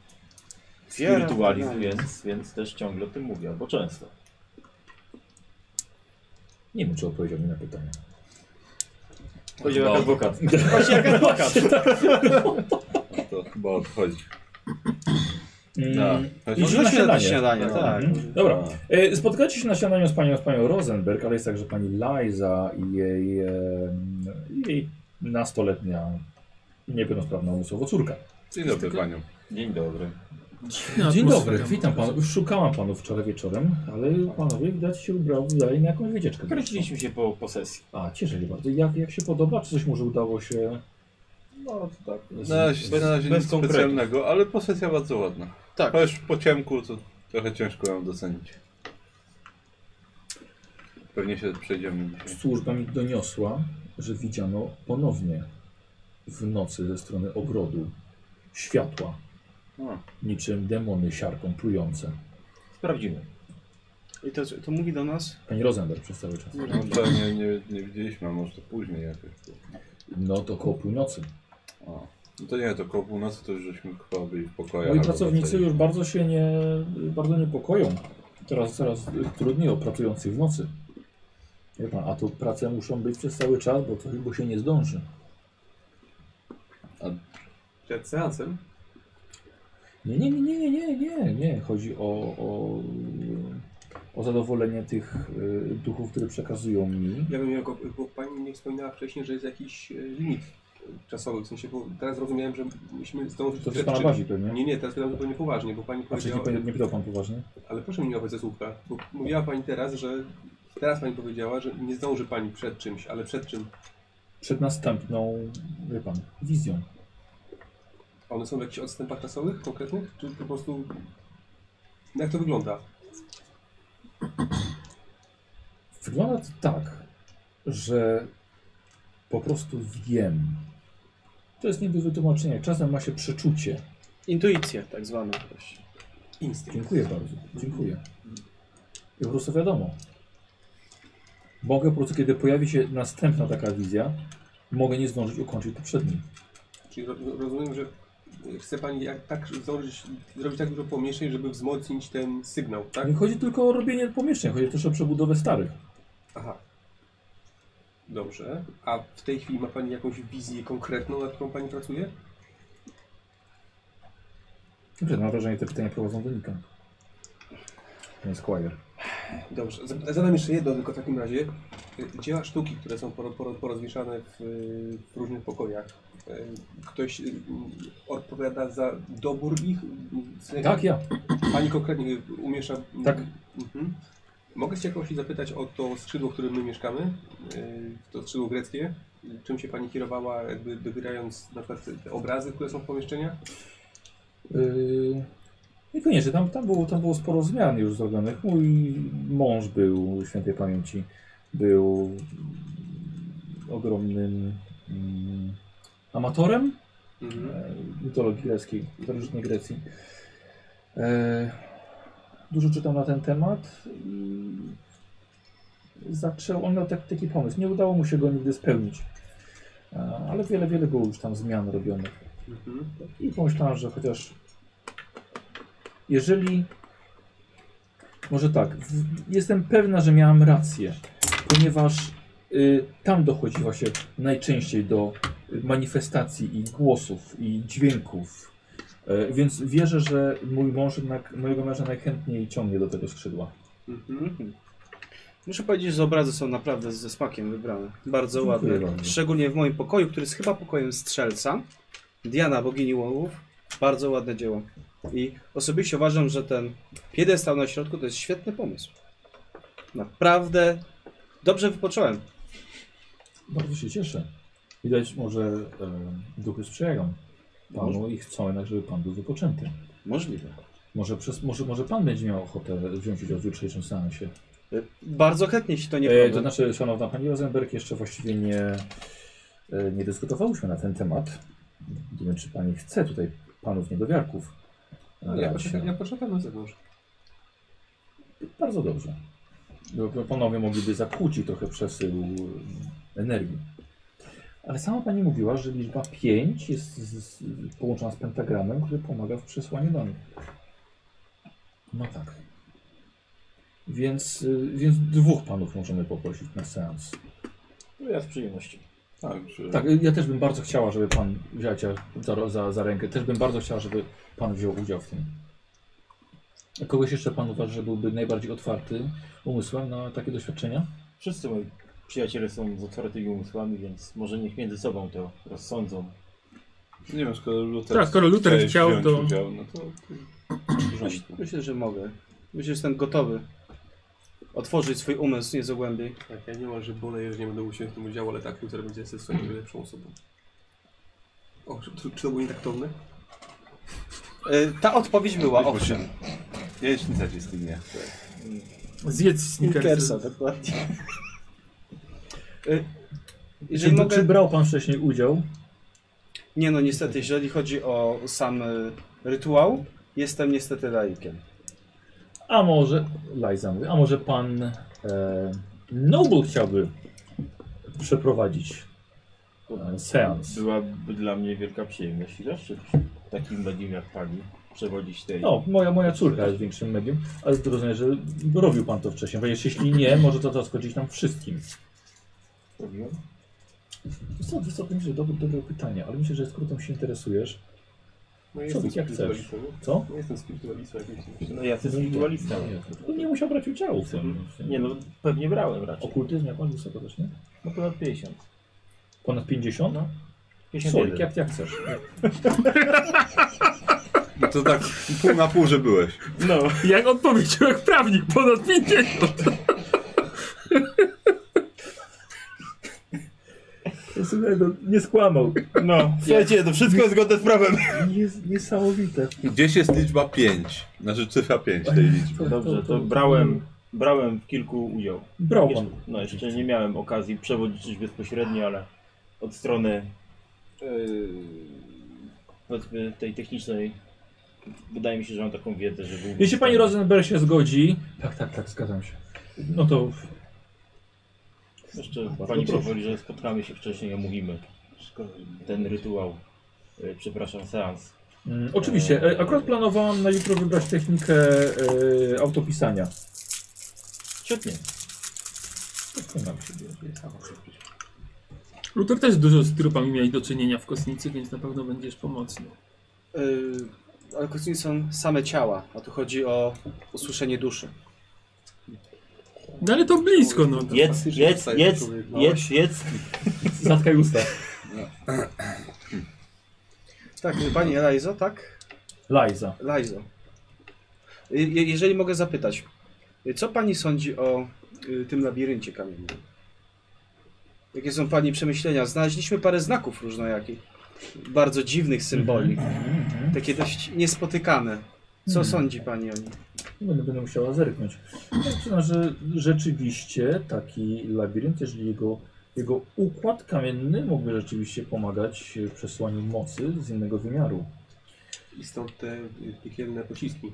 [SPEAKER 8] w
[SPEAKER 4] Wiara w
[SPEAKER 8] spirytualizm,
[SPEAKER 4] dynamit.
[SPEAKER 8] więc, więc też ciągle o tym mówię, albo często.
[SPEAKER 1] Nie wiem, czy odpowiedział mi na pytanie.
[SPEAKER 8] Chodzi o
[SPEAKER 5] No.
[SPEAKER 8] adwokat.
[SPEAKER 4] Właśnie jak adwokat.
[SPEAKER 1] Tak.
[SPEAKER 5] No to chyba odchodzi.
[SPEAKER 1] Mm.
[SPEAKER 5] Tak.
[SPEAKER 4] I
[SPEAKER 1] Może na
[SPEAKER 4] rzućmy na to
[SPEAKER 1] śniadanie.
[SPEAKER 4] śniadanie, tak.
[SPEAKER 1] Mhm. Dobra. E, Spotkacie się na śniadaniu z panią, z panią Rosenberg, ale jest także pani Liza i jej, e, i jej nastoletnia niepełnosprawna umysłowo córka.
[SPEAKER 5] Dzień dobry panią.
[SPEAKER 8] Dzień dobry.
[SPEAKER 6] Dziwna
[SPEAKER 1] Dzień
[SPEAKER 6] atmosfera.
[SPEAKER 1] dobry, witam panów. Już szukałam panów wczoraj wieczorem, ale panowie widać się ubrali na jakąś wycieczkę.
[SPEAKER 8] Kręciliśmy się po, po sesji.
[SPEAKER 1] A, cieszę się bardzo. Jak, jak się podoba? Czy coś może udało się...
[SPEAKER 8] No to tak.
[SPEAKER 5] Na razie, na razie
[SPEAKER 8] bez
[SPEAKER 5] nic
[SPEAKER 8] konkretów.
[SPEAKER 5] specjalnego, ale posesja bardzo ładna.
[SPEAKER 4] Tak.
[SPEAKER 5] Chociaż po ciemku to trochę ciężko ją docenić. Pewnie się przejdziemy dzisiaj.
[SPEAKER 1] Służba mi doniosła, że widziano ponownie w nocy ze strony ogrodu światła,
[SPEAKER 5] A.
[SPEAKER 1] niczym demony siarką plujące.
[SPEAKER 8] Sprawdzimy.
[SPEAKER 4] I to, to mówi do nas?
[SPEAKER 1] Pani Rosenberg przez cały czas.
[SPEAKER 5] No, to nie, nie, nie widzieliśmy, a może to później jakoś.
[SPEAKER 1] No to koło północy.
[SPEAKER 5] O. No to nie, to koło północy to już żeśmy chyba byli w pokojach.
[SPEAKER 1] Moi
[SPEAKER 5] albo
[SPEAKER 1] pracownicy
[SPEAKER 5] wtedy.
[SPEAKER 1] już bardzo się nie, bardzo niepokoją. Teraz coraz trudniej o pracujących w nocy. Wie pan, a tu prace muszą być przez cały czas, bo, to, bo się nie zdąży.
[SPEAKER 2] Przed seansem?
[SPEAKER 1] Nie, No nie, nie, nie, nie, nie, nie. Chodzi o, o, o zadowolenie tych y, duchów, które przekazują mi.
[SPEAKER 2] Ja bym miał, go- bo pani nie wspominała wcześniej, że jest jakiś e, limit e, czasowy, w sensie, bo teraz zrozumiałem, że musimy zdążyć...
[SPEAKER 1] To
[SPEAKER 2] przed
[SPEAKER 1] jest pana
[SPEAKER 2] trzy-
[SPEAKER 1] bazi pewnie.
[SPEAKER 2] Nie, nie, teraz pytam zupełnie poważnie, bo pani
[SPEAKER 1] A przecież nie,
[SPEAKER 2] powiedziała...
[SPEAKER 1] powie- nie pytał pan poważnie?
[SPEAKER 2] Ale proszę mi nie łapać za słówka, tak? bo mówiła pani teraz, że... Teraz pani powiedziała, że nie zdąży pani przed czymś, ale przed czym?
[SPEAKER 1] Przed następną, wie pan, wizją.
[SPEAKER 2] A One są w jakichś odstępach czasowych konkretnych? Czy po prostu... No jak to wygląda?
[SPEAKER 1] Wygląda to tak, że po prostu wiem. To jest nie do wytłumaczenia. Czasem ma się przeczucie.
[SPEAKER 4] Intuicja tak zwana. właśnie.
[SPEAKER 2] Instynkt.
[SPEAKER 1] Dziękuję bardzo. Dziękuję. I po prostu wiadomo. Mogę po prostu, kiedy pojawi się następna taka wizja, mogę nie zdążyć ukończyć poprzedniej.
[SPEAKER 2] Czyli ro- rozumiem, że chce pani jak, tak zdążyć, zrobić tak dużo pomieszczeń, żeby wzmocnić ten sygnał, tak?
[SPEAKER 1] Nie chodzi tylko o robienie pomieszczeń, chodzi też o przebudowę starych.
[SPEAKER 2] Aha. Dobrze. A w tej chwili ma Pani jakąś wizję konkretną, nad którą Pani pracuje?
[SPEAKER 1] Dobrze, no, mam wrażenie, że te pytania prowadzą do nika. Panie Squire.
[SPEAKER 2] Dobrze. Zap- Zadam jeszcze jedno tylko w takim razie. Y, Dzieła sztuki, które są poro, poro, porozwieszane w, y, w różnych pokojach. Y, Ktoś y, m, odpowiada za dobór ich? M, w sensie-
[SPEAKER 1] Tak, ja.
[SPEAKER 2] Pani konkretnie umiesza.
[SPEAKER 1] Tak.
[SPEAKER 2] Mhm. Mogę się jakoś zapytać o to skrzydło, w którym my mieszkamy? Yy, To skrzydło greckie. Czym się pani kierowała, jakby dobierając na przykład te- te obrazy, które są w pomieszczeniach?
[SPEAKER 1] Yy, niekoniecznie, tam, tam, było, tam było sporo zmian już zrobionych. Mój mąż był świętej pamięci, był ogromnym mm, amatorem
[SPEAKER 2] Mhm.
[SPEAKER 1] e, mitologii greckiej, starożytnej Grecji. E, dużo czytam na ten temat i zaczął, on miał tak, taki pomysł. Nie udało mu się go nigdy spełnić, e, ale wiele, wiele było już tam zmian robionych.
[SPEAKER 2] Mhm.
[SPEAKER 1] I pomyślałem, że chociaż jeżeli. Może tak, w, jestem pewna, że miałam rację, ponieważ y, tam dochodzi właśnie najczęściej do y, manifestacji i głosów i dźwięków. Y, więc wierzę, że mój mąż jednak, mojego męża najchętniej ciągnie do tego skrzydła.
[SPEAKER 4] Mhm. Muszę powiedzieć, że obrazy są naprawdę ze smakiem wybrane. Bardzo
[SPEAKER 1] Dziękuję
[SPEAKER 4] ładne.
[SPEAKER 1] bardzo.
[SPEAKER 4] Szczególnie w moim pokoju, który jest chyba pokojem strzelca. Diana, bogini łowów. Bardzo ładne dzieło. I osobiście uważam, że ten piedestał na środku to jest świetny pomysł. Naprawdę dobrze wypocząłem.
[SPEAKER 1] Bardzo się cieszę. Widać, może y, duchy sprzyjają panu i chcą jednak, żeby pan był wypoczęty.
[SPEAKER 4] Możliwe.
[SPEAKER 1] Może, przez, może, może pan będzie miał ochotę wziąć udział w jutrzejszym seansie.
[SPEAKER 4] Bardzo chętnie się to nie
[SPEAKER 1] E,
[SPEAKER 4] podoba.
[SPEAKER 1] to znaczy, szanowna pani Rosenberg, jeszcze właściwie nie, e, nie dyskutowałyśmy na ten temat. Nie wiem, czy pani chce tutaj panów niedowiarków.
[SPEAKER 4] No,
[SPEAKER 7] No
[SPEAKER 2] Ja,
[SPEAKER 1] brać.
[SPEAKER 2] poczekam, ja poczekam na zewnątrz.
[SPEAKER 1] Bardzo dobrze. No, bo Panowie mogliby zakłócić trochę przesył e, energii. Ale sama pani mówiła, że liczba 5 jest z, z, połączona z pentagramem, który pomaga w przesłaniu danych. No tak. Więc, y, więc dwóch panów możemy poprosić na seans.
[SPEAKER 3] No ja z przyjemnością.
[SPEAKER 5] Także
[SPEAKER 1] Tak, y, ja też bym bardzo chciała, żeby pan wziął cię za, za, za rękę. Też bym bardzo chciała, żeby pan wziął udział w tym. A kogoś jeszcze pan uważa, że byłby najbardziej otwarty umysłem na takie doświadczenia?
[SPEAKER 3] Wszyscy moi przyjaciele są z otwartymi umysłami, więc może niech między sobą to rozsądzą.
[SPEAKER 5] nie wiem, skoro Luther,
[SPEAKER 6] Tak, skoro Luther
[SPEAKER 5] chciałeś
[SPEAKER 6] chciał,
[SPEAKER 5] wziąć
[SPEAKER 6] to-
[SPEAKER 5] Udział, no to w
[SPEAKER 4] Myśl,
[SPEAKER 5] porządku.
[SPEAKER 4] myślę, że mogę. Myślę, że jestem gotowy otworzyć swój umysł nieco głębiej.
[SPEAKER 2] Tak, ja niemalże boleję, że nie będę mógł się w tym udziału, ale tak, Luther będzie zdecydowanie
[SPEAKER 6] Mhm.
[SPEAKER 2] lepszą osobą. O, czy, czy to było nietaktowne?
[SPEAKER 4] E, ta odpowiedź była,
[SPEAKER 5] Być może-
[SPEAKER 4] owszem.
[SPEAKER 5] Nie, śnica ci z tym nie chce.
[SPEAKER 6] Zjedz snickersa.
[SPEAKER 4] Snickersa, dokładnie. E,
[SPEAKER 1] Czy,
[SPEAKER 4] Jeżeli mogę...
[SPEAKER 1] czy brał pan wcześniej udział?
[SPEAKER 4] Nie no, niestety, jeżeli chodzi o sam e, rytuał, jestem niestety laikiem.
[SPEAKER 1] A może. Liza mówi, a może pan e, Noble chciałby przeprowadzić e, seans?
[SPEAKER 3] Byłaby dla mnie wielka przyjemność i zaszczyt takim medium jak pani przewodzić tej.
[SPEAKER 1] No, moja, moja córka jest większym medium, ale rozumiem, że robił pan to wcześniej. Ponieważ jeśli nie, może to zaskoczyć nam wszystkim.
[SPEAKER 3] Robiłem?
[SPEAKER 1] Wiesz co, wiesz co, to myślę, że dobre, dobre pytanie, ale myślę, że skoro tym się interesujesz,
[SPEAKER 2] No
[SPEAKER 1] Co,
[SPEAKER 2] jestem
[SPEAKER 1] jak
[SPEAKER 2] spiritualistą,
[SPEAKER 1] co?
[SPEAKER 2] nie? Nie jestem spiritualistą jakimś.
[SPEAKER 8] No ja jestem indywidualistą.
[SPEAKER 1] To nie musiał brać udziału w tym. W tym.
[SPEAKER 8] Nie no, pewnie brałem raczej.
[SPEAKER 1] Okultyzm, jak on wysoko też, nie?
[SPEAKER 8] No ponad 50.
[SPEAKER 1] Ponad 50? No. Solik,
[SPEAKER 8] 51.
[SPEAKER 1] jak, jak chcesz.
[SPEAKER 5] No to tak pół na pół, że byłeś.
[SPEAKER 8] No.
[SPEAKER 6] Jak odpowiedział jak prawnik, ponad 50.
[SPEAKER 1] Nie skłamał.
[SPEAKER 8] No.
[SPEAKER 3] Słuchajcie, to wszystko jest zgodne z prawem.
[SPEAKER 1] niesamowite.
[SPEAKER 5] Gdzieś jest liczba 5. Znaczy cyfra 5 tej liczby.
[SPEAKER 8] Dobrze, to brałem, brałem w kilku udział.
[SPEAKER 1] Brał
[SPEAKER 8] Jeszcze,
[SPEAKER 1] pan.
[SPEAKER 8] no jeszcze nie miałem okazji przewodniczyć bezpośrednio, ale od strony yy, powiedzmy tej technicznej wydaje mi się, że mam taką wiedzę, że byłbym...
[SPEAKER 1] Jeśli pani Rosenberg się zgodzi... Tak, tak, tak, zgadzam się. No to
[SPEAKER 8] Jeszcze pani pozwoli, że spotkamy się wcześniej i omówimy ten rytuał. e, Przepraszam, seans.
[SPEAKER 1] Mm, Oczywiście. E, Akurat planowałam na jutro wybrać technikę e, autopisania.
[SPEAKER 8] Świetnie.
[SPEAKER 1] To nam się dzieje.
[SPEAKER 6] Luther też dużo z trupami miałeś do czynienia w kosnicy, więc na pewno będziesz pomocny.
[SPEAKER 4] Yy, ale kostnice są same ciała, a tu chodzi o usłyszenie duszy.
[SPEAKER 6] No ale to blisko, no. To.
[SPEAKER 8] Jedz,
[SPEAKER 2] faktycznie
[SPEAKER 8] jedz,
[SPEAKER 2] wstaje
[SPEAKER 8] jedz,
[SPEAKER 2] człowiek, no.
[SPEAKER 8] jedz, jedz.
[SPEAKER 1] Zatkaj usta.
[SPEAKER 4] Tak, pani Eliza, tak?
[SPEAKER 1] Liza.
[SPEAKER 4] Lajzo. Je- je- Jeżeli mogę zapytać, y, co pani sądzi o y, tym labiryncie kamiennym? Jakie są pani przemyślenia? Znaleźliśmy parę znaków różnojakich, bardzo dziwnych symboli, takie dość niespotykane. Co
[SPEAKER 1] Mhm.
[SPEAKER 4] sądzi pani o nich?
[SPEAKER 1] Będę, będę musiała zerknąć. Ja Przyznam, że rzeczywiście taki labirynt, jeżeli jego, jego układ kamienny mógłby rzeczywiście pomagać w przesłaniu mocy z innego wymiaru.
[SPEAKER 2] I stąd te y, piekielne pociski.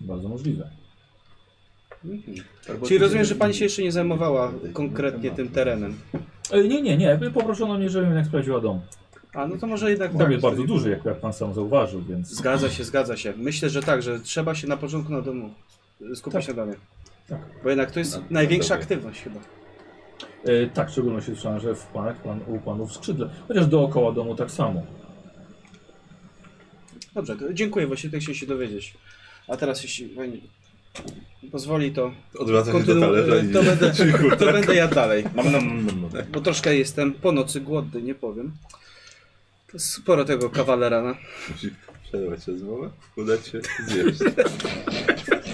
[SPEAKER 1] Bardzo możliwe.
[SPEAKER 2] Albo
[SPEAKER 4] Czyli
[SPEAKER 2] te-
[SPEAKER 4] rozumiem, że pani się jeszcze nie zajmowała konkretnie tym terenem.
[SPEAKER 1] E, nie, nie, nie. Poproszono mnie, żebym jednak sprawdziła dom.
[SPEAKER 4] A no to może jednak
[SPEAKER 1] Dom
[SPEAKER 4] tak.
[SPEAKER 1] jest bardzo duży, jak, jak pan sam zauważył, więc...
[SPEAKER 4] Zgadza się, zgadza się. Myślę, że tak, że trzeba się na początku na domu skupić
[SPEAKER 1] Tak.
[SPEAKER 4] na domie.
[SPEAKER 1] Tak.
[SPEAKER 4] Bo jednak to jest
[SPEAKER 5] Na- na
[SPEAKER 4] najwięsza
[SPEAKER 5] domie.
[SPEAKER 4] aktywność chyba.
[SPEAKER 1] E, tak, w szczególności słyszałem, że w panach, pan, u panów skrzydle. Chociaż dookoła domu tak samo.
[SPEAKER 4] Dobrze, to dziękuję, właśnie tak chciałem się dowiedzieć. A teraz, jeśli pani pozwoli, to,
[SPEAKER 5] Odwraca się do
[SPEAKER 4] kontynu-
[SPEAKER 5] talerza i
[SPEAKER 4] to, będę,
[SPEAKER 5] Cichu,
[SPEAKER 4] to
[SPEAKER 5] tak.
[SPEAKER 4] będę ja dalej,
[SPEAKER 8] Mam, mam, mam, mam.
[SPEAKER 4] bo troszkę jestem po nocy głodny, nie powiem. To jest Sporo tego kawalera na...
[SPEAKER 5] Musi przerwać rozmowę, udać się zjeść.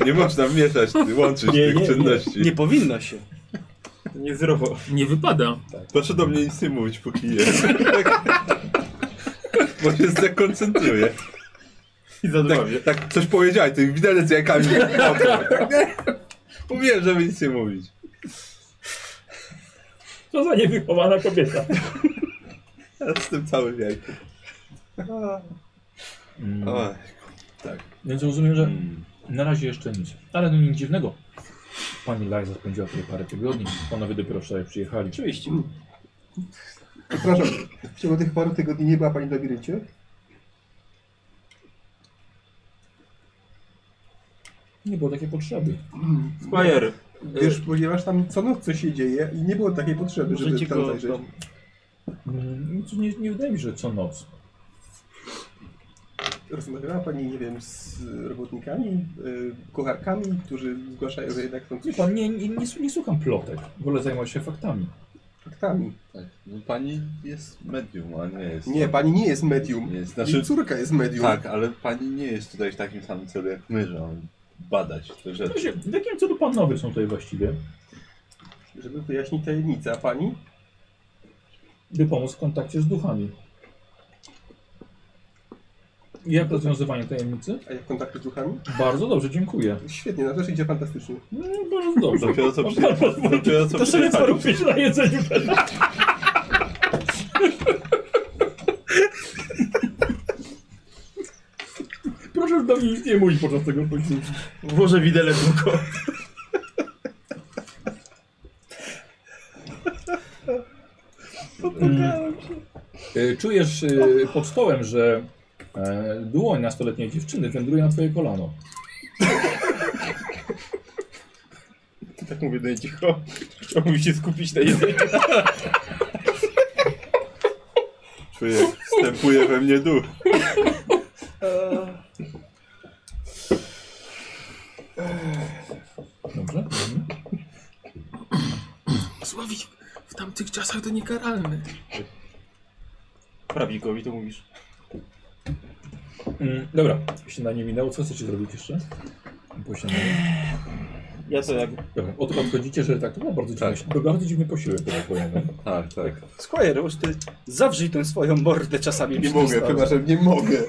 [SPEAKER 5] Nie można mieszać, łączyć
[SPEAKER 4] Nie,
[SPEAKER 5] tych
[SPEAKER 4] nie, nie.
[SPEAKER 5] czynności.
[SPEAKER 4] Nie powinno się.
[SPEAKER 8] Niezdrowo.
[SPEAKER 6] Nie wypada.
[SPEAKER 5] Proszę do mnie nic nie mówić, póki nie. Bo się zdekoncentruję.
[SPEAKER 8] I zadbawię.
[SPEAKER 5] Tak, tak coś powiedziałeś, to widelec jajkami. Tak, nie? Mówiłem, żeby nic nie mówić.
[SPEAKER 1] Co za niewychowana kobieta.
[SPEAKER 5] Ja z tym całym jajkiem.
[SPEAKER 1] Mm.
[SPEAKER 5] Oj.
[SPEAKER 1] Więc rozumiem, że na razie jeszcze nic. Ale no nic dziwnego. Pani Liza spędziła tutaj parę tygodni. Panowie dopiero wczoraj przyjechali.
[SPEAKER 4] Oczywiście.
[SPEAKER 7] Przepraszam, w ciągu tych paru tygodni nie była pani w labiryncie?
[SPEAKER 1] Nie było takiej potrzeby.
[SPEAKER 8] Squire,
[SPEAKER 7] Wiesz, ponieważ tam co noc coś się dzieje i nie było takiej potrzeby, żeby
[SPEAKER 8] możecie
[SPEAKER 7] tam
[SPEAKER 8] go...
[SPEAKER 7] zajrzeć.
[SPEAKER 1] Mm, nic- Nie, nie wydaje mi się, że co noc.
[SPEAKER 7] Rozmawiała pani, nie wiem, z robotnikami, yy, kucharkami, którzy zgłaszają, że jednak są
[SPEAKER 1] Wie
[SPEAKER 7] coś
[SPEAKER 1] pan, nie, nie, nie, nie słucham plotek. Wolę zajmować się faktami.
[SPEAKER 7] faktami.
[SPEAKER 5] Tak, no pani jest medium, a nie jest.
[SPEAKER 7] Nie, pani nie jest medium.
[SPEAKER 5] Nie jest.
[SPEAKER 7] Jej
[SPEAKER 5] Znaczy,
[SPEAKER 7] córka jest medium.
[SPEAKER 5] tak, ale pani nie jest tutaj w takim samym celu jak my, że mamy badać te rzeczy.
[SPEAKER 1] Proszę, W jakim celu panowie są tutaj właściwie?
[SPEAKER 7] Żeby wyjaśnić tajemnicę, a pani?
[SPEAKER 1] by pomóc w kontakcie z duchami. Jak rozwiązywanie tajemnicy?
[SPEAKER 7] A jak kontakty z duchami?
[SPEAKER 1] Bardzo dobrze, dziękuję.
[SPEAKER 7] Świetnie, na też idzie fantastycznie.
[SPEAKER 1] Mm, Bardzo dobrze.
[SPEAKER 5] Dopiero co przyjechać. Dopiero co
[SPEAKER 1] To sobie co
[SPEAKER 5] przyjechać.
[SPEAKER 1] robisz na jedzeniu. Proszę do mnie nic nie mówić podczas tego posiłku.
[SPEAKER 8] Włożę widelec w oko.
[SPEAKER 1] Y, Czujesz y, pod stołem, że e, dłoń nastoletniej dziewczyny wędruje na twoje kolano.
[SPEAKER 7] no
[SPEAKER 8] Tak mówię do niej cicho. Chciałbym się skupić na jedzeniu.
[SPEAKER 5] wstępuje, wstępuje we mnie duch.
[SPEAKER 1] Dobrze? Mhm.
[SPEAKER 6] Sławik w tamtych czasach to niekaralny.
[SPEAKER 3] Prawikowi to mówisz.
[SPEAKER 1] Mm, dobra, śniadanie minęło. Co chcecie zrobić jeszcze? Po śniadaniu.
[SPEAKER 3] Ja to jak
[SPEAKER 1] Dobra, od, odchodzicie, że tak, to było bardzo dziwny, tak. bardzo dziwny posiłek. bo tak powiem.
[SPEAKER 5] Tak, tak.
[SPEAKER 4] Squire, już ty zawrzyj tę swoją mordę czasami.
[SPEAKER 5] Nie
[SPEAKER 4] przy
[SPEAKER 5] mogę,
[SPEAKER 4] stole.
[SPEAKER 5] chyba że nie mogę.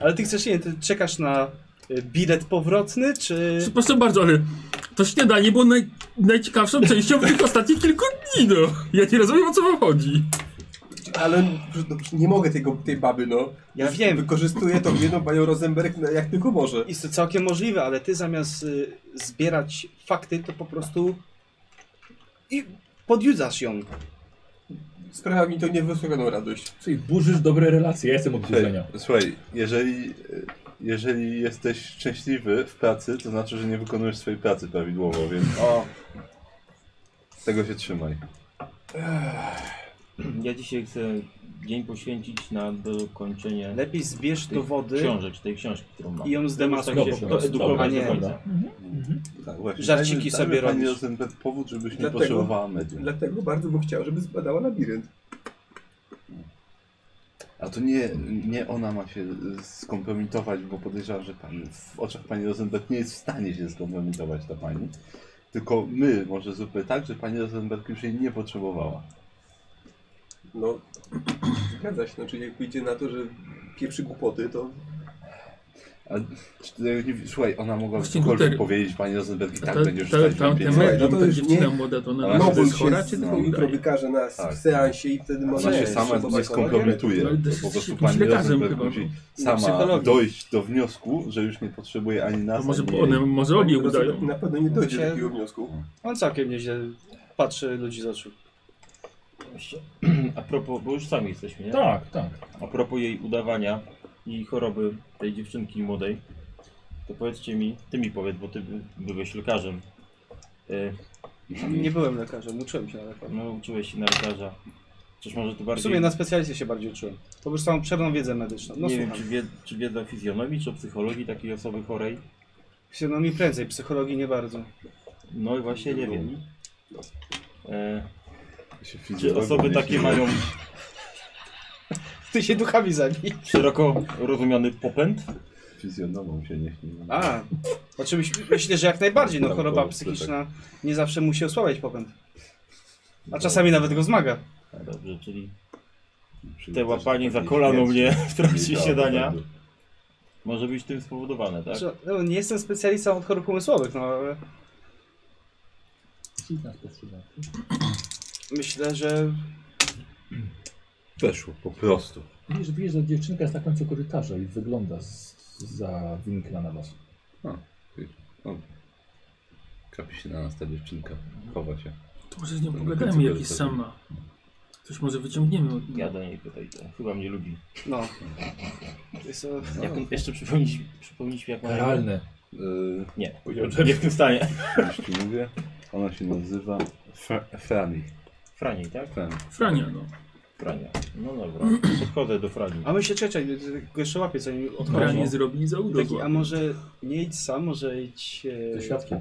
[SPEAKER 4] Ale ty chcesz, nie ty czekasz na y, bilet powrotny, czy...
[SPEAKER 6] Przepraszam bardzo, ale to śniadanie było naj, najciekawszą częścią tych ostatnich kilku dni, no. Ja nie rozumiem, o co wam chodzi.
[SPEAKER 7] Ale no, nie mogę tego, tej baby, no.
[SPEAKER 4] Ja wiem,
[SPEAKER 7] Wykorzystuję tą jedną panią Rosenberg no, jak tylko może.
[SPEAKER 4] jest to całkiem możliwe, ale ty zamiast y, zbierać fakty, to po prostu i podjudzasz ją.
[SPEAKER 7] Sprawia mi to niewysłowioną radość.
[SPEAKER 1] Czyli burzysz dobre relacje, ja jestem od burzenia.
[SPEAKER 5] Słuchaj, jeżeli, jeżeli jesteś szczęśliwy w pracy, to znaczy, że nie wykonujesz swojej pracy prawidłowo, więc
[SPEAKER 3] O,
[SPEAKER 5] tego się trzymaj.
[SPEAKER 8] ja dzisiaj chcę dzień poświęcić na dokończenie
[SPEAKER 4] Lepiej zbierz
[SPEAKER 8] tych
[SPEAKER 4] dowody
[SPEAKER 8] książek, tej książki, którą mam.
[SPEAKER 4] i ją
[SPEAKER 8] Chcę
[SPEAKER 4] zdemaskuj.
[SPEAKER 8] się to
[SPEAKER 1] Dobra,
[SPEAKER 8] edukować
[SPEAKER 4] nie,
[SPEAKER 8] do końca.
[SPEAKER 5] Tak, właśnie.
[SPEAKER 4] Żarciki
[SPEAKER 5] Dajmy-
[SPEAKER 4] sobie
[SPEAKER 5] dajmy pani
[SPEAKER 4] robisz.
[SPEAKER 5] Rosenberg powód, żebyś nie
[SPEAKER 7] Dlatego-
[SPEAKER 5] potrzebowała medium.
[SPEAKER 7] Dlatego bardzo bym chciał, żeby zbadała labirynt.
[SPEAKER 5] A to nie, nie ona ma się skompromitować, bo podejrzewam, że pani, w oczach pani Rosenberg nie jest w stanie się skompromitować ta pani. Tylko my, może zróbmy tak, że pani Rosenberg już jej nie potrzebowała.
[SPEAKER 2] No,
[SPEAKER 7] Zgadza się, znaczy jak pójdzie na to, że pieprzy głupoty, to
[SPEAKER 5] No A, czy ty- nie- słuchaj, ona mogła
[SPEAKER 6] Właśnie
[SPEAKER 5] cokolwiek
[SPEAKER 6] Guter-
[SPEAKER 5] powiedzieć pani Rosenberg i
[SPEAKER 6] Ta,
[SPEAKER 5] tak
[SPEAKER 6] ta,
[SPEAKER 5] będzie
[SPEAKER 6] ta,
[SPEAKER 5] rzucać
[SPEAKER 6] ta,
[SPEAKER 5] wam
[SPEAKER 6] ta,
[SPEAKER 5] pieniądze.
[SPEAKER 7] Słuchaj, no
[SPEAKER 6] medium,
[SPEAKER 7] to
[SPEAKER 6] ta
[SPEAKER 7] już
[SPEAKER 6] dziewczyna
[SPEAKER 7] nie-
[SPEAKER 6] młoda, to
[SPEAKER 5] Ale to
[SPEAKER 6] ona no, jest
[SPEAKER 7] Nobul
[SPEAKER 6] chora,
[SPEAKER 7] się
[SPEAKER 6] czy
[SPEAKER 7] z
[SPEAKER 6] tylko
[SPEAKER 7] no, jutro
[SPEAKER 6] udaje?
[SPEAKER 7] wykaże na
[SPEAKER 5] Tak.
[SPEAKER 7] seansie i wtedy
[SPEAKER 5] Ona
[SPEAKER 7] może...
[SPEAKER 5] się
[SPEAKER 7] Nie,
[SPEAKER 5] sama
[SPEAKER 7] jeszcze
[SPEAKER 5] nie
[SPEAKER 7] zobaczymy.
[SPEAKER 5] skompromituje.
[SPEAKER 6] Ale to
[SPEAKER 5] Po
[SPEAKER 6] jest
[SPEAKER 5] prostu
[SPEAKER 6] jakimś
[SPEAKER 5] pani
[SPEAKER 6] lekarzem
[SPEAKER 5] Rosenberg
[SPEAKER 6] chyba. No,
[SPEAKER 5] musi sama
[SPEAKER 4] psychologiem.
[SPEAKER 5] dojść do wniosku, że już nie potrzebuje ani nas,
[SPEAKER 6] To może
[SPEAKER 5] ani
[SPEAKER 6] one
[SPEAKER 5] jej.
[SPEAKER 6] może obie udają.
[SPEAKER 7] Na pewno nie dojdzie do
[SPEAKER 4] Się-
[SPEAKER 7] takiego wniosku.
[SPEAKER 4] On całkiem nieźle patrzy ludzi z oczu.
[SPEAKER 8] A propos, bo już sami jesteśmy, nie?
[SPEAKER 1] Tak, tak.
[SPEAKER 8] A propos jej udawania i choroby tej dziewczynki młodej, to powiedzcie mi, ty mi powiedz, bo ty by- byłeś lekarzem. E,
[SPEAKER 4] Nie byłem lekarzem, uczyłem się na lekarza.
[SPEAKER 8] No, uczyłeś się na lekarza. Chociaż może to
[SPEAKER 4] W
[SPEAKER 8] bardziej...
[SPEAKER 4] sumie na specjalizie się bardziej uczyłem. Po prostu mam obszerną wiedzę medyczną. No
[SPEAKER 8] nie wiem, czy,
[SPEAKER 4] słucham.
[SPEAKER 8] wie, czy wiedza fizjonomii, czy o psychologii takiej osoby chorej.
[SPEAKER 4] Się, no mi prędzej, psychologii nie bardzo.
[SPEAKER 8] No i właśnie nie wiem. E,
[SPEAKER 5] Się
[SPEAKER 8] czy
[SPEAKER 5] fizjologii
[SPEAKER 8] osoby
[SPEAKER 5] nie
[SPEAKER 8] takie
[SPEAKER 5] śmieją.
[SPEAKER 8] mają
[SPEAKER 4] Ty się duchami zabij.
[SPEAKER 8] szeroko rozumiany popęd?
[SPEAKER 5] Fizjonomą się nie śmieją.
[SPEAKER 4] A, oczywiście myślę, że jak najbardziej, no
[SPEAKER 5] Tam
[SPEAKER 4] choroba
[SPEAKER 5] było,
[SPEAKER 4] psychiczna nie zawsze musi osłabiać popęd. A czasami nawet go zmaga.
[SPEAKER 8] Dobrze, czyli te
[SPEAKER 5] Przywitać
[SPEAKER 8] łapanie za
[SPEAKER 5] takiej
[SPEAKER 8] kolano
[SPEAKER 5] śmierci.
[SPEAKER 8] mnie w trakcie
[SPEAKER 5] Nie, tak,
[SPEAKER 8] siadania
[SPEAKER 5] tak.
[SPEAKER 8] może być tym spowodowane, tak?
[SPEAKER 4] Że- No, nie jestem specjalistą od chorób umysłowych, no ale myślę, że
[SPEAKER 5] Weszło, po prostu.
[SPEAKER 1] Widzisz, widzisz, że dziewczynka jest na końcu korytarza i wygląda z, za winkla na was.
[SPEAKER 5] Kapi się na nas ta dziewczynka, chowa się.
[SPEAKER 6] To może z nią
[SPEAKER 5] To
[SPEAKER 6] pogadajmy,
[SPEAKER 5] będzie
[SPEAKER 6] jak jest
[SPEAKER 5] super.
[SPEAKER 6] sama. Coś może wyciągniemy od niej.
[SPEAKER 8] Ja do niej pytaj, to chyba mnie lubi.
[SPEAKER 4] no. Jest to...
[SPEAKER 8] Jak on, jeszcze przypomnieć, przypomnieć mi jak ma na imię?
[SPEAKER 1] Realne. y,
[SPEAKER 5] Yy,
[SPEAKER 8] Nie,
[SPEAKER 1] Powiedział
[SPEAKER 8] nie jestem w stanie.
[SPEAKER 5] już ci mówię, ona się nazywa Fra- Frani.
[SPEAKER 8] Frani, tak?
[SPEAKER 5] Frani.
[SPEAKER 6] Frania, no.
[SPEAKER 8] Frania. No dobra, podchodzę do Frani.
[SPEAKER 4] A my się czekaj, go jeszcze łapię, zanim odchodzi.
[SPEAKER 6] Franie zrobi i za udo
[SPEAKER 4] Taki, a
[SPEAKER 6] złapie.
[SPEAKER 4] może nie idź sam, może idź... e,
[SPEAKER 1] Ze świadkiem.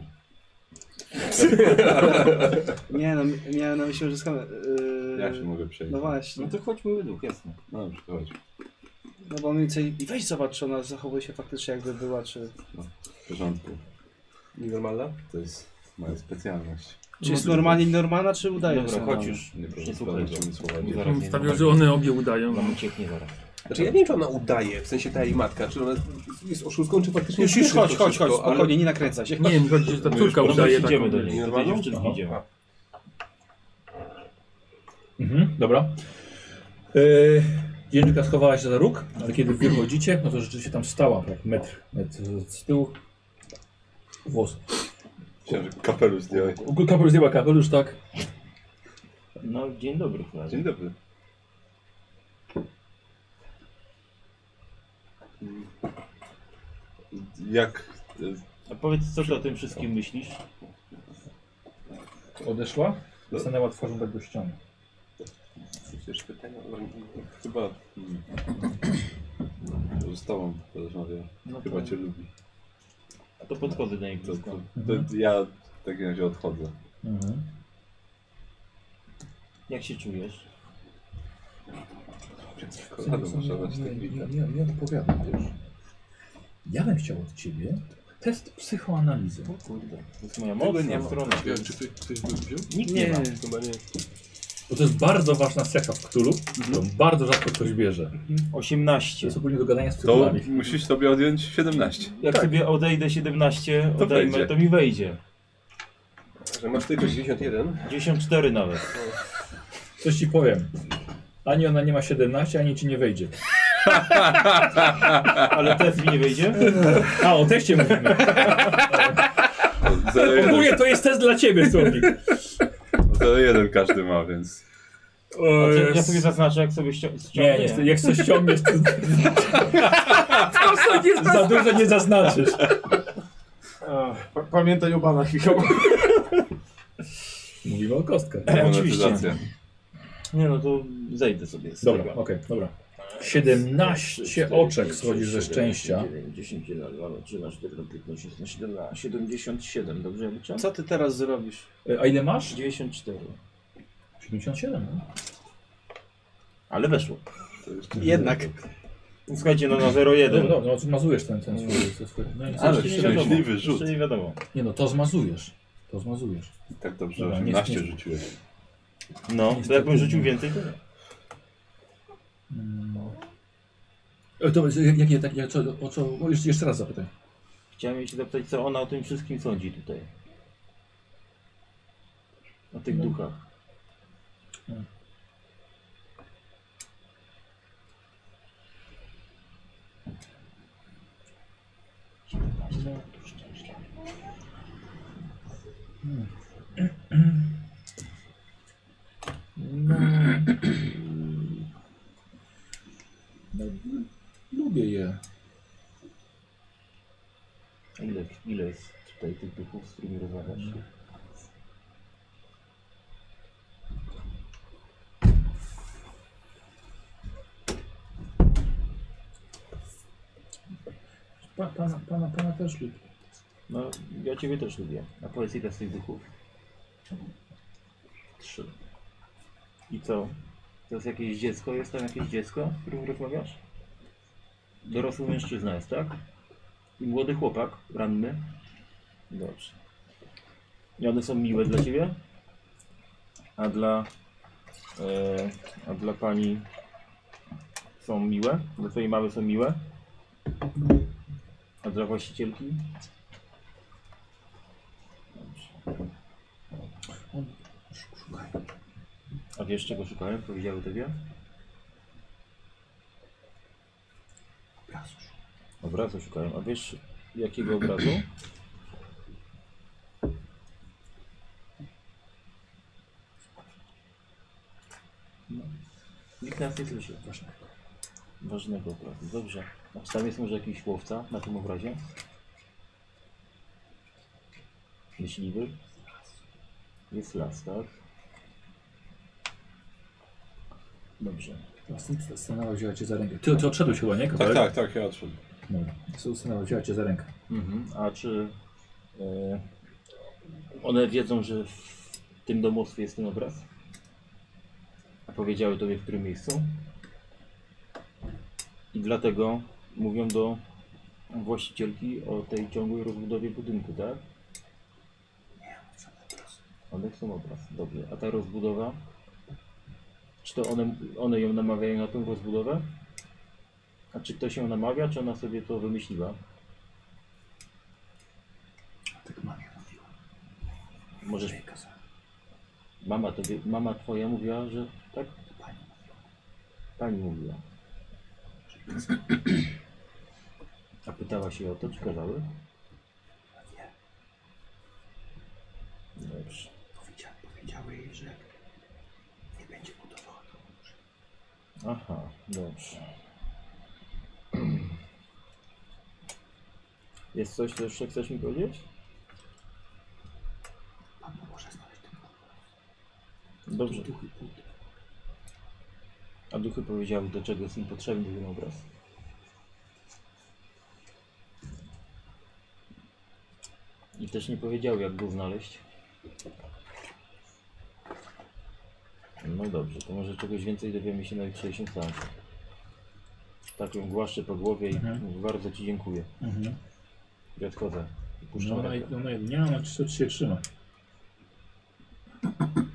[SPEAKER 4] Nie no, mi- miałem na myśli, że skam... Yy...
[SPEAKER 5] Ja się mogę przejść.
[SPEAKER 4] No właśnie,
[SPEAKER 8] No to chodźmy według, jasne.
[SPEAKER 5] No dobrze, chodź.
[SPEAKER 4] no bo mniej więcej... I weź zobacz, czy ona zachowuje się faktycznie jakby była, czy...
[SPEAKER 5] W porządku.
[SPEAKER 2] nienormalna.
[SPEAKER 5] To jest moja specjalność.
[SPEAKER 4] Czy jest normalnie normalna, czy udaje
[SPEAKER 8] Dobra,
[SPEAKER 4] że
[SPEAKER 8] chodź
[SPEAKER 4] normalna?
[SPEAKER 8] już.
[SPEAKER 5] Nie
[SPEAKER 8] Już nie
[SPEAKER 5] porządku,
[SPEAKER 8] słuchaj go.
[SPEAKER 5] czym słowa
[SPEAKER 8] Bo
[SPEAKER 5] nie
[SPEAKER 8] zaraz nie
[SPEAKER 6] Stawiam,
[SPEAKER 8] zobaczy.
[SPEAKER 6] że one obie udają.
[SPEAKER 8] Nam ucieknie zaraz.
[SPEAKER 2] Znaczy ja nie wiem, czy ona udaje, w sensie ta jej matka, czy ona jest oszustką, czy faktycznie
[SPEAKER 4] Już, już,
[SPEAKER 2] wszystko
[SPEAKER 4] chodź,
[SPEAKER 2] to
[SPEAKER 4] chodź, chodź,
[SPEAKER 2] wszystko, ale-
[SPEAKER 4] spokojnie, nie nakręca się.
[SPEAKER 6] Nie wiem, chodzi, że ta córka
[SPEAKER 8] Dobra,
[SPEAKER 6] udaje
[SPEAKER 8] idziemy
[SPEAKER 6] taką
[SPEAKER 8] do
[SPEAKER 6] rzecz.
[SPEAKER 8] niej. Do tej
[SPEAKER 2] Normalną?
[SPEAKER 8] dziewczynki
[SPEAKER 2] Aha.
[SPEAKER 8] idziemy.
[SPEAKER 1] Mhm, dobra. E, Dziewczynka schowała się za róg, ale kiedy wychodzicie, no to rzeczywiście tam stała, tak metr, metr z tyłu. Włos.
[SPEAKER 5] Chciałem, że kapelusz zdjąłeś.
[SPEAKER 1] Kapelusz zdjęła kapelusz, tak?
[SPEAKER 8] No, dzień dobry, Frani.
[SPEAKER 5] Dzień dobry. Jak y,
[SPEAKER 8] A powiedz, co ty o tym wszystkim myślisz?
[SPEAKER 1] No. Odeszła, stanęła twarzą tak do ściany.
[SPEAKER 5] Oczywiście
[SPEAKER 2] też pytania.
[SPEAKER 5] No,
[SPEAKER 2] Chyba
[SPEAKER 5] Hmm. Że Z tobą porozmawiam.
[SPEAKER 8] No
[SPEAKER 5] Chyba
[SPEAKER 8] to-
[SPEAKER 5] cię lubi.
[SPEAKER 8] A to podchodzę do niej
[SPEAKER 5] To,
[SPEAKER 8] blisko.
[SPEAKER 5] to,
[SPEAKER 1] Mhm.
[SPEAKER 5] to,
[SPEAKER 8] Mhm.
[SPEAKER 5] ja w takim razie odchodzę.
[SPEAKER 8] Jak się czujesz?
[SPEAKER 5] Kolano muszę dać tę chwilę.
[SPEAKER 1] nie, nie odpowiadam też. Ja bym chciał od ciebie test psychoanalizy.
[SPEAKER 8] O kurde, to jest moja
[SPEAKER 2] Tego
[SPEAKER 8] mocna
[SPEAKER 2] ma. Tak
[SPEAKER 8] strona.
[SPEAKER 2] Ja, czy ktoś, ktoś by wziął?
[SPEAKER 8] Nikt nie, ma.
[SPEAKER 2] Chyba nie.
[SPEAKER 1] Bo to jest bardzo ważna cecha w Cthulhu, którą bardzo rzadko ktoś bierze.
[SPEAKER 8] 18.
[SPEAKER 1] Mhm. To jest ogólnie do gadania z
[SPEAKER 5] To
[SPEAKER 1] cyklami.
[SPEAKER 5] musisz sobie odjąć 17.
[SPEAKER 8] Jak sobie odejdę 17,
[SPEAKER 5] To
[SPEAKER 8] odejmę,
[SPEAKER 5] wejdzie.
[SPEAKER 8] to mi wejdzie.
[SPEAKER 2] Że masz tylko 91.
[SPEAKER 8] 94 nawet.
[SPEAKER 1] Coś ci powiem. Ani ona nie ma 17, ani ci nie wejdzie.
[SPEAKER 8] Ale test mi nie wejdzie?
[SPEAKER 1] A, o teście mówimy.
[SPEAKER 5] Zero
[SPEAKER 1] Ogólnie to jest test dla ciebie, Słowik.
[SPEAKER 5] jeden każdy ma, więc.
[SPEAKER 1] O,
[SPEAKER 8] Znaczy, Ja
[SPEAKER 1] jest-
[SPEAKER 8] sobie zaznaczę, jak sobie ścią-
[SPEAKER 1] Nie,
[SPEAKER 8] ściągnie.
[SPEAKER 1] nie, nie, jak coś ściągniesz, to... Za dużo nie zaznaczysz.
[SPEAKER 10] Pamiętaj o banach, Michał.
[SPEAKER 1] Mówimy o kostkach.
[SPEAKER 8] E, oczywiście.
[SPEAKER 5] Monetyzacja.
[SPEAKER 8] Nie no, to zejdę sobie z
[SPEAKER 1] Dobra,
[SPEAKER 8] tego.
[SPEAKER 1] okej, dobra. 17 oczek schodzisz ze szczęścia.
[SPEAKER 8] 10, 11, 12, 13, 14, 15, 16, 17, 77, dobrze ja liczę?
[SPEAKER 4] Co ty teraz zrobisz?
[SPEAKER 1] E, A ile masz?
[SPEAKER 8] 94.
[SPEAKER 1] 77. no.
[SPEAKER 8] Ale weszło.
[SPEAKER 4] Jednak.
[SPEAKER 8] Słuchajcie, no na
[SPEAKER 1] No,
[SPEAKER 8] 0,1.
[SPEAKER 1] no, no zmazujesz ten, ten swój... ten swój- No, i co?
[SPEAKER 5] Ale
[SPEAKER 8] Jeszcze nie
[SPEAKER 5] szczęśliwy
[SPEAKER 8] wiadomo,
[SPEAKER 5] rzut.
[SPEAKER 8] Jeszcze nie wiadomo.
[SPEAKER 1] nie no, to zmazujesz. To zmazujesz.
[SPEAKER 5] Tak dobrze,
[SPEAKER 1] Dobra, nie-
[SPEAKER 5] 18
[SPEAKER 1] nie-
[SPEAKER 5] rzuciłeś.
[SPEAKER 8] No, to
[SPEAKER 1] Niestety
[SPEAKER 8] jakbym rzucił
[SPEAKER 1] nie.
[SPEAKER 8] więcej, to nie.
[SPEAKER 1] No. E, To, jak, jakie, tak, jak, co, o co, o, jeszcze, jeszcze raz zapytaj.
[SPEAKER 8] Chciałem jej się zapytać, co ona o tym wszystkim sądzi tutaj. O tych
[SPEAKER 1] No.
[SPEAKER 8] duchach.
[SPEAKER 1] No. No, lubię je.
[SPEAKER 8] Ile, ile jest tutaj tych duchów, z którymi rozmawiasz?
[SPEAKER 1] Pa, pana, pana, pana też lubię.
[SPEAKER 8] No, ja ciebie też lubię. A powiedz ile z tych duchów? Trzy. I co? To jest jakieś dziecko? Jest tam jakieś dziecko, z którym rozmawiasz? Dorosły mężczyzna jest, tak? I młody chłopak, ranny? Dobrze. I one są miłe dla ciebie? A dla... E, a dla pani są miłe? Dla twojej mamy są miłe? A dla właścicielki? A wiesz czego szukałem? Powiedziały tobie? Obrazu szukałem. A wiesz jakiego obrazu? No. Nikt nas nie słyszy. Ważnego. Ważnego obrazu. Dobrze. A czy tam jest może jakiś łowca na tym obrazie? Myśliwy? Jest las, tak? Dobrze.
[SPEAKER 1] Stanęła, wzięła cię za rękę. Ty, ty odszedłeś chyba, nie?
[SPEAKER 5] Tak,
[SPEAKER 1] Kawałek?
[SPEAKER 5] tak, tak, ja odszedłem.
[SPEAKER 1] No. Su- Stanęła, wzięła cię za rękę.
[SPEAKER 8] Mhm. A czy e, one wiedzą, że w tym domostwie jest ten obraz? A powiedziały tobie w którym miejscu? I dlatego mówią do właścicielki o tej ciągłej rozbudowie budynku, tak? One chcą obraz. Dobrze. A ta rozbudowa? Czy to one, one ją namawiają na tą rozbudowę? A czy ktoś ją namawia, czy ona sobie to wymyśliła?
[SPEAKER 1] Tak mamie mówiła.
[SPEAKER 8] Możesz
[SPEAKER 1] Jej kazała.
[SPEAKER 8] Mama, tobie, mama twoja mówiła, że tak?
[SPEAKER 1] Pani
[SPEAKER 8] Pani mówiła. A pytała się o to, czy kazały?
[SPEAKER 1] Nie.
[SPEAKER 8] Dobrze.
[SPEAKER 1] Powiedzia, powiedziały jej, że nie będzie budowała domu.
[SPEAKER 8] Aha, dobrze. Jest coś, co jeszcze chcesz mi powiedzieć?
[SPEAKER 1] Pan pomoże znaleźć ten dom.
[SPEAKER 8] Dobrze.
[SPEAKER 1] Duchy pójdą.
[SPEAKER 8] A duchy powiedziały, do czego jest im potrzebny ten obraz. I też nie powiedziały, jak go znaleźć. No dobrze, to może czegoś więcej dowiemy się na jutrzejszym seansie. Tak ją głaszczę po głowie i
[SPEAKER 11] Mhm.
[SPEAKER 8] mówię, bardzo Ci dziękuję.
[SPEAKER 11] Mhm.
[SPEAKER 8] I odchodzę. I
[SPEAKER 11] No,
[SPEAKER 8] puszczam
[SPEAKER 11] ona,
[SPEAKER 8] rękę.
[SPEAKER 11] ona nie ona się, się trzyma.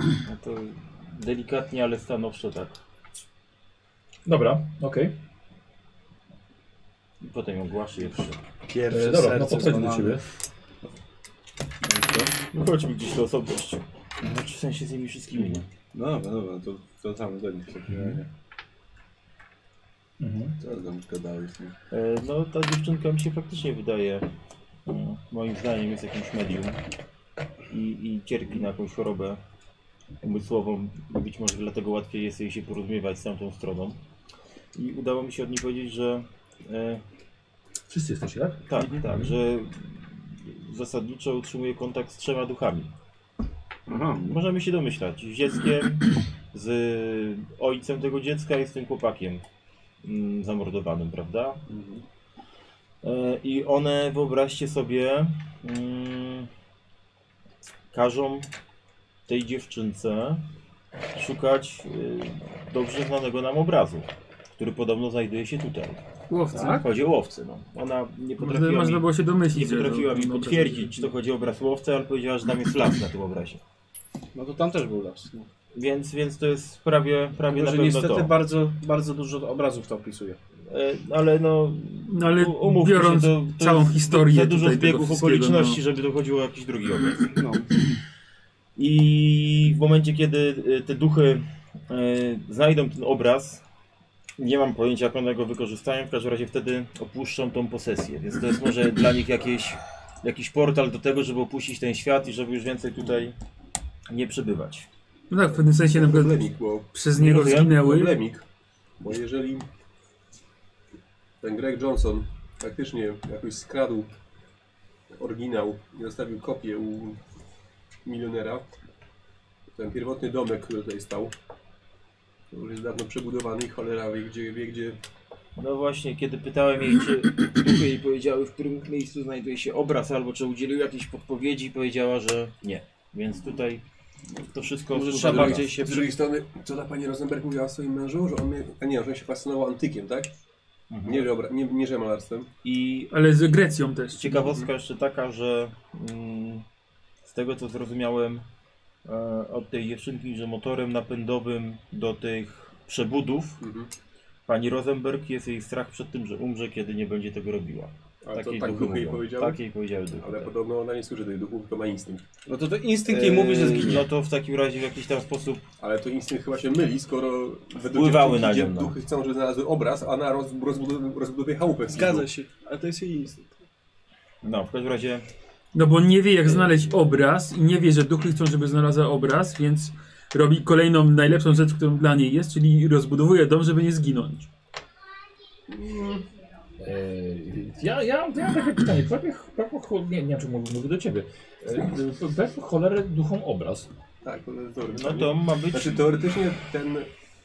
[SPEAKER 8] No to delikatnie, ale stanowczo tak.
[SPEAKER 11] Dobra, okej.
[SPEAKER 8] I potem ją głaszczę i odchodzę.
[SPEAKER 11] E,
[SPEAKER 4] Pierwsze
[SPEAKER 11] Dobra,
[SPEAKER 4] serce
[SPEAKER 11] no podchodzi do
[SPEAKER 4] złamane.
[SPEAKER 11] ciebie.
[SPEAKER 8] No chodźmy gdzieś do osobności. No, w sensie z nimi wszystkimi, nie?
[SPEAKER 5] No dobra, dobra, to wracamy do nich w takim razie.
[SPEAKER 11] Mhm.
[SPEAKER 5] Co tam gadałeś? z nim?
[SPEAKER 8] E, No ta dziewczynka mi się faktycznie wydaje, no, moim zdaniem jest jakimś medium i, i cierpi na jakąś chorobę umysłową. Być może dlatego łatwiej jest jej się porozumiewać z tamtą stroną. I udało mi się od niej powiedzieć, że e,
[SPEAKER 11] Wszyscy jesteście, tak?
[SPEAKER 8] tak, tak, że zasadniczo utrzymuje kontakt z trzema duchami. Możemy się domyślać. Z dzieckiem, z ojcem tego dziecka i z tym chłopakiem mm, zamordowanym, prawda? E, I one, wyobraźcie sobie, mm, każą tej dziewczynce szukać y, dobrze znanego nam obrazu, który podobno znajduje się tutaj.
[SPEAKER 6] Łowcy.
[SPEAKER 8] Chodzi o łowcę. No. Ona nie
[SPEAKER 6] Można,
[SPEAKER 8] potrafiła mi
[SPEAKER 6] można było się domyślić.
[SPEAKER 8] nie
[SPEAKER 6] że-
[SPEAKER 8] potrafiła mi
[SPEAKER 6] że-
[SPEAKER 8] potwierdzić, czy to chodzi o obraz łowcy, ale powiedziała, że tam jest las na tym obrazie.
[SPEAKER 4] No to tam też był las. No.
[SPEAKER 8] Więc, więc to jest prawie, prawie na pewno
[SPEAKER 4] Tylko, że niestety
[SPEAKER 8] to.
[SPEAKER 4] bardzo, bardzo dużo obrazów to opisuje.
[SPEAKER 8] E, ale no,
[SPEAKER 6] No ale
[SPEAKER 8] u- umówmy
[SPEAKER 6] biorąc
[SPEAKER 8] się, to, to
[SPEAKER 6] całą
[SPEAKER 8] jest
[SPEAKER 6] historię
[SPEAKER 8] za dużo
[SPEAKER 6] tutaj tego
[SPEAKER 8] zbiegów
[SPEAKER 6] wszystkiego, no.
[SPEAKER 8] okoliczności, żeby to chodziło o jakiś drugi obraz.
[SPEAKER 4] No.
[SPEAKER 8] I w momencie, kiedy e, te duchy e, znajdą ten obraz, nie mam pojęcia, jak one go wykorzystają, w każdym razie wtedy opuszczą tą posesję. Więc to jest może dla nich jakieś, jakiś portal do tego, żeby opuścić ten świat i żeby już więcej tutaj nie przebywać.
[SPEAKER 6] No tak, w pewnym sensie na przykład
[SPEAKER 2] Problemik, bo
[SPEAKER 6] przez niego
[SPEAKER 8] Mówię?
[SPEAKER 6] zginęły.
[SPEAKER 2] problemik, bo jeżeli ten Greg Johnson faktycznie jakoś skradł oryginał i zostawił kopię u milionera, ten pierwotny domek, który tutaj stał, to już jest dawno przebudowany i cholera wie gdzie, wie gdzie
[SPEAKER 8] No właśnie, kiedy pytałem jej, czy duchy jej powiedziały, w którym miejscu znajduje się obraz, albo czy udzielił jakiejś podpowiedzi, powiedziała, że nie. Więc tutaj to wszystko
[SPEAKER 4] Może
[SPEAKER 8] tutaj
[SPEAKER 4] trzeba
[SPEAKER 8] druga.
[SPEAKER 4] bardziej się
[SPEAKER 2] Z drugiej strony, co ta pani Rosenberg mówiła o swoim mężu, że on, mnie- a nie, że on się fascynował antykiem, tak?
[SPEAKER 8] Mhm.
[SPEAKER 2] Nie, że obra- nie, nie że malarstwem.
[SPEAKER 8] I
[SPEAKER 6] Ale z Grecją też.
[SPEAKER 8] ciekawostka jeszcze taka, że mm, z tego co zrozumiałem e, od tej dziewczynki, że motorem napędowym do tych przebudów
[SPEAKER 2] Mhm.
[SPEAKER 8] pani Rosenberg jest jej strach przed tym, że umrze, kiedy nie będzie tego robiła.
[SPEAKER 2] Ale to
[SPEAKER 8] Takiej
[SPEAKER 2] tak
[SPEAKER 8] duchy
[SPEAKER 2] duchy jej
[SPEAKER 8] mówią.
[SPEAKER 2] powiedziały.
[SPEAKER 8] Takiej powiedziały duchy,
[SPEAKER 2] Ale
[SPEAKER 8] tak.
[SPEAKER 2] podobno ona nie słyszy tych duchów, tylko ma instynkt.
[SPEAKER 4] No to, to instynkt jej mówi, że
[SPEAKER 8] Eee,
[SPEAKER 4] zginie.
[SPEAKER 8] No to w takim razie w jakiś tam sposób
[SPEAKER 2] Ale to instynkt chyba się myli, skoro według
[SPEAKER 8] Wpływały
[SPEAKER 2] dziewczynki
[SPEAKER 8] na
[SPEAKER 2] dzie-
[SPEAKER 8] nią, no.
[SPEAKER 2] duchy chcą, żeby znalazły obraz, a na roz, rozbudowie, rozbudowie chałupę.
[SPEAKER 4] Zgadza się, ale to jest jej instynkt.
[SPEAKER 8] No, w każdym razie
[SPEAKER 6] No bo nie wie
[SPEAKER 4] Mm.
[SPEAKER 6] jak znaleźć obraz i nie wie, że duchy chcą, żeby znalazła obraz, więc robi kolejną najlepszą rzecz, którą dla niej jest, czyli rozbudowuje dom, żeby nie zginąć.
[SPEAKER 11] Eee, Ja, ja, ja mam takie pytanie. Prawie, prawie, cho- nie, nie wiem, czy mówię, mówię do ciebie. Eee, Prawie cholerę duchom obraz.
[SPEAKER 2] Tak, to jest dobre
[SPEAKER 8] No
[SPEAKER 2] pytanie.
[SPEAKER 8] to ma być.
[SPEAKER 2] Znaczy teoretycznie ten...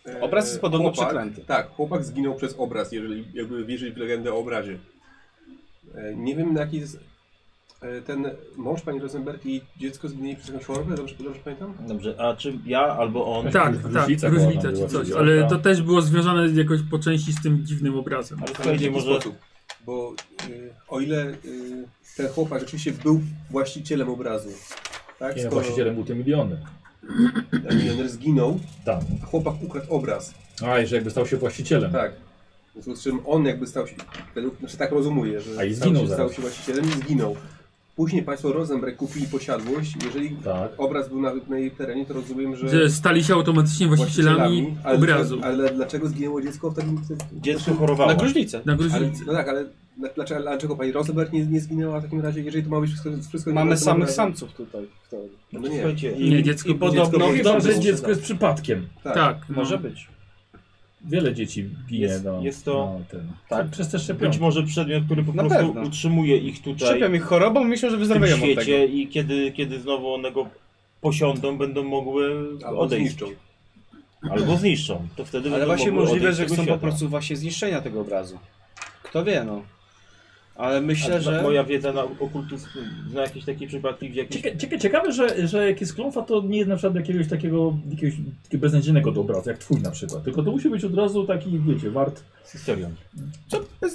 [SPEAKER 2] e,
[SPEAKER 4] Obraz jest podobno przeklęty.
[SPEAKER 2] Tak, chłopak zginął przez obraz, jeżeli jakby wierzyć w legendę o obrazie. E, Nie wiem na jaki jest... e, Ten mąż pani Rosenberg i dziecko zginęli przez jakąś chorobę, dobrze, dobrze pamiętam?
[SPEAKER 8] Dobrze, a czy ja albo on.
[SPEAKER 6] Tak,
[SPEAKER 11] Różnica
[SPEAKER 6] tak,
[SPEAKER 11] była
[SPEAKER 6] różnica
[SPEAKER 11] tam,
[SPEAKER 6] czy
[SPEAKER 11] była
[SPEAKER 6] coś,
[SPEAKER 11] różnica.
[SPEAKER 6] ale to też było związane jakoś po części z tym dziwnym obrazem.
[SPEAKER 8] Ale
[SPEAKER 2] Ale w
[SPEAKER 8] słuchajcie,
[SPEAKER 2] jaki
[SPEAKER 8] może.
[SPEAKER 2] sposób? Bo y, o ile y, ten chłopak rzeczywiście był właścicielem obrazu, tak?
[SPEAKER 11] Nie,
[SPEAKER 2] Skoro
[SPEAKER 11] właścicielem był te miliony.
[SPEAKER 2] ten milioner zginął,
[SPEAKER 11] Tam.
[SPEAKER 2] a chłopak ukradł obraz,
[SPEAKER 11] A, i że jakby stał się właścicielem.
[SPEAKER 2] tak. W związku z czym on jakby stał się, według, znaczy tak rozumuję, że
[SPEAKER 11] A i
[SPEAKER 2] stał,
[SPEAKER 11] zginął
[SPEAKER 2] się,
[SPEAKER 11] zaraz.
[SPEAKER 2] stał się właścicielem i zginął. Później państwo Rosenberg kupili posiadłość, jeżeli
[SPEAKER 11] Tak.
[SPEAKER 2] obraz był na, na jej terenie, to rozumiem, że...
[SPEAKER 6] Że stali się automatycznie właścicielami
[SPEAKER 2] ale,
[SPEAKER 6] obrazu
[SPEAKER 2] Ale dlaczego zginęło dziecko w takim... w takim-
[SPEAKER 8] Dziecko
[SPEAKER 4] Na
[SPEAKER 8] chorowało.
[SPEAKER 4] gruźlicę.
[SPEAKER 6] na
[SPEAKER 2] Ale,
[SPEAKER 6] gruźlicy.
[SPEAKER 2] no tak, ale dla- dlaczego, ale dlaczego pani Rosenberg nie, nie zginęła w takim razie, jeżeli to ma być wszystko... wszystko
[SPEAKER 4] Mamy
[SPEAKER 2] to
[SPEAKER 4] samych
[SPEAKER 2] obrazem?
[SPEAKER 4] samców tutaj. w teorii.
[SPEAKER 2] No
[SPEAKER 8] Znaczy,
[SPEAKER 2] nie.
[SPEAKER 8] Słuchajcie,
[SPEAKER 6] Nie, dziecko-
[SPEAKER 4] I podobno
[SPEAKER 2] dziecko-
[SPEAKER 11] Dobrze,
[SPEAKER 4] dobrze
[SPEAKER 11] dziecko jest przypadkiem.
[SPEAKER 2] Tak.
[SPEAKER 6] Tak, no.
[SPEAKER 4] Może być.
[SPEAKER 11] Wiele dzieci ginie
[SPEAKER 8] Jest-
[SPEAKER 11] na,
[SPEAKER 8] jest to-
[SPEAKER 11] na ten.
[SPEAKER 8] tak.
[SPEAKER 11] Przez te
[SPEAKER 8] być
[SPEAKER 11] szczepionki.
[SPEAKER 8] może przedmiot, który po
[SPEAKER 4] Na
[SPEAKER 8] prostu
[SPEAKER 4] pewno.
[SPEAKER 8] utrzymuje ich tutaj
[SPEAKER 4] Szczepią ich chorobą, myślę, że
[SPEAKER 8] w tym
[SPEAKER 4] wyzdrowieją od tego.
[SPEAKER 8] świecie i kiedy, kiedy znowu one go posiądą, będą mogły
[SPEAKER 2] Albo
[SPEAKER 8] odejść.
[SPEAKER 2] zniszczą.
[SPEAKER 8] Albo zniszczą. To wtedy
[SPEAKER 4] Ale
[SPEAKER 8] będą
[SPEAKER 4] właśnie
[SPEAKER 8] mogły
[SPEAKER 4] możliwe,
[SPEAKER 8] odejść
[SPEAKER 4] że
[SPEAKER 8] z tego
[SPEAKER 4] chcą po
[SPEAKER 8] świata.
[SPEAKER 4] prostu właśnie zniszczenia tego obrazu. Kto wie, no. Ale
[SPEAKER 8] A
[SPEAKER 4] myślę, że...
[SPEAKER 8] Moja wiedza na okultyzm zna jakieś takie przypadki, gdzie jakieś
[SPEAKER 12] Cieka, cieka, ciekawe, że, że jak jest klątwa, to nie jest na przykład jakiegoś takiego, jakiegoś takiego beznadziejnego dobra, jak twój na przykład. Tylko to musi być od razu taki, wiecie, wart
[SPEAKER 8] historią.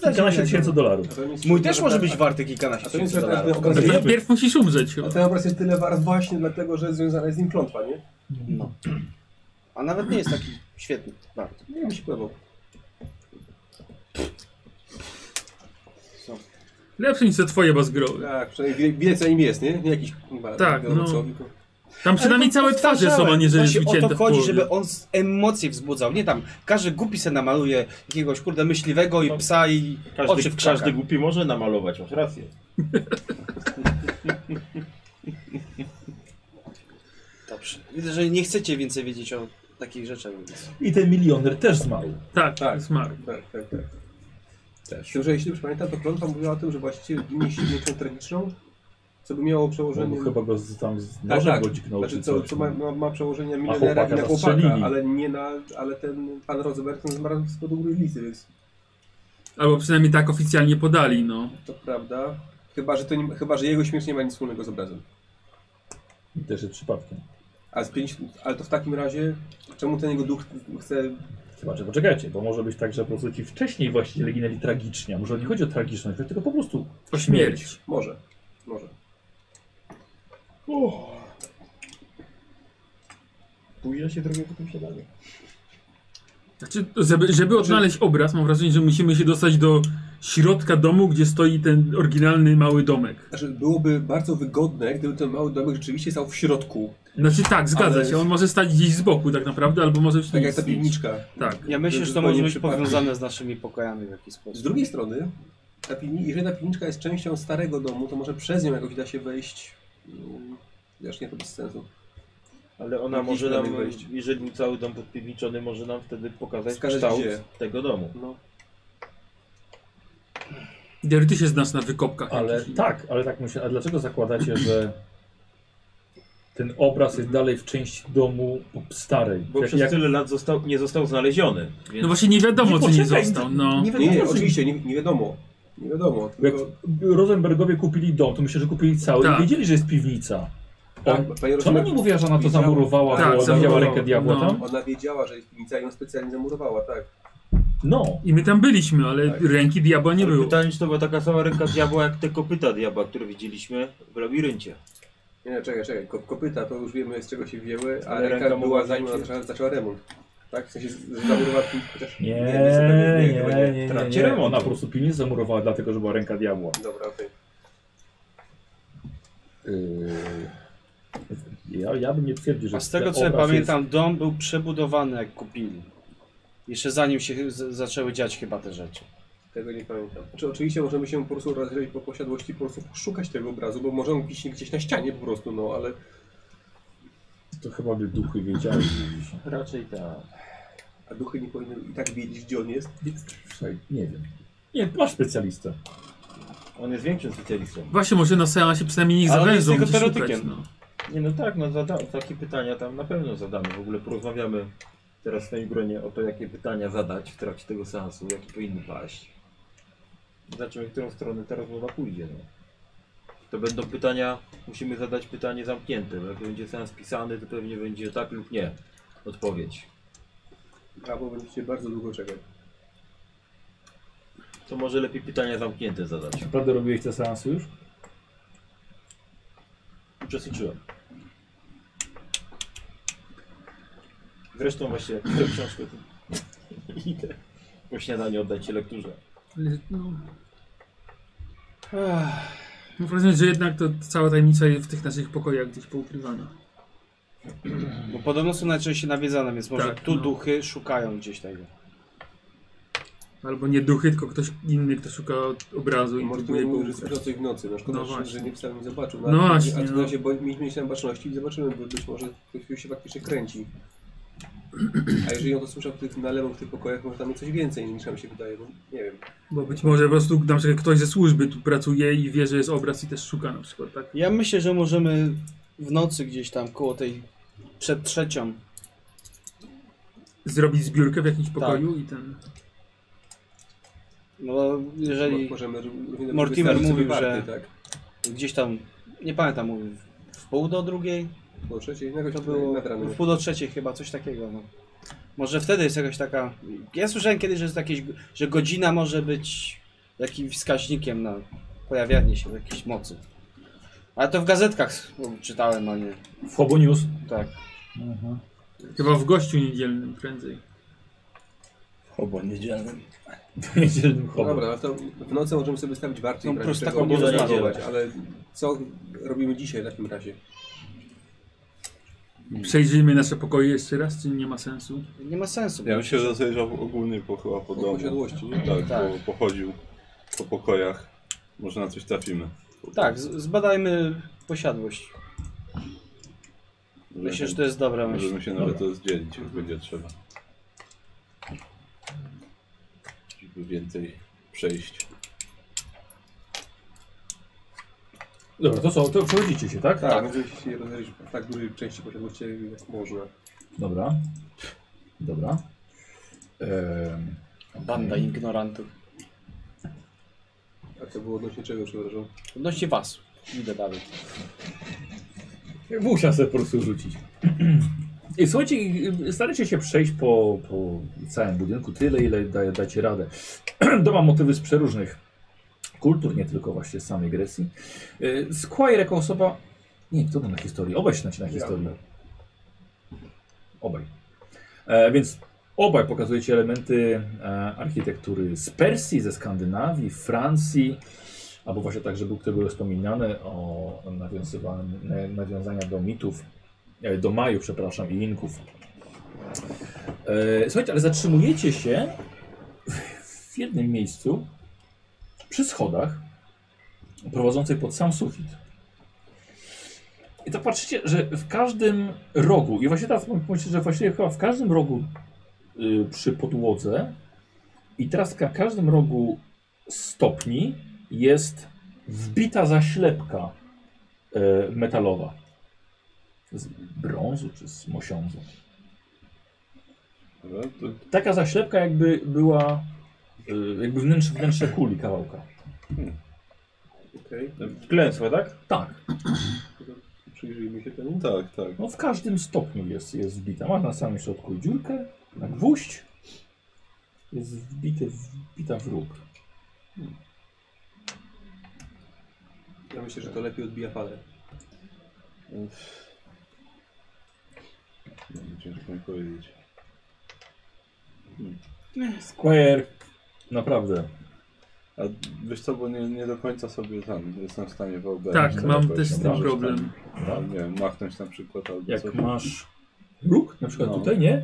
[SPEAKER 12] kilkanaście tysięcy dolarów.
[SPEAKER 13] A to jest-
[SPEAKER 4] Mój też może być
[SPEAKER 13] A-
[SPEAKER 4] warty
[SPEAKER 2] A
[SPEAKER 4] kilkanaście
[SPEAKER 2] to jest
[SPEAKER 4] tysięcy
[SPEAKER 2] ten
[SPEAKER 4] dolarów.
[SPEAKER 2] obraz,
[SPEAKER 6] Pierw- Pierw musisz umrzeć
[SPEAKER 2] a
[SPEAKER 6] chyba.
[SPEAKER 2] ten obraz jest tyle wart właśnie dlatego, że związana jest z nim klątwa, nie?
[SPEAKER 4] No. A nawet nie jest taki świetny. Wart.
[SPEAKER 13] Nie wiem, się pływał.
[SPEAKER 6] Lepsze niż te twoje bazgroły.
[SPEAKER 13] Tak, przynajmniej wie, wie co im jest, nie? Nie jakiś kurwa,
[SPEAKER 6] Tak,
[SPEAKER 13] wiadomo
[SPEAKER 6] no.
[SPEAKER 13] co, tylko-
[SPEAKER 6] Tam przynajmniej całe twarze są, a nie że jest
[SPEAKER 4] Właśnie o
[SPEAKER 6] wycięte
[SPEAKER 4] to
[SPEAKER 6] w
[SPEAKER 4] chodzi,
[SPEAKER 6] połowie.
[SPEAKER 4] żeby on z- emocje wzbudzał. Nie tam, każdy głupi se namaluje jakiegoś kurde myśliwego i psa i oczy
[SPEAKER 8] Każdy,
[SPEAKER 4] w krzakach.
[SPEAKER 8] każdy głupi może namalować, masz rację.
[SPEAKER 4] Dobrze. Widzę, że nie chcecie więcej wiedzieć o takich rzeczach. Więc...
[SPEAKER 12] I ten milioner też zmarł.
[SPEAKER 6] Tak,
[SPEAKER 13] Tak.
[SPEAKER 6] zmarł.
[SPEAKER 13] Tak, tak, tak.
[SPEAKER 2] Też. Tylko, że jeśli dobrze pamiętam, to klątwa mówiła o tym, że właściwie niesie śmiercią tragiczną, co by miało
[SPEAKER 1] Bo
[SPEAKER 2] przełożenie...
[SPEAKER 1] chyba go z, tam z
[SPEAKER 13] Tak,
[SPEAKER 1] nożem
[SPEAKER 13] tak.
[SPEAKER 1] go dźgnął
[SPEAKER 2] Znaczy,
[SPEAKER 1] czy
[SPEAKER 2] co,
[SPEAKER 1] coś.
[SPEAKER 2] co ma, ma, ma przełożenie
[SPEAKER 1] chłopaka
[SPEAKER 2] milionera i na
[SPEAKER 1] zastrzelili.
[SPEAKER 2] chłopaka, ale nie na... Ale ten pan Rosenberg zmarł z powodu gruźlicy, więc
[SPEAKER 6] Albo przynajmniej tak oficjalnie podali, no.
[SPEAKER 2] to prawda. Chyba, że, to nie, chyba, że jego śmierć nie ma nic wspólnego z obrazem.
[SPEAKER 1] I Też jest przypadkiem.
[SPEAKER 2] A z pięć, ale to w takim razie, czemu ten jego duch chce...
[SPEAKER 1] Chyba, że poczekajcie, bo może być tak, że po prostu ci wcześniej właściciele ginęli tragicznie. A Może nie chodzi o tragiczność, tylko po prostu
[SPEAKER 6] O śmierć.
[SPEAKER 2] Może, może.
[SPEAKER 14] Pójdę się trochę po tym śniadaniu.
[SPEAKER 6] Znaczy, żeby, żeby odnaleźć obraz, mam wrażenie, że musimy się dostać do środka domu, gdzie stoi ten oryginalny mały domek.
[SPEAKER 2] Znaczy, byłoby bardzo wygodne, gdyby ten mały domek rzeczywiście stał w środku,
[SPEAKER 6] Znaczy tak, zgadza
[SPEAKER 2] Ale-
[SPEAKER 6] się, on może stać gdzieś z boku tak naprawdę, albo może
[SPEAKER 2] tak
[SPEAKER 6] gdzieś
[SPEAKER 2] jak ta piwniczka.
[SPEAKER 6] Tak.
[SPEAKER 4] Ja myślę, że to
[SPEAKER 2] Zupełnie
[SPEAKER 4] może być
[SPEAKER 2] przypadek.
[SPEAKER 4] powiązane z naszymi pokojami w jakiś sposób.
[SPEAKER 2] Z drugiej strony, ta piwni- jeżeli ta piwniczka jest częścią starego domu, to może przez nią jakoś da się wejść. mm, Wiesz, nie to bez sensu.
[SPEAKER 8] Ale ona
[SPEAKER 2] Jakiś
[SPEAKER 8] może nam,
[SPEAKER 2] dalej wejść.
[SPEAKER 8] jeżeli cały dom podpiwniczony, może nam wtedy pokazać
[SPEAKER 2] Wskazać
[SPEAKER 8] kształt
[SPEAKER 2] gdzie.
[SPEAKER 8] tego domu.
[SPEAKER 2] No.
[SPEAKER 6] Dery, ty się znasz na wykopkach.
[SPEAKER 1] Ale
[SPEAKER 6] jakichś.
[SPEAKER 1] tak, ale tak myślę. A dlaczego zakładacie, że ten obraz jest dalej w części domu starej?
[SPEAKER 8] Bo
[SPEAKER 1] Jak-
[SPEAKER 8] przez
[SPEAKER 1] jak-
[SPEAKER 8] tyle lat został, nie został znaleziony. Więc...
[SPEAKER 6] No właśnie nie wiadomo,
[SPEAKER 12] Nie,
[SPEAKER 6] czy nie
[SPEAKER 12] poczekaj,
[SPEAKER 6] został, no.
[SPEAKER 12] Nie
[SPEAKER 2] Nie,
[SPEAKER 12] wiadomo,
[SPEAKER 2] nie,
[SPEAKER 12] czy-
[SPEAKER 2] oczywiście, nie, nie wiadomo. Nie wiadomo.
[SPEAKER 1] jak
[SPEAKER 2] Tylko,
[SPEAKER 1] Rosenbergowie kupili dom, to myślę, że kupili cały
[SPEAKER 6] Tak.
[SPEAKER 1] i wiedzieli, że jest piwnica.
[SPEAKER 2] tak,
[SPEAKER 1] On,
[SPEAKER 2] pani
[SPEAKER 1] czemu
[SPEAKER 2] Rozumek,
[SPEAKER 1] nie mówiła, że ona to
[SPEAKER 2] Wiedziała.
[SPEAKER 1] zamurowała,
[SPEAKER 6] Tak,
[SPEAKER 1] bo ona miała
[SPEAKER 6] zamurowała.
[SPEAKER 1] rękę diabła
[SPEAKER 6] No.
[SPEAKER 1] tam?
[SPEAKER 2] ona wiedziała, że jest piwnica i ją specjalnie zamurowała, tak.
[SPEAKER 1] No.
[SPEAKER 6] I my tam byliśmy, ale ręki diabła nie
[SPEAKER 8] nie
[SPEAKER 6] było.
[SPEAKER 8] Pytanie, czy to była taka sama ręka diabła, jak te kopyta diabła, które widzieliśmy w labiryncie.
[SPEAKER 2] Nie, nie, czekaj, czekaj. Ko- kopyta to już wiemy z czego się wzięły, a
[SPEAKER 8] Ale
[SPEAKER 2] ręka,
[SPEAKER 8] ręka
[SPEAKER 2] była
[SPEAKER 8] mogła
[SPEAKER 2] zanim ona
[SPEAKER 8] wziąć-
[SPEAKER 2] zaczęła, zaczęła remont. Tak? W sensie z- z- zamurowała piwnicę, chociaż...
[SPEAKER 1] Nie, nie,
[SPEAKER 2] jestem pewien,
[SPEAKER 1] nie,
[SPEAKER 2] chyba
[SPEAKER 1] nie, nie,
[SPEAKER 8] Trakcie
[SPEAKER 1] nie.
[SPEAKER 8] remontu.
[SPEAKER 1] Ona po prostu piwnicę zamurowała, dlatego że była ręka diabła.
[SPEAKER 2] Dobra, okej.
[SPEAKER 1] Yy, Ja, ja bym nie twierdził, że
[SPEAKER 4] A z tego
[SPEAKER 1] ten
[SPEAKER 4] co ja
[SPEAKER 1] obraz
[SPEAKER 4] pamiętam, dom był przebudowany jak kupili. Jeszcze zanim się chy- z- zaczęły dziać chyba te rzeczy.
[SPEAKER 2] Tego nie pamiętam. Znaczy, oczywiście możemy się po prostu rozejrzeć po posiadłości, po prostu szukać tego obrazu, bo może on wisi gdzieś na ścianie po prostu, no ale
[SPEAKER 1] Jest, to chyba by duchy wiedziały. że-
[SPEAKER 8] Raczej tak.
[SPEAKER 2] a duchy nie powinny i tak wiedzieć, gdzie on jest.
[SPEAKER 1] Słuchaj, nie wiem. Nie, masz specjalistę.
[SPEAKER 8] On jest większym specjalistą.
[SPEAKER 6] Właśnie może na seansie przynajmniej niech
[SPEAKER 8] Ale on
[SPEAKER 6] zawężą,
[SPEAKER 8] jest
[SPEAKER 6] gdzie
[SPEAKER 8] tylko
[SPEAKER 6] szukać,
[SPEAKER 8] teoretykiem.
[SPEAKER 6] no.
[SPEAKER 8] Nie no tak, no zada- takie pytania tam na pewno zadamy. W ogóle porozmawiamy teraz w swoim gronie o to, jakie pytania zadać w trakcie tego seansu, jakie powinny paść. Zobaczymy, w którą stronę ta rozmowa pójdzie. No. To będą pytania, musimy zadać pytanie zamknięte, bo jak będzie seans pisany, to pewnie będzie tak lub nie odpowiedź.
[SPEAKER 2] Albo będziecie bardzo długo czekać.
[SPEAKER 8] To może lepiej pytania zamknięte zadać.
[SPEAKER 1] Naprawdę robiłeś te seansy już?
[SPEAKER 8] Uczestniczyłem. Zresztą właśnie tę książkę tu- idę po śniadaniu oddać się lekturze.
[SPEAKER 6] Ale, no. Mam wrażenie, że jednak to cała tajemnica jest w tych naszych pokojach gdzieś poukrywana.
[SPEAKER 4] Bo podobno są najczęściej nawiedzane, więc może
[SPEAKER 6] Tak,
[SPEAKER 4] tu
[SPEAKER 6] no.
[SPEAKER 4] duchy szukają gdzieś tego.
[SPEAKER 6] Albo nie duchy, tylko ktoś inny, kto szuka obrazu i
[SPEAKER 2] Może tu
[SPEAKER 6] próbuje go
[SPEAKER 2] mówił, że
[SPEAKER 6] ukryć.
[SPEAKER 2] słyszał coś w nocy, no szkoda,
[SPEAKER 6] No
[SPEAKER 2] że,
[SPEAKER 6] właśnie.
[SPEAKER 2] że nie w samym zobaczył.
[SPEAKER 6] No
[SPEAKER 2] ale-
[SPEAKER 6] właśnie,
[SPEAKER 2] A
[SPEAKER 6] no.
[SPEAKER 2] w razie bo mieliśmy mieć na baczności i zobaczymy, bo być może ktoś się faktycznie kręci. A jeżeli on to słyszał w tych nalewach, w tych pokojach, może tam jest coś więcej niż nam się wydaje, bo nie wiem.
[SPEAKER 6] Bo być może po prostu na przykład ktoś ze służby tu pracuje i wie, że jest obraz i też szuka na przykład, tak?
[SPEAKER 4] Ja myślę, że możemy w nocy gdzieś tam koło tej przed trzecią
[SPEAKER 6] zrobić zbiórkę w jakimś pokoju i ten...
[SPEAKER 4] No, jeżeli
[SPEAKER 2] Możemy równie
[SPEAKER 4] Mortimer
[SPEAKER 2] wystawić sobie
[SPEAKER 4] mówił, że-
[SPEAKER 2] party, tak.
[SPEAKER 4] gdzieś tam, nie pamiętam, mówił, w pół do drugiej,
[SPEAKER 2] Po trzeciej, jakoś
[SPEAKER 4] to było
[SPEAKER 2] nad ranem.
[SPEAKER 4] w pół do trzeciej chyba, coś takiego. No. Może wtedy jest jakaś taka... Ja słyszałem kiedyś, że, jest jakieś, że godzina może być jakimś wskaźnikiem na pojawianie się jakiejś mocy. Ale to w gazetkach no, czytałem, a nie...
[SPEAKER 1] W Hobo News.
[SPEAKER 4] Tak.
[SPEAKER 6] Chyba w gościu niedzielnym prędzej.
[SPEAKER 3] Obo niedzielnym.
[SPEAKER 1] W niedzielnym
[SPEAKER 2] No
[SPEAKER 1] Hobo.
[SPEAKER 2] dobra, no to w nocy możemy sobie stawić warty
[SPEAKER 4] No,
[SPEAKER 2] i brać
[SPEAKER 4] po prostu
[SPEAKER 2] tego
[SPEAKER 4] taką
[SPEAKER 2] nie
[SPEAKER 4] niedzielę.
[SPEAKER 2] zareagować, ale co robimy dzisiaj w takim razie?
[SPEAKER 6] Przejrzyjmy nasze pokoje jeszcze raz, czy nie ma sensu?
[SPEAKER 4] Nie ma sensu.
[SPEAKER 5] Ja bym się rozejrzał ogólnie po, chyba
[SPEAKER 2] Po
[SPEAKER 5] po domu.
[SPEAKER 2] posiadłości, nie?
[SPEAKER 5] Tak,
[SPEAKER 4] Tak.
[SPEAKER 5] Po, pochodził po pokojach. Może na coś trafimy.
[SPEAKER 4] Tak, z- zbadajmy posiadłość.
[SPEAKER 5] Może
[SPEAKER 4] Myślę, że to jest dobra myśl.
[SPEAKER 5] Możemy się nawet rozdzielić, jak będzie trzeba. Żeby więcej przejść.
[SPEAKER 1] Dobra, to co? To przechodzicie się, tak?
[SPEAKER 2] Tak, tak. możemy się rozejrzeć w tak dużej części posiadłości, jak można.
[SPEAKER 1] Dobra. Dobra. Ehm,
[SPEAKER 4] Banda ignorantów.
[SPEAKER 2] A to było odnośnie czego, przepraszam?
[SPEAKER 4] Odnośnie was. Idę dalej.
[SPEAKER 1] Muszę sobie po prostu rzucić. I słuchajcie, starajcie się przejść po, po całym budynku tyle, ile da, dacie radę. Doma motywy z przeróżnych kultur, nie tylko właśnie z samej Grecji. Y, Squire jako osoba... Nie, kto tam na historii? Obaj się znacie na historii. Obaj. E, więc obaj pokazujecie elementy e, architektury z Persji, ze Skandynawii, Francji, albo właśnie tak, że był, które były wspominane o nawiązywaniu- na- nawiązania do mitów, e, do Majów, przepraszam, i Inków. E, Słuchajcie, ale zatrzymujecie się w- w jednym miejscu przy schodach prowadzących pod sam sufit. I to patrzycie, że w każdym rogu, i właśnie teraz myślę, że właściwie chyba w każdym rogu y, przy podłodze i teraz na każdym rogu stopni jest wbita zaślepka y, metalowa. Z brązu czy z mosiądzu.
[SPEAKER 5] Dobra? To
[SPEAKER 1] Taka zaślepka jakby była y, jakby wnętrze, wnętrze kuli kawałka.
[SPEAKER 2] Okej,
[SPEAKER 3] Klęsła, tak?
[SPEAKER 1] Tak,
[SPEAKER 2] przyjrzyjmy się temu.
[SPEAKER 5] Tak, tak.
[SPEAKER 1] no w każdym stopniu jest, jest wbita. Ma na samym środku dziurkę, na gwóźdź. Jest wbity, wbita w róg.
[SPEAKER 2] Ja myślę, że to lepiej odbija falę.
[SPEAKER 5] No, Ciężko mi powiedzieć.
[SPEAKER 1] Square. Naprawdę.
[SPEAKER 5] A wiesz co, bo nie, nie do końca sobie tam jestem w stanie wyobrazić.
[SPEAKER 6] Tak,
[SPEAKER 5] co
[SPEAKER 6] mam
[SPEAKER 5] robić.
[SPEAKER 6] też z tym
[SPEAKER 5] Możesz
[SPEAKER 6] problem.
[SPEAKER 5] Tam, tam, nie wiem, machnąć na przykład albo
[SPEAKER 1] Jak
[SPEAKER 5] coś.
[SPEAKER 1] masz róg, na przykład
[SPEAKER 5] No.
[SPEAKER 1] tutaj, nie?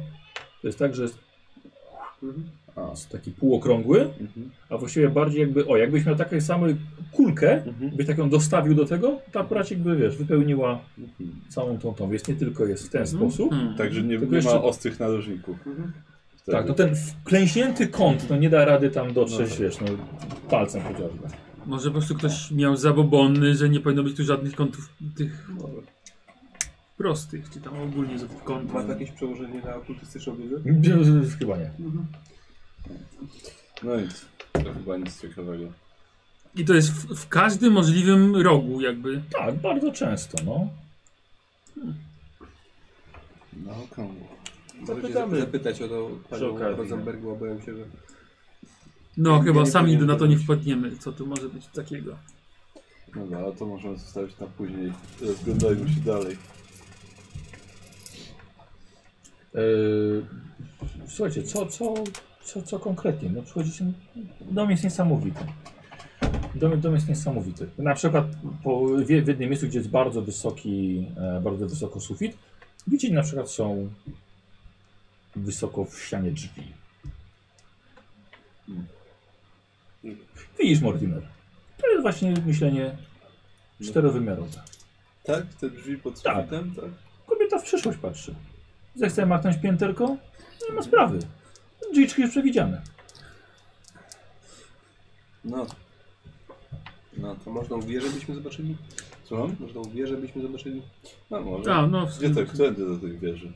[SPEAKER 1] To jest tak, że jest
[SPEAKER 5] A,
[SPEAKER 1] jest taki półokrągły,
[SPEAKER 5] mhm.
[SPEAKER 1] a właściwie bardziej jakby, o, jakbyś miał taką samą kulkę,
[SPEAKER 5] Mhm.
[SPEAKER 1] byś taką dostawił do tego, to akurat jakby, wiesz, wypełniła
[SPEAKER 5] Mhm.
[SPEAKER 1] całą tą tą, więc nie tylko jest w ten sposób.
[SPEAKER 6] Hmm.
[SPEAKER 5] Także nie,
[SPEAKER 1] Tylko
[SPEAKER 5] nie
[SPEAKER 1] jeszcze-
[SPEAKER 5] ma ostrych narożników. Wtedy.
[SPEAKER 1] Tak, to ten wklęśnięty kąt, no nie da rady tam dotrzeć,
[SPEAKER 5] No tak.
[SPEAKER 1] wiesz, no palcem chociażby.
[SPEAKER 6] Może po prostu ktoś miał zabobony, że nie powinno być tu żadnych kątów tych no, prostych, czy tam ogólnie z- kątów.
[SPEAKER 3] Mhm.
[SPEAKER 2] Ma to jakieś przełożenie na okultystyczną wiedzę?
[SPEAKER 1] Chyba nie.
[SPEAKER 5] No nic, to chyba nic ciekawego.
[SPEAKER 6] I to jest w, w każdym możliwym rogu jakby.
[SPEAKER 1] Tak, bardzo często, no.
[SPEAKER 5] Na okrągło.
[SPEAKER 2] Możecie zapy- zapytać o to panią
[SPEAKER 3] No okazji, no.
[SPEAKER 2] Rosenberg, bo obawiam się, że...
[SPEAKER 6] No
[SPEAKER 2] Nie,
[SPEAKER 6] chyba
[SPEAKER 2] nie
[SPEAKER 6] sami
[SPEAKER 2] powinien
[SPEAKER 6] na to nie
[SPEAKER 2] powiedzieć.
[SPEAKER 6] wpadniemy, co tu może być takiego.
[SPEAKER 5] Dobra, ale to możemy zostawić na później. Rozglądajmy się dalej.
[SPEAKER 1] Yy, słuchajcie, co, co, co, co konkretnie? No przychodzicie, dom jest niesamowity. Dom, dom jest niesamowity. Na przykład po, w, w jednym miejscu, gdzie jest bardzo wysoki, e, bardzo wysoko sufit, widzicie na przykład są wysoko w ścianie drzwi. Widzisz, Mortimer, to jest właśnie myślenie czterowymiarowe.
[SPEAKER 5] Tak? Te drzwi pod
[SPEAKER 1] Tak.
[SPEAKER 5] sufitem? Tak.
[SPEAKER 1] Kobieta w przyszłość patrzy. Zechce machnąć pięterko? Nie ma sprawy. Dziczki już przewidziane.
[SPEAKER 5] No. No
[SPEAKER 2] A
[SPEAKER 5] to
[SPEAKER 2] można wieżę byśmy zobaczyli?
[SPEAKER 5] słucham?
[SPEAKER 2] Można wieżę byśmy zobaczyli?
[SPEAKER 6] Tak.
[SPEAKER 5] No może.
[SPEAKER 6] A, no w
[SPEAKER 5] Gdzie to wtedy do tej wieży?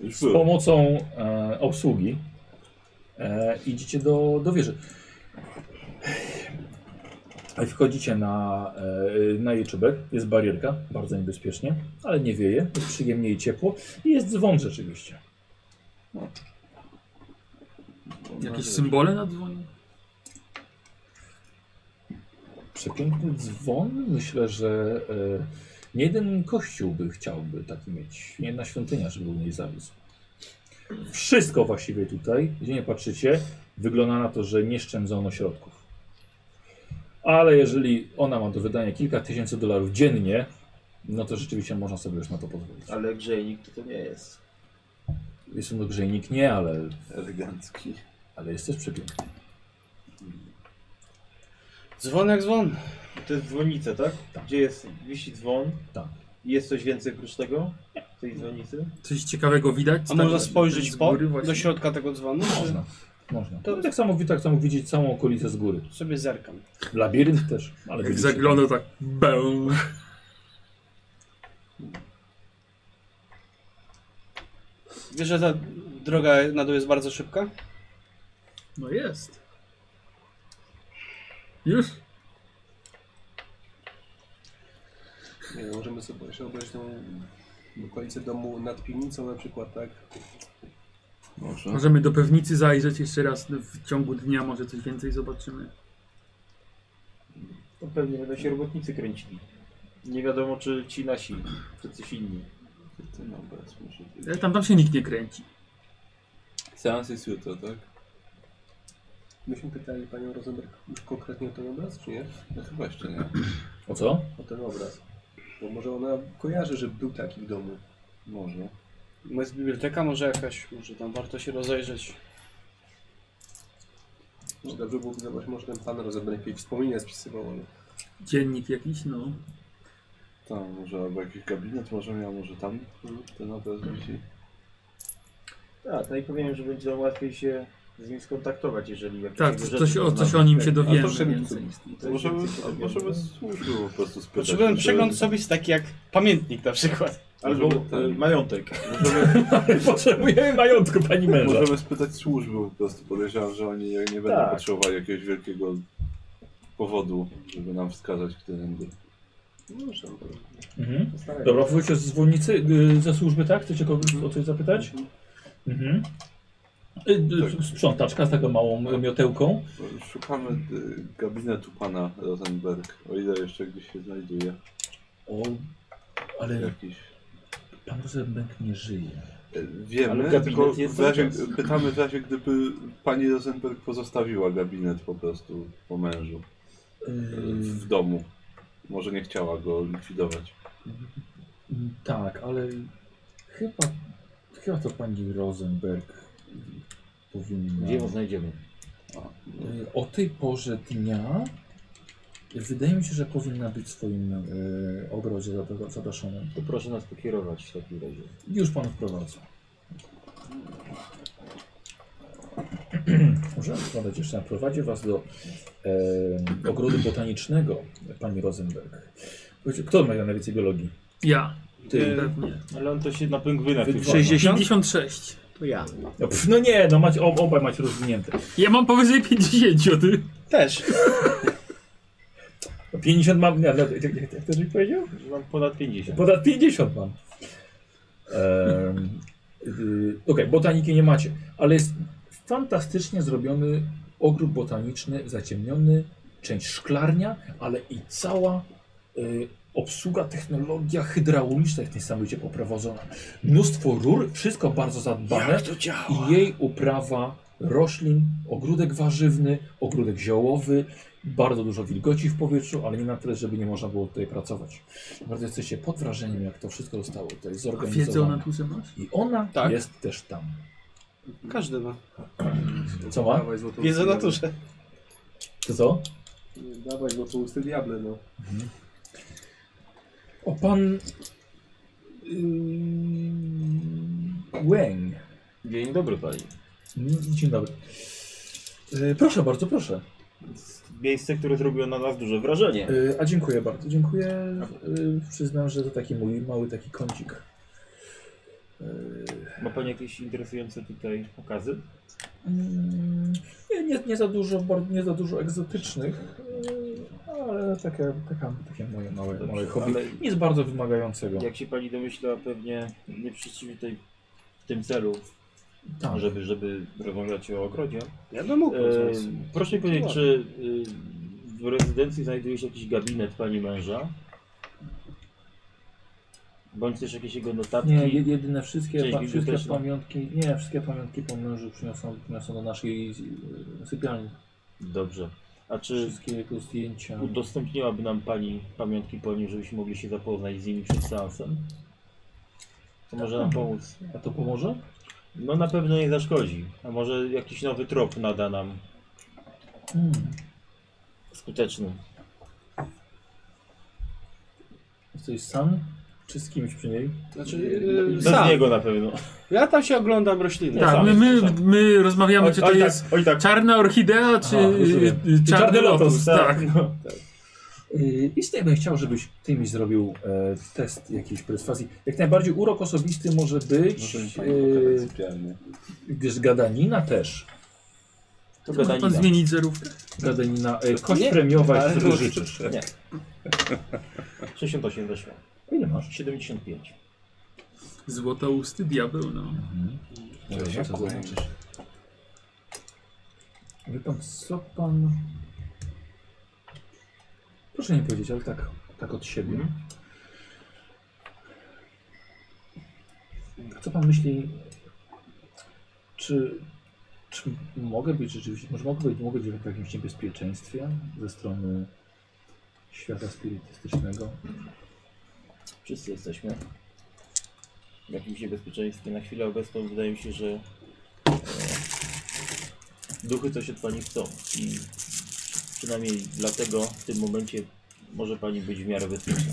[SPEAKER 5] Już
[SPEAKER 1] z
[SPEAKER 5] było.
[SPEAKER 1] pomocą e, obsługi e, idziecie do, do wieży. Wchodzicie na, e, na jej czubek, jest barierka, bardzo niebezpiecznie, ale nie wieje, jest przyjemnie i ciepło i jest dzwon rzeczywiście.
[SPEAKER 6] Jakieś symbole na dzwonie?
[SPEAKER 1] Przepiękny dzwon, myślę, że e, nie jeden kościół by chciałby taki mieć, nie jedna świątynia, żeby u niej zawisł. Wszystko właściwie tutaj, gdzie nie patrzycie, wygląda na to, że nie szczędzono środków. Ale jeżeli ona ma do wydania kilka tysięcy dolarów dziennie, no to rzeczywiście można sobie już na to pozwolić.
[SPEAKER 4] Ale grzejnik to, to nie jest.
[SPEAKER 1] Jestem to grzejnik, nie, ale,
[SPEAKER 5] Elegancki.
[SPEAKER 1] ale jest też przepiękny.
[SPEAKER 3] Dzwon jak dzwon. To jest dzwonica, tak?
[SPEAKER 1] Tak.
[SPEAKER 3] Gdzie jest, wisi dzwon.
[SPEAKER 1] Tak.
[SPEAKER 3] I jest coś więcej oprócz tego? Tej dzwonicy?
[SPEAKER 6] Coś ciekawego widać?
[SPEAKER 4] A można
[SPEAKER 6] Tak,
[SPEAKER 4] spojrzeć
[SPEAKER 6] z
[SPEAKER 4] po,
[SPEAKER 6] góry właśnie.
[SPEAKER 4] do środka tego dzwonu?
[SPEAKER 1] Można. Można.
[SPEAKER 4] To-
[SPEAKER 1] To... Tak, samo, tak samo widzieć całą okolicę z góry.
[SPEAKER 4] Czy sobie zerkam?
[SPEAKER 1] Labirynt też, ale
[SPEAKER 6] Jak
[SPEAKER 1] widzicie.
[SPEAKER 6] zaglądał tak, bę.
[SPEAKER 4] Wiesz, że ta droga na dół jest bardzo szybka?
[SPEAKER 6] No jest. Już?
[SPEAKER 2] Nie wiem, możemy sobie jeszcze obejrzeć tą okolicę domu nad piwnicą na przykład, tak?
[SPEAKER 5] Może.
[SPEAKER 6] Możemy do pewnicy zajrzeć jeszcze raz w ciągu dnia, może coś więcej zobaczymy.
[SPEAKER 3] To pewnie będą się robotnicy kręcili. Nie wiadomo, czy ci nasi, czy coś inni.
[SPEAKER 5] Ty no, bez, muszę
[SPEAKER 6] E, Tam, tam się nikt nie kręci.
[SPEAKER 5] Seans jest jutro, tak?
[SPEAKER 2] Myśmy pytali panią Rosenberg już konkretnie o ten obraz, czy nie?
[SPEAKER 5] No chyba jeszcze nie.
[SPEAKER 1] O co?
[SPEAKER 2] O ten obraz. Bo może ona kojarzy, że był taki w domu.
[SPEAKER 5] Może.
[SPEAKER 4] No Jest biblioteka może jakaś, może tam warto się rozejrzeć.
[SPEAKER 2] Może dobrze byłoby zobaczyć, może ten pan Rosenberg jakieś wspomnienia spisywał, ale...
[SPEAKER 6] Dziennik jakiś, no.
[SPEAKER 5] Tam może, albo jakiś gabinet może miał, może tam ten obraz wisi.
[SPEAKER 3] Tak, no i powiem, że będzie nam łatwiej się z nim skontaktować, jeżeli jakieś
[SPEAKER 6] Tak,
[SPEAKER 3] jego
[SPEAKER 6] co-
[SPEAKER 3] rzeczy
[SPEAKER 6] coś o, coś
[SPEAKER 3] poznamy.
[SPEAKER 6] o nim się
[SPEAKER 2] A
[SPEAKER 6] dowiemy
[SPEAKER 2] to czym
[SPEAKER 6] więcej.
[SPEAKER 5] To możemy,
[SPEAKER 3] więcej się
[SPEAKER 5] a
[SPEAKER 3] dowiemy.
[SPEAKER 5] możemy służby po prostu spytać.
[SPEAKER 4] Potrzebujemy
[SPEAKER 5] że-
[SPEAKER 4] Znaczy, przegląd osobisty taki jak pamiętnik na przykład.
[SPEAKER 3] Albo
[SPEAKER 5] Możemy ten-
[SPEAKER 3] e, majątek.
[SPEAKER 5] Możemy,
[SPEAKER 1] Potrzebujemy majątku pani męża.
[SPEAKER 5] możemy spytać służby po prostu. Podejrzewam, że oni nie będą
[SPEAKER 3] Tak.
[SPEAKER 5] potrzebowali jakiegoś wielkiego powodu, żeby nam wskazać, którędy.
[SPEAKER 2] Muszę,
[SPEAKER 1] Mhm. Dobra, wróćcie z dzwonnicy y, ze służby, tak? Chcecie kogoś o coś zapytać? Mhm. Y, y,
[SPEAKER 5] Tak.
[SPEAKER 1] Sprzątaczka z taką małą y, miotełką.
[SPEAKER 5] Szukamy y, gabinetu pana Rosenberg, o ile jeszcze gdzieś się znajduje.
[SPEAKER 1] O, ale
[SPEAKER 5] Jakiś.
[SPEAKER 1] pan Rosenberg nie żyje.
[SPEAKER 5] Y,
[SPEAKER 3] Ale
[SPEAKER 5] Wiemy,
[SPEAKER 3] gabinet
[SPEAKER 5] tylko
[SPEAKER 3] jest
[SPEAKER 5] w razie,
[SPEAKER 3] cały czas.
[SPEAKER 5] pytamy w razie, gdyby pani Rosenberg pozostawiła gabinet po prostu po mężu y,
[SPEAKER 3] Mm.
[SPEAKER 1] Y,
[SPEAKER 5] w domu. Może nie chciała go likwidować.
[SPEAKER 1] Mm, Tak, ale chyba, chyba to pani Rosenberg powinna.
[SPEAKER 8] Gdzie ją znajdziemy?
[SPEAKER 1] Y, O tej porze dnia e, wydaje mi się, że powinna być w swoim y, ogrodzie zapra- zapraszona.
[SPEAKER 8] To proszę nas pokierować w takim razie.
[SPEAKER 1] Już pan wprowadza. Możemy wprowadzać jeszcze. Prowadzi was do e, ogrodu botanicznego pani Rosenberg. Powiedzcie, Kto ma najwięcej biologii?
[SPEAKER 6] Ja, Y,
[SPEAKER 1] Ty.
[SPEAKER 6] pewnie.
[SPEAKER 3] Ale on to się na pingwinach
[SPEAKER 1] Wy
[SPEAKER 3] już-
[SPEAKER 1] dwa.
[SPEAKER 6] 56.
[SPEAKER 4] To ja.
[SPEAKER 1] No, pff, no nie, no macie, ob- obaj macie rozwinięte.
[SPEAKER 6] Ja mam powyżej 50, a ty?
[SPEAKER 4] Też.
[SPEAKER 1] 50 No mam, nie, jak, jak, jak to żeś powiedział?
[SPEAKER 3] Mam ponad 50.
[SPEAKER 1] Ponad 50 mam. Ehm, y, Okej, botaniki nie macie, ale jest fantastycznie zrobiony ogród botaniczny, zaciemniony, część szklarnia, ale i cała y, obsługa, technologia hydrauliczna jest niesamowicie poprowadzona. Mnóstwo rur, wszystko bardzo zadbane
[SPEAKER 4] to działa?
[SPEAKER 1] i jej uprawa roślin, ogródek warzywny, ogródek ziołowy, bardzo dużo wilgoci w powietrzu, ale nie na tyle, żeby nie można było tutaj pracować. Bardzo jesteście pod wrażeniem, jak to wszystko zostało tutaj
[SPEAKER 6] A wiedzę o
[SPEAKER 1] zorganizowane.
[SPEAKER 6] naturze masz?
[SPEAKER 1] I ona
[SPEAKER 4] Tak.
[SPEAKER 1] jest też tam.
[SPEAKER 4] Każdy ma.
[SPEAKER 1] Co ma?
[SPEAKER 2] Dawaj złotą
[SPEAKER 4] Wiedzę o
[SPEAKER 2] ustę
[SPEAKER 4] naturze.
[SPEAKER 1] To co?
[SPEAKER 2] diable. Dawaj złotą ustę diable, no.
[SPEAKER 1] O pan... Yy... Łęg.
[SPEAKER 3] Dzień dobry pani.
[SPEAKER 1] Mm, Dzień dobry. Yy, proszę bardzo, proszę.
[SPEAKER 3] Miejsce, które zrobiło na nas duże wrażenie.
[SPEAKER 1] Yy, a dziękuję bardzo, dziękuję. Yy, przyznam, że to taki mój mały taki kącik. Yy,
[SPEAKER 8] Ma Pani jakieś interesujące tutaj okazy?
[SPEAKER 1] Mm, Nie, nie, nie za dużo, bar- nie za dużo egzotycznych, yy, ale takie, taka, takie moje małe,
[SPEAKER 8] Dobrze,
[SPEAKER 1] małe hobby.
[SPEAKER 8] ale-
[SPEAKER 1] Nic bardzo wymagającego.
[SPEAKER 8] Jak się Pani domyśla, pewnie nie przyszliśmy tutaj w tym celu,
[SPEAKER 1] Tak.
[SPEAKER 8] żeby, żeby rozmawiać o ogrodzie.
[SPEAKER 4] Ja bym mógł.
[SPEAKER 8] E,
[SPEAKER 4] rozmawiać.
[SPEAKER 8] proszę mi powiedzieć, czy y, w rezydencji znajduje się jakiś gabinet Pani męża? Bądź też jakieś jego notatki?
[SPEAKER 1] Nie, je- jedyne wszystkie,
[SPEAKER 8] Część
[SPEAKER 1] pa, wszystkie
[SPEAKER 8] biblioteczna.
[SPEAKER 1] pamiątki, nie, wszystkie pamiątki po mężu przyniosą, przyniosą do naszej yy, sypialni.
[SPEAKER 8] Dobrze. A czy
[SPEAKER 1] Wszystkie jego zdjęcia.
[SPEAKER 8] udostępniłaby nam Pani pamiątki po nim, żebyśmy mogli się zapoznać z nimi przed seansem? To może nam
[SPEAKER 1] Hmm.
[SPEAKER 8] pomóc.
[SPEAKER 1] A to pomoże?
[SPEAKER 8] No na pewno nie zaszkodzi. A może jakiś nowy trop nada nam Hmm.
[SPEAKER 1] Mm.
[SPEAKER 8] skuteczny.
[SPEAKER 1] Jesteś sam? Czy z kimś przy niej?
[SPEAKER 4] Znaczy, yy,
[SPEAKER 8] Bez
[SPEAKER 4] sam.
[SPEAKER 8] niego na pewno.
[SPEAKER 4] Ja tam się oglądam rośliny.
[SPEAKER 8] Tak.
[SPEAKER 6] Tak,
[SPEAKER 8] sami
[SPEAKER 6] my, my,
[SPEAKER 8] sami.
[SPEAKER 6] my rozmawiamy, czy to
[SPEAKER 8] oj,
[SPEAKER 6] jest
[SPEAKER 8] tak, oj tak.
[SPEAKER 6] czarna orchidea, czy
[SPEAKER 1] Aha, rozumiem.
[SPEAKER 6] y, y, czarny lotos. Tak.
[SPEAKER 8] No.
[SPEAKER 1] Yy, I z tej bym chciał, żebyś ty mi zrobił e, test jakiejś perswazji. Jak najbardziej urok osobisty może być,
[SPEAKER 15] Możemy
[SPEAKER 1] no
[SPEAKER 15] pani pokazać sypialnię.
[SPEAKER 1] gdyż gadanina też.
[SPEAKER 8] To
[SPEAKER 6] Może pan
[SPEAKER 8] gadanina.
[SPEAKER 6] zmienić zerówkę?
[SPEAKER 1] Gadanina, e, kość
[SPEAKER 4] nie,
[SPEAKER 1] premiowa,
[SPEAKER 4] ale
[SPEAKER 1] którą
[SPEAKER 4] to-
[SPEAKER 1] życzysz.
[SPEAKER 8] 68 weszło.
[SPEAKER 1] Ile masz?
[SPEAKER 8] 75.
[SPEAKER 6] Złote usty, diabeł, no.
[SPEAKER 1] Czekaj, co zobaczysz. Wie pan, co pan... Proszę nie powiedzieć, ale tak, tak od siebie. Co pan myśli, czy, czy mogę być rzeczywiście, może mogę być, mogę być w jakimś niebezpieczeństwie ze strony świata spirytystycznego?
[SPEAKER 8] Wszyscy jesteśmy w jakimś niebezpieczeństwie. Na chwilę obecną wydaje mi się, że e, duchy coś od Pani chcą. I przynajmniej dlatego w tym momencie może Pani być w miarę bezpieczna.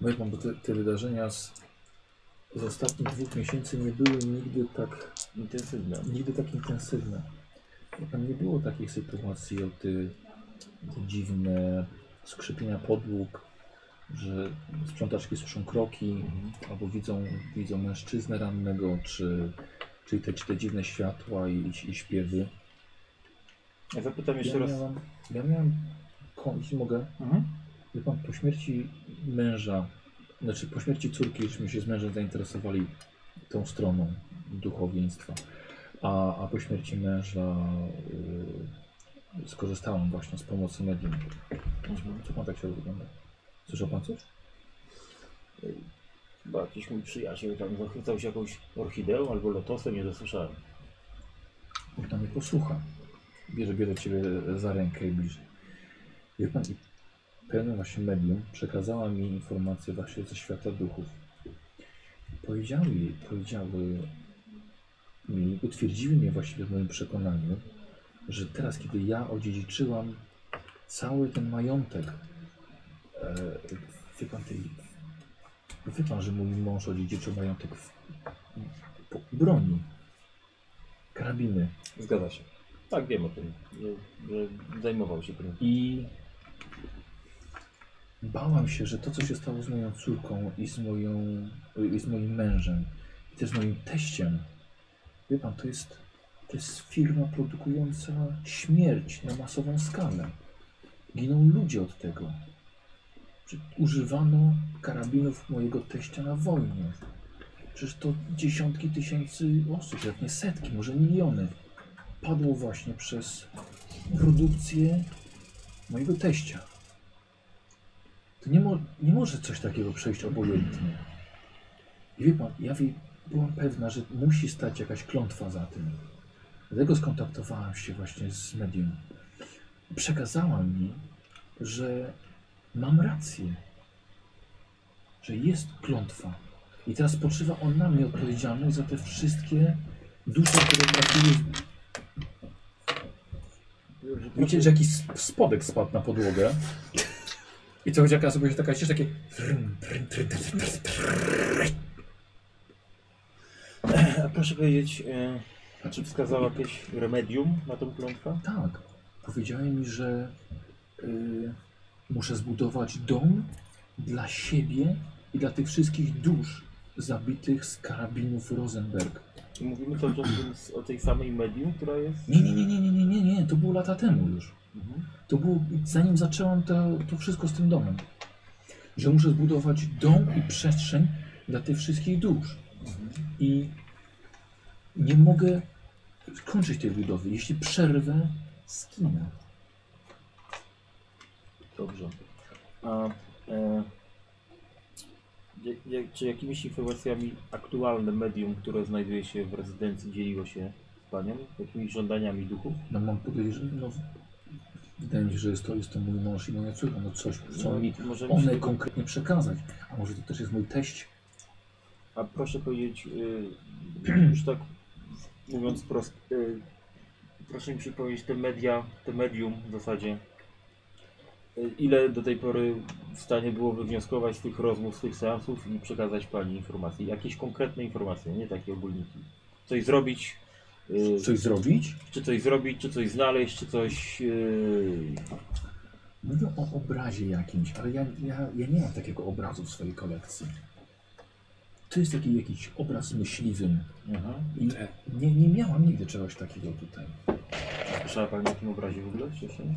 [SPEAKER 1] No i pan, bo te, te wydarzenia z, z ostatnich dwóch miesięcy nie były nigdy tak
[SPEAKER 8] Intensywna.
[SPEAKER 1] nigdy tak intensywne. Tam nie było takich sytuacji o te, te dziwne skrzypienia podłóg, że sprzątaczki słyszą kroki albo widzą, widzą mężczyznę rannego, czy, czyli te, te dziwne światła i, i śpiewy.
[SPEAKER 8] Ja zapytam
[SPEAKER 1] Ja
[SPEAKER 8] jeszcze raz. Mhm.
[SPEAKER 1] miałam, ja miałam, ko- jeśli mogę, Wie pan, po śmierci męża, znaczy po śmierci córki, żeśmy się z mężem zainteresowali tą stroną duchowieństwa, a, a po śmierci męża y, skorzystałem właśnie z pomocy medium. Co pan tak się wygląda? Słyszał pan coś?
[SPEAKER 8] Chyba jakiś mój przyjaciel tam zachwycał się jakąś orchideą albo lotosem, nie dosłyszałem.
[SPEAKER 1] Niech pan mnie posłucha. Bierze, bierze ciebie za rękę i bliżej. Wie pan, i pewne właśnie medium przekazała mi informacje właśnie ze świata duchów. Powiedziały, powiedziały mi, utwierdziły mnie właściwie w moim przekonaniu, że teraz, kiedy ja odziedziczyłam cały ten majątek, e, wie pan, tej, wie pan, że mój mąż odziedziczył majątek w, po- broni, karabiny,
[SPEAKER 8] Zgadza się. Tak, wiem o tym, że, że zajmował się tym.
[SPEAKER 1] I bałam się, że to, co się stało z moją córką i z, moją, i z moim mężem, i też z moim teściem, wie pan, to jest, to jest firma produkująca śmierć na masową skalę. Giną ludzie od tego. Czy Używano karabinów mojego teścia na wojnie. Przecież to dziesiątki tysięcy osób, jak nie setki, może miliony, padło właśnie przez produkcję mojego teścia. To nie, mo nie może coś takiego przejść obojętnie. I wie pan, ja wie, byłam pewna, że musi stać jakaś klątwa za tym. Dlatego skontaktowałam się właśnie z medium. Przekazała mi, że mam rację. Że jest klątwa. I teraz spoczywa on na mnie odpowiedzialność za te wszystkie dusze, które trafiły Widzicie, że jakiś sp- spodek spadł na podłogę. I co jaka sobie się taka ścieżka takie...
[SPEAKER 8] A proszę powiedzieć, e, a czy wskazał jakieś remedium na tą klątwę?
[SPEAKER 1] Tak, powiedziała mi, że y, muszę zbudować dom dla siebie i dla tych wszystkich dusz, zabitych z karabinów Rosenberg.
[SPEAKER 8] I Mówimy cały czas o tym- o tej samej medium, która jest.
[SPEAKER 1] Nie, nie, nie, nie, nie, nie, nie, nie, to było lata temu już. To było zanim zaczęłam to, to wszystko z tym domem. Że muszę zbudować dom i przestrzeń dla tych wszystkich dusz. I nie mogę skończyć tej budowy. Jeśli przerwę, skinę.
[SPEAKER 8] Dobrze. A e, jak, jak, czy jakimiś informacjami aktualne medium, które znajduje się w rezydencji, dzieliło się z panią? Jakimiś żądaniami duchów?
[SPEAKER 1] No mam podejrzenie, no wydaje mi się, że jest to, jest to mój mąż i moja córka. No coś chcą mi
[SPEAKER 8] możemy
[SPEAKER 1] one
[SPEAKER 8] się-
[SPEAKER 1] konkretnie przekazać. A może to też jest mój teść?
[SPEAKER 8] A proszę powiedzieć, y, już tak mówiąc prosto, y, proszę mi przypomnieć te media, te medium w zasadzie. Y, ile do tej pory w stanie było wywnioskować z tych rozmów, z tych seansów i przekazać Pani informacji? Jakieś konkretne informacje, nie takie ogólniki. Coś zrobić, y,
[SPEAKER 1] Coś zrobić?
[SPEAKER 8] czy coś zrobić, czy coś znaleźć, czy coś... y,
[SPEAKER 1] Mówią o obrazie jakimś, ale ja, ja, ja nie mam takiego obrazu w swojej kolekcji. To jest taki jakiś obraz myśliwym. I nie, nie miałam nigdy czegoś takiego tutaj.
[SPEAKER 8] Słyszała Pani o tym obrazie w ogóle wcześniej?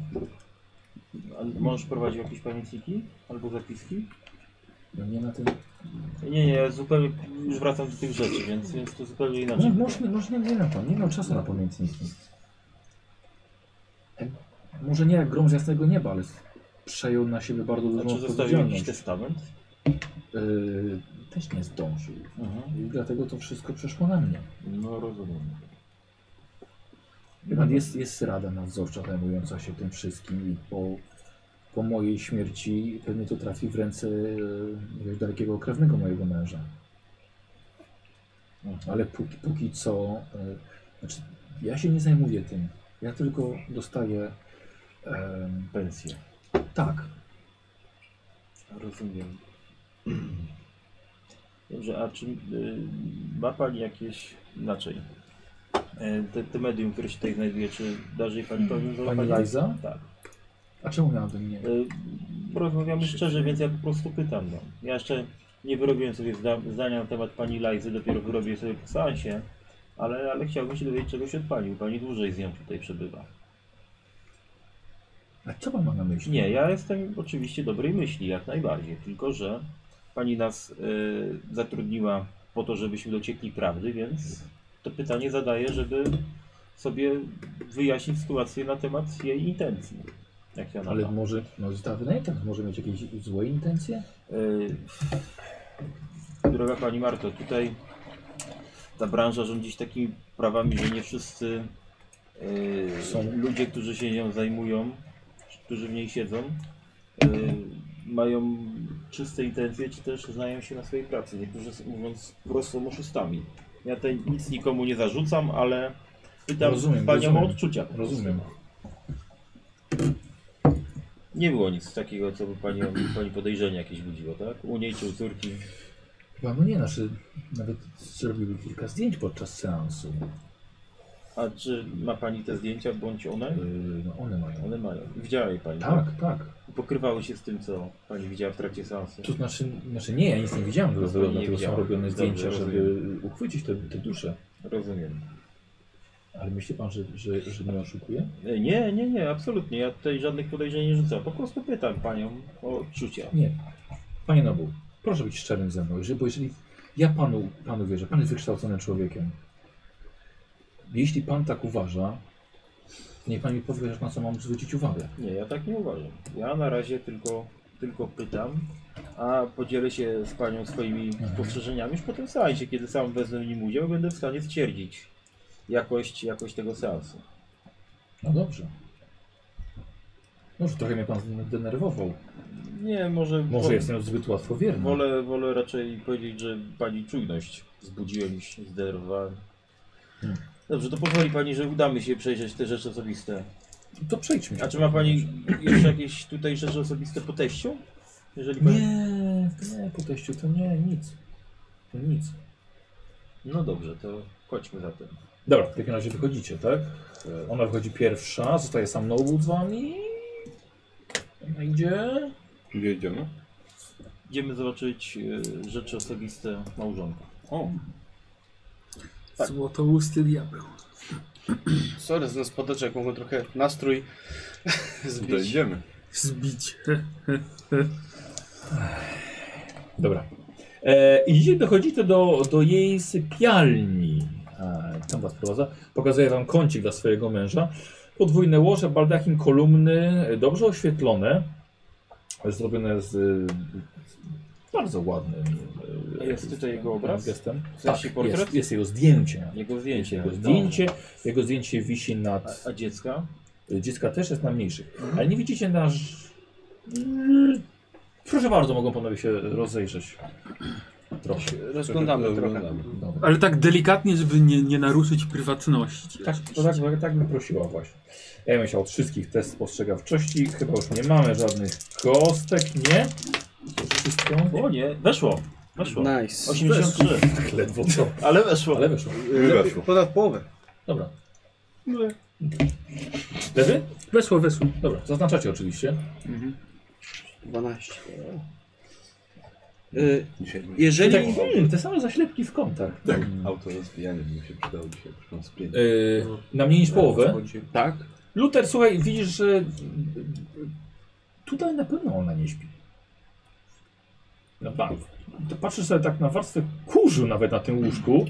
[SPEAKER 8] A mąż prowadził jakieś pamiętniki albo zapiski?
[SPEAKER 1] No nie na tym.
[SPEAKER 8] Nie, nie, ja zupełnie już wracam do tych rzeczy, więc, więc to zupełnie
[SPEAKER 1] Nie,
[SPEAKER 8] inaczej.
[SPEAKER 1] może, może nie, nie na to. Nie miał czasu na pamiętniki. E, Może nie jak grom z jasnego nieba, ale przejął na siebie bardzo
[SPEAKER 8] A
[SPEAKER 1] dużą
[SPEAKER 8] czy zostawił Znaczy, jakiś
[SPEAKER 1] odpowiedzialność.
[SPEAKER 8] testament?
[SPEAKER 1] Yy, też nie zdążył. I dlatego to wszystko przeszło na mnie.
[SPEAKER 8] No rozumiem.
[SPEAKER 1] Chyba jest, jest rada nadzorcza zajmująca się tym wszystkim i po, po mojej śmierci pewnie to trafi w ręce e, jakiegoś dalekiego krewnego mojego męża. Ale póki, póki co, e, znaczy, ja się nie zajmuję tym. Ja tylko dostaję em,
[SPEAKER 8] Pensję.
[SPEAKER 1] tak.
[SPEAKER 8] Rozumiem. Dobrze, a czy y, ma Pani jakieś inaczej? y, Te, te medium, które się tutaj znajduje, czy darzy je Pani pewnie
[SPEAKER 1] Pani Liza?
[SPEAKER 8] Tak.
[SPEAKER 1] A czemu miałabym nie?
[SPEAKER 8] Y, Porozmawiamy szczerze, więc ja po prostu pytam. No. Ja jeszcze nie wyrobiłem sobie zda zdania na temat pani Lajzy, dopiero wyrobię sobie po seansie, ale, ale chciałbym się dowiedzieć czegoś od pani, bo pani dłużej z nią tutaj przebywa.
[SPEAKER 1] A co pan ma na myśli?
[SPEAKER 8] Nie, ja jestem oczywiście dobrej myśli, jak najbardziej, tylko że pani nas y, zatrudniła po to, żebyśmy dociekli prawdy, więc to pytanie zadaję, żeby sobie wyjaśnić sytuację na temat jej intencji. Jak ja na
[SPEAKER 1] Ale
[SPEAKER 8] to.
[SPEAKER 1] może, no ta wynajęta może mieć jakieś złe intencje?
[SPEAKER 8] Yy, Droga Pani Marto, tutaj ta branża rządzi się takimi prawami, że nie wszyscy yy,
[SPEAKER 1] Są.
[SPEAKER 8] ludzie, którzy się nią zajmują, którzy w niej siedzą, yy, mają czyste intencje, czy też znają się na swojej pracy. Niektórzy są, mówiąc prosto są oszustami. Ja tutaj nic nikomu nie zarzucam, ale pytam
[SPEAKER 1] Rozumiem,
[SPEAKER 8] Panią
[SPEAKER 1] rozumiem.
[SPEAKER 8] o odczucia. po prostu.
[SPEAKER 1] Rozumiem.
[SPEAKER 8] Nie było nic takiego, co by Pani, pani podejrzenie jakieś budziło, tak? U niej czy u córki?
[SPEAKER 1] Chyba no nie, znaczy nawet zrobiły kilka zdjęć podczas seansu.
[SPEAKER 8] A czy ma pani te zdjęcia, bądź one?
[SPEAKER 1] Yy, no one mają.
[SPEAKER 8] One mają. Widziała je pani.
[SPEAKER 1] Tak, tak.
[SPEAKER 8] Pokrywały się z tym, co pani widziała w trakcie seansu.
[SPEAKER 1] To znaczy, znaczy nie, ja nic nie widziałem,
[SPEAKER 8] Rozumiem,
[SPEAKER 1] dlatego,
[SPEAKER 8] No, nie
[SPEAKER 1] dlatego są
[SPEAKER 8] widziałem.
[SPEAKER 1] robione
[SPEAKER 8] Dobrze,
[SPEAKER 1] zdjęcia, żeby
[SPEAKER 8] rozumiem.
[SPEAKER 1] uchwycić te, te dusze.
[SPEAKER 8] Rozumiem.
[SPEAKER 1] Ale myśli pan, że, że, że mnie oszukuje?
[SPEAKER 8] E, Nie, nie, nie, absolutnie. Ja tutaj żadnych podejrzeń nie rzucam. Po prostu pytam panią o odczucia.
[SPEAKER 1] Nie. Panie Nobu, proszę być szczerym ze mną, jeżeli, bo jeżeli ja panu, panu wierzę, pan jest wykształconym człowiekiem. Jeśli pan tak uważa, to niech pan mi powie, na co mam zwrócić uwagę.
[SPEAKER 8] Nie, ja tak nie uważam. Ja na razie tylko, tylko pytam, a podzielę się z panią swoimi spostrzeżeniami już po tym seansie, kiedy sam wezmę w nim udział, będę w stanie stwierdzić jakość, jakość tego seansu.
[SPEAKER 1] No dobrze. Może trochę mnie pan zdenerwował.
[SPEAKER 8] Nie, może...
[SPEAKER 1] Może jestem zbyt łatwowierny.
[SPEAKER 8] Wolę, wolę raczej powiedzieć, że pani czujność zbudziła mi się zderwa.
[SPEAKER 1] Hmm.
[SPEAKER 8] Dobrze, to pozwoli pani, że udamy się przejrzeć te rzeczy osobiste.
[SPEAKER 1] To przejdźmy.
[SPEAKER 8] A czy ma pani jeszcze jakieś tutaj rzeczy osobiste po teściu? Jeżeli pani...
[SPEAKER 1] Nie, nie, po teściu to nie, nic. To nic.
[SPEAKER 8] No dobrze, to chodźmy zatem.
[SPEAKER 1] Dobra, w takim razie wychodzicie, tak? E, Ona wychodzi pierwsza, zostaje sam Nobu z wami. Ona idzie.
[SPEAKER 2] Gdzie idziemy?
[SPEAKER 8] Idziemy zobaczyć e, rzeczy osobiste małżonka.
[SPEAKER 1] Tak.
[SPEAKER 6] Złotousty diabeł.
[SPEAKER 4] Sorry z nas podaczy, jak mogą trochę nastrój zbić.
[SPEAKER 5] Dojdziemy.
[SPEAKER 6] Zbić.
[SPEAKER 1] Dobra. E, idziecie, dochodzicie do, do jej sypialni. E, tam was prowadza. Pokazuję wam kącik dla swojego męża. Podwójne łoże, baldachin, kolumny, e, dobrze oświetlone. Zrobione z, e, z bardzo ładnym... e,
[SPEAKER 8] A jest tutaj jego obraz?
[SPEAKER 1] Gestem.
[SPEAKER 8] W
[SPEAKER 1] Tak,
[SPEAKER 8] sensie portret?
[SPEAKER 1] Jest, jest jego zdjęcie.
[SPEAKER 8] Jego zdjęcie.
[SPEAKER 1] Jego
[SPEAKER 8] Dobrze.
[SPEAKER 1] zdjęcie, jego zdjęcie wisi nad...
[SPEAKER 8] A, a dziecka?
[SPEAKER 1] Dziecka też jest na mniejszych.
[SPEAKER 8] Mhm.
[SPEAKER 1] Ale nie widzicie nasz. Proszę bardzo, mogą panowie się rozejrzeć. Trochę.
[SPEAKER 4] Rozglądamy trochę.
[SPEAKER 1] Dobra.
[SPEAKER 6] Ale tak delikatnie, żeby nie, nie naruszyć prywatności.
[SPEAKER 1] Tak, to tak, tak bym prosiła właśnie. Ja bym chciał od wszystkich test spostrzegawczości. Chyba już nie mamy żadnych kostek, nie? To Wszystko?
[SPEAKER 8] O nie, weszło. Weszło.
[SPEAKER 4] Nice.
[SPEAKER 8] 83.
[SPEAKER 1] Tak ledwo co.
[SPEAKER 8] Ale weszło.
[SPEAKER 1] Ale wyszło.
[SPEAKER 5] Weszło.
[SPEAKER 4] Ponad połowę.
[SPEAKER 1] Dobra.
[SPEAKER 8] No.
[SPEAKER 1] Lewy?
[SPEAKER 6] Weszło, weszło.
[SPEAKER 1] Dobra, zaznaczacie oczywiście.
[SPEAKER 4] 12. Y,
[SPEAKER 5] Dzisiaj
[SPEAKER 4] Jeżeli...
[SPEAKER 1] Tak, hmm, te same zaślepki w kątach.
[SPEAKER 5] tak. auto rozwijanie mi się przydało dzisiaj przy konspieniu.
[SPEAKER 1] Yy, na mniej niż połowę.
[SPEAKER 4] Tak.
[SPEAKER 1] Luther, słuchaj, widzisz, że e, tutaj na pewno ona nie śpi. Na bank. To patrzysz sobie tak na warstwę kurzu nawet na tym łóżku.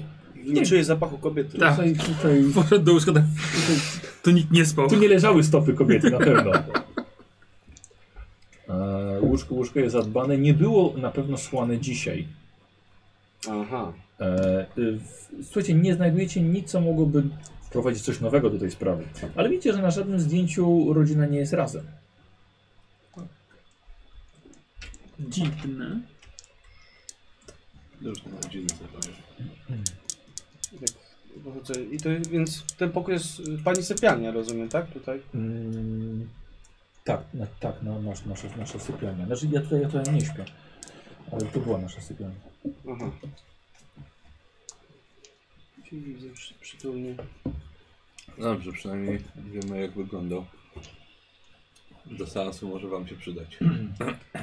[SPEAKER 4] Nie czuję zapachu kobiety.
[SPEAKER 6] Tak.
[SPEAKER 1] Tutaj, tutaj,
[SPEAKER 6] Poszedł do łóżka, tak. To nikt nie spał.
[SPEAKER 1] tu nie leżały stopy kobiety na pewno. E, łóżko, łóżko jest zadbane. Nie było na pewno słane dzisiaj.
[SPEAKER 4] Aha.
[SPEAKER 1] E, y, w- Słuchajcie, nie znajdujecie nic, co mogłoby wprowadzić coś nowego do tej sprawy. Ale widzicie, że na żadnym zdjęciu rodzina nie jest razem.
[SPEAKER 6] Dziwne.
[SPEAKER 5] Już na godzinę zabrałem.
[SPEAKER 4] Pochodzę- Tak, I to, więc ten pokój jest y, pani sypialnia, rozumiem, tak? Tutaj.
[SPEAKER 1] Mm, tak, na, tak, no, masz, nasza, nasza sypialnia. Znaczy ja tutaj, ja tutaj nie śpię. Ale to była nasza sypialnia.
[SPEAKER 4] Aha. Czyli Widzę przy- przytulnie.
[SPEAKER 5] Dobrze, przynajmniej wiemy jak wyglądał. Do seansu może wam się przydać.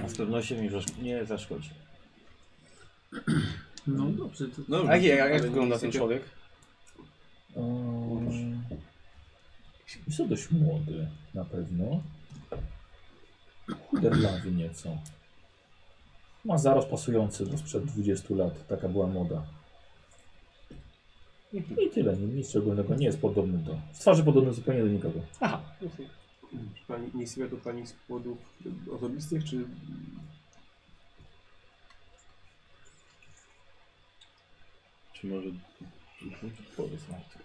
[SPEAKER 8] Z pewnością mi zaszk- nie zaszkodzi.
[SPEAKER 6] No dobrze, to
[SPEAKER 4] A
[SPEAKER 5] Dobrze.
[SPEAKER 4] jak, jak, jak wygląda ten człowiek?
[SPEAKER 1] Um, jest to dość młody na pewno. Chuderlawy nieco. Ma zaros pasujący do sprzed 20 lat. Taka była moda. I tyle, nic szczególnego. Nie jest podobny do... Z twarzy podobny zupełnie do nikogo.
[SPEAKER 2] Pani, nie sypia to pani z powodów osobistych, czy...
[SPEAKER 5] Czy może...
[SPEAKER 1] Powiedz Marta.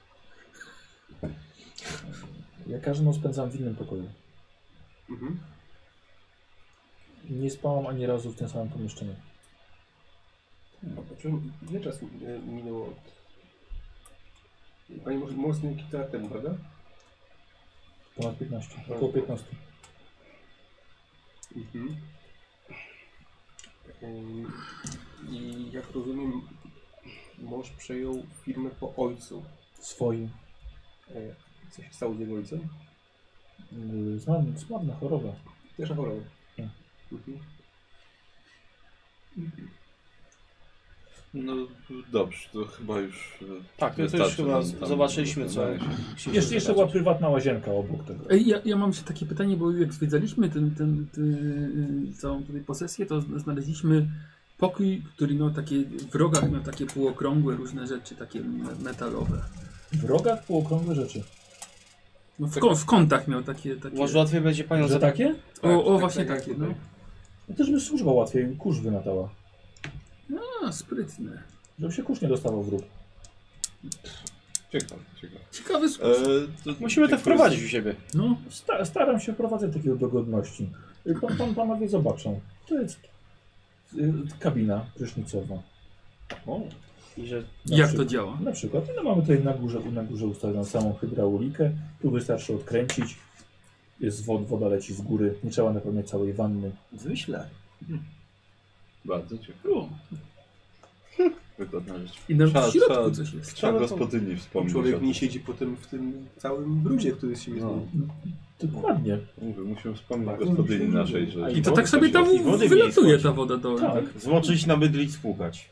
[SPEAKER 1] Ja każdą noc spędzam w innym pokoju.
[SPEAKER 2] Mhm.
[SPEAKER 1] Nie spałam ani razu w tym samym pomieszczeniu.
[SPEAKER 2] Czy ile czasu e, minęło od... Pani może mocno kilka lat temu, prawda?
[SPEAKER 1] Ponad 15, około 15.
[SPEAKER 2] Mhm. Ym, I jak rozumiem, mąż przejął firmę po ojcu.
[SPEAKER 1] Swoim.
[SPEAKER 2] E, Co się stało z jego ojcem?
[SPEAKER 1] Yy, Znam, słabna choroba.
[SPEAKER 2] Też na chorobę.
[SPEAKER 1] Tak.
[SPEAKER 2] Mhm.
[SPEAKER 5] No dobrze, to chyba już... e,
[SPEAKER 4] Tak, to, to już
[SPEAKER 5] wystarczy
[SPEAKER 4] chyba
[SPEAKER 5] nam
[SPEAKER 4] z-
[SPEAKER 5] tam
[SPEAKER 4] zobaczyliśmy co.
[SPEAKER 5] rozmawiać.
[SPEAKER 1] Jeszcze, jeszcze była prywatna łazienka obok tego.
[SPEAKER 6] Ej, Ja, ja mam jeszcze takie pytanie, bo jak zwiedzaliśmy ten, ten, ten, y, całą tutaj posesję, to zna- znaleźliśmy pokój, który miał takie, w rogach miał takie półokrągłe różne rzeczy, takie me- metalowe.
[SPEAKER 1] W rogach półokrągłe rzeczy.
[SPEAKER 6] No
[SPEAKER 1] Tak.
[SPEAKER 6] w, kąt- w kątach miał takie... takie
[SPEAKER 4] Może łatwiej będzie panią
[SPEAKER 1] Że
[SPEAKER 4] zapytać.
[SPEAKER 1] takie?
[SPEAKER 6] o,
[SPEAKER 1] tak,
[SPEAKER 6] o, właśnie takie, no.
[SPEAKER 1] No też by służba łatwiej kurz wymiatała.
[SPEAKER 6] A, sprytne.
[SPEAKER 1] Żeby się kurz nie dostawał w róg.
[SPEAKER 5] Ciekawe,
[SPEAKER 4] E,
[SPEAKER 5] ciekawe.
[SPEAKER 6] Ciekawy sposób.
[SPEAKER 4] Musimy to wprowadzić u siebie.
[SPEAKER 6] No,
[SPEAKER 1] Sta staram się wprowadzać takie dogodności. Y, Pan, pan, panowie zobaczą. To jest y, kabina prysznicowa.
[SPEAKER 4] I że
[SPEAKER 8] No,
[SPEAKER 1] Na
[SPEAKER 6] jak to
[SPEAKER 1] przykład.
[SPEAKER 6] działa?
[SPEAKER 1] Na przykład, no mamy tutaj na górze, na górze ustawioną samą hydraulikę, tu wystarczy odkręcić, jest wod, woda leci z góry, nie trzeba napełniać całej wanny.
[SPEAKER 5] Zwyśle. Bardzo ciekawe.
[SPEAKER 6] O,
[SPEAKER 5] Wygodna rzecz.
[SPEAKER 6] I nawet
[SPEAKER 5] Trzeba-
[SPEAKER 6] w środku
[SPEAKER 5] trzeba-
[SPEAKER 6] coś jest.
[SPEAKER 5] Trzeba gospodyni wspomnieć. o
[SPEAKER 2] Człowiek
[SPEAKER 5] tym.
[SPEAKER 2] nie siedzi potem w tym całym brudzie, który z siebie
[SPEAKER 5] No.
[SPEAKER 2] no.
[SPEAKER 6] Dokładnie.
[SPEAKER 5] Mówię, musimy wspomnieć
[SPEAKER 4] Tak.
[SPEAKER 5] o gospodyni naszej, że...
[SPEAKER 6] I to tak sobie tam
[SPEAKER 8] I wody
[SPEAKER 6] wylatuje
[SPEAKER 8] mieli
[SPEAKER 6] ta woda do.
[SPEAKER 8] Tak. Złoczyć, namydlić, spłukać.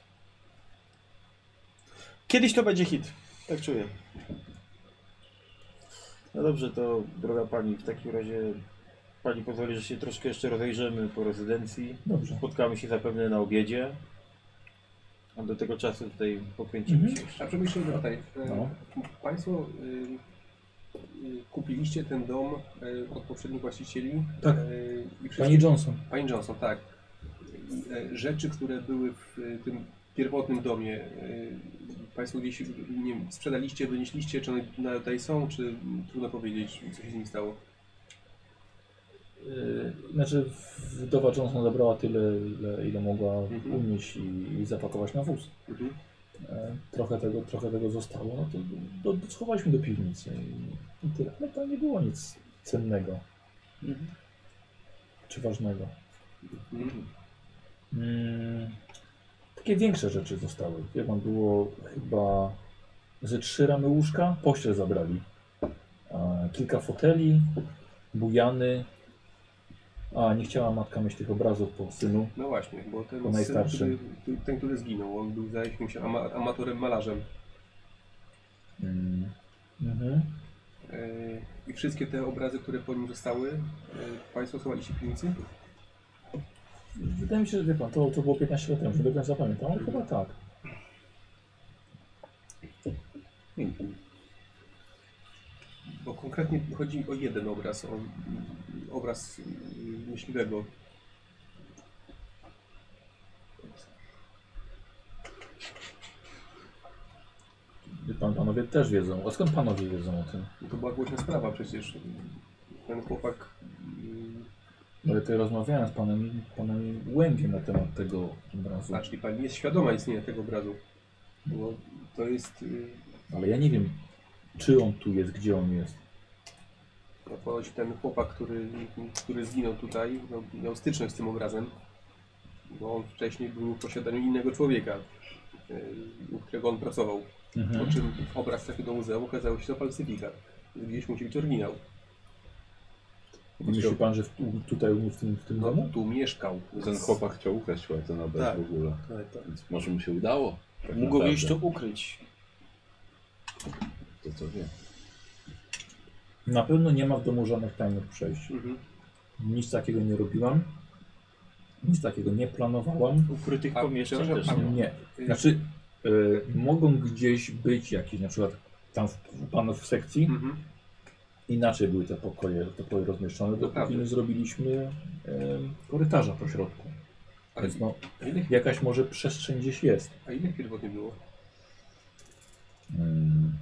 [SPEAKER 4] Kiedyś to będzie hit. Tak czuję.
[SPEAKER 8] No dobrze, to droga pani, w takim razie pani pozwoli, że się troszkę jeszcze rozejrzymy po rezydencji.
[SPEAKER 1] Dobrze.
[SPEAKER 8] Spotkamy się zapewne na obiedzie. A do tego czasu tutaj pokręcimy
[SPEAKER 1] Mhm.
[SPEAKER 8] się jeszcze.
[SPEAKER 2] A przemyślę tutaj. e,
[SPEAKER 1] No.
[SPEAKER 2] Państwo y, y, kupiliście ten dom y, od poprzednich właścicieli.
[SPEAKER 1] Tak.
[SPEAKER 2] y, i
[SPEAKER 1] Pani Johnson.
[SPEAKER 2] Pani Johnson, tak. E, Rzeczy, które były w e, tym pierwotnym domie, e, Państwo gdzieś nie wiem, sprzedaliście, wynieśliście, czy one na- tutaj są, czy m, trudno powiedzieć, co się z nimi stało.
[SPEAKER 1] Yy, znaczy wdowa Johnson zabrała tyle, ile, ile mogła
[SPEAKER 2] Mhm.
[SPEAKER 1] unieść i, i zapakować na wóz.
[SPEAKER 2] Mhm.
[SPEAKER 1] E, Trochę tego, trochę tego zostało, no to do, do, schowaliśmy do piwnicy i, i tyle. Ale tam nie było nic cennego Mhm. czy ważnego.
[SPEAKER 2] Mhm.
[SPEAKER 1] Mm, takie większe rzeczy zostały. Wie pan, było chyba ze trzy ramy łóżka, pościel zabrali. E, kilka foteli, bujany. A nie chciała matka mieć tych obrazów po synu.
[SPEAKER 2] No właśnie, bo ten,
[SPEAKER 1] To najstarszy.
[SPEAKER 2] Syn, który, ten, który zginął, on był za jakimś ama amatorem malarzem.
[SPEAKER 1] Mm. Mhm.
[SPEAKER 2] E, I wszystkie te obrazy, które po nim zostały, e, Państwo schowaliście w piwnicy?
[SPEAKER 1] Wydaje mi się, że wie pan, to, to było 15 lat temu, że do końca pamiętam, ale chyba tak.
[SPEAKER 2] Bo konkretnie chodzi mi o jeden obraz, o mm, obraz y, myśliwego.
[SPEAKER 1] Wie pan, panowie też wiedzą. A skąd panowie wiedzą o tym?
[SPEAKER 2] No To była głośna sprawa przecież. Ten chłopak mm,
[SPEAKER 1] Ale tutaj rozmawiałem z panem, panem Łęgiem na temat tego obrazu.
[SPEAKER 2] A, czyli pani jest świadoma istnienia tego obrazu. Bo to jest. y,
[SPEAKER 1] Ale ja nie wiem, czy on tu jest, gdzie on jest.
[SPEAKER 2] No, ponoć ten chłopak, który, który zginął tutaj, no, miał styczność z tym obrazem. Bo on wcześniej był w posiadaniu innego człowieka, y, u którego on pracował.
[SPEAKER 1] No,
[SPEAKER 2] Po
[SPEAKER 1] Mhm.
[SPEAKER 2] czym obraz trafił do muzeum, okazało się to falsyfikat. Gdzieś musi być oryginał.
[SPEAKER 1] Myśli pan, że w, tu- tutaj u mnie w tym, w tym
[SPEAKER 2] No,
[SPEAKER 1] domu?
[SPEAKER 2] tu mieszkał.
[SPEAKER 5] Ten chłopak chciał ukraść chyba ten obraz
[SPEAKER 4] Tak.
[SPEAKER 5] w ogóle. Więc może mu się udało. Tak
[SPEAKER 4] Mógł gdzieś to
[SPEAKER 5] naprawdę.
[SPEAKER 4] ukryć.
[SPEAKER 5] To co wie.
[SPEAKER 1] Na pewno nie ma w domu żadnych tajnych przejść.
[SPEAKER 2] Mhm.
[SPEAKER 1] Nic takiego nie robiłam. Nic takiego nie planowałam.
[SPEAKER 8] Ukrytych
[SPEAKER 2] A,
[SPEAKER 8] pomieszczeń
[SPEAKER 2] przepraszam,
[SPEAKER 8] też
[SPEAKER 2] a
[SPEAKER 8] nie ma.
[SPEAKER 1] Nie. Znaczy, y, mogą gdzieś być jakieś, na przykład tam w, u panów w sekcji,
[SPEAKER 2] Mhm.
[SPEAKER 1] inaczej były te pokoje, te pokoje rozmieszczone, dopóki
[SPEAKER 2] Dokładnie.
[SPEAKER 1] nie zrobiliśmy y, korytarza po środku.
[SPEAKER 2] Ale
[SPEAKER 1] Więc no,
[SPEAKER 2] a ile,
[SPEAKER 1] jakaś może przestrzeń gdzieś jest.
[SPEAKER 2] a ile pierwotnie było?
[SPEAKER 1] Mm.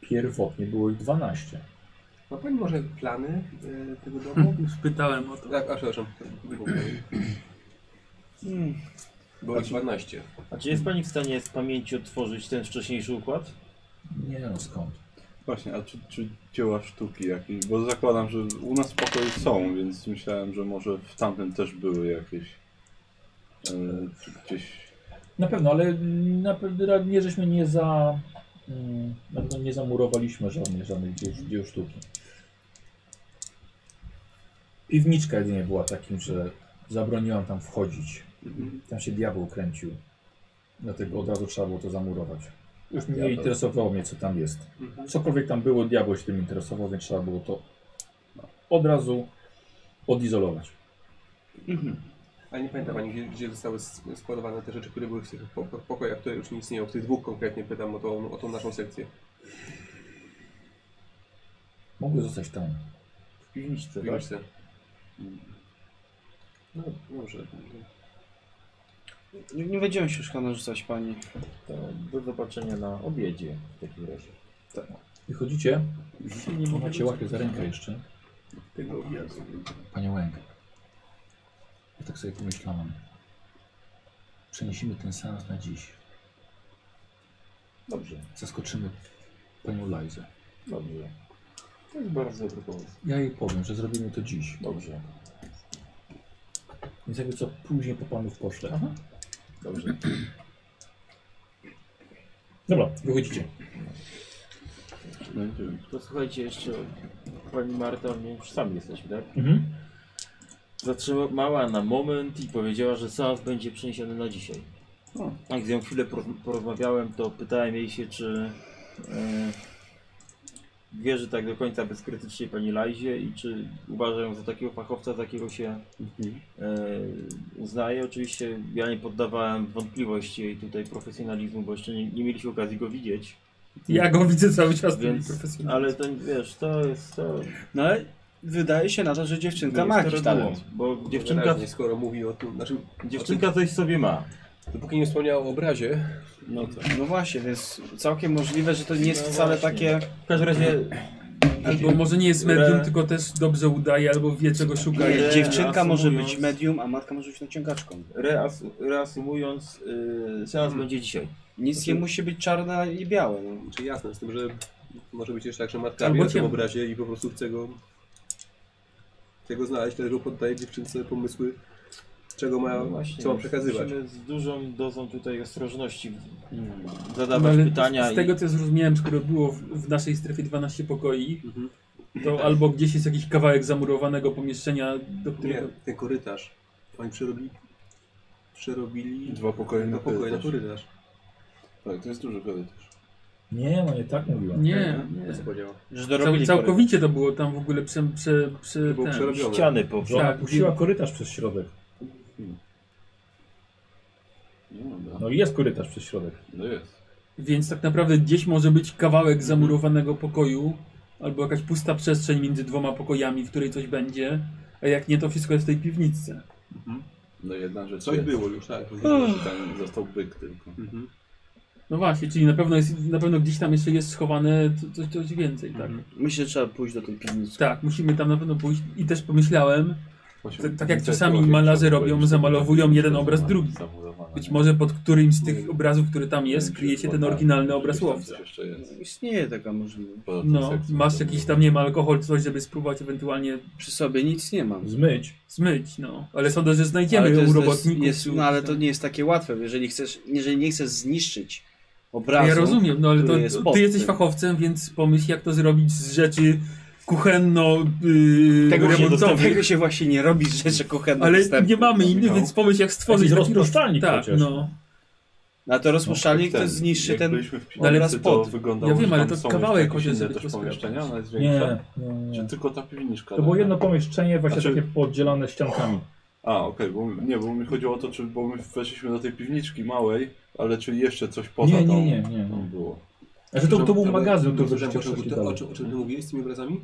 [SPEAKER 1] Pierwotnie było ich 12.
[SPEAKER 2] Ma pani może plany y, tego domu?
[SPEAKER 1] Mhm.
[SPEAKER 6] Spytałem o to.
[SPEAKER 2] Tak, a przepraszam.
[SPEAKER 1] Mm.
[SPEAKER 8] Hmm.
[SPEAKER 2] Było 12.
[SPEAKER 8] A czy jest pani w stanie z pamięci odtworzyć ten wcześniejszy układ?
[SPEAKER 1] Nie no skąd.
[SPEAKER 5] Właśnie, a czy, czy dzieła sztuki jakieś? Bo zakładam, że u nas pokoje są, więc myślałem, że może w tamtym też były jakieś. E, czy gdzieś.
[SPEAKER 1] Na pewno, ale na pewno nie żeśmy nie za. mm, Na pewno nie zamurowaliśmy żadnych, żadnych dzieł, dzieł sztuki. Piwniczka jedynie była takim, że zabroniłam tam wchodzić. Tam się diabeł kręcił. Dlatego od razu trzeba było to zamurować. Już nie
[SPEAKER 5] Diabeł.
[SPEAKER 1] interesowało mnie, co tam jest. Cokolwiek tam było, diabeł się tym interesował, więc trzeba było to od razu odizolować.
[SPEAKER 2] A nie pamięta Pani, gdzie, gdzie zostały s- składowane te rzeczy, które były w tych po- po- pokojach, które już nie istnieją. W tych dwóch konkretnie pytam o tą, o tą naszą sekcję.
[SPEAKER 1] Mogły zostać tam.
[SPEAKER 8] W piwniczce,
[SPEAKER 2] W
[SPEAKER 8] tak?
[SPEAKER 2] piłce. No dobrze.
[SPEAKER 4] Nie, nie będziemy się już chyba narzucać pani.
[SPEAKER 8] To do zobaczenia na obiedzie w takim razie.
[SPEAKER 1] Wychodzicie, macie łapie za rękę jeszcze. Tego
[SPEAKER 5] No,
[SPEAKER 1] Panie Łęk, ja tak sobie pomyślałam. Przeniesiemy ten seans na dziś.
[SPEAKER 8] Dobrze,
[SPEAKER 1] Zaskoczymy panią Lajzę.
[SPEAKER 8] dobrze. To jest bardzo dobry pomysł.
[SPEAKER 1] Ja jej powiem, że zrobimy to dziś.
[SPEAKER 8] Dobrze,
[SPEAKER 1] Więc jakby co później po panów poślę.
[SPEAKER 8] dobrze.
[SPEAKER 1] Dobra, wychodzicie.
[SPEAKER 5] No i tyle.
[SPEAKER 8] To słuchajcie jeszcze, pani Marta, my już sami jesteśmy, tak?
[SPEAKER 1] Mhm.
[SPEAKER 8] Zatrzymała na moment i powiedziała, że SAF będzie przeniesiony na dzisiaj. Jak z nią chwilę poroz- porozmawiałem, to pytałem jej się, czy e, wierzy tak do końca bezkrytycznie pani Lajzie i czy uważa ją za takiego fachowca, za jakiego się
[SPEAKER 4] Mhm.
[SPEAKER 8] e, uznaje. Oczywiście ja nie poddawałem wątpliwość jej tutaj profesjonalizmu, bo jeszcze nie, nie mieliśmy okazji go widzieć.
[SPEAKER 6] Ja go widzę cały czas,
[SPEAKER 8] Więc-
[SPEAKER 6] więc profesjonalnie.
[SPEAKER 8] Ale to wiesz, to jest to.
[SPEAKER 4] No ale wydaje się na to, że dziewczynka
[SPEAKER 8] nie
[SPEAKER 4] ma
[SPEAKER 8] No, jest to
[SPEAKER 4] jakiś
[SPEAKER 8] regułą,
[SPEAKER 4] talent.
[SPEAKER 8] Bo dziewczynka,
[SPEAKER 2] Wyraźnie, skoro mówi o tym naszym...
[SPEAKER 8] dziewczynka coś w sobie ma.
[SPEAKER 2] Dopóki nie wspomniała o obrazie,
[SPEAKER 8] No to.
[SPEAKER 4] No właśnie, więc całkiem możliwe, że to nie jest
[SPEAKER 8] No
[SPEAKER 4] wcale
[SPEAKER 8] właśnie.
[SPEAKER 4] takie...
[SPEAKER 8] W każdym razie
[SPEAKER 6] Albo może nie jest medium,
[SPEAKER 8] Re-
[SPEAKER 6] tylko też dobrze udaje, albo wie czego szuka.
[SPEAKER 4] Nie,
[SPEAKER 8] Re-
[SPEAKER 4] dziewczynka może być
[SPEAKER 8] reasumując-
[SPEAKER 4] medium, a matka może być naciągaczką.
[SPEAKER 8] reas reasumując, yy, seans będzie dzisiaj.
[SPEAKER 4] Nic
[SPEAKER 6] Znaczy-
[SPEAKER 4] nie musi być czarne i białe. No.
[SPEAKER 2] czy jasne, z tym, że może być jeszcze tak, że matka
[SPEAKER 6] Albo
[SPEAKER 2] wie o tym
[SPEAKER 6] ciemno.
[SPEAKER 2] obrazie i po prostu chce go... Chce go znaleźć, dlatego poddaje dziewczynce pomysły, czego ma, co ma No przekazywać.
[SPEAKER 8] Musimy z dużą dozą tutaj ostrożności
[SPEAKER 6] No,
[SPEAKER 8] zadawać
[SPEAKER 6] ale
[SPEAKER 8] pytania
[SPEAKER 6] z tego co zrozumiałem, skoro było w, w naszej strefie 12 pokoi,
[SPEAKER 2] Mhm.
[SPEAKER 6] to albo gdzieś jest jakiś kawałek zamurowanego pomieszczenia, do
[SPEAKER 2] Nie,
[SPEAKER 6] którego...
[SPEAKER 2] ten korytarz. Oni przerobili... Przerobili...
[SPEAKER 5] Dwa pokoje na
[SPEAKER 2] dwa pokoje na
[SPEAKER 5] korytarz.
[SPEAKER 2] korytarz.
[SPEAKER 5] Tak, to jest duży korytarz.
[SPEAKER 11] Nie, no nie tak mówiłem.
[SPEAKER 6] Nie,
[SPEAKER 2] To co podziało?
[SPEAKER 8] Że
[SPEAKER 6] Cał,
[SPEAKER 8] dorobili
[SPEAKER 6] całkowicie to było tam w ogóle prze... prze, prze
[SPEAKER 2] było
[SPEAKER 6] ten.
[SPEAKER 2] przerobione.
[SPEAKER 8] ściany po
[SPEAKER 11] Że ona
[SPEAKER 6] Tak,
[SPEAKER 11] puściła
[SPEAKER 6] wiem.
[SPEAKER 11] korytarz przez środek.
[SPEAKER 5] No dobra.
[SPEAKER 11] No i jest korytarz przez środek.
[SPEAKER 5] No jest.
[SPEAKER 6] Więc tak naprawdę gdzieś może być kawałek zamurowanego pokoju, albo jakaś pusta przestrzeń między dwoma pokojami, w której coś będzie, a jak nie, to wszystko jest w tej piwnicy.
[SPEAKER 5] No jedna rzecz
[SPEAKER 2] Coś
[SPEAKER 5] jest.
[SPEAKER 2] było już, tak.
[SPEAKER 5] Tam został byk tylko.
[SPEAKER 2] Mhm.
[SPEAKER 6] No właśnie, czyli na pewno, jest, na pewno gdzieś tam jeszcze jest schowane co- coś, coś więcej, tak?
[SPEAKER 4] Myślę, że trzeba pójść do tej piwnicy.
[SPEAKER 6] Tak, musimy tam na pewno pójść i też pomyślałem,
[SPEAKER 5] Właśnie
[SPEAKER 6] tak jak
[SPEAKER 5] te
[SPEAKER 6] czasami
[SPEAKER 5] kolory,
[SPEAKER 6] malarze
[SPEAKER 5] które
[SPEAKER 6] robią,
[SPEAKER 5] są
[SPEAKER 6] zamalowują jeden
[SPEAKER 5] zamalowane,
[SPEAKER 6] obraz drugi.
[SPEAKER 5] zamurowane,
[SPEAKER 6] być
[SPEAKER 5] nie?
[SPEAKER 6] może pod którymś z tych obrazów, który tam jest,
[SPEAKER 5] Wiem,
[SPEAKER 6] kryje się
[SPEAKER 5] czy
[SPEAKER 6] ten
[SPEAKER 5] tam
[SPEAKER 6] oryginalny
[SPEAKER 5] gdzieś
[SPEAKER 6] obraz
[SPEAKER 5] tam
[SPEAKER 6] łowca.
[SPEAKER 5] coś jeszcze jest.
[SPEAKER 4] Istnieje taka możliwość.
[SPEAKER 5] Poza tą
[SPEAKER 6] No,
[SPEAKER 5] sekcją,
[SPEAKER 6] masz
[SPEAKER 5] to
[SPEAKER 6] jakiś
[SPEAKER 5] było-
[SPEAKER 6] tam, nie ma alkohol, coś, żeby spróbować ewentualnie
[SPEAKER 4] Przy sobie nic nie mam.
[SPEAKER 11] Zmyć.
[SPEAKER 6] zmyć, no. Ale sądzę, że
[SPEAKER 4] Ale
[SPEAKER 6] znajdziemy
[SPEAKER 4] to
[SPEAKER 6] ją u
[SPEAKER 4] jest- to
[SPEAKER 6] robotników.
[SPEAKER 4] jest, jest,
[SPEAKER 6] czy-
[SPEAKER 4] no ale to nie jest takie łatwe, jeżeli chcesz, jeżeli nie chcesz zniszczyć obrazu.
[SPEAKER 6] Ja rozumiem, no ale to
[SPEAKER 4] który jest pod
[SPEAKER 6] ty jesteś
[SPEAKER 4] tym.
[SPEAKER 6] fachowcem, więc pomyśl jak to zrobić z rzeczy kuchenno yy,
[SPEAKER 4] Tego się,
[SPEAKER 6] remontowych.
[SPEAKER 4] tego się właśnie nie robi z rzeczy kuchennych.
[SPEAKER 6] Ale
[SPEAKER 4] dostępnych.
[SPEAKER 6] nie mamy innych,
[SPEAKER 4] No.
[SPEAKER 6] więc pomyśl jak stworzyć
[SPEAKER 11] Jakiś
[SPEAKER 6] taki roz-
[SPEAKER 11] rozpuszczalnik
[SPEAKER 6] Tak,
[SPEAKER 11] chociaż.
[SPEAKER 6] no.
[SPEAKER 4] A to rozpuszczalnik
[SPEAKER 5] Jak
[SPEAKER 4] to zniszczy
[SPEAKER 5] jak
[SPEAKER 4] ten...
[SPEAKER 5] byliśmy w
[SPEAKER 6] No, ale
[SPEAKER 5] piwnicy, to
[SPEAKER 4] spod.
[SPEAKER 5] wyglądało,
[SPEAKER 6] Ja wiem,
[SPEAKER 5] że
[SPEAKER 6] ale
[SPEAKER 5] tam
[SPEAKER 6] to
[SPEAKER 5] są jeszcze
[SPEAKER 6] kawałek
[SPEAKER 5] jakieś
[SPEAKER 6] chociaż,
[SPEAKER 5] inne
[SPEAKER 6] żeby
[SPEAKER 5] też
[SPEAKER 6] posprzątać.
[SPEAKER 5] pomieszczenia, ona jest
[SPEAKER 11] Nie,
[SPEAKER 5] większa.
[SPEAKER 11] nie, nie.
[SPEAKER 5] Czy tylko ta piwniczka?
[SPEAKER 11] To było
[SPEAKER 5] taka?
[SPEAKER 11] jedno pomieszczenie właśnie
[SPEAKER 5] Znaczy-
[SPEAKER 11] takie podzielone ściankami.
[SPEAKER 5] A, okej, bo nie, bo mi chodziło o to, czy bo my weszliśmy do tej piwniczki małej, ale czy jeszcze coś poza
[SPEAKER 11] Nie,
[SPEAKER 5] tą
[SPEAKER 11] nie, nie, nie.
[SPEAKER 5] tą było.
[SPEAKER 11] Znaczy to, to był
[SPEAKER 2] Żeby-
[SPEAKER 11] magazyn,
[SPEAKER 2] żeby-
[SPEAKER 11] który
[SPEAKER 2] żeby-
[SPEAKER 11] żeście
[SPEAKER 2] żeby-
[SPEAKER 11] przeszli
[SPEAKER 2] to- O
[SPEAKER 11] dalej.
[SPEAKER 2] czym o czym ty mówiłeś z tymi obrazami?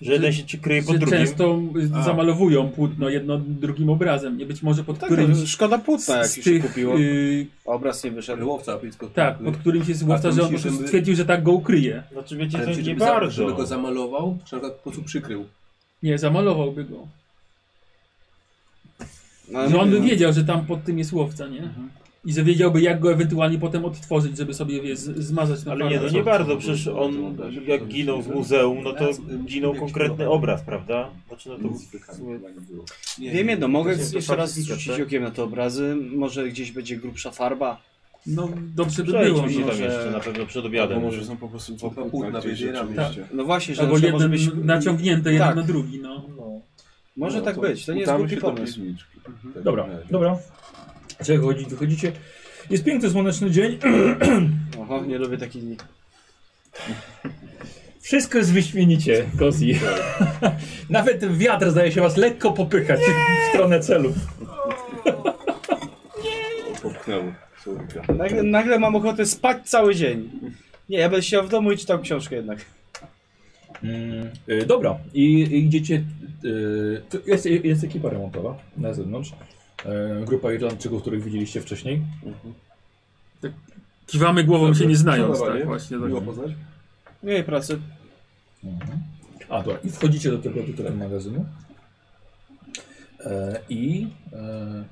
[SPEAKER 8] Że jeden się ci kryje pod
[SPEAKER 6] Że
[SPEAKER 8] drugim.
[SPEAKER 6] często y,
[SPEAKER 8] A.
[SPEAKER 6] zamalowują płótno jedno drugim obrazem. Nie być może pod
[SPEAKER 4] Tak, no,
[SPEAKER 6] którymś
[SPEAKER 4] szkoda
[SPEAKER 6] z,
[SPEAKER 4] płótna, jak
[SPEAKER 6] z
[SPEAKER 4] już
[SPEAKER 6] tych
[SPEAKER 4] kupiło.
[SPEAKER 6] y,
[SPEAKER 4] Obraz nie wyszedł.
[SPEAKER 2] Łowca, blisko.
[SPEAKER 6] Tak, pod którym się złowca,
[SPEAKER 2] to
[SPEAKER 6] że on
[SPEAKER 2] myślisz,
[SPEAKER 6] po prostu
[SPEAKER 2] żeby-
[SPEAKER 6] stwierdził, że tak go ukryje.
[SPEAKER 8] Znaczy wiecie,
[SPEAKER 2] Ale
[SPEAKER 8] to
[SPEAKER 2] czy
[SPEAKER 8] nie
[SPEAKER 2] żeby, za,
[SPEAKER 8] bardzo.
[SPEAKER 2] żeby go zamalował, czy na przykład po prostu przykrył.
[SPEAKER 6] Nie, zamalowałby go.
[SPEAKER 4] No, ale
[SPEAKER 6] Że on
[SPEAKER 4] mówię,
[SPEAKER 6] by
[SPEAKER 4] no.
[SPEAKER 6] wiedział, że tam pod tym jest łowca, nie? I że wiedziałby, jak go ewentualnie potem odtworzyć, żeby sobie wie, z- zmazać na
[SPEAKER 8] Ale nie, no
[SPEAKER 6] farmę.
[SPEAKER 8] nie bardzo, przecież on jak ginął z muzeum, no to ginął konkretny obraz, prawda? Znaczy no to
[SPEAKER 5] Nic
[SPEAKER 8] w
[SPEAKER 5] spychania
[SPEAKER 8] sumie
[SPEAKER 5] chyba nie było.
[SPEAKER 2] Nie,
[SPEAKER 4] Wiem jedno, no, mogę
[SPEAKER 8] To jest
[SPEAKER 4] jeszcze raz
[SPEAKER 8] pacyfika,
[SPEAKER 4] rzucić
[SPEAKER 8] tak?
[SPEAKER 4] okiem na te obrazy. Może gdzieś będzie grubsza farba.
[SPEAKER 6] No dobrze by było.
[SPEAKER 8] przejdźmy się
[SPEAKER 6] No.
[SPEAKER 8] tam
[SPEAKER 4] że-
[SPEAKER 8] jeszcze na pewno przed
[SPEAKER 5] Albo
[SPEAKER 8] obiadem.
[SPEAKER 5] może są po prostu dwa
[SPEAKER 2] Dwa
[SPEAKER 5] płótna
[SPEAKER 2] płótna
[SPEAKER 5] gdzieś
[SPEAKER 2] wydzieramy.
[SPEAKER 5] Tak, rzeczywiście.
[SPEAKER 4] No właśnie, że na
[SPEAKER 6] Albo
[SPEAKER 4] przykład może
[SPEAKER 6] jeden
[SPEAKER 4] być...
[SPEAKER 6] naciągnięty jeden
[SPEAKER 4] Tak.
[SPEAKER 6] na drugi, no.
[SPEAKER 8] No.
[SPEAKER 4] Może
[SPEAKER 5] No,
[SPEAKER 4] tak
[SPEAKER 5] to
[SPEAKER 4] być, to nie jest
[SPEAKER 5] udamy
[SPEAKER 4] głupi
[SPEAKER 5] się do
[SPEAKER 4] pomysł. Mhm.
[SPEAKER 5] piwniczki. Tak, W takim
[SPEAKER 11] Dobra,
[SPEAKER 1] no.
[SPEAKER 5] razie.
[SPEAKER 11] dobra. Czego chodzi, wychodzicie. Jest piękny, słoneczny dzień.
[SPEAKER 4] Oho, nie lubię takich dni.
[SPEAKER 11] Wszystko jest wyśmienicie, Kozi. Nawet wiatr zdaje się was lekko popychać w stronę celu.
[SPEAKER 5] Popchnęło człowieka.
[SPEAKER 4] Nagle, nagle mam ochotę spać cały dzień. Nie, ja będę siedział w domu i czytał książkę jednak.
[SPEAKER 11] Mm, y, dobra, i i idziecie. Y, tu jest, jest ekipa remontowa na zewnątrz. Y, grupa Irlandczyków, których widzieliście wcześniej.
[SPEAKER 6] Kiwamy głową się nie znając,
[SPEAKER 2] Zabawa,
[SPEAKER 6] tak
[SPEAKER 2] nie?
[SPEAKER 6] właśnie.
[SPEAKER 2] Miło
[SPEAKER 6] Tak.
[SPEAKER 2] poznać.
[SPEAKER 4] Miłej pracy.
[SPEAKER 11] A, dobra, i wchodzicie do tego tutaj magazynu. E, I e,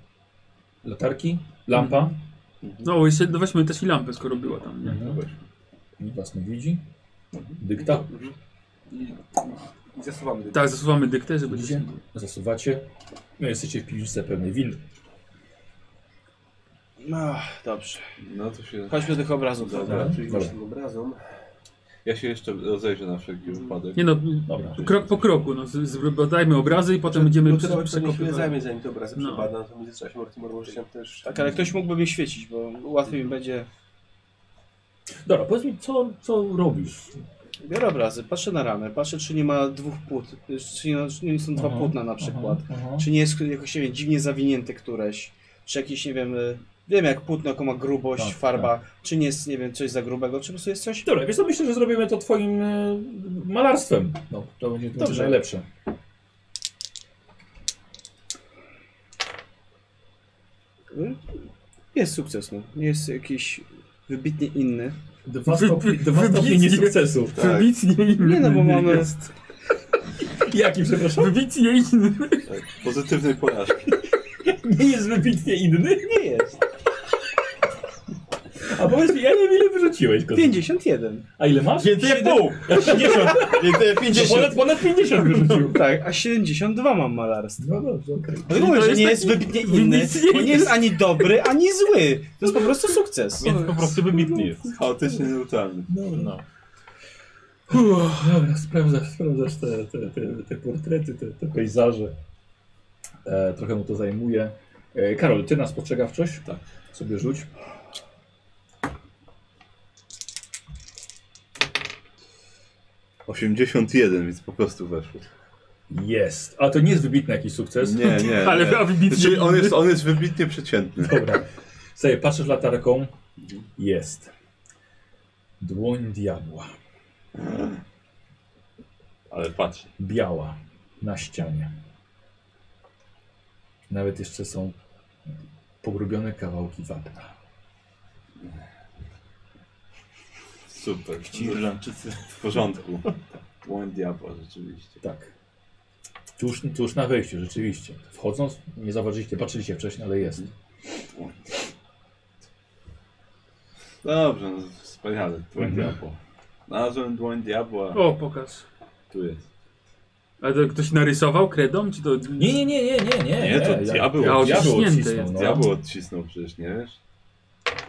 [SPEAKER 11] latarki, lampa.
[SPEAKER 6] No jeszcze, no weźmy też i lampę, skoro była tam, nie?
[SPEAKER 11] Mhm. Nikt was nie widzi.
[SPEAKER 1] Tak.
[SPEAKER 11] Dykta.
[SPEAKER 2] I, Mhm. i zasuwamy do
[SPEAKER 6] Tak, zasuwamy dyktę, żeby...
[SPEAKER 11] Widzicie? Zasuwacie. No jesteście w piwniczce pewnej windy.
[SPEAKER 4] No, dobrze.
[SPEAKER 5] No to się... No
[SPEAKER 4] Chodźmy do tych obrazów.
[SPEAKER 5] Dobra.
[SPEAKER 2] Czyli
[SPEAKER 11] Dobra.
[SPEAKER 2] właśnie tym obrazom.
[SPEAKER 5] Ja się jeszcze rozejrzę na wszelki wypadek.
[SPEAKER 6] Nie no,
[SPEAKER 5] Dobra.
[SPEAKER 6] krok po kroku. No, z- zbadajmy obrazy i potem będziemy
[SPEAKER 2] Lucy No nawet się chwilę
[SPEAKER 6] przekopywać.
[SPEAKER 2] zajmie, zanim te obrazy
[SPEAKER 6] No.
[SPEAKER 2] przebada, to będzie trzeba się Mortimer może się też...
[SPEAKER 4] Tak, ale ktoś mógłby mnie świecić, bo łatwiej mi będzie.
[SPEAKER 1] Dobra, powiedz mi, co, co robisz?
[SPEAKER 4] Biorę obrazy, patrzę na ranę, patrzę czy nie ma dwóch płót, czy nie, czy nie są dwa płótna na przykład, czy nie jest jakoś, nie wiem, dziwnie zawinięte któreś, czy jakieś, nie wiem, y, wiem jak płótno, jaką ma grubość,
[SPEAKER 1] Tak,
[SPEAKER 4] farba, czy nie jest, nie wiem, coś za grubego, czy po prostu jest coś?
[SPEAKER 1] Dobra, wiesz co, myślę, że zrobimy to twoim e, malarstwem. No, to będzie to będzie
[SPEAKER 4] Dobrze.
[SPEAKER 1] najlepsze.
[SPEAKER 4] Y, Jest sukces, no. Nie jest jakiś wybitnie inny.
[SPEAKER 1] Dwa,
[SPEAKER 6] Wy-
[SPEAKER 1] stopnie,
[SPEAKER 6] wy-
[SPEAKER 1] dwa stopnie
[SPEAKER 6] wybitnie.
[SPEAKER 1] sukcesu.
[SPEAKER 5] Tak,
[SPEAKER 6] Wybitnie inny.
[SPEAKER 4] Nie no, bo mamy...
[SPEAKER 6] jest.
[SPEAKER 1] Jaki, przepraszam?
[SPEAKER 6] Wybitnie inny.
[SPEAKER 5] Tak, pozytywnej porażki.
[SPEAKER 1] Nie jest wybitnie inny?
[SPEAKER 4] Nie jest.
[SPEAKER 1] A powiedz mi, ja nie wiem ile wyrzuciłeś go.
[SPEAKER 4] 51.
[SPEAKER 1] A ile masz?
[SPEAKER 3] Więcej jak pół! 50! Więcej jak 50!
[SPEAKER 1] Ponad, ponad 50 wyrzucił.
[SPEAKER 4] Tak, a 72 mam malarstwo.
[SPEAKER 1] No dobrze, okej.
[SPEAKER 4] No to mówię,
[SPEAKER 6] to
[SPEAKER 4] że
[SPEAKER 6] jest
[SPEAKER 4] nie jest
[SPEAKER 6] taki
[SPEAKER 4] wybitnie inny,
[SPEAKER 6] wybitnie
[SPEAKER 4] bo nie jest ani dobry, ani zły. To jest po prostu sukces.
[SPEAKER 3] Więc po prostu wybitny jest.
[SPEAKER 5] Chaotycznie neutralny.
[SPEAKER 3] No.
[SPEAKER 1] Uff, Dobra, sprawdzasz, sprawdzasz te, te, te, te portrety, te, te pejzaże. E, trochę mu to zajmuje. E, Karol, ty nas postrzegawczość? Tak. Sobie rzuć.
[SPEAKER 5] Osiemdziesiąt jeden, więc po prostu weszło.
[SPEAKER 1] Jest. A to nie jest wybitny jakiś sukces.
[SPEAKER 5] Nie, nie.
[SPEAKER 6] Ale
[SPEAKER 5] nie.
[SPEAKER 6] a wybitnie
[SPEAKER 5] Znaczy, on,
[SPEAKER 6] inny.
[SPEAKER 5] jest, on jest wybitnie przeciętny.
[SPEAKER 1] Dobra. Sobie patrzysz latarką. Jest. Dłoń diabła.
[SPEAKER 5] Ale patrz.
[SPEAKER 1] Biała. Na ścianie. Nawet jeszcze są pogrubione kawałki wapna.
[SPEAKER 5] Super.
[SPEAKER 3] Irlandczycy.
[SPEAKER 5] W porządku. Dłoń diabła, rzeczywiście.
[SPEAKER 1] Tak. Tuż, tuż na wejściu, rzeczywiście. Wchodząc, nie zauważyliście, patrzyliście wcześniej, ale jest.
[SPEAKER 5] Dobrze, no, wspaniale. Dłoń diabła. Nazwę dłoń diabła.
[SPEAKER 6] O, pokaż.
[SPEAKER 5] Tu jest.
[SPEAKER 6] A to ktoś narysował kredą? Czy to...
[SPEAKER 1] Nie, nie, nie, nie, nie, nie.
[SPEAKER 5] Nie, to
[SPEAKER 1] ja-
[SPEAKER 5] diabeł.
[SPEAKER 1] ja
[SPEAKER 6] Odciśnięte
[SPEAKER 1] odcisnął,
[SPEAKER 6] jest.
[SPEAKER 1] no.
[SPEAKER 5] Diabeł odcisnął przecież, nie wiesz?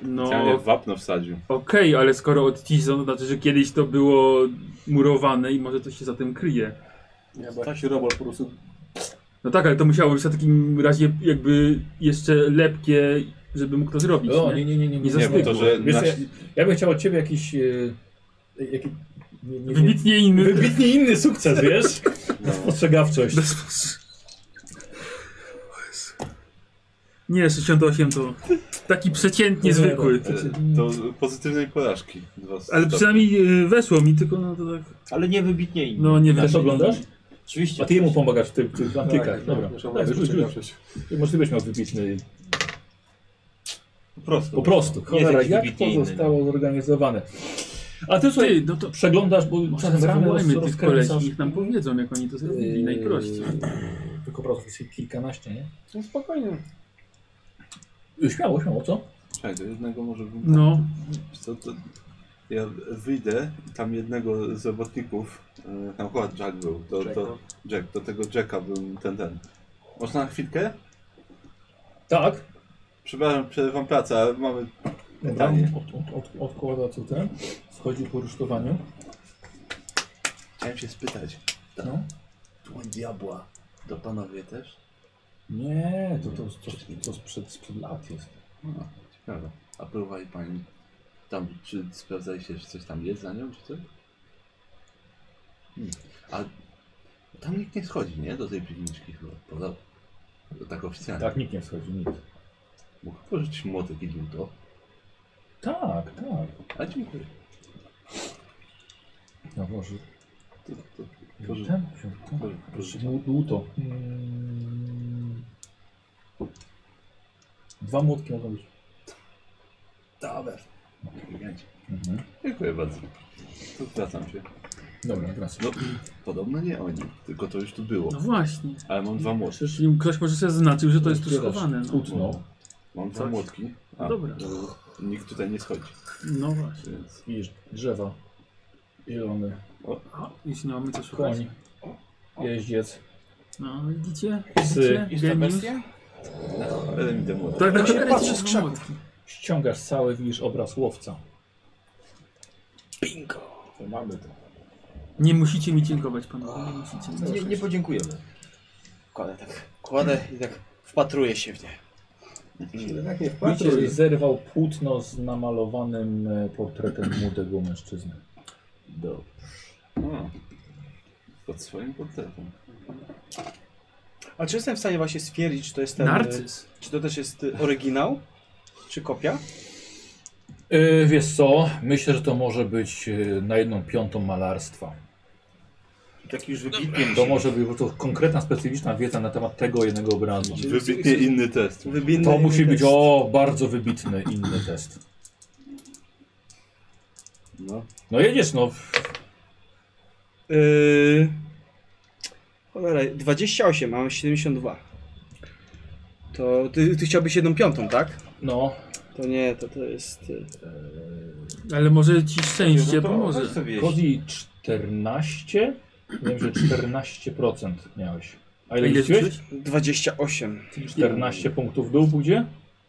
[SPEAKER 6] No,
[SPEAKER 5] Specjalnie
[SPEAKER 6] okej,
[SPEAKER 5] wapno wsadził.
[SPEAKER 6] ale skoro odcisnął, to znaczy, że kiedyś to było murowane i może coś się za tym kryje.
[SPEAKER 2] Ja bo jakiś Tak robol po prostu...
[SPEAKER 6] No tak, ale to musiało być w takim razie jakby jeszcze lepkie, żeby mógł to zrobić,
[SPEAKER 1] O, nie,
[SPEAKER 6] nie?
[SPEAKER 1] nie, nie, nie. nie,
[SPEAKER 6] Nie
[SPEAKER 1] nie,
[SPEAKER 5] Nie, bo to, że
[SPEAKER 1] Wiesz,
[SPEAKER 5] na...
[SPEAKER 1] co, ja, ja bym chciał od ciebie jakiś... Yy, jaki, nie, nie, nie,
[SPEAKER 6] Wybitnie inny.
[SPEAKER 1] wybitnie inny sukces, wiesz?
[SPEAKER 5] no,
[SPEAKER 1] Spostrzegawczość.
[SPEAKER 6] Bez... Nie, 68 to taki przeciętnie zwykły.
[SPEAKER 5] E, to pozytywnej porażki. Dwa tak,
[SPEAKER 6] Ale
[SPEAKER 5] stopnie.
[SPEAKER 6] przynajmniej y, weszło mi, tylko no to tak...
[SPEAKER 8] Ale nie wybitnie inny.
[SPEAKER 6] No nie wiem.
[SPEAKER 1] Też oglądasz?
[SPEAKER 8] Oczywiście.
[SPEAKER 1] A ty jemu pomagasz w tych ty,
[SPEAKER 6] Tak,
[SPEAKER 2] Tak,
[SPEAKER 1] antykach. Dobra. Tak,
[SPEAKER 2] Naszą
[SPEAKER 6] No,
[SPEAKER 1] Daj, rzuć, rzuć.
[SPEAKER 2] spostrzegawczość.
[SPEAKER 1] Możliwe, miał wybitny
[SPEAKER 3] Po prostu.
[SPEAKER 1] Po prostu. Cholera,
[SPEAKER 8] jakiś
[SPEAKER 1] jak to
[SPEAKER 8] wybitnie inny,
[SPEAKER 1] zostało zorganizowane? A ty słuchaj,
[SPEAKER 6] no. Ty, no to
[SPEAKER 1] przeglądasz, bo
[SPEAKER 6] może
[SPEAKER 1] czasem ramy
[SPEAKER 6] zawołajmy tych
[SPEAKER 1] rozkręcasz.
[SPEAKER 6] kolesi, niech nam powiedzą, jak oni to zrobili najprościej.
[SPEAKER 1] Yy, Tylko po prostu jest kilkanaście, nie?
[SPEAKER 2] No spokojnie.
[SPEAKER 1] Yy, Śmiało, śmiało, co?
[SPEAKER 5] Czekaj, do jednego może bym...
[SPEAKER 6] No,
[SPEAKER 5] Wiesz Co, to ja wyjdę i tam jednego z robotników, e, tam chyba Jack był, do,
[SPEAKER 2] Jack,
[SPEAKER 5] do,
[SPEAKER 2] no.
[SPEAKER 5] Jack, do tego Jacka był ten, ten. Można na chwilkę?
[SPEAKER 1] Tak.
[SPEAKER 5] Przepraszam, przerywam pracę, ale mamy pytanie.
[SPEAKER 1] Od, od, od, odkłada co ten. Wchodzi po rusztowaniu.
[SPEAKER 5] Chciałem się spytać,
[SPEAKER 1] No.
[SPEAKER 5] dłoń diabła, to panowie też?
[SPEAKER 1] Nie, to to, to, to sprzed, sprzed lat jest.
[SPEAKER 5] No, ciekawe. A próbowali pani tam, czy sprawdzaliście, czy coś tam jest za nią, czy coś? Hmm. A tam nikt nie schodzi, nie? Do tej piwniczki chyba, prawda? Tak oficjalnie.
[SPEAKER 1] Tak, nikt nie wchodzi, nikt.
[SPEAKER 5] Mógł pożyczyć młotek i dłuto.
[SPEAKER 1] Tak, tak.
[SPEAKER 5] A dziękuję.
[SPEAKER 1] No może.
[SPEAKER 5] To, to,
[SPEAKER 1] Proszę.
[SPEAKER 5] poży-
[SPEAKER 1] Tam, się, tam.
[SPEAKER 5] poży-
[SPEAKER 1] Proszę,
[SPEAKER 5] poży-
[SPEAKER 1] Dłuto. Mm. Dwa młotki mogą być.
[SPEAKER 5] Dobra. Elegancko.
[SPEAKER 1] Mhm.
[SPEAKER 5] Dziękuję bardzo. To wracam się.
[SPEAKER 1] Dobra, wracam.
[SPEAKER 5] No, podobno nie oni, tylko to już tu było.
[SPEAKER 6] no właśnie.
[SPEAKER 5] Ale mam dwa młotki.
[SPEAKER 6] Przecież im ktoś może sobie zaznaczył, że to jest tu
[SPEAKER 1] Zbierasz
[SPEAKER 6] schowane. No,
[SPEAKER 1] Płótno.
[SPEAKER 5] Mam dwa
[SPEAKER 6] Coś.
[SPEAKER 5] młotki. A,
[SPEAKER 6] Dobra.
[SPEAKER 5] e, Nikt tutaj nie schodzi,
[SPEAKER 6] no właśnie.
[SPEAKER 5] więc...
[SPEAKER 1] Widzisz, drzewa. Zielony.
[SPEAKER 6] A, jeśli nie mamy co szukać.
[SPEAKER 1] Koń. Jeździec.
[SPEAKER 6] No, widzicie?
[SPEAKER 1] Psy.
[SPEAKER 6] Widzicie?
[SPEAKER 8] Jest ta
[SPEAKER 6] Geniusz.
[SPEAKER 8] bestia?
[SPEAKER 5] No, Ale mi te młotki.
[SPEAKER 6] Tak, tak, tak.
[SPEAKER 4] patrzę z krzaków.
[SPEAKER 1] Ściągasz cały, widzisz obraz łowca.
[SPEAKER 4] Bingo!
[SPEAKER 8] To mamy to.
[SPEAKER 6] Nie musicie mi dziękować, panowie. Nie musicie mi
[SPEAKER 4] Nie, nie
[SPEAKER 6] dziękować.
[SPEAKER 4] podziękujemy. Kładę tak. Kładę i tak wpatruję się w nie.
[SPEAKER 7] Tak nie
[SPEAKER 1] Widzicie,
[SPEAKER 7] wpatruj.
[SPEAKER 1] zerwał płótno z namalowanym e, portretem młodego mężczyzny.
[SPEAKER 5] Dobrze. A, pod swoim portretem.
[SPEAKER 4] A czy jestem w stanie właśnie stwierdzić, czy to jest ten...
[SPEAKER 6] Narcyz.
[SPEAKER 4] Czy to też jest y, oryginał? Czy kopia?
[SPEAKER 1] E, wiesz co, myślę, że to może być e, na jedną piątą malarstwa.
[SPEAKER 3] Taki już wybitnie.
[SPEAKER 1] To może być po prostu konkretna, specyficzna wiedza na temat tego jednego obrazu.
[SPEAKER 5] Wybitnie inny test.
[SPEAKER 4] Wybitny
[SPEAKER 1] To musi być,
[SPEAKER 4] tekst.
[SPEAKER 1] o, bardzo wybitny inny test.
[SPEAKER 5] No.
[SPEAKER 1] No jedziesz, no.
[SPEAKER 4] Yy... Cholera, 28, a mam 72. To ty, ty chciałbyś jedną piątą, tak?
[SPEAKER 1] No,
[SPEAKER 4] To nie, to to jest... y,
[SPEAKER 6] Ale może ci
[SPEAKER 4] no
[SPEAKER 6] szczęście
[SPEAKER 8] to
[SPEAKER 6] pomoże.
[SPEAKER 8] weź sobie jeść.
[SPEAKER 1] Kodi 14? Wiem, że 14% miałeś. A ile
[SPEAKER 6] Ile
[SPEAKER 1] liczyłeś?
[SPEAKER 6] rzuciłeś?
[SPEAKER 4] 28.
[SPEAKER 1] 14 punktów w dół pójdzie?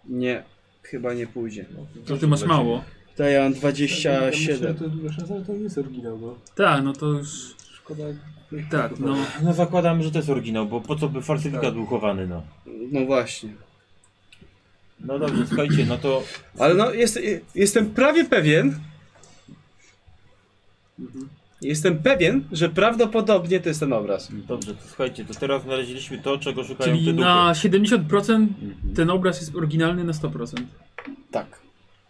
[SPEAKER 4] Nie, chyba nie pójdzie.
[SPEAKER 6] To ty masz mało.
[SPEAKER 4] To ja mam
[SPEAKER 2] Myślę,
[SPEAKER 4] 27.
[SPEAKER 2] że to duża szansa, że to nie jest oryginał, bo
[SPEAKER 6] Tak, no to już...
[SPEAKER 2] szkoda.
[SPEAKER 6] Tak, no.
[SPEAKER 8] No zakładamy, że to jest oryginał, bo po co by falsyfikat był chowany, no.
[SPEAKER 4] No właśnie.
[SPEAKER 8] No dobrze, słuchajcie, no to
[SPEAKER 4] Ale no, jest, jestem prawie pewien. Jestem pewien, że prawdopodobnie to jest ten obraz.
[SPEAKER 8] Dobrze, to słuchajcie, to teraz znaleźliśmy to, czego szukają te
[SPEAKER 6] Czyli
[SPEAKER 8] duchy.
[SPEAKER 6] na 70%
[SPEAKER 1] Mhm.
[SPEAKER 6] ten obraz jest oryginalny na 100%.
[SPEAKER 4] Tak.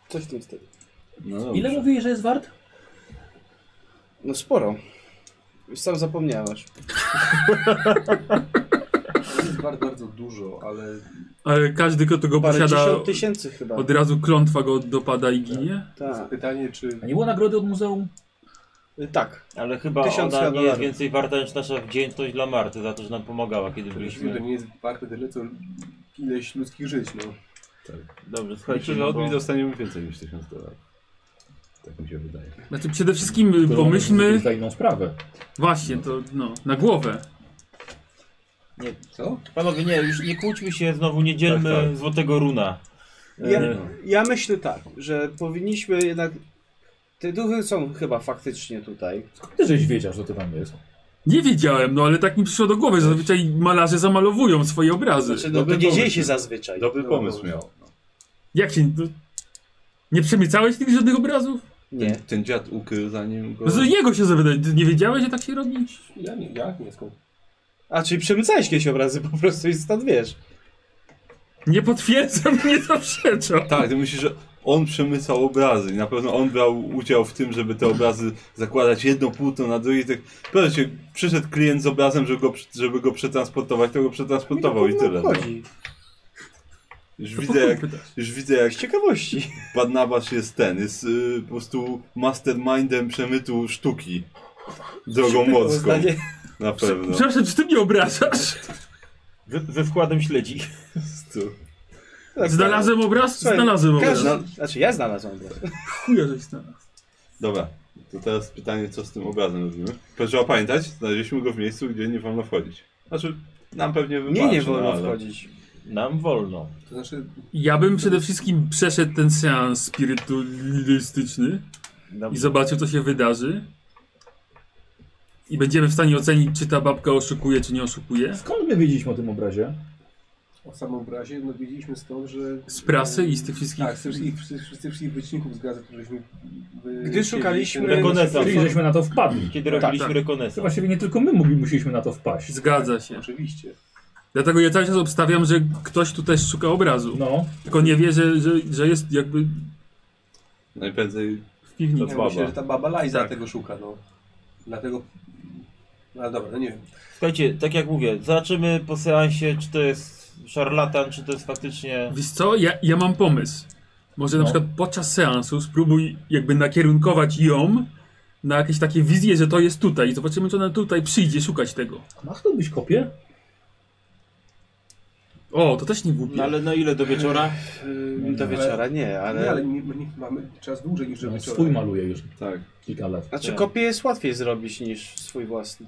[SPEAKER 4] Coś w tym stylu.
[SPEAKER 5] No dobrze.
[SPEAKER 1] Ile mówiłeś, że jest wart?
[SPEAKER 4] No sporo. Już sam zapomniałeś.
[SPEAKER 2] To jest bardzo, bardzo dużo, ale
[SPEAKER 6] Ale każdy, kto tego posiada,
[SPEAKER 4] Parędziesiąt tysięcy chyba.
[SPEAKER 6] od razu klątwa go dopada i ginie.
[SPEAKER 4] Tak.
[SPEAKER 2] pytanie, czy
[SPEAKER 1] A nie było nagrody od muzeum?
[SPEAKER 4] Y, tak.
[SPEAKER 8] Ale chyba
[SPEAKER 4] Tysiąc
[SPEAKER 8] ona nie jest
[SPEAKER 4] dolarów.
[SPEAKER 8] więcej warta niż nasza wdzięczność dla Marty za to, że nam pomagała, kiedy
[SPEAKER 2] to
[SPEAKER 8] byliśmy.
[SPEAKER 2] nie jest warte tyle, co ileś ludzkich żyć, no.
[SPEAKER 8] Dobrze, słuchajcie,
[SPEAKER 5] Myślę, że
[SPEAKER 8] no
[SPEAKER 5] od
[SPEAKER 8] bo...
[SPEAKER 5] nich dostaniemy więcej niż 1000 dolarów. Tak mi się wydaje.
[SPEAKER 6] Znaczy przede wszystkim pomyślmy...
[SPEAKER 1] Za inną sprawę.
[SPEAKER 6] Właśnie, to no, na głowę.
[SPEAKER 2] Co?
[SPEAKER 8] Panowie, nie, już nie kłóćmy się, znowu nie dzielmy
[SPEAKER 5] Tak, tak.
[SPEAKER 8] złotego runa.
[SPEAKER 4] Ja,
[SPEAKER 8] E,
[SPEAKER 4] ja myślę tak, że powinniśmy jednak... Te duchy są chyba faktycznie tutaj.
[SPEAKER 1] Skąd ty żeś wiedział, że to tam jest?
[SPEAKER 6] Nie wiedziałem, no ale tak mi przyszło do głowy, że zazwyczaj malarze zamalowują swoje obrazy.
[SPEAKER 4] Znaczy, no, to
[SPEAKER 5] Dobry
[SPEAKER 4] nie dzieje
[SPEAKER 5] pomysł.
[SPEAKER 4] się zazwyczaj.
[SPEAKER 5] Dobry
[SPEAKER 4] No,
[SPEAKER 5] pomysł
[SPEAKER 4] no.
[SPEAKER 5] miał.
[SPEAKER 6] Jak się... No, nie przemycałeś nigdy żadnych obrazów?
[SPEAKER 4] Nie.
[SPEAKER 5] Ten dziad ukrył zanim go...
[SPEAKER 6] No to jego się zapytać, ty nie wiedziałeś, że tak się robi?
[SPEAKER 2] Ja nie, ja nie, skąd?
[SPEAKER 4] A, czyli przemycałeś kiedyś obrazy po prostu i stąd wiesz.
[SPEAKER 6] Nie potwierdzam, nie zaprzeczam.
[SPEAKER 5] Tak, ty myślisz, że on przemycał obrazy. i Na pewno on brał udział w tym, żeby te obrazy zakładać jedno płótno na drugie. Tak, proszę cię, przyszedł klient z obrazem, żeby go, żeby go przetransportować, to go przetransportował i tyle. No.
[SPEAKER 4] Chodzi.
[SPEAKER 5] Już,
[SPEAKER 6] To
[SPEAKER 5] widzę, jak,
[SPEAKER 6] po chuj pytasz.
[SPEAKER 5] już widzę, jak
[SPEAKER 4] Z ciekawości.
[SPEAKER 5] Barnabasz jest ten, jest y, po prostu mastermindem przemytu sztuki. Drogą morską,
[SPEAKER 4] Zdanie-
[SPEAKER 5] na pewno.
[SPEAKER 6] Przepraszam, czy ty mnie obrażasz?
[SPEAKER 8] Ze, ze wkładem śledzi.
[SPEAKER 5] Tu.
[SPEAKER 4] Tak,
[SPEAKER 6] Znalazłem obraz?
[SPEAKER 4] Słuchaj,
[SPEAKER 6] Znalazłem
[SPEAKER 4] tak.
[SPEAKER 6] obraz.
[SPEAKER 4] Każdy, znaczy ja znalazłem obraz.
[SPEAKER 6] Chuja, żeś znalazł.
[SPEAKER 5] Dobra, to teraz pytanie, co z tym obrazem robimy? Proszę trzeba pamiętać, znaleźliśmy go w miejscu, gdzie nie wolno wchodzić. Znaczy, nam pewnie wybaczy,
[SPEAKER 4] Nie, nie
[SPEAKER 5] no,
[SPEAKER 4] wolno
[SPEAKER 5] ale-
[SPEAKER 4] wchodzić.
[SPEAKER 8] Nam wolno.
[SPEAKER 2] To znaczy,
[SPEAKER 6] Ja bym przede wszystkim przeszedł ten seans spirytualistyczny
[SPEAKER 8] Nam...
[SPEAKER 6] i zobaczył, co się wydarzy. I będziemy w stanie ocenić, czy ta babka oszukuje, czy nie oszukuje.
[SPEAKER 1] Skąd my wiedzieliśmy o tym obrazie?
[SPEAKER 2] o samobrazie, no wiedzieliśmy stąd, że...
[SPEAKER 6] Z prasy i z tych wszystkich...
[SPEAKER 2] Tak, z tych wszystkich, z tych wszystkich wycinków z gazet, któreśmy... wy-
[SPEAKER 4] Gdy szukaliśmy-
[SPEAKER 2] ten-
[SPEAKER 8] Rekonesa.
[SPEAKER 2] Czyli
[SPEAKER 1] Czyli żeśmy na to wpadli.
[SPEAKER 8] Kiedy
[SPEAKER 6] tak,
[SPEAKER 8] robiliśmy
[SPEAKER 6] tak.
[SPEAKER 1] To
[SPEAKER 8] rekonesans.
[SPEAKER 1] właściwie nie tylko my mogli, musieliśmy na to wpaść.
[SPEAKER 6] Zgadza się.
[SPEAKER 2] Oczywiście.
[SPEAKER 6] Dlatego ja cały czas obstawiam, że ktoś tu też szuka obrazu.
[SPEAKER 1] No,
[SPEAKER 6] Tylko nie wie, że, że, że jest jakby
[SPEAKER 5] Najprędzej
[SPEAKER 6] w
[SPEAKER 2] Ja
[SPEAKER 6] piwnicy.
[SPEAKER 5] Dobra.
[SPEAKER 2] myślę, że ta baba Lajza
[SPEAKER 6] Tak.
[SPEAKER 2] tego szuka, no. Dlatego... No ale dobra, no nie wiem.
[SPEAKER 8] Słuchajcie, tak jak mówię, zobaczymy po seansie, czy to jest szarlatan, czy to jest faktycznie...
[SPEAKER 6] Wiesz co, ja, ja mam pomysł. Może na
[SPEAKER 1] No.
[SPEAKER 6] przykład podczas seansu spróbuj jakby nakierunkować ją na jakieś takie wizje, że to jest tutaj. I zobaczymy, czy ona tutaj przyjdzie szukać tego.
[SPEAKER 1] masz to być kopię?
[SPEAKER 6] O, to też nie głupie.
[SPEAKER 8] No ale no ile do wieczora?
[SPEAKER 4] Yy, Do wieczora nie,
[SPEAKER 2] Ale... Nie, ale
[SPEAKER 4] ale...
[SPEAKER 2] nie, nie, mamy czas dłużej niż do
[SPEAKER 1] No,
[SPEAKER 2] wieczora.
[SPEAKER 1] swój maluje już
[SPEAKER 5] tak.
[SPEAKER 1] kilka lat.
[SPEAKER 4] Znaczy kopię jest łatwiej zrobić niż swój własny.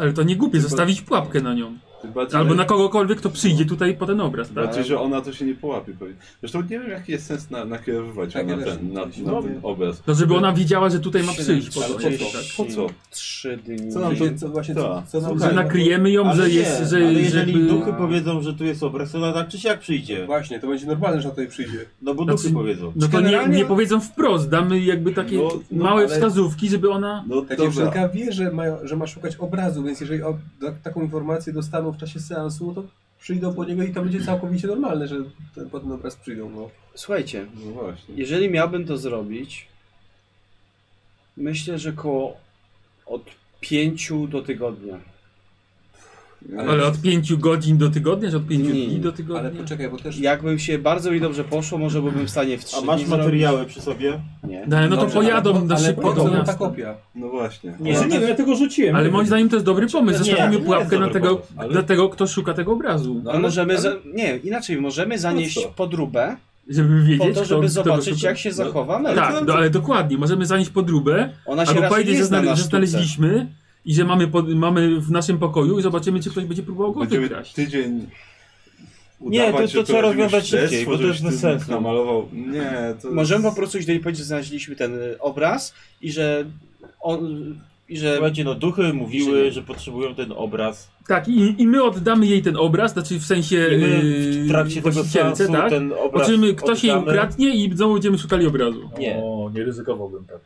[SPEAKER 6] Ale to nie głupie, zostawić pułapkę na nią.
[SPEAKER 5] Bardziej,
[SPEAKER 6] Albo na kogokolwiek, kto przyjdzie tutaj po ten obraz, tak?
[SPEAKER 5] Bardziej, że ona to się nie połapie. Pewnie. Zresztą nie wiem, jaki jest sens na, nakierowywać
[SPEAKER 10] Tak,
[SPEAKER 5] ją
[SPEAKER 10] ja
[SPEAKER 5] na
[SPEAKER 10] też
[SPEAKER 5] ten, na,
[SPEAKER 10] nie
[SPEAKER 5] na ten obraz.
[SPEAKER 6] No, żeby ona wiedziała, że tutaj ma przyjść. Po
[SPEAKER 5] Ale
[SPEAKER 6] to,
[SPEAKER 5] po
[SPEAKER 6] tak?
[SPEAKER 5] co? Po co?
[SPEAKER 4] Trzy dymi.
[SPEAKER 2] No,
[SPEAKER 7] Co nam to, co właśnie, co,
[SPEAKER 5] Tak.
[SPEAKER 7] co nam
[SPEAKER 6] No, Że nakryjemy ją,
[SPEAKER 8] Ale
[SPEAKER 6] że
[SPEAKER 8] nie,
[SPEAKER 6] jest, że...
[SPEAKER 8] ale
[SPEAKER 6] że
[SPEAKER 8] jeżeli
[SPEAKER 6] by-
[SPEAKER 8] duchy powiedzą, że tu jest obraz, to ona tak czy siak przyjdzie.
[SPEAKER 2] Właśnie, to będzie normalne, że na tutaj przyjdzie.
[SPEAKER 8] No bo
[SPEAKER 6] Znaczy-
[SPEAKER 8] duchy powiedzą.
[SPEAKER 6] No to nie,
[SPEAKER 2] Generalnie-
[SPEAKER 6] nie powiedzą wprost, damy jakby takie
[SPEAKER 5] No, no,
[SPEAKER 6] małe
[SPEAKER 7] ale-
[SPEAKER 6] wskazówki, żeby ona...
[SPEAKER 5] No
[SPEAKER 7] Ta
[SPEAKER 5] dobra.
[SPEAKER 7] dziewczynka wie, że ma, że ma szukać obrazu, więc jeżeli o, da, taką informację dostaną w czasie seansu, no to przyjdą po niego i to będzie całkowicie normalne, że ten, po ten obraz przyjdą. No.
[SPEAKER 4] Słuchajcie,
[SPEAKER 5] No właśnie.
[SPEAKER 4] jeżeli miałbym to zrobić, myślę, że koło od pięciu do tygodnia.
[SPEAKER 6] Ale od pięciu godzin do tygodnia, czy od pięciu
[SPEAKER 4] Nie,
[SPEAKER 6] dni do tygodnia?
[SPEAKER 2] Ale poczekaj, bo też...
[SPEAKER 4] Jakbym się bardzo mi dobrze poszło, może byłbym w stanie w trzy
[SPEAKER 8] A masz
[SPEAKER 4] dni zrobić.
[SPEAKER 8] materiały przy sobie?
[SPEAKER 4] Nie.
[SPEAKER 6] No, no to
[SPEAKER 2] Dobrze, ale
[SPEAKER 6] pojadą
[SPEAKER 2] po-
[SPEAKER 6] na
[SPEAKER 2] ale tak
[SPEAKER 6] szybko
[SPEAKER 2] po co
[SPEAKER 6] do
[SPEAKER 2] nam
[SPEAKER 6] miasta.
[SPEAKER 2] ta kopia.
[SPEAKER 5] No właśnie.
[SPEAKER 8] Nie,
[SPEAKER 3] nie wiem, ja tego rzuciłem.
[SPEAKER 6] Ale moim zdaniem to jest dobry pomysł.
[SPEAKER 8] Nie,
[SPEAKER 6] Zostawimy
[SPEAKER 8] to nie
[SPEAKER 6] pułapkę
[SPEAKER 8] jest
[SPEAKER 6] na
[SPEAKER 8] dobry
[SPEAKER 6] tego,
[SPEAKER 8] pomysł,
[SPEAKER 6] dla tego, kto szuka tego obrazu.
[SPEAKER 4] No, możemy. Za... Nie, inaczej, możemy zanieść podróbę
[SPEAKER 6] Żeby
[SPEAKER 4] po
[SPEAKER 6] wiedzieć,
[SPEAKER 4] to,
[SPEAKER 6] kto,
[SPEAKER 4] żeby
[SPEAKER 6] kto go
[SPEAKER 4] zobaczyć,
[SPEAKER 6] szuka.
[SPEAKER 4] jak się zachowa Mel.
[SPEAKER 6] Tak, no, ale dokładnie. Możemy zanieść podróbę,
[SPEAKER 4] Ona się
[SPEAKER 6] albo
[SPEAKER 4] raczej
[SPEAKER 6] powiedzieć,
[SPEAKER 4] nie
[SPEAKER 6] że,
[SPEAKER 4] zna
[SPEAKER 6] znale-
[SPEAKER 4] na
[SPEAKER 6] że
[SPEAKER 4] sztuce.
[SPEAKER 6] znaleźliśmy i że mamy, pod, mamy w naszym pokoju i zobaczymy, czy ktoś będzie próbował go
[SPEAKER 5] Będziemy
[SPEAKER 6] wykraść.
[SPEAKER 5] tydzień
[SPEAKER 8] Nie, to-
[SPEAKER 5] udawać,
[SPEAKER 8] to
[SPEAKER 5] że
[SPEAKER 8] trzeba
[SPEAKER 5] robisz
[SPEAKER 8] rozwiązać
[SPEAKER 5] śledztwo,
[SPEAKER 8] szybciej, bo to
[SPEAKER 5] żebyś
[SPEAKER 8] jest bez
[SPEAKER 5] ty
[SPEAKER 8] sensu.
[SPEAKER 5] Namalował. Nie, to
[SPEAKER 4] Możemy po prostu iść do niej powiedzieć, że znaleźliśmy ten y, obraz i że on... i że
[SPEAKER 8] Słuchajcie, no duchy mówiły, że potrzebują ten obraz.
[SPEAKER 6] Tak, i, i my oddamy jej ten obraz, znaczy w sensie
[SPEAKER 8] I my
[SPEAKER 6] yy,
[SPEAKER 8] w trakcie tego
[SPEAKER 6] właścicielce,
[SPEAKER 8] seansu
[SPEAKER 6] tak?
[SPEAKER 8] ten obraz
[SPEAKER 6] Oczymy, ktoś jej
[SPEAKER 8] oddamy.
[SPEAKER 6] ukradnie i znowu będziemy szukali obrazu.
[SPEAKER 1] No,
[SPEAKER 8] Nie.
[SPEAKER 11] O, nie ryzykowałbym tak.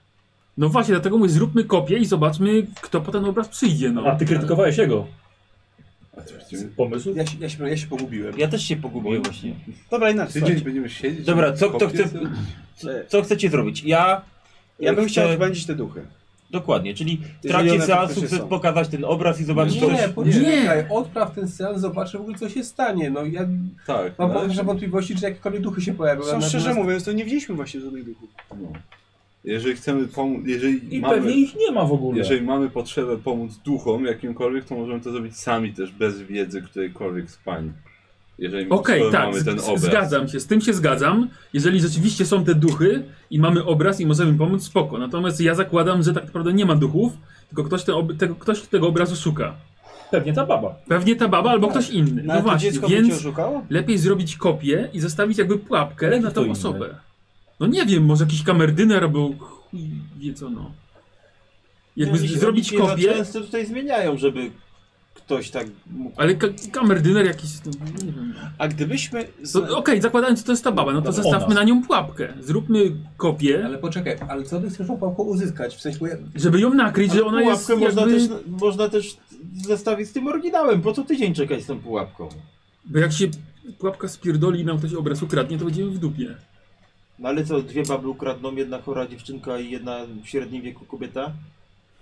[SPEAKER 6] No właśnie, dlatego mówię, zróbmy kopię i zobaczmy, kto po ten obraz przyjdzie, no.
[SPEAKER 1] A ty krytykowałeś jego
[SPEAKER 5] A co, będziemy-
[SPEAKER 1] pomysł?
[SPEAKER 7] Ja, się, ja, się, ja się pogubiłem.
[SPEAKER 8] Ja też się pogubiłem właśnie.
[SPEAKER 4] Dobra, inaczej.
[SPEAKER 5] Tydzień
[SPEAKER 4] słuchajcie.
[SPEAKER 5] będziemy siedzieć.
[SPEAKER 8] Dobra, co kto
[SPEAKER 5] kopię
[SPEAKER 8] chce-
[SPEAKER 5] sobie?
[SPEAKER 8] Co, co chcecie zrobić? Ja...
[SPEAKER 4] Ja bym
[SPEAKER 8] chcę-
[SPEAKER 4] chciał odbędzić te duchy.
[SPEAKER 8] Dokładnie, czyli w
[SPEAKER 4] one
[SPEAKER 8] trakcie seansu
[SPEAKER 4] faktycznie
[SPEAKER 8] chcę
[SPEAKER 4] są.
[SPEAKER 8] pokazać ten obraz i zobaczyć coś...
[SPEAKER 7] Nie, poczekaj, odpraw ten seans, zobaczę w ogóle co się stanie. No ja
[SPEAKER 5] Tak.
[SPEAKER 7] mam
[SPEAKER 5] tak.
[SPEAKER 7] poważne wątpliwości, czy jakiekolwiek duchy się pojawią.
[SPEAKER 4] Są
[SPEAKER 7] a
[SPEAKER 4] szczerze
[SPEAKER 7] natomiast-
[SPEAKER 4] mówiąc, to nie widzieliśmy właśnie żadnych duchów.
[SPEAKER 5] No. Jeżeli chcemy pomóc, jeżeli
[SPEAKER 1] I
[SPEAKER 5] mamy,
[SPEAKER 1] pewnie ich nie ma w ogóle.
[SPEAKER 5] jeżeli mamy potrzebę pomóc duchom jakimkolwiek, to możemy to zrobić sami też, bez wiedzy którejkolwiek z pań. Jeżeli
[SPEAKER 6] Okej,
[SPEAKER 5] skoro
[SPEAKER 6] tak,
[SPEAKER 5] mamy ten
[SPEAKER 6] z-
[SPEAKER 5] obraz.
[SPEAKER 6] zgadzam się, z tym się zgadzam. Jeżeli rzeczywiście są te duchy i mamy obraz i możemy pomóc, spoko. Natomiast ja zakładam, że tak naprawdę nie ma duchów, tylko ktoś, te ob- tego, ktoś tego obrazu szuka.
[SPEAKER 1] Pewnie ta baba.
[SPEAKER 6] Pewnie ta baba albo ktoś inny. No
[SPEAKER 4] Nawet to
[SPEAKER 6] właśnie,
[SPEAKER 4] dziecko by cię
[SPEAKER 6] więc
[SPEAKER 4] oszukało?
[SPEAKER 6] lepiej zrobić kopię i zostawić jakby pułapkę
[SPEAKER 1] Jaki
[SPEAKER 6] na
[SPEAKER 1] to
[SPEAKER 6] tą
[SPEAKER 1] inny?
[SPEAKER 6] osobę. No nie wiem, może jakiś kamerdyner albo chuj wie co no. Jakby
[SPEAKER 8] Oni się-
[SPEAKER 6] zrobić
[SPEAKER 8] oni się za
[SPEAKER 6] kopię,
[SPEAKER 8] no, często tutaj zmieniają, żeby ktoś tak mógł...
[SPEAKER 6] ale ka kamerdyner jakiś, no, nie wiem.
[SPEAKER 4] A gdybyśmy... Z...
[SPEAKER 6] To, Okej, zakładając, że to jest ta baba, no to
[SPEAKER 11] Dobra,
[SPEAKER 6] zostawmy
[SPEAKER 11] ona.
[SPEAKER 6] na nią pułapkę. Zróbmy kopię,
[SPEAKER 7] Ale poczekaj, ale co ty chcesz tą pałką uzyskać? W sensie, bo ja,
[SPEAKER 6] żeby ją nakryć, że ona
[SPEAKER 8] pułapkę
[SPEAKER 6] jest jakby...
[SPEAKER 8] można, też, można też zestawić z tym oryginałem. Po co tydzień czekać z tą pułapką?
[SPEAKER 6] Bo jak się pułapka spierdoli i nam ktoś obraz ukradnie, to będziemy w dupie.
[SPEAKER 8] No ale co, dwie baby ukradną, jedna chora dziewczynka i jedna w średnim wieku kobieta?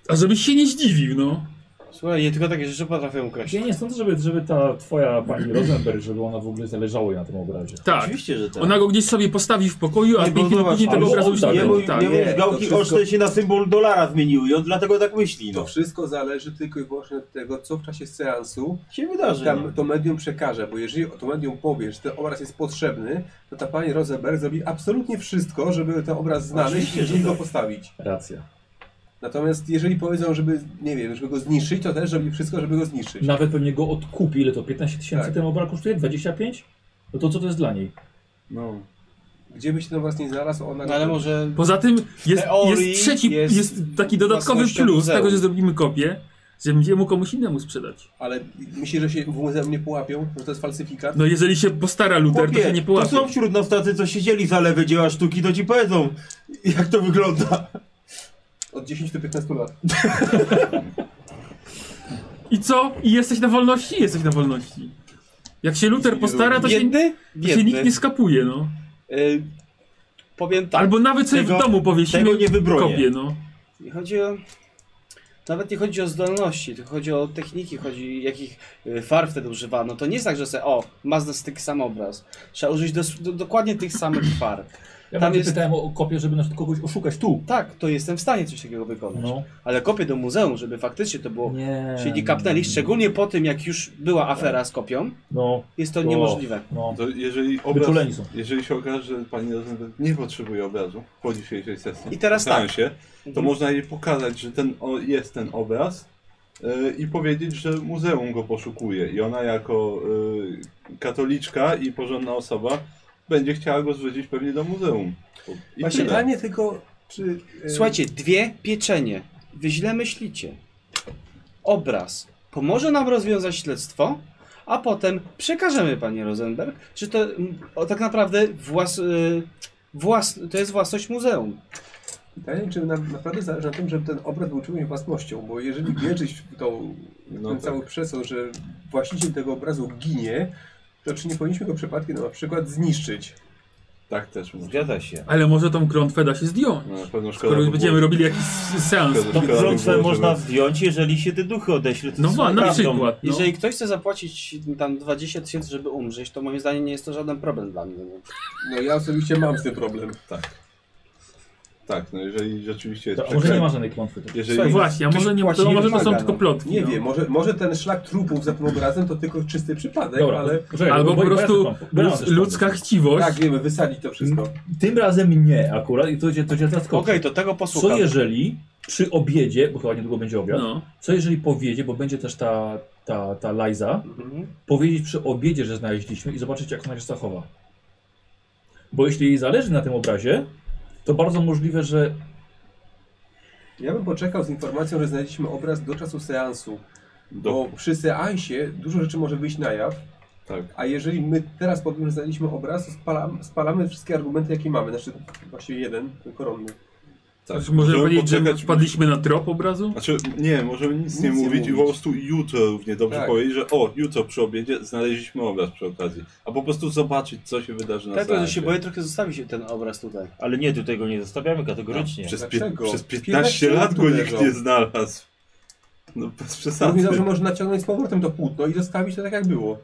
[SPEAKER 6] A żebyś się nie zdziwił, no.
[SPEAKER 4] Słuchaj, nie tylko takie rzeczy potrafię ukraść.
[SPEAKER 1] Ja nie sądzę, żeby, żeby ta twoja pani Rosenberg, żeby ona w ogóle zależała jej na tym obrazie.
[SPEAKER 6] Tak.
[SPEAKER 8] Oczywiście, że tak.
[SPEAKER 6] Ona go gdzieś sobie postawi w pokoju, a
[SPEAKER 8] Nie, bo
[SPEAKER 6] pięknie
[SPEAKER 8] zobacz,
[SPEAKER 6] później tego
[SPEAKER 1] albo
[SPEAKER 6] obrazu
[SPEAKER 1] on
[SPEAKER 6] już
[SPEAKER 1] tak
[SPEAKER 6] nie
[SPEAKER 8] Nie
[SPEAKER 1] robi.
[SPEAKER 6] było.
[SPEAKER 8] mój,
[SPEAKER 6] Tak.
[SPEAKER 8] nie mój,
[SPEAKER 7] Nie, to
[SPEAKER 8] gałki
[SPEAKER 7] wszystko-
[SPEAKER 8] oczne się na symbol dolara zmieniły i on dlatego tak myśli,
[SPEAKER 7] to
[SPEAKER 8] no.
[SPEAKER 7] wszystko zależy tylko i wyłącznie od tego, co w czasie seansu
[SPEAKER 8] się wydarzy. no.
[SPEAKER 7] tam, to medium przekaże, bo jeżeli to medium powie, że ten obraz jest potrzebny, to ta pani Rosenberg zrobi absolutnie wszystko, żeby ten obraz znaleźć
[SPEAKER 8] Oczywiście,
[SPEAKER 7] i
[SPEAKER 8] że
[SPEAKER 7] gdzieś go
[SPEAKER 8] tak.
[SPEAKER 7] postawić.
[SPEAKER 1] Racja.
[SPEAKER 7] Natomiast jeżeli powiedzą, żeby, nie wiem, żeby go zniszczyć, to też zrobi wszystko, żeby go zniszczyć.
[SPEAKER 1] Nawet pewnie go odkupi, ile to 15 tysięcy
[SPEAKER 7] Tak.
[SPEAKER 1] ten obraz kosztuje? 25? No to co to jest dla niej?
[SPEAKER 5] No.
[SPEAKER 7] Gdzie by się ten obraz nie znalazł, ona...
[SPEAKER 4] No ale może...
[SPEAKER 6] Poza tym jest,
[SPEAKER 4] teorii
[SPEAKER 6] jest trzeci,
[SPEAKER 4] jest
[SPEAKER 6] jest, taki dodatkowy
[SPEAKER 4] własnością
[SPEAKER 6] plus
[SPEAKER 4] muzeum.
[SPEAKER 6] tego, że zrobimy kopię, że będziemy mu komuś innemu sprzedać.
[SPEAKER 7] Ale myślisz, że się w muzeum nie połapią, że to jest falsyfikat?
[SPEAKER 6] No jeżeli się postara Luther, to się nie
[SPEAKER 8] to
[SPEAKER 6] połapie.
[SPEAKER 8] są wśród nas tacy, co siedzieli za lewe dzieła sztuki, to ci powiedzą, jak to wygląda.
[SPEAKER 7] Od 10 do 15 lat.
[SPEAKER 6] I co? I jesteś na wolności? Jesteś na wolności. Jak się Luther postara, to się,
[SPEAKER 4] Biedny?
[SPEAKER 6] to się nikt
[SPEAKER 4] Biedny.
[SPEAKER 6] nie skapuje, no.
[SPEAKER 4] Y, Powiem tak.
[SPEAKER 6] Albo nawet sobie
[SPEAKER 8] Tego-
[SPEAKER 6] w domu powiesimy
[SPEAKER 8] tego nie wybronię.
[SPEAKER 6] kopię, no.
[SPEAKER 4] Nie chodzi o... Nawet nie chodzi o zdolności, tylko chodzi o techniki, chodzi jakich y, farb wtedy używano. To nie jest tak, że se, o, ma z nas taki sam obraz. Trzeba użyć dos- do, dokładnie tych samych farb.
[SPEAKER 1] Ja
[SPEAKER 4] Tam
[SPEAKER 1] tam
[SPEAKER 4] jest-
[SPEAKER 1] pytałem o, o kopię, żeby na przykład kogoś oszukać tu.
[SPEAKER 4] Tak, to jestem w stanie coś takiego wykonać.
[SPEAKER 1] No.
[SPEAKER 4] Ale kopię do muzeum, żeby faktycznie to
[SPEAKER 6] No.
[SPEAKER 4] było...
[SPEAKER 1] Nie.
[SPEAKER 4] Się nie kapnęli, szczególnie po tym, jak już była afera z kopią,
[SPEAKER 1] No,
[SPEAKER 4] jest to
[SPEAKER 1] O.
[SPEAKER 4] niemożliwe.
[SPEAKER 1] no.
[SPEAKER 5] To jeżeli obraz,
[SPEAKER 1] Wyczuleni są.
[SPEAKER 5] jeżeli się okaże, że pani Rosenberg nie potrzebuje obrazu po dzisiejszej sesji,
[SPEAKER 4] I teraz
[SPEAKER 5] staram
[SPEAKER 4] tak.
[SPEAKER 5] się, to
[SPEAKER 4] Mhm.
[SPEAKER 5] można jej pokazać, że ten o, jest ten obraz e, i powiedzieć, że muzeum go poszukuje. I ona jako e, katoliczka i porządna osoba będzie chciała go zwrócić pewnie do muzeum. I
[SPEAKER 7] Właśnie
[SPEAKER 5] tyle.
[SPEAKER 7] pytanie tylko, czy... e,
[SPEAKER 4] Słuchajcie, dwie pieczenie. Wy źle myślicie. Obraz pomoże nam rozwiązać śledztwo, a potem przekażemy, panie Rosenberg, czy to mm, o, tak naprawdę włas, y, włas, to jest własność muzeum.
[SPEAKER 2] Pytanie, czy nam naprawdę zależy na tym, żeby ten obraz był czyjąś własnością, bo jeżeli wierzyć w, tą, w
[SPEAKER 5] No
[SPEAKER 2] ten
[SPEAKER 5] tak.
[SPEAKER 2] cały przesąd, że właściciel tego obrazu ginie, to czy nie powinniśmy go przypadkiem na przykład zniszczyć?
[SPEAKER 5] Tak też może.
[SPEAKER 8] Zgadza się.
[SPEAKER 6] Ale może tą klątwę da się zdjąć.
[SPEAKER 5] No, Na pewno szkoda
[SPEAKER 6] Skoro
[SPEAKER 5] by
[SPEAKER 6] już
[SPEAKER 5] było,
[SPEAKER 6] będziemy robili jakiś seans.
[SPEAKER 5] Szkoda-
[SPEAKER 8] Tą
[SPEAKER 5] szkoda by
[SPEAKER 8] klątwę
[SPEAKER 5] było,
[SPEAKER 8] można
[SPEAKER 5] żeby-
[SPEAKER 8] zdjąć, jeżeli się te duchy odeśle.
[SPEAKER 6] No wa- na przykład. No.
[SPEAKER 4] Jeżeli ktoś chce zapłacić tam 20 tysięcy, żeby umrzeć, to moim zdaniem nie jest to żaden problem dla mnie. No.
[SPEAKER 2] No ja osobiście mam z tym problem.
[SPEAKER 5] Tak, no jeżeli rzeczywiście jest
[SPEAKER 11] To, a może nie ma
[SPEAKER 5] przekręt-
[SPEAKER 11] żadnej klątwy. To.
[SPEAKER 5] Jeżeli
[SPEAKER 4] Słuchaj,
[SPEAKER 6] No Właśnie, a może, nie,
[SPEAKER 4] Ktoś
[SPEAKER 6] to, może to
[SPEAKER 4] płaci,
[SPEAKER 6] są
[SPEAKER 4] wymaga,
[SPEAKER 6] tylko
[SPEAKER 4] no.
[SPEAKER 6] plotki.
[SPEAKER 2] Nie
[SPEAKER 6] no.
[SPEAKER 2] wiem, może, może ten szlak trupów za tym obrazem to tylko czysty przypadek,
[SPEAKER 11] Dobra,
[SPEAKER 2] ale...
[SPEAKER 11] poczekaj,
[SPEAKER 6] Albo
[SPEAKER 11] bo-
[SPEAKER 6] po
[SPEAKER 11] bo ja
[SPEAKER 6] prostu
[SPEAKER 11] też mam- bo ja mam
[SPEAKER 6] ludz,
[SPEAKER 11] też
[SPEAKER 6] ludzka
[SPEAKER 11] pomysł.
[SPEAKER 6] chciwość.
[SPEAKER 2] Tak, wiemy, wysadzić to wszystko.
[SPEAKER 11] Tym razem nie akurat i to cię, to cię zaskoczy.
[SPEAKER 4] Okej, to tego posłucham.
[SPEAKER 11] Co jeżeli przy obiedzie, bo chyba niedługo będzie obiad,
[SPEAKER 6] No.
[SPEAKER 11] co jeżeli powiedzie, bo będzie też ta, ta, ta Liza,
[SPEAKER 2] Mhm.
[SPEAKER 11] powiedzieć przy obiedzie, że znaleźliśmy i zobaczyć, jak ona się zachowa. Bo jeśli jej zależy na tym obrazie, to bardzo możliwe, że
[SPEAKER 2] Ja bym poczekał z informacją, że znaleźliśmy obraz do czasu seansu.
[SPEAKER 5] do...
[SPEAKER 2] Bo przy seansie dużo rzeczy może wyjść na jaw,
[SPEAKER 5] Tak.
[SPEAKER 2] a jeżeli my teraz powiemy, że znaleźliśmy obraz, to spalam, spalamy wszystkie argumenty, jakie mamy. Znaczy, właściwie jeden, ten koronny.
[SPEAKER 5] Tak.
[SPEAKER 6] Znaczy, możemy powiedzieć, że
[SPEAKER 5] poczekać-
[SPEAKER 6] wpadliśmy na trop obrazu?
[SPEAKER 5] Znaczy, nie, możemy nic, nie
[SPEAKER 2] Nic nie
[SPEAKER 5] mówić, i po
[SPEAKER 2] mówić.
[SPEAKER 5] prostu jutro równie dobrze
[SPEAKER 2] Tak.
[SPEAKER 5] powiedzieć, że o, jutro przy obiedzie znaleźliśmy obraz przy okazji. A po prostu zobaczyć, co się wydarzy na
[SPEAKER 4] Tak,
[SPEAKER 5] seansie.
[SPEAKER 4] że się boję trochę zostawić ten obraz tutaj.
[SPEAKER 8] Ale nie, tutaj go nie zostawiamy
[SPEAKER 4] No.
[SPEAKER 8] kategorycznie.
[SPEAKER 5] Przez, pie,
[SPEAKER 2] Dlaczego?
[SPEAKER 5] przez 15
[SPEAKER 2] 15
[SPEAKER 5] lat
[SPEAKER 2] lat
[SPEAKER 5] go nikt
[SPEAKER 2] leżał.
[SPEAKER 5] nie znalazł. No bez
[SPEAKER 2] Równie
[SPEAKER 5] przesady.
[SPEAKER 2] dobrze można naciągnąć z powrotem to płótno i zostawić to tak, jak było.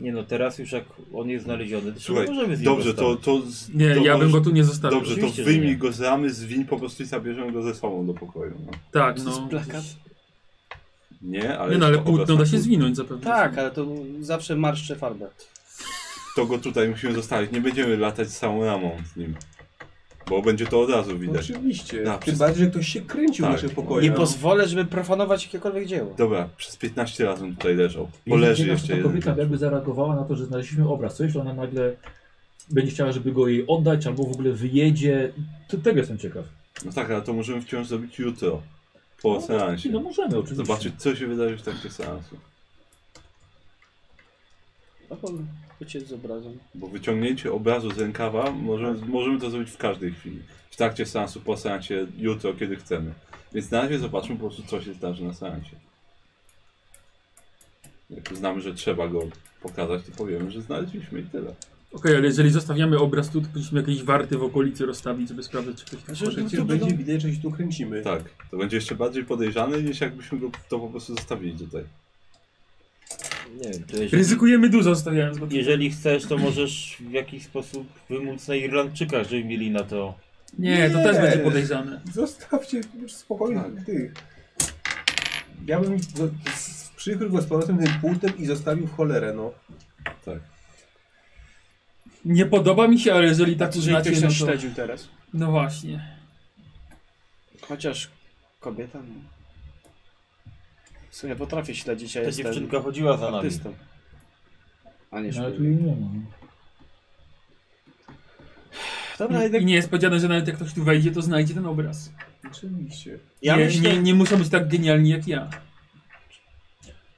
[SPEAKER 8] Nie no, teraz już jak on jest znaleziony, to
[SPEAKER 5] Słuchaj,
[SPEAKER 8] możemy z nim
[SPEAKER 5] Dobrze, to...
[SPEAKER 8] zostawić.
[SPEAKER 5] to z,
[SPEAKER 6] Nie,
[SPEAKER 5] to
[SPEAKER 6] ja bym go tu nie zostawił.
[SPEAKER 5] Dobrze, to
[SPEAKER 8] Oczywiście, że nie.
[SPEAKER 5] wyjmij go z ramy, zwiń po prostu i zabierzemy go ze sobą do pokoju. No.
[SPEAKER 6] Tak,
[SPEAKER 4] To jest
[SPEAKER 6] no.
[SPEAKER 4] plakat?
[SPEAKER 5] Nie, ale...
[SPEAKER 6] Nie no, ale
[SPEAKER 5] obraz
[SPEAKER 6] płótno da
[SPEAKER 5] na
[SPEAKER 6] się zwinąć zapewne.
[SPEAKER 4] Tak, ale to zawsze marszczę farbę.
[SPEAKER 5] to go tutaj musimy zostawić. Nie będziemy latać z samą ramą z nim. Bo będzie to od razu widać.
[SPEAKER 2] Oczywiście.
[SPEAKER 5] Tak,
[SPEAKER 2] Tym
[SPEAKER 5] wszystko.
[SPEAKER 2] bardziej, że ktoś się kręcił
[SPEAKER 5] Tak.
[SPEAKER 2] w naszym pokoju.
[SPEAKER 4] Nie pozwolę, żeby profanować jakiekolwiek dzieło.
[SPEAKER 5] Dobra, przez 15 lat on tutaj leżał. Poleży
[SPEAKER 11] Jeśli
[SPEAKER 5] jeszcze
[SPEAKER 11] ta
[SPEAKER 5] jeden.
[SPEAKER 11] kobieta jakby zareagowała na to, że znaleźliśmy obraz. Co jeśli ona nagle będzie chciała, żeby go jej oddać, albo w ogóle wyjedzie? To, tego jestem ciekaw.
[SPEAKER 5] No tak, ale to możemy wciąż zrobić jutro. Po
[SPEAKER 11] No,
[SPEAKER 5] seansie.
[SPEAKER 11] No możemy oczywiście.
[SPEAKER 5] Zobaczyć, co się wydarzy w trakcie seansu.
[SPEAKER 4] No, bo uciec z obrazem.
[SPEAKER 5] Bo wyciągnięcie obrazu z rękawa
[SPEAKER 11] Tak.
[SPEAKER 5] możemy, możemy to zrobić w każdej chwili. W trakcie seansu, po seansie, jutro, kiedy chcemy. Więc na razie zobaczmy po prostu, co się zdarzy na seansie. Jak uznamy, że trzeba go pokazać, to powiemy, że znaleźliśmy i tyle.
[SPEAKER 6] Okej, ale jeżeli zostawiamy obraz tu, to powinniśmy jakieś warty w okolicy rozstawić, żeby sprawdzać, czy ktoś tam
[SPEAKER 2] Znaczy, Że
[SPEAKER 6] chodzi.
[SPEAKER 2] przecież będzie widać, że się tu kręcimy.
[SPEAKER 5] Tak, to będzie jeszcze bardziej podejrzane niż jakbyśmy go to po prostu zostawili tutaj.
[SPEAKER 8] Nie wiem, to jeżeli,
[SPEAKER 6] Ryzykujemy dużo stawiając go tu.
[SPEAKER 8] jeżeli chcesz, to możesz w jakiś sposób wymóc na Irlandczykach, żeby mieli na to
[SPEAKER 6] Nie, to
[SPEAKER 2] Nie.
[SPEAKER 6] też będzie podejrzane.
[SPEAKER 2] Zostawcie już spokojnie
[SPEAKER 5] Tak.
[SPEAKER 2] tych. Ja bym no, s- przykrył go z powrotem tym pultem i zostawił w cholerę, no.
[SPEAKER 6] Nie podoba mi się, ale jeżeli tak
[SPEAKER 4] Jeżeli
[SPEAKER 6] uznacie,
[SPEAKER 4] ktoś nas
[SPEAKER 6] no to...
[SPEAKER 4] śledził teraz.
[SPEAKER 6] No właśnie.
[SPEAKER 4] Chociaż kobieta. No. W sumie potrafię śledzić, a
[SPEAKER 8] Ta
[SPEAKER 4] jestem
[SPEAKER 8] dziewczynka chodziła za nami.
[SPEAKER 4] artystą. A nie
[SPEAKER 11] No, ale
[SPEAKER 4] szkoda.
[SPEAKER 11] tu jej nie ma.
[SPEAKER 4] Dobra, jednak...
[SPEAKER 6] I nie jest powiedziane, że nawet jak ktoś tu wejdzie, to znajdzie ten obraz.
[SPEAKER 2] Oczywiście.
[SPEAKER 4] Ja
[SPEAKER 6] nie,
[SPEAKER 4] myślę...
[SPEAKER 6] nie, nie muszą być tak genialni jak ja.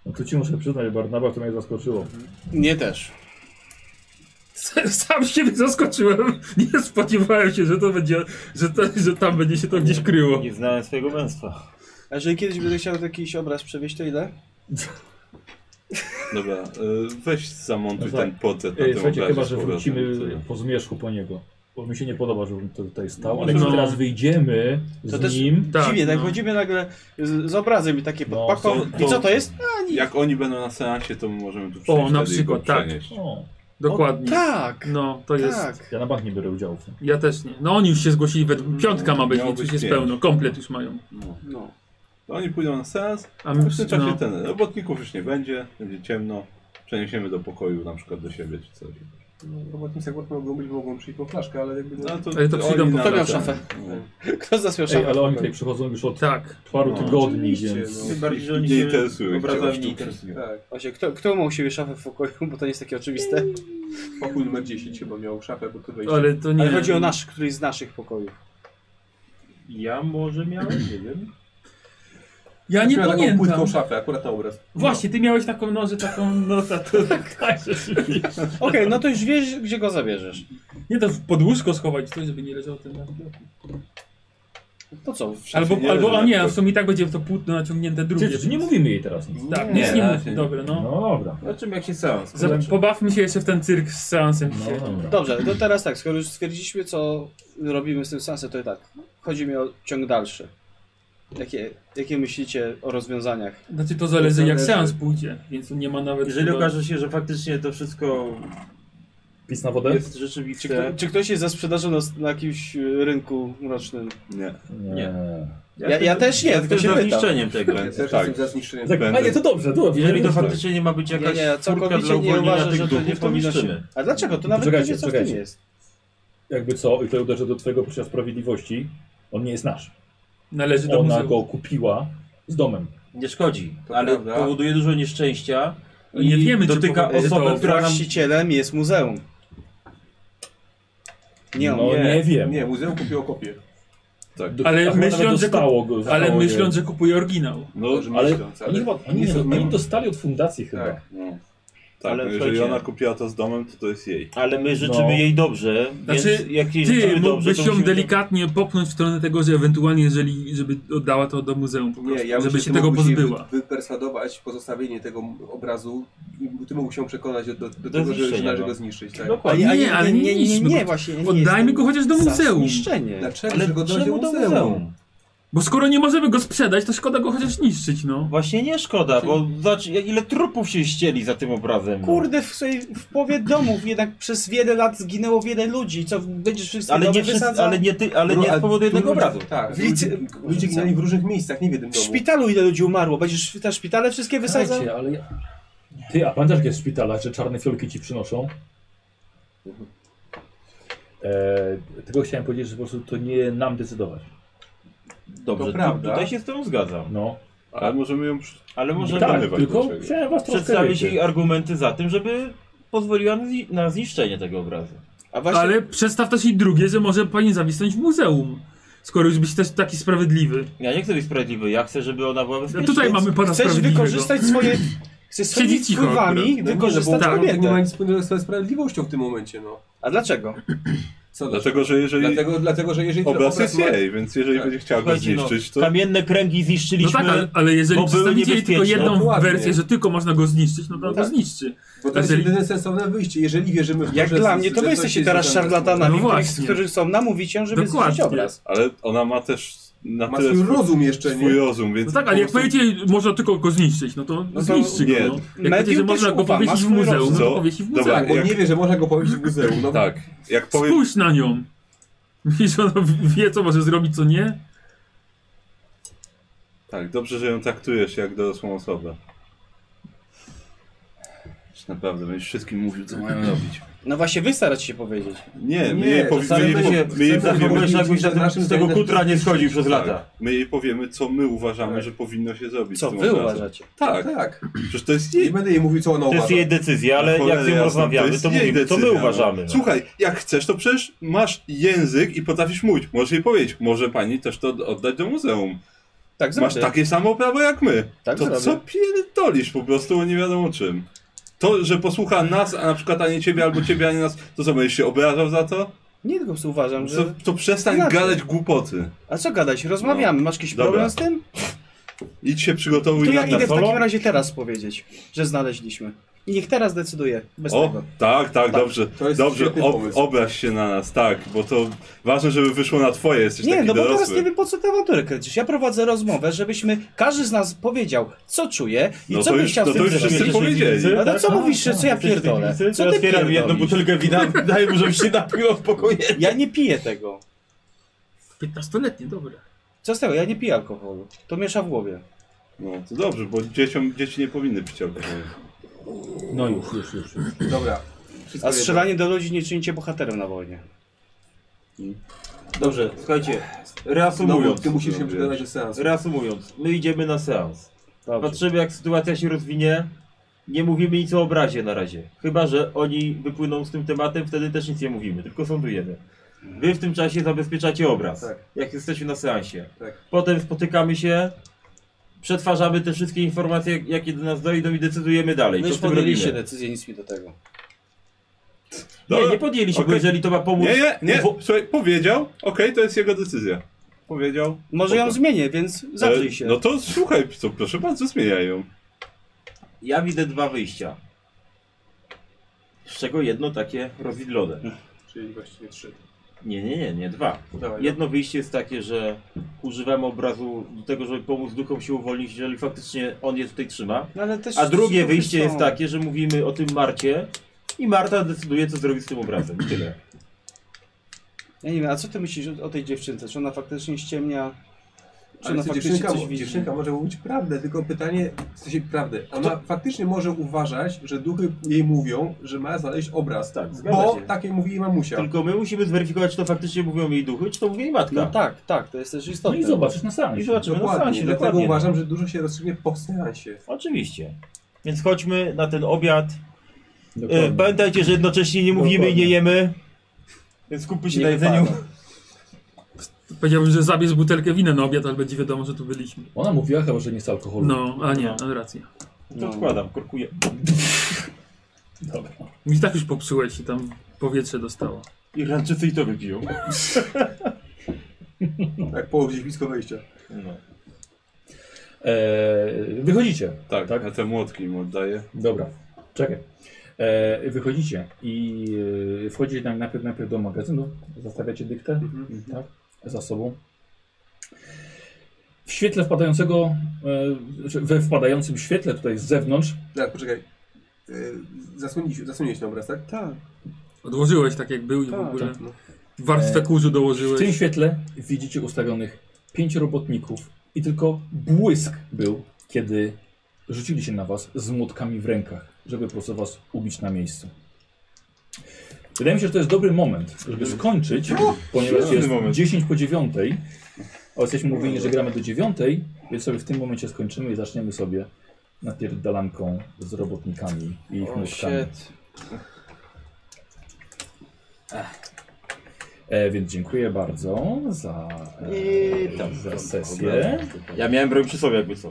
[SPEAKER 11] No to ci muszę przyznać, Barnaba, to mnie zaskoczyło.
[SPEAKER 4] nie też.
[SPEAKER 6] Sam siebie zaskoczyłem. Nie spodziewałem się, że to będzie, że, to, że tam będzie się to gdzieś kryło.
[SPEAKER 8] Nie znałem swojego męstwa.
[SPEAKER 4] A jeżeli kiedyś będę chciał jakiś obraz przewieźć, to ile?
[SPEAKER 5] Dobra, y, weź zamontuj
[SPEAKER 11] No tak.
[SPEAKER 5] ten
[SPEAKER 6] E,
[SPEAKER 5] portret na
[SPEAKER 11] Ej,
[SPEAKER 5] tym
[SPEAKER 11] słuchajcie,
[SPEAKER 5] obrazie
[SPEAKER 11] chyba,
[SPEAKER 5] z
[SPEAKER 11] że
[SPEAKER 5] powrotem.
[SPEAKER 11] wrócimy
[SPEAKER 5] Tyle.
[SPEAKER 11] po zmierzchu po niego. Bo mi się nie podoba, że on to tutaj stał, ale
[SPEAKER 6] No.
[SPEAKER 11] jak teraz wyjdziemy
[SPEAKER 4] To
[SPEAKER 11] z
[SPEAKER 4] też-
[SPEAKER 11] nim...
[SPEAKER 6] Tak,
[SPEAKER 4] Dziwnie, tak
[SPEAKER 6] no.
[SPEAKER 4] chodzimy nagle z, z obrazem i takie
[SPEAKER 11] No,
[SPEAKER 4] podpaką.
[SPEAKER 5] to-
[SPEAKER 4] I co to jest?
[SPEAKER 5] Jak oni będą na seansie, to możemy tu przyjść wtedy i
[SPEAKER 6] na
[SPEAKER 5] go
[SPEAKER 6] przykład, tak.
[SPEAKER 5] przenieść.
[SPEAKER 11] O,
[SPEAKER 6] Dokładnie.
[SPEAKER 4] O, tak!
[SPEAKER 6] No, to jest.
[SPEAKER 4] Tak.
[SPEAKER 11] ja na bank nie biorę udziału w tym.
[SPEAKER 6] Ja też nie. No oni już się zgłosili, we... piątka ma być,
[SPEAKER 5] Miało
[SPEAKER 6] więc
[SPEAKER 5] być
[SPEAKER 6] już jest
[SPEAKER 5] pięć.
[SPEAKER 6] pełno. Komplet już mają.
[SPEAKER 5] No.
[SPEAKER 4] No.
[SPEAKER 5] To Oni pójdą na seans,
[SPEAKER 6] A
[SPEAKER 5] a
[SPEAKER 6] my no.
[SPEAKER 5] w tym czasie ten robotników już nie będzie, będzie ciemno. przeniesiemy do pokoju, na przykład do siebie czy coś.
[SPEAKER 2] No, robotnicy akurat mogą być, mogą przyjść po flaszkę, ale jakby... No,
[SPEAKER 6] Ale to przyjdą
[SPEAKER 5] oni
[SPEAKER 6] po-
[SPEAKER 5] na-
[SPEAKER 6] Kto
[SPEAKER 4] miał
[SPEAKER 5] ten-
[SPEAKER 4] szafę?
[SPEAKER 5] no.
[SPEAKER 4] Kto zasmiał
[SPEAKER 1] Ej,
[SPEAKER 4] szafę?
[SPEAKER 1] ale oni tutaj przychodzą już od
[SPEAKER 6] Tak.
[SPEAKER 1] paru
[SPEAKER 5] No,
[SPEAKER 1] tygodni,
[SPEAKER 2] oczywiście,
[SPEAKER 1] więc...
[SPEAKER 2] no.
[SPEAKER 8] Tym bardziej, że oni
[SPEAKER 5] Nie
[SPEAKER 8] się
[SPEAKER 5] interesują
[SPEAKER 8] obrazami
[SPEAKER 5] się
[SPEAKER 8] nie
[SPEAKER 5] sztuki.
[SPEAKER 8] interesują.
[SPEAKER 2] Tak,
[SPEAKER 4] Właśnie, kto, kto ma u siebie szafę w pokoju, bo to nie jest takie oczywiste.
[SPEAKER 2] pokój numer 10 chyba miał szafę, bo to wejście.
[SPEAKER 6] Ale to nie.
[SPEAKER 4] Ale chodzi o nasz, któryś z naszych pokojów.
[SPEAKER 8] Ja może miałem, nie wiem.
[SPEAKER 6] Ja nie
[SPEAKER 2] Miał taką płytką
[SPEAKER 6] pamiętam.
[SPEAKER 2] szafę, akurat na obraz.
[SPEAKER 6] Właśnie, ty miałeś taką nożę, taką nota, to tak, rzeczywiście.
[SPEAKER 4] Okej, no to już wiesz, gdzie go zabierzesz.
[SPEAKER 6] Nie to pod łóżko schować coś, żeby nie leżało ten na
[SPEAKER 4] To co? w szafie?
[SPEAKER 6] Albo,
[SPEAKER 5] Znaczy, nie
[SPEAKER 6] albo
[SPEAKER 5] leży
[SPEAKER 6] a
[SPEAKER 5] na
[SPEAKER 6] nie, a w
[SPEAKER 5] przykład.
[SPEAKER 6] sumie i tak będzie to płótno naciągnięte drugie.
[SPEAKER 1] Czy, czy nie mówimy jej teraz nic?
[SPEAKER 6] Tak,
[SPEAKER 5] Nie,
[SPEAKER 6] nic nie
[SPEAKER 5] raczej
[SPEAKER 6] mówmy,
[SPEAKER 5] nie.
[SPEAKER 6] dobra, no.
[SPEAKER 1] No dobra.
[SPEAKER 5] O czym jakiś seans?
[SPEAKER 6] Za-
[SPEAKER 2] Znaczy-
[SPEAKER 6] Pobawmy się jeszcze w ten cyrk z seansem
[SPEAKER 1] No
[SPEAKER 6] dzisiaj.
[SPEAKER 1] dobra.
[SPEAKER 4] Dobrze, to teraz tak, skoro już stwierdziliśmy, co robimy z tym sensem, to i tak. Chodzi mi o ciąg dalszy. Jakie, jakie myślicie o rozwiązaniach?
[SPEAKER 6] Znaczy to zależy jak
[SPEAKER 8] Zależy.
[SPEAKER 6] seans pójdzie, więc tu nie ma nawet...
[SPEAKER 8] Jeżeli
[SPEAKER 6] chyba-
[SPEAKER 8] okaże się, że faktycznie to wszystko
[SPEAKER 1] Pis na wodę?
[SPEAKER 8] jest
[SPEAKER 4] Czy,
[SPEAKER 8] rzeczywiste,
[SPEAKER 4] kto, czy ktoś jest za sprzedażą na, na jakimś y, rynku mrocznym?
[SPEAKER 5] Nie.
[SPEAKER 1] Nie.
[SPEAKER 4] Ja- ja też nie, tylko
[SPEAKER 8] jestem
[SPEAKER 4] się
[SPEAKER 8] za
[SPEAKER 4] pytam.
[SPEAKER 8] zniszczeniem tego.
[SPEAKER 2] Ja też
[SPEAKER 5] Tak.
[SPEAKER 2] jestem za zniszczeniem.
[SPEAKER 1] Tak, a nie, to dobrze, to dobrze.
[SPEAKER 8] Jeżeli to faktycznie nie ma być
[SPEAKER 4] Ja
[SPEAKER 8] jakaś
[SPEAKER 4] nie, ja
[SPEAKER 8] furtka dla
[SPEAKER 4] całkowicie nie
[SPEAKER 8] uwolnienia
[SPEAKER 4] uważam,
[SPEAKER 8] tych
[SPEAKER 4] że to nie
[SPEAKER 8] duchów, to
[SPEAKER 4] powinno
[SPEAKER 8] niszczymy.
[SPEAKER 4] się. A dlaczego? To nawet
[SPEAKER 1] Czekajcie,
[SPEAKER 4] nie wie, co w
[SPEAKER 1] czekajcie.
[SPEAKER 4] tym jest.
[SPEAKER 1] Jakby co, i to uderzę do twojego poczucia sprawiedliwości, on nie jest nasz.
[SPEAKER 6] Należy do
[SPEAKER 1] Ona
[SPEAKER 6] muzeum.
[SPEAKER 1] go kupiła z domem.
[SPEAKER 8] Nie szkodzi,
[SPEAKER 2] To
[SPEAKER 8] ale
[SPEAKER 2] prawda.
[SPEAKER 8] powoduje dużo nieszczęścia
[SPEAKER 6] No
[SPEAKER 8] i
[SPEAKER 6] nie wiemy, czy
[SPEAKER 8] dotyka
[SPEAKER 6] powoduje
[SPEAKER 8] osobę,
[SPEAKER 6] to-
[SPEAKER 8] która nam...
[SPEAKER 4] Właścicielem jest muzeum. Nie on.
[SPEAKER 1] no nie, wiem.
[SPEAKER 2] Nie, muzeum kupiło kopię.
[SPEAKER 1] Do-
[SPEAKER 6] Ale
[SPEAKER 1] chyba
[SPEAKER 6] myśląc,
[SPEAKER 1] nawet
[SPEAKER 6] że ku-
[SPEAKER 1] dostało go,
[SPEAKER 6] Ale
[SPEAKER 1] zostało
[SPEAKER 6] myśląc,
[SPEAKER 1] je.
[SPEAKER 6] że kupuje oryginał.
[SPEAKER 5] No,
[SPEAKER 2] Może
[SPEAKER 1] ale-
[SPEAKER 2] myśląc, ale...
[SPEAKER 1] Oni, chyba, oni,
[SPEAKER 2] nie
[SPEAKER 1] nie, no,
[SPEAKER 2] są-
[SPEAKER 1] oni dostali od fundacji chyba.
[SPEAKER 2] Tak.
[SPEAKER 5] no. Tak,
[SPEAKER 8] Ale
[SPEAKER 5] no jeżeli
[SPEAKER 8] słuchajcie-
[SPEAKER 5] ona kupiła to z domem, to to jest jej.
[SPEAKER 8] Ale my życzymy
[SPEAKER 1] No.
[SPEAKER 8] jej dobrze,
[SPEAKER 6] Znaczy,
[SPEAKER 8] więc jak jej
[SPEAKER 6] Ty
[SPEAKER 8] życzymy dobrze,
[SPEAKER 6] mógłbyś
[SPEAKER 8] to
[SPEAKER 6] ją
[SPEAKER 8] musimy...
[SPEAKER 6] delikatnie popchnąć w stronę tego, że ewentualnie, jeżeli, żeby oddała to do muzeum po prostu,
[SPEAKER 2] Nie, ja
[SPEAKER 6] żeby
[SPEAKER 2] myślę,
[SPEAKER 6] się
[SPEAKER 2] ty
[SPEAKER 6] tego
[SPEAKER 2] mógłbyś jej
[SPEAKER 6] pozbyła.
[SPEAKER 2] Wy, wypersuadować pozostawienie tego obrazu i ty mógł się przekonać do, do, do
[SPEAKER 8] Do
[SPEAKER 2] tego, że, że
[SPEAKER 8] zniszczenia
[SPEAKER 2] należy
[SPEAKER 8] go.
[SPEAKER 2] go zniszczyć. Tak?
[SPEAKER 4] A
[SPEAKER 6] Nie, ale nie
[SPEAKER 4] nie,
[SPEAKER 6] niszczmy
[SPEAKER 4] nie,
[SPEAKER 6] go.
[SPEAKER 4] właśnie. ja nie
[SPEAKER 6] Oddajmy
[SPEAKER 4] jestem
[SPEAKER 6] go chociaż do
[SPEAKER 4] za
[SPEAKER 6] muzeum.
[SPEAKER 4] Zniszczenie.
[SPEAKER 2] Dlaczego?
[SPEAKER 8] Ale
[SPEAKER 2] Że go dojdzie
[SPEAKER 8] czemu do muzeum?
[SPEAKER 6] Bo skoro nie możemy go sprzedać, to szkoda go chociaż niszczyć, no.
[SPEAKER 8] Właśnie nie szkoda, bo zobacz, ile trupów się ścieli za tym obrazem. no.
[SPEAKER 4] Kurde, w, sobie, w połowie domów jednak przez wiele lat zginęło wiele ludzi. Co, będziesz wszystko
[SPEAKER 8] Ale nie, wszyscy,
[SPEAKER 4] wysadzał?
[SPEAKER 8] ale nie, ty, ale nie z powodu jednego obrazu.
[SPEAKER 2] No, Tak.
[SPEAKER 4] W licy-
[SPEAKER 2] ludzie-
[SPEAKER 4] Ludzie
[SPEAKER 2] Ludzie
[SPEAKER 4] ginęli
[SPEAKER 2] ginęli w różnych miejscach, nie w jednym
[SPEAKER 4] W
[SPEAKER 2] domu.
[SPEAKER 4] szpitalu ile ludzi umarło? Będziesz w te szpitale wszystkie wysadzał?
[SPEAKER 1] Słuchajcie, ale ja... Ty, a pamiętasz jak jest w szpitalach, że czarne fiolki ci przynoszą? E, tego chciałem powiedzieć, że po prostu to nie nam decydować.
[SPEAKER 8] Dobrze,
[SPEAKER 2] To
[SPEAKER 8] tu-
[SPEAKER 2] prawda.
[SPEAKER 8] tutaj się z tym zgadzam.
[SPEAKER 1] No.
[SPEAKER 5] Ale możemy ją przy...
[SPEAKER 8] Ale może
[SPEAKER 1] tak,
[SPEAKER 5] dodać
[SPEAKER 1] tylko
[SPEAKER 5] do czegoś.
[SPEAKER 1] chciałem was troszkę
[SPEAKER 8] przedstawić
[SPEAKER 1] wiecie,
[SPEAKER 8] jej argumenty za tym, żeby pozwoliła na zni- na zniszczenie tego obrazu.
[SPEAKER 4] A właśnie,
[SPEAKER 6] Ale przedstaw też i drugie, że może pani zawisnąć w muzeum. Skoro już byś też taki sprawiedliwy.
[SPEAKER 8] Ja nie chcę być sprawiedliwy, ja chcę, żeby ona była
[SPEAKER 6] No
[SPEAKER 8] bezpieczna.
[SPEAKER 6] tutaj mamy pana
[SPEAKER 4] chcesz
[SPEAKER 6] sprawiedliwego.
[SPEAKER 4] wykorzystać swoje... Chcesz swoimi
[SPEAKER 6] Siedzi cicho
[SPEAKER 4] wpływami
[SPEAKER 2] No
[SPEAKER 6] akurat.
[SPEAKER 4] wykorzystać
[SPEAKER 6] Tak.
[SPEAKER 2] To nie ma
[SPEAKER 4] kobietę.
[SPEAKER 2] nic wspólnego ze sprawiedliwością w tym momencie, no.
[SPEAKER 4] A dlaczego?
[SPEAKER 2] Co
[SPEAKER 5] Dlatego, że jeżeli
[SPEAKER 2] Dlatego, dlatego, że jeżeli ten
[SPEAKER 5] obraz jest
[SPEAKER 2] ma-
[SPEAKER 5] jej, więc jeżeli
[SPEAKER 2] Tak.
[SPEAKER 5] będzie chciała go
[SPEAKER 8] Słuchajcie, no,
[SPEAKER 5] zniszczyć, to...
[SPEAKER 8] Kamienne kręgi
[SPEAKER 6] No
[SPEAKER 8] zniszczyliśmy.
[SPEAKER 6] tak, ale, ale
[SPEAKER 8] bo
[SPEAKER 6] jeżeli
[SPEAKER 8] były
[SPEAKER 6] przedstawicie jej tylko
[SPEAKER 8] niebezpieczne.
[SPEAKER 6] jedną
[SPEAKER 2] Dokładnie.
[SPEAKER 6] wersję, że tylko można go zniszczyć, no to on
[SPEAKER 4] tak.
[SPEAKER 6] go zniszczy.
[SPEAKER 2] Bo to jest
[SPEAKER 6] Jeżeli-
[SPEAKER 2] jedyne sensowne wyjście, jeżeli wierzymy w to,
[SPEAKER 4] Jak
[SPEAKER 2] że-
[SPEAKER 4] dla mnie,
[SPEAKER 2] że
[SPEAKER 4] to wy
[SPEAKER 2] coś
[SPEAKER 4] jesteście
[SPEAKER 2] jest tak.
[SPEAKER 4] teraz
[SPEAKER 2] związane z
[SPEAKER 6] No
[SPEAKER 4] szarlatanami, których-
[SPEAKER 6] właśnie.
[SPEAKER 4] którzy chcą namówić ją, żeby
[SPEAKER 6] Dokładnie.
[SPEAKER 4] zniszczyć obraz.
[SPEAKER 5] Ale ona ma też na
[SPEAKER 2] Ma
[SPEAKER 5] tyle
[SPEAKER 2] swój
[SPEAKER 5] swój,
[SPEAKER 2] rozum jeszcze,
[SPEAKER 5] swój
[SPEAKER 2] nie?
[SPEAKER 5] rozum, więc...
[SPEAKER 6] No tak, ale jak
[SPEAKER 5] po prostu-
[SPEAKER 6] powiecie, można tylko go zniszczyć, no to,
[SPEAKER 4] to
[SPEAKER 6] zniszczy go.
[SPEAKER 5] nie.
[SPEAKER 6] No. Jak powiecie, że
[SPEAKER 4] Medium
[SPEAKER 6] można
[SPEAKER 4] też
[SPEAKER 6] go
[SPEAKER 4] ufa, ma
[SPEAKER 6] powiesić w
[SPEAKER 4] swój
[SPEAKER 6] muzeum, no
[SPEAKER 5] rozum.
[SPEAKER 6] to powiesi w
[SPEAKER 5] Dobra,
[SPEAKER 6] muzeum.
[SPEAKER 2] Tak, bo
[SPEAKER 5] Jak-
[SPEAKER 2] nie wie, że można go powiedzieć w muzeum. No,
[SPEAKER 5] Tak, jak powiem...
[SPEAKER 6] Spójrz na nią. Wiesz, ona wie, co może zrobić, co nie.
[SPEAKER 5] Tak, dobrze, że ją traktujesz jak dorosłą osobę. Czy naprawdę będziesz wszystkim mówił, co mają robić?
[SPEAKER 4] No właśnie, wy staracie się powiedzieć.
[SPEAKER 5] Nie, my
[SPEAKER 2] No Nie,
[SPEAKER 5] jej, powi- my
[SPEAKER 2] zastanawiam
[SPEAKER 5] jej, po-
[SPEAKER 2] się,
[SPEAKER 5] my jej
[SPEAKER 2] zastanawiam się,
[SPEAKER 5] powiemy...
[SPEAKER 2] bo-
[SPEAKER 8] Mówisz, jakbyś
[SPEAKER 2] Naszym
[SPEAKER 8] na- z tego
[SPEAKER 2] zdaniem-
[SPEAKER 8] kutra nie schodził przez lata.
[SPEAKER 5] Tak, my jej powiemy, co my uważamy, że powinno się zrobić
[SPEAKER 4] Co
[SPEAKER 5] z tym
[SPEAKER 4] wy
[SPEAKER 5] obrazem.
[SPEAKER 4] uważacie?
[SPEAKER 5] Tak,
[SPEAKER 2] tak.
[SPEAKER 5] przecież to jest
[SPEAKER 2] Nie
[SPEAKER 5] jej...
[SPEAKER 2] będę jej mówił, co ona
[SPEAKER 8] To jest
[SPEAKER 2] uważa.
[SPEAKER 8] jej decyzja, ale
[SPEAKER 5] Cholera
[SPEAKER 8] jak z nią
[SPEAKER 5] jasna,
[SPEAKER 8] rozmawiamy,
[SPEAKER 5] jest
[SPEAKER 8] to
[SPEAKER 5] jej
[SPEAKER 8] mówimy, to my
[SPEAKER 5] decyzja, no.
[SPEAKER 8] uważamy. no.
[SPEAKER 5] Słuchaj, jak chcesz, to przecież masz język i potrafisz mówić. Możesz jej powiedzieć, może pani też to oddać do muzeum.
[SPEAKER 4] Tak
[SPEAKER 5] Masz
[SPEAKER 4] zrobię.
[SPEAKER 5] takie samo prawo jak my.
[SPEAKER 4] Tak
[SPEAKER 5] to
[SPEAKER 4] zrobię.
[SPEAKER 5] co pierdolisz po prostu o nie wiadomo czym. To, że posłucha nas, a na przykład ani ciebie, albo ciebie, ani nas, to co, będziesz się obrażał za to?
[SPEAKER 4] Nie tylko po prostu uważam,
[SPEAKER 5] To,
[SPEAKER 4] że...
[SPEAKER 5] to przestań
[SPEAKER 4] Inaczej.
[SPEAKER 5] gadać głupoty.
[SPEAKER 4] A co gadać, rozmawiamy, masz jakiś
[SPEAKER 5] No. Dobra.
[SPEAKER 4] problem z tym?
[SPEAKER 5] Idź się przygotowuj
[SPEAKER 4] To
[SPEAKER 5] na
[SPEAKER 4] ja idę w
[SPEAKER 5] to.
[SPEAKER 4] takim razie teraz powiedzieć, że znaleźliśmy. I niech teraz decyduje, bez
[SPEAKER 5] O,
[SPEAKER 4] tego.
[SPEAKER 5] tak, tak, dobrze.
[SPEAKER 2] To jest
[SPEAKER 5] Dobrze,
[SPEAKER 2] świetny
[SPEAKER 5] ob,
[SPEAKER 2] pomysł.
[SPEAKER 5] obraź się na nas, tak, bo to ważne, żeby wyszło na twoje, jesteś
[SPEAKER 4] Nie,
[SPEAKER 5] taki
[SPEAKER 4] no bo
[SPEAKER 5] dorosły.
[SPEAKER 4] teraz nie wiem po co tę awanturę kręcisz. Ja prowadzę rozmowę, żebyśmy każdy z nas powiedział, co czuje i
[SPEAKER 5] no
[SPEAKER 4] co
[SPEAKER 5] to
[SPEAKER 4] by
[SPEAKER 5] już,
[SPEAKER 4] chciał
[SPEAKER 5] to,
[SPEAKER 4] z
[SPEAKER 5] to
[SPEAKER 4] tym
[SPEAKER 5] już
[SPEAKER 4] zrobić.
[SPEAKER 5] wszyscy
[SPEAKER 8] Jesteś
[SPEAKER 5] powiedzieli. tak?
[SPEAKER 8] niewinny?
[SPEAKER 4] No to co mówisz, że co ja pierdolę? Co ty
[SPEAKER 8] Otwieram jedną
[SPEAKER 4] pierdolisz?
[SPEAKER 8] butelkę wina, daję mu, żebyś się napił w pokoju.
[SPEAKER 4] Ja nie piję tego.
[SPEAKER 6] 15-letnie, dobra.
[SPEAKER 4] Co z tego, ja nie piję alkoholu. To miesza w głowie.
[SPEAKER 5] No to dobrze, bo dzieciom, dzieci nie powinny pić alkoholu.
[SPEAKER 6] No już, już, już. już.
[SPEAKER 10] Dobra. Wszystko
[SPEAKER 4] A
[SPEAKER 10] jedno.
[SPEAKER 4] strzelanie do ludzi nie czynicie bohaterem na wojnie.
[SPEAKER 10] Dobrze, słuchajcie.
[SPEAKER 2] No,
[SPEAKER 10] Znowu,
[SPEAKER 8] Reasumując,
[SPEAKER 10] ty musisz się przygotować do seansu.
[SPEAKER 8] reasumując, my idziemy na seans.
[SPEAKER 5] No
[SPEAKER 4] Dobrze.
[SPEAKER 8] Patrzymy jak sytuacja się rozwinie. Nie mówimy nic o obrazie na razie. Chyba, że oni wypłyną z tym tematem, wtedy też nic nie mówimy, tylko sądujemy. Wy w tym czasie zabezpieczacie obraz,
[SPEAKER 10] Tak.
[SPEAKER 8] jak jesteśmy na seansie.
[SPEAKER 10] Tak.
[SPEAKER 8] Potem spotykamy się, przetwarzamy te wszystkie informacje, jakie do nas dojdą No i decydujemy dalej. co
[SPEAKER 4] My już
[SPEAKER 8] z tym robimy.
[SPEAKER 4] podjęliście decyzję, nic mi do tego.
[SPEAKER 8] Nie,
[SPEAKER 4] No,
[SPEAKER 8] nie podjęliśmy, bo
[SPEAKER 5] Okej.
[SPEAKER 8] jeżeli to ma pomóc...
[SPEAKER 5] Nie, nie, nie.
[SPEAKER 8] Wo-
[SPEAKER 5] Słuchaj, powiedział, okej, to jest jego decyzja. Powiedział.
[SPEAKER 4] Może ją
[SPEAKER 5] Spoko.
[SPEAKER 4] zmienię, więc
[SPEAKER 5] E,
[SPEAKER 4] zaprzyj się.
[SPEAKER 5] No to słuchaj, co, proszę bardzo, zmieniaj ją.
[SPEAKER 8] Ja widzę dwa wyjścia. Z czego jedno takie rozwidlone.
[SPEAKER 2] Czyli właściwie trzy.
[SPEAKER 8] Nie, nie, nie, nie, dwa.
[SPEAKER 2] Dawaj,
[SPEAKER 8] Jedno wyjście jest takie, że używamy obrazu do tego, żeby pomóc duchom się uwolnić, jeżeli faktycznie on je tutaj trzyma.
[SPEAKER 4] No, ale też
[SPEAKER 8] A drugie
[SPEAKER 4] to
[SPEAKER 8] wyjście
[SPEAKER 4] są-
[SPEAKER 8] jest takie, że mówimy o tym Marcie i Marta decyduje, co zrobić z tym obrazem. I Tyle.
[SPEAKER 4] Ja nie wiem, a co ty myślisz o, o tej dziewczynce? Czy ona faktycznie ściemnia? Czy
[SPEAKER 2] Ale
[SPEAKER 4] ona
[SPEAKER 2] co,
[SPEAKER 4] faktycznie
[SPEAKER 2] dziewczynka,
[SPEAKER 4] coś
[SPEAKER 2] mo-
[SPEAKER 4] widzi?
[SPEAKER 2] dziewczynka może mówić prawdę, tylko pytanie, w sensie prawdę. Ona faktycznie może uważać, że duchy jej mówią, że ma znaleźć obraz.
[SPEAKER 8] Tak, zgadza
[SPEAKER 2] bo
[SPEAKER 8] się.
[SPEAKER 2] takie mówi jej mamusia.
[SPEAKER 8] Tylko my musimy zweryfikować, czy to faktycznie mówią jej duchy, czy to mówi jej matka.
[SPEAKER 4] No tak, tak, to jest też
[SPEAKER 1] No
[SPEAKER 4] istotne.
[SPEAKER 1] i zobaczysz na sam.
[SPEAKER 8] I zobaczymy na
[SPEAKER 2] Dokładnie,
[SPEAKER 8] seansie,
[SPEAKER 2] dlatego
[SPEAKER 8] dokładnie.
[SPEAKER 2] uważam, że dużo się rozstrzygnie po seansie.
[SPEAKER 8] Oczywiście. Więc chodźmy na ten obiad. E,
[SPEAKER 11] Dokładnie.
[SPEAKER 8] Pamiętajcie, że jednocześnie nie mówimy i nie jemy. Więc skupmy się
[SPEAKER 4] Nie
[SPEAKER 8] na jedzeniu.
[SPEAKER 4] wypada.
[SPEAKER 6] Powiedziałbym, że zabierz butelkę wina na obiad, ale będzie wiadomo, że tu byliśmy.
[SPEAKER 1] Ona mówiła chyba, że nie z alkoholu.
[SPEAKER 6] No, a nie, no. racja.
[SPEAKER 8] To odkładam, korkuję.
[SPEAKER 1] Dobra.
[SPEAKER 6] I tak już popsułeś i tam powietrze dostało.
[SPEAKER 8] Irlandczycy i to wypiją.
[SPEAKER 2] Tak, połów gdzieś blisko wejścia.
[SPEAKER 8] No.
[SPEAKER 1] Eee, wychodzicie.
[SPEAKER 5] Tak,
[SPEAKER 1] Tak?
[SPEAKER 5] tak. A te młotki im oddaję.
[SPEAKER 1] Dobra, czekaj. E, wychodzicie i e, wchodzicie tam najpierw, najpierw do magazynu, zostawiacie dyktę tak, za sobą. W świetle wpadającego, e, czy we wpadającym świetle tutaj z zewnątrz,
[SPEAKER 2] Tak, poczekaj. Yy, Zasłoniłeś, zasłoniłeś ten obraz, tak?
[SPEAKER 4] Tak.
[SPEAKER 6] Odłożyłeś tak jak był i w
[SPEAKER 4] Tak.
[SPEAKER 6] ogóle
[SPEAKER 2] No.
[SPEAKER 6] warstwę kurzu
[SPEAKER 1] w tym
[SPEAKER 6] dołożyłeś.
[SPEAKER 1] świetle widzicie ustawionych pięć robotników i tylko błysk był, kiedy rzucili się na was z młotkami w rękach, żeby po prostu was ubić na miejscu. Wydaje mi się, że to jest dobry moment, żeby skończyć, ponieważ
[SPEAKER 5] Mhm. świetny
[SPEAKER 1] jest
[SPEAKER 5] moment.
[SPEAKER 1] 10 po 9, a jesteśmy mówieni, że gramy do 9, więc sobie w tym momencie skończymy i zaczniemy sobie napierdalanką z robotnikami i ich
[SPEAKER 4] O,
[SPEAKER 1] młotkami.
[SPEAKER 4] shit.
[SPEAKER 1] E, więc dziękuję bardzo za,
[SPEAKER 8] I
[SPEAKER 1] e,
[SPEAKER 8] tam,
[SPEAKER 1] za
[SPEAKER 8] tam,
[SPEAKER 1] sesję.
[SPEAKER 8] Ja miałem broń przy sobie jakby co.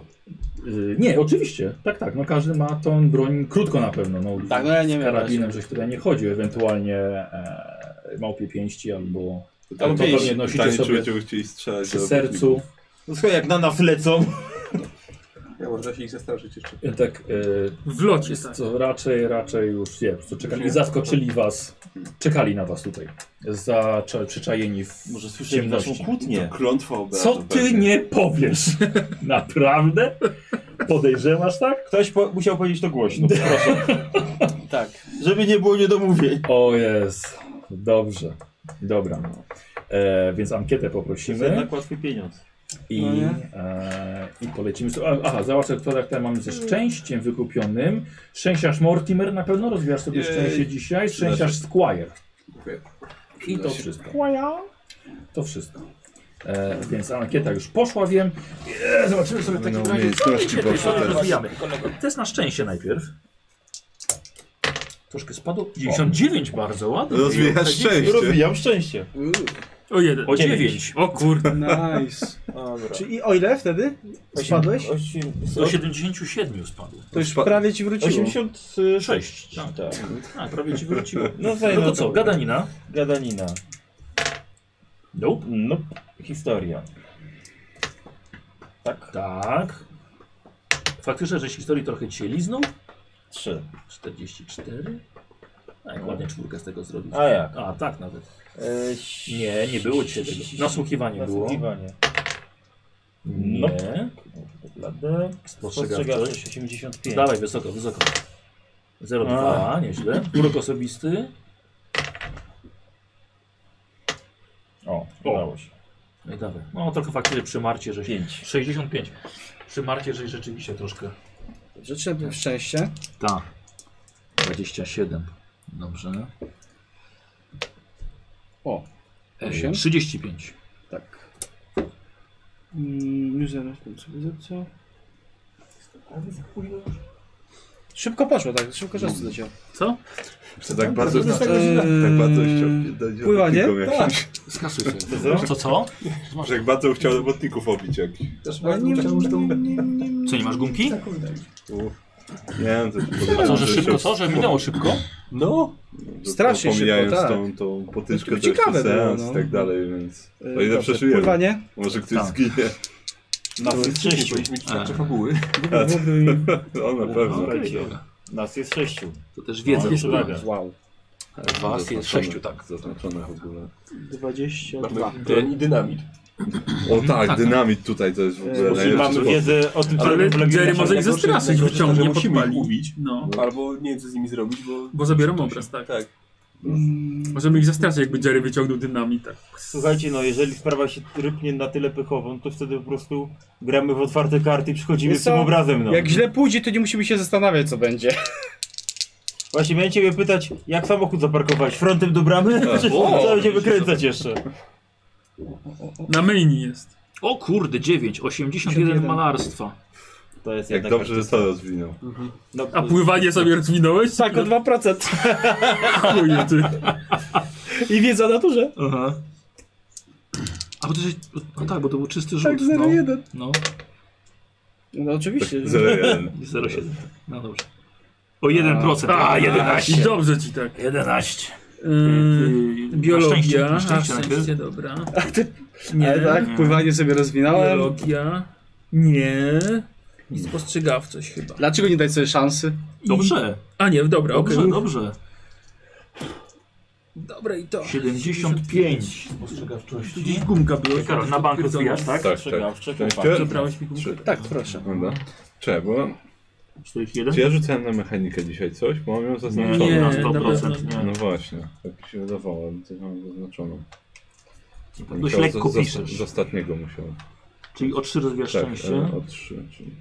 [SPEAKER 1] Y, Nie, oczywiście, tak, tak. No każdy ma tą broń krótko na pewno. No,
[SPEAKER 4] Tak, no ja nie
[SPEAKER 1] z
[SPEAKER 4] wiem.
[SPEAKER 1] karabinem,
[SPEAKER 4] właśnie.
[SPEAKER 1] żeś tutaj nie chodził, ewentualnie e, małpie pięści albo
[SPEAKER 5] Ale
[SPEAKER 1] pewnie
[SPEAKER 5] pięść.
[SPEAKER 1] nosicie
[SPEAKER 5] Pytanie,
[SPEAKER 1] sobie
[SPEAKER 5] czy będziemy chcieli strzelać
[SPEAKER 1] przy
[SPEAKER 5] do
[SPEAKER 1] sercu.
[SPEAKER 8] No słuchaj, jak na nas lecą.
[SPEAKER 2] Ja może da się ich zastraszyć jeszcze.
[SPEAKER 1] E, Tak, e,
[SPEAKER 6] W locie, tak.
[SPEAKER 1] co raczej, raczej już nie, po prostu czekali, zaskoczyli was, czekali na was tutaj, za, cze- przyczajeni w
[SPEAKER 8] Może słyszeli
[SPEAKER 1] ciemności.
[SPEAKER 8] naszą kłótnię.
[SPEAKER 5] Klątwa obrazu.
[SPEAKER 1] Co ty
[SPEAKER 5] pewnie.
[SPEAKER 1] nie powiesz? Naprawdę? Podejrzewasz tak?
[SPEAKER 8] Ktoś po musiał powiedzieć to głośno, proszę.
[SPEAKER 4] Tak.
[SPEAKER 8] Żeby nie było niedomówień.
[SPEAKER 1] O jest, dobrze, dobra. E, więc ankietę
[SPEAKER 8] To jest
[SPEAKER 1] poprosimy.
[SPEAKER 8] jednak łatwy pieniądz.
[SPEAKER 1] I,
[SPEAKER 4] No nie?
[SPEAKER 1] e, i polecimy. sobie- A, Aha, załatwę produkt, które mamy ze szczęściem wykupionym. Szczęściarz Mortimer na pewno rozwijasz sobie
[SPEAKER 2] Jej.
[SPEAKER 1] szczęście dzisiaj. Szczęściarz Squire.
[SPEAKER 2] Dziękuję.
[SPEAKER 1] I to wszystko. To wszystko. E, więc ankieta już poszła, wiem. E, zobaczymy sobie w takim
[SPEAKER 5] No,
[SPEAKER 1] razie.
[SPEAKER 5] umiejętności
[SPEAKER 1] co
[SPEAKER 5] poszły
[SPEAKER 1] dzisiaj
[SPEAKER 5] też.
[SPEAKER 1] rozwijamy. Test na szczęście najpierw. Troszkę spadło. 99 bardzo ładnie.
[SPEAKER 5] Rozwijasz szczęście.
[SPEAKER 8] Rozwijam szczęście.
[SPEAKER 6] O jeden.
[SPEAKER 1] O
[SPEAKER 8] dziewięć.
[SPEAKER 1] 9.
[SPEAKER 6] O kurde.
[SPEAKER 4] Nice.
[SPEAKER 8] Dobra.
[SPEAKER 4] Czy i o ile wtedy spadłeś?
[SPEAKER 8] Osiem,
[SPEAKER 1] Do 77 spadło.
[SPEAKER 4] To już prawie ci wróciło.
[SPEAKER 8] 86.
[SPEAKER 1] 6. Tak.
[SPEAKER 8] Tak.
[SPEAKER 1] A, prawie ci wróciło.
[SPEAKER 8] No,
[SPEAKER 1] No
[SPEAKER 8] zajmę
[SPEAKER 1] to co, gadanina?
[SPEAKER 8] Gadanina.
[SPEAKER 1] Nope.
[SPEAKER 8] No, historia. Tak,
[SPEAKER 1] Tak. Faktycznie, że historii trochę cię liznął.
[SPEAKER 8] trzy.
[SPEAKER 1] 44. A jak ładnie czwórkę z tego zrobić.
[SPEAKER 8] A jak?
[SPEAKER 1] A tak nawet.
[SPEAKER 8] E,
[SPEAKER 1] Nie, nie było cię tego. Nasłuchiwanie było.
[SPEAKER 8] Nasłuchiwanie. No.
[SPEAKER 1] Nie.
[SPEAKER 8] Blade.
[SPEAKER 1] Spostrzegawczość.
[SPEAKER 8] 85.
[SPEAKER 1] Dawaj, wysoko, wysoko. 0,2, nieźle. Urok osobisty.
[SPEAKER 8] O, udało się.
[SPEAKER 1] No i dawaj. No trochę faktycznie przy Marcie, że...
[SPEAKER 8] 5.
[SPEAKER 1] 65. Przy Marcie, że rzeczywiście troszkę...
[SPEAKER 4] Życzę szczęścia.
[SPEAKER 1] Tak. 27. Dobrze.
[SPEAKER 4] O,
[SPEAKER 1] Ej,
[SPEAKER 4] Osiem?
[SPEAKER 1] 35.
[SPEAKER 4] tak. Mm, już zaraz tam sobie zepsuł. Szybko poszło, tak, szybko czas leciał.
[SPEAKER 6] Co?
[SPEAKER 5] Że tak bardzo
[SPEAKER 16] to jest
[SPEAKER 5] tak,
[SPEAKER 16] tak źle.
[SPEAKER 5] tak bardzo chciał dać
[SPEAKER 4] Pływanie?
[SPEAKER 5] robotnikom jakimś.
[SPEAKER 4] Tak.
[SPEAKER 2] Skasuj się.
[SPEAKER 6] Co, co?
[SPEAKER 5] Że jak bardzo chciał robotników obić jak.
[SPEAKER 2] Też
[SPEAKER 4] No,
[SPEAKER 2] bardzo chciał, że to...
[SPEAKER 1] Co, nie masz gumki?
[SPEAKER 2] Tak,
[SPEAKER 5] Nie wiem, coś
[SPEAKER 6] A
[SPEAKER 5] podobnego,
[SPEAKER 6] co, że szybko, co? Że minęło szybko?
[SPEAKER 2] No,
[SPEAKER 5] że
[SPEAKER 4] Strasznie szybko,
[SPEAKER 5] pomijając
[SPEAKER 4] tak.
[SPEAKER 5] tą, tą potyczkę,
[SPEAKER 4] No,
[SPEAKER 5] to jeszcze
[SPEAKER 4] ciekawe było,
[SPEAKER 5] seans
[SPEAKER 4] no.
[SPEAKER 5] i tak dalej, więc
[SPEAKER 4] Yy,
[SPEAKER 5] o ile
[SPEAKER 4] dobrze,
[SPEAKER 5] przeżyjemy,
[SPEAKER 4] Pływanie?
[SPEAKER 5] może ktoś
[SPEAKER 1] Tak.
[SPEAKER 5] zginie.
[SPEAKER 8] Nas jest sześciu.
[SPEAKER 2] powinniśmy mieć tarczę fabuły.
[SPEAKER 5] No na pewno.
[SPEAKER 8] Nas jest sześciu.
[SPEAKER 1] To też wiedza.
[SPEAKER 8] No, jest uwaga.
[SPEAKER 4] Wow.
[SPEAKER 2] Was jest
[SPEAKER 5] Zaznaczone-
[SPEAKER 2] sześciu, tak.
[SPEAKER 5] Zaznaczone w ogóle.
[SPEAKER 4] 22.
[SPEAKER 2] Ten i dynamit.
[SPEAKER 5] O tak, E, dynamit tutaj to jest w ogóle
[SPEAKER 8] Czyli mamy
[SPEAKER 5] najlepszy sposób.
[SPEAKER 8] wiedzę o tym, co
[SPEAKER 6] Ale
[SPEAKER 8] robią w Legionie
[SPEAKER 2] tak
[SPEAKER 6] Jerry może ich
[SPEAKER 8] Czarnego.
[SPEAKER 6] ze strasy ich
[SPEAKER 2] najgorsze,
[SPEAKER 6] wyciągnie,
[SPEAKER 2] że musimy
[SPEAKER 6] podpali.
[SPEAKER 2] ich ubić.
[SPEAKER 6] No,
[SPEAKER 2] Albo nie wiem co z nimi zrobić, bo...
[SPEAKER 6] bo zabiorą obraz, tak.
[SPEAKER 2] Tak.
[SPEAKER 6] Możemy ich zastraszyć, jakby Jerry wyciągnął dynamit, tak.
[SPEAKER 8] Słuchajcie, no jeżeli sprawa się rypnie na tyle pechową, to wtedy po prostu gramy w otwarte karty i przychodzimy
[SPEAKER 4] Wiesz
[SPEAKER 8] z tym
[SPEAKER 4] co?
[SPEAKER 8] obrazem, no.
[SPEAKER 4] Jak źle pójdzie, to nie musimy się zastanawiać, co będzie.
[SPEAKER 8] Właśnie miałem ciebie pytać, jak samochód zaparkować? Frontem do bramy? Czy trzeba będzie wykręcać jeszcze?
[SPEAKER 6] Na mainie jest.
[SPEAKER 1] O kurde, 9. 81 malarstwa.
[SPEAKER 8] To jest
[SPEAKER 5] Jak
[SPEAKER 8] jednak
[SPEAKER 5] dobrze, że to rozwinął.
[SPEAKER 8] No,
[SPEAKER 6] A pływanie sobie rozwinąłeś?
[SPEAKER 4] Tak, o 2%.
[SPEAKER 6] Chuje ty.
[SPEAKER 4] I wiedza o naturze.
[SPEAKER 1] Aha. A bo to jest, no tak, bo to był czysty rzut.
[SPEAKER 4] Tak, 0,1.
[SPEAKER 1] No,
[SPEAKER 4] No oczywiście.
[SPEAKER 5] 0-1.
[SPEAKER 1] no 0,7.
[SPEAKER 5] Tak,
[SPEAKER 1] No dobrze. O 1%. A, 11.
[SPEAKER 6] I dobrze ci tak.
[SPEAKER 1] 11.
[SPEAKER 6] Yy, biologia.
[SPEAKER 1] Na szczęście- na szczęście
[SPEAKER 6] a,
[SPEAKER 1] najpierw.
[SPEAKER 6] dobra. E,
[SPEAKER 4] Nie, tak, pływanie sobie rozwinąłem.
[SPEAKER 6] Biologia. Nie. I spostrzegawczość chyba.
[SPEAKER 4] Dlaczego nie dać sobie szansy?
[SPEAKER 6] I...
[SPEAKER 1] Dobrze,
[SPEAKER 6] A nie, dobra, okej.
[SPEAKER 1] dobrze, dobrze.
[SPEAKER 6] Dobra i to.
[SPEAKER 1] 75.
[SPEAKER 6] Tu gdzieś gumka była.
[SPEAKER 1] Karol, na bank
[SPEAKER 6] Potwierdzona.
[SPEAKER 1] rozwijasz, tak?
[SPEAKER 5] Tak, tak.
[SPEAKER 8] Przegawcze, kopa.
[SPEAKER 6] Zabrałeś mi gumkę.
[SPEAKER 5] Trzy.
[SPEAKER 4] Tak, proszę.
[SPEAKER 5] Dobra. Trzeba, bo
[SPEAKER 1] 41?
[SPEAKER 5] czy ja rzucałem na mechanikę dzisiaj coś, bo mam ją zaznaczoną.
[SPEAKER 6] Nie,
[SPEAKER 1] na
[SPEAKER 6] na
[SPEAKER 1] 100%.
[SPEAKER 6] pewno
[SPEAKER 1] Nie.
[SPEAKER 5] No właśnie, tak mi się wydawało, ale to mam zaznaczoną.
[SPEAKER 1] Dość
[SPEAKER 5] To
[SPEAKER 1] lekko
[SPEAKER 5] z, z,
[SPEAKER 1] piszesz.
[SPEAKER 5] z ostatniego musiałem.
[SPEAKER 1] Czyli o 3 rozwijasz
[SPEAKER 5] Tak,
[SPEAKER 1] szczęście.
[SPEAKER 5] e, o 3, czyli...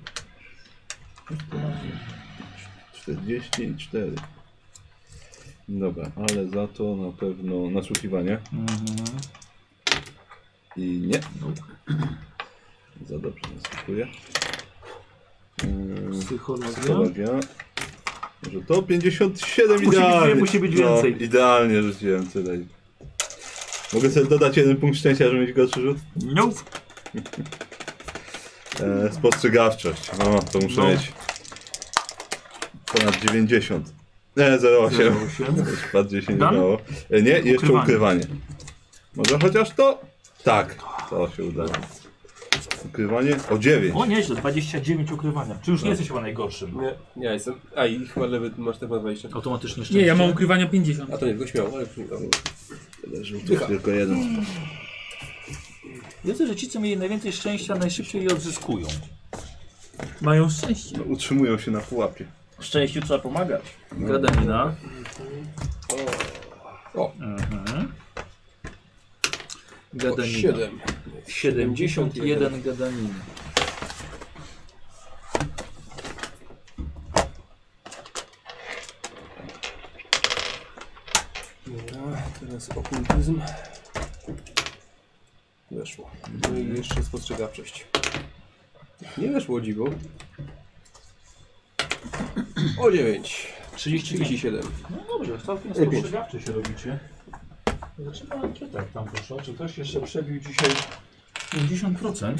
[SPEAKER 5] 44. Dobra, ale za to na pewno nasłuchiwanie
[SPEAKER 1] Mhm.
[SPEAKER 5] i nie. Za dobrze nasłuchuję. Yy,
[SPEAKER 1] Psychologia.
[SPEAKER 5] Psychologia. Że to 57
[SPEAKER 1] Musi być
[SPEAKER 5] idealnie.
[SPEAKER 1] wie- musi być więcej.
[SPEAKER 5] No, idealnie rzuciłem tyle. Mogę sobie dodać jeden punkt szczęścia, żeby mieć gorszy rzut?
[SPEAKER 1] Nope.
[SPEAKER 5] E, spostrzegawczość. O, to muszę
[SPEAKER 1] No.
[SPEAKER 5] mieć ponad E, 90. Nie, 08.
[SPEAKER 1] 08.
[SPEAKER 5] Bardziej się nie
[SPEAKER 1] Dan?
[SPEAKER 5] dało. E, nie, i jeszcze
[SPEAKER 1] No. Ukrywanie.
[SPEAKER 5] ukrywanie. Może chociaż to? Tak, to się udało. Ukrywanie o 9.
[SPEAKER 1] O nieźle, 29 ukrywania. Czy już nie jesteś chyba najgorszym?
[SPEAKER 2] Nie, ja jestem. A i chyba lewy masz też ma 20.
[SPEAKER 1] Automatycznie szczęście.
[SPEAKER 6] Nie, ja mam ukrywania 50.
[SPEAKER 2] A to nie, tylko śmiało, ale już nie
[SPEAKER 5] Rzutów tylko jeden.
[SPEAKER 1] Wiedzę, że ci, co mieli najwięcej szczęścia, najszybciej je odzyskują.
[SPEAKER 6] Mają szczęście.
[SPEAKER 5] No, utrzymują się na pułapie.
[SPEAKER 8] Szczęściu trzeba pomagać.
[SPEAKER 1] Gadanina.
[SPEAKER 2] O.
[SPEAKER 1] Mhm.
[SPEAKER 2] O,
[SPEAKER 1] Gadanina.
[SPEAKER 2] Siedem.
[SPEAKER 1] 71 gadaniny.
[SPEAKER 2] Dobra, teraz okultyzm. Weszło. No i jeszcze spostrzegawczość. Nie weszło dziwo. O 9.
[SPEAKER 1] 35.
[SPEAKER 2] 37.
[SPEAKER 1] No dobrze, całkiem spostrzegawczy się robicie. Zaczyna tak tam proszę. Czy ktoś jeszcze przebił dzisiaj 50%?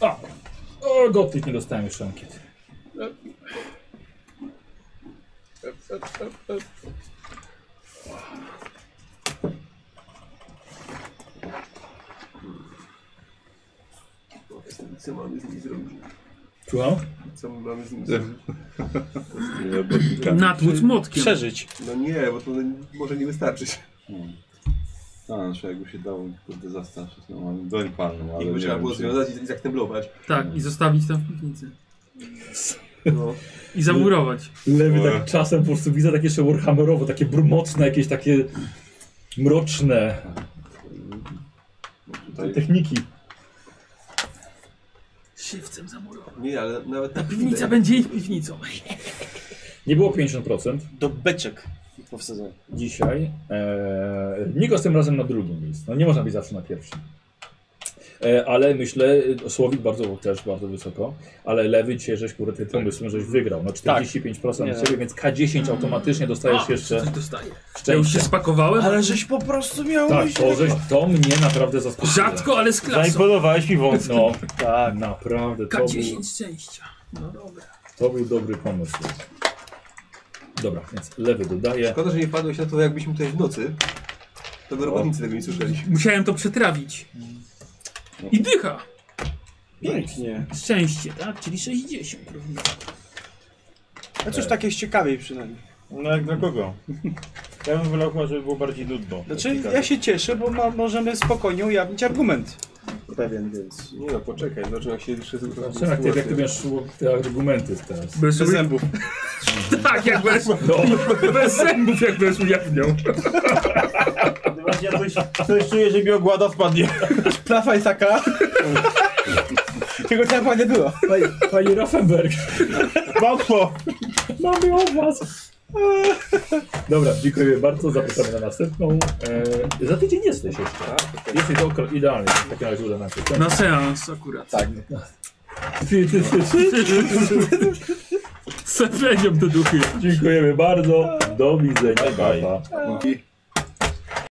[SPEAKER 17] A! O, gotyk nie dostałem jeszcze ankiety.
[SPEAKER 2] Co mamy z nim zrobić?
[SPEAKER 17] Słucham?
[SPEAKER 2] Co my mamy z nim zrobić?
[SPEAKER 6] Natłuc młotkiem.
[SPEAKER 4] Przeżyć.
[SPEAKER 2] No nie, bo to może nie wystarczyć.
[SPEAKER 5] A, znaczy jakby się dało kurde zastraszyć, no mamy broń palną, ale
[SPEAKER 2] Jakby
[SPEAKER 5] nie
[SPEAKER 2] trzeba
[SPEAKER 5] wiem,
[SPEAKER 2] było
[SPEAKER 5] czy-
[SPEAKER 2] związać i, i zaktemblować.
[SPEAKER 6] Tak, i zostawić tam w piwnicy.
[SPEAKER 2] No.
[SPEAKER 6] I zamurować.
[SPEAKER 17] Lewy
[SPEAKER 5] Ue.
[SPEAKER 17] tak czasem po prostu widzę takie jeszcze warhammerowo, takie brumocne, jakieś takie mroczne
[SPEAKER 5] Tutaj
[SPEAKER 17] techniki.
[SPEAKER 6] Szywcem zamurować.
[SPEAKER 2] Nie, ale nawet
[SPEAKER 10] tak,
[SPEAKER 6] Ta piwnica będzie ich piwnicą.
[SPEAKER 1] Nie było 50%
[SPEAKER 4] Do beczek po wsadzeniu.
[SPEAKER 1] dzisiaj. E, Nikos tym razem na drugim miejscu. No nie można być zawsze na pierwszym. E, ale myślę, e, Słowik bardzo, też bardzo wysoko, ale lewy cię żeś kurde tym pomysłem, żeś wygrał.
[SPEAKER 6] Tak.
[SPEAKER 1] No 45%
[SPEAKER 4] Nie.
[SPEAKER 1] tak. ciebie, więc K10 automatycznie dostajesz jeszcze
[SPEAKER 6] Coś dostaję. Ja już
[SPEAKER 1] szczęście.
[SPEAKER 6] się spakowałem.
[SPEAKER 4] Ale żeś po prostu miał
[SPEAKER 1] Tak, to, żeś, to mnie naprawdę zaskoczyło.
[SPEAKER 6] Rzadko, ale z klasą.
[SPEAKER 8] Zaimponowałeś mi wąsko.
[SPEAKER 1] No, tak, naprawdę, to był,
[SPEAKER 6] K10 szczęścia. No dobra.
[SPEAKER 1] to był dobry pomysł. Dobra, więc lewy dodaje.
[SPEAKER 10] Szkoda, że nie padłeś na to, jakbyśmy tutaj w nocy. To by robotnicy tego nie słyszeli.
[SPEAKER 6] Musiałem to przetrawić. I dycha.
[SPEAKER 4] Pięknie.
[SPEAKER 6] Szczęście, tak? Czyli 60. równo.
[SPEAKER 4] A coś takie No tak jest ciekawiej przynajmniej.
[SPEAKER 8] No jak dla kogo? Ja bym wolał chyba, żeby było bardziej nudno.
[SPEAKER 4] Znaczy ja się cieszę, bo ma, możemy spokojnie ujawnić argument. Pewien, więc.
[SPEAKER 2] Nie no, poczekaj, zobaczymy jak się jeszcze zrobi
[SPEAKER 1] Przemek, ty, jak ty
[SPEAKER 2] sytuacja.
[SPEAKER 1] będziesz szło- te argumenty teraz?
[SPEAKER 6] Bez
[SPEAKER 4] Bez
[SPEAKER 6] zębów. No.
[SPEAKER 4] zębów.
[SPEAKER 6] Tak, jak bez, bez zębów, jak bez ujawnią.
[SPEAKER 8] Ja coś, coś czuję, że mi ogłada spadnie.
[SPEAKER 4] Plafa jest taka. Tego tam nie było.
[SPEAKER 1] Pani, pani Raffenberg,
[SPEAKER 8] Małpo!
[SPEAKER 1] mamy od was. Dobra, dziękuję bardzo, zapraszamy na następną. E, za tydzień jesteś jeszcze.
[SPEAKER 8] Tak,
[SPEAKER 1] Jesteś to okro- idealnie, w takim razie uda nam się.
[SPEAKER 8] No.
[SPEAKER 6] Na seans akurat. Tak.
[SPEAKER 1] Ty, ty, ty, ty.
[SPEAKER 6] Seplenią te duchy.
[SPEAKER 1] Dziękujemy bardzo, do widzenia.
[SPEAKER 8] Bye, bye.
[SPEAKER 1] Pa, pa.
[SPEAKER 5] I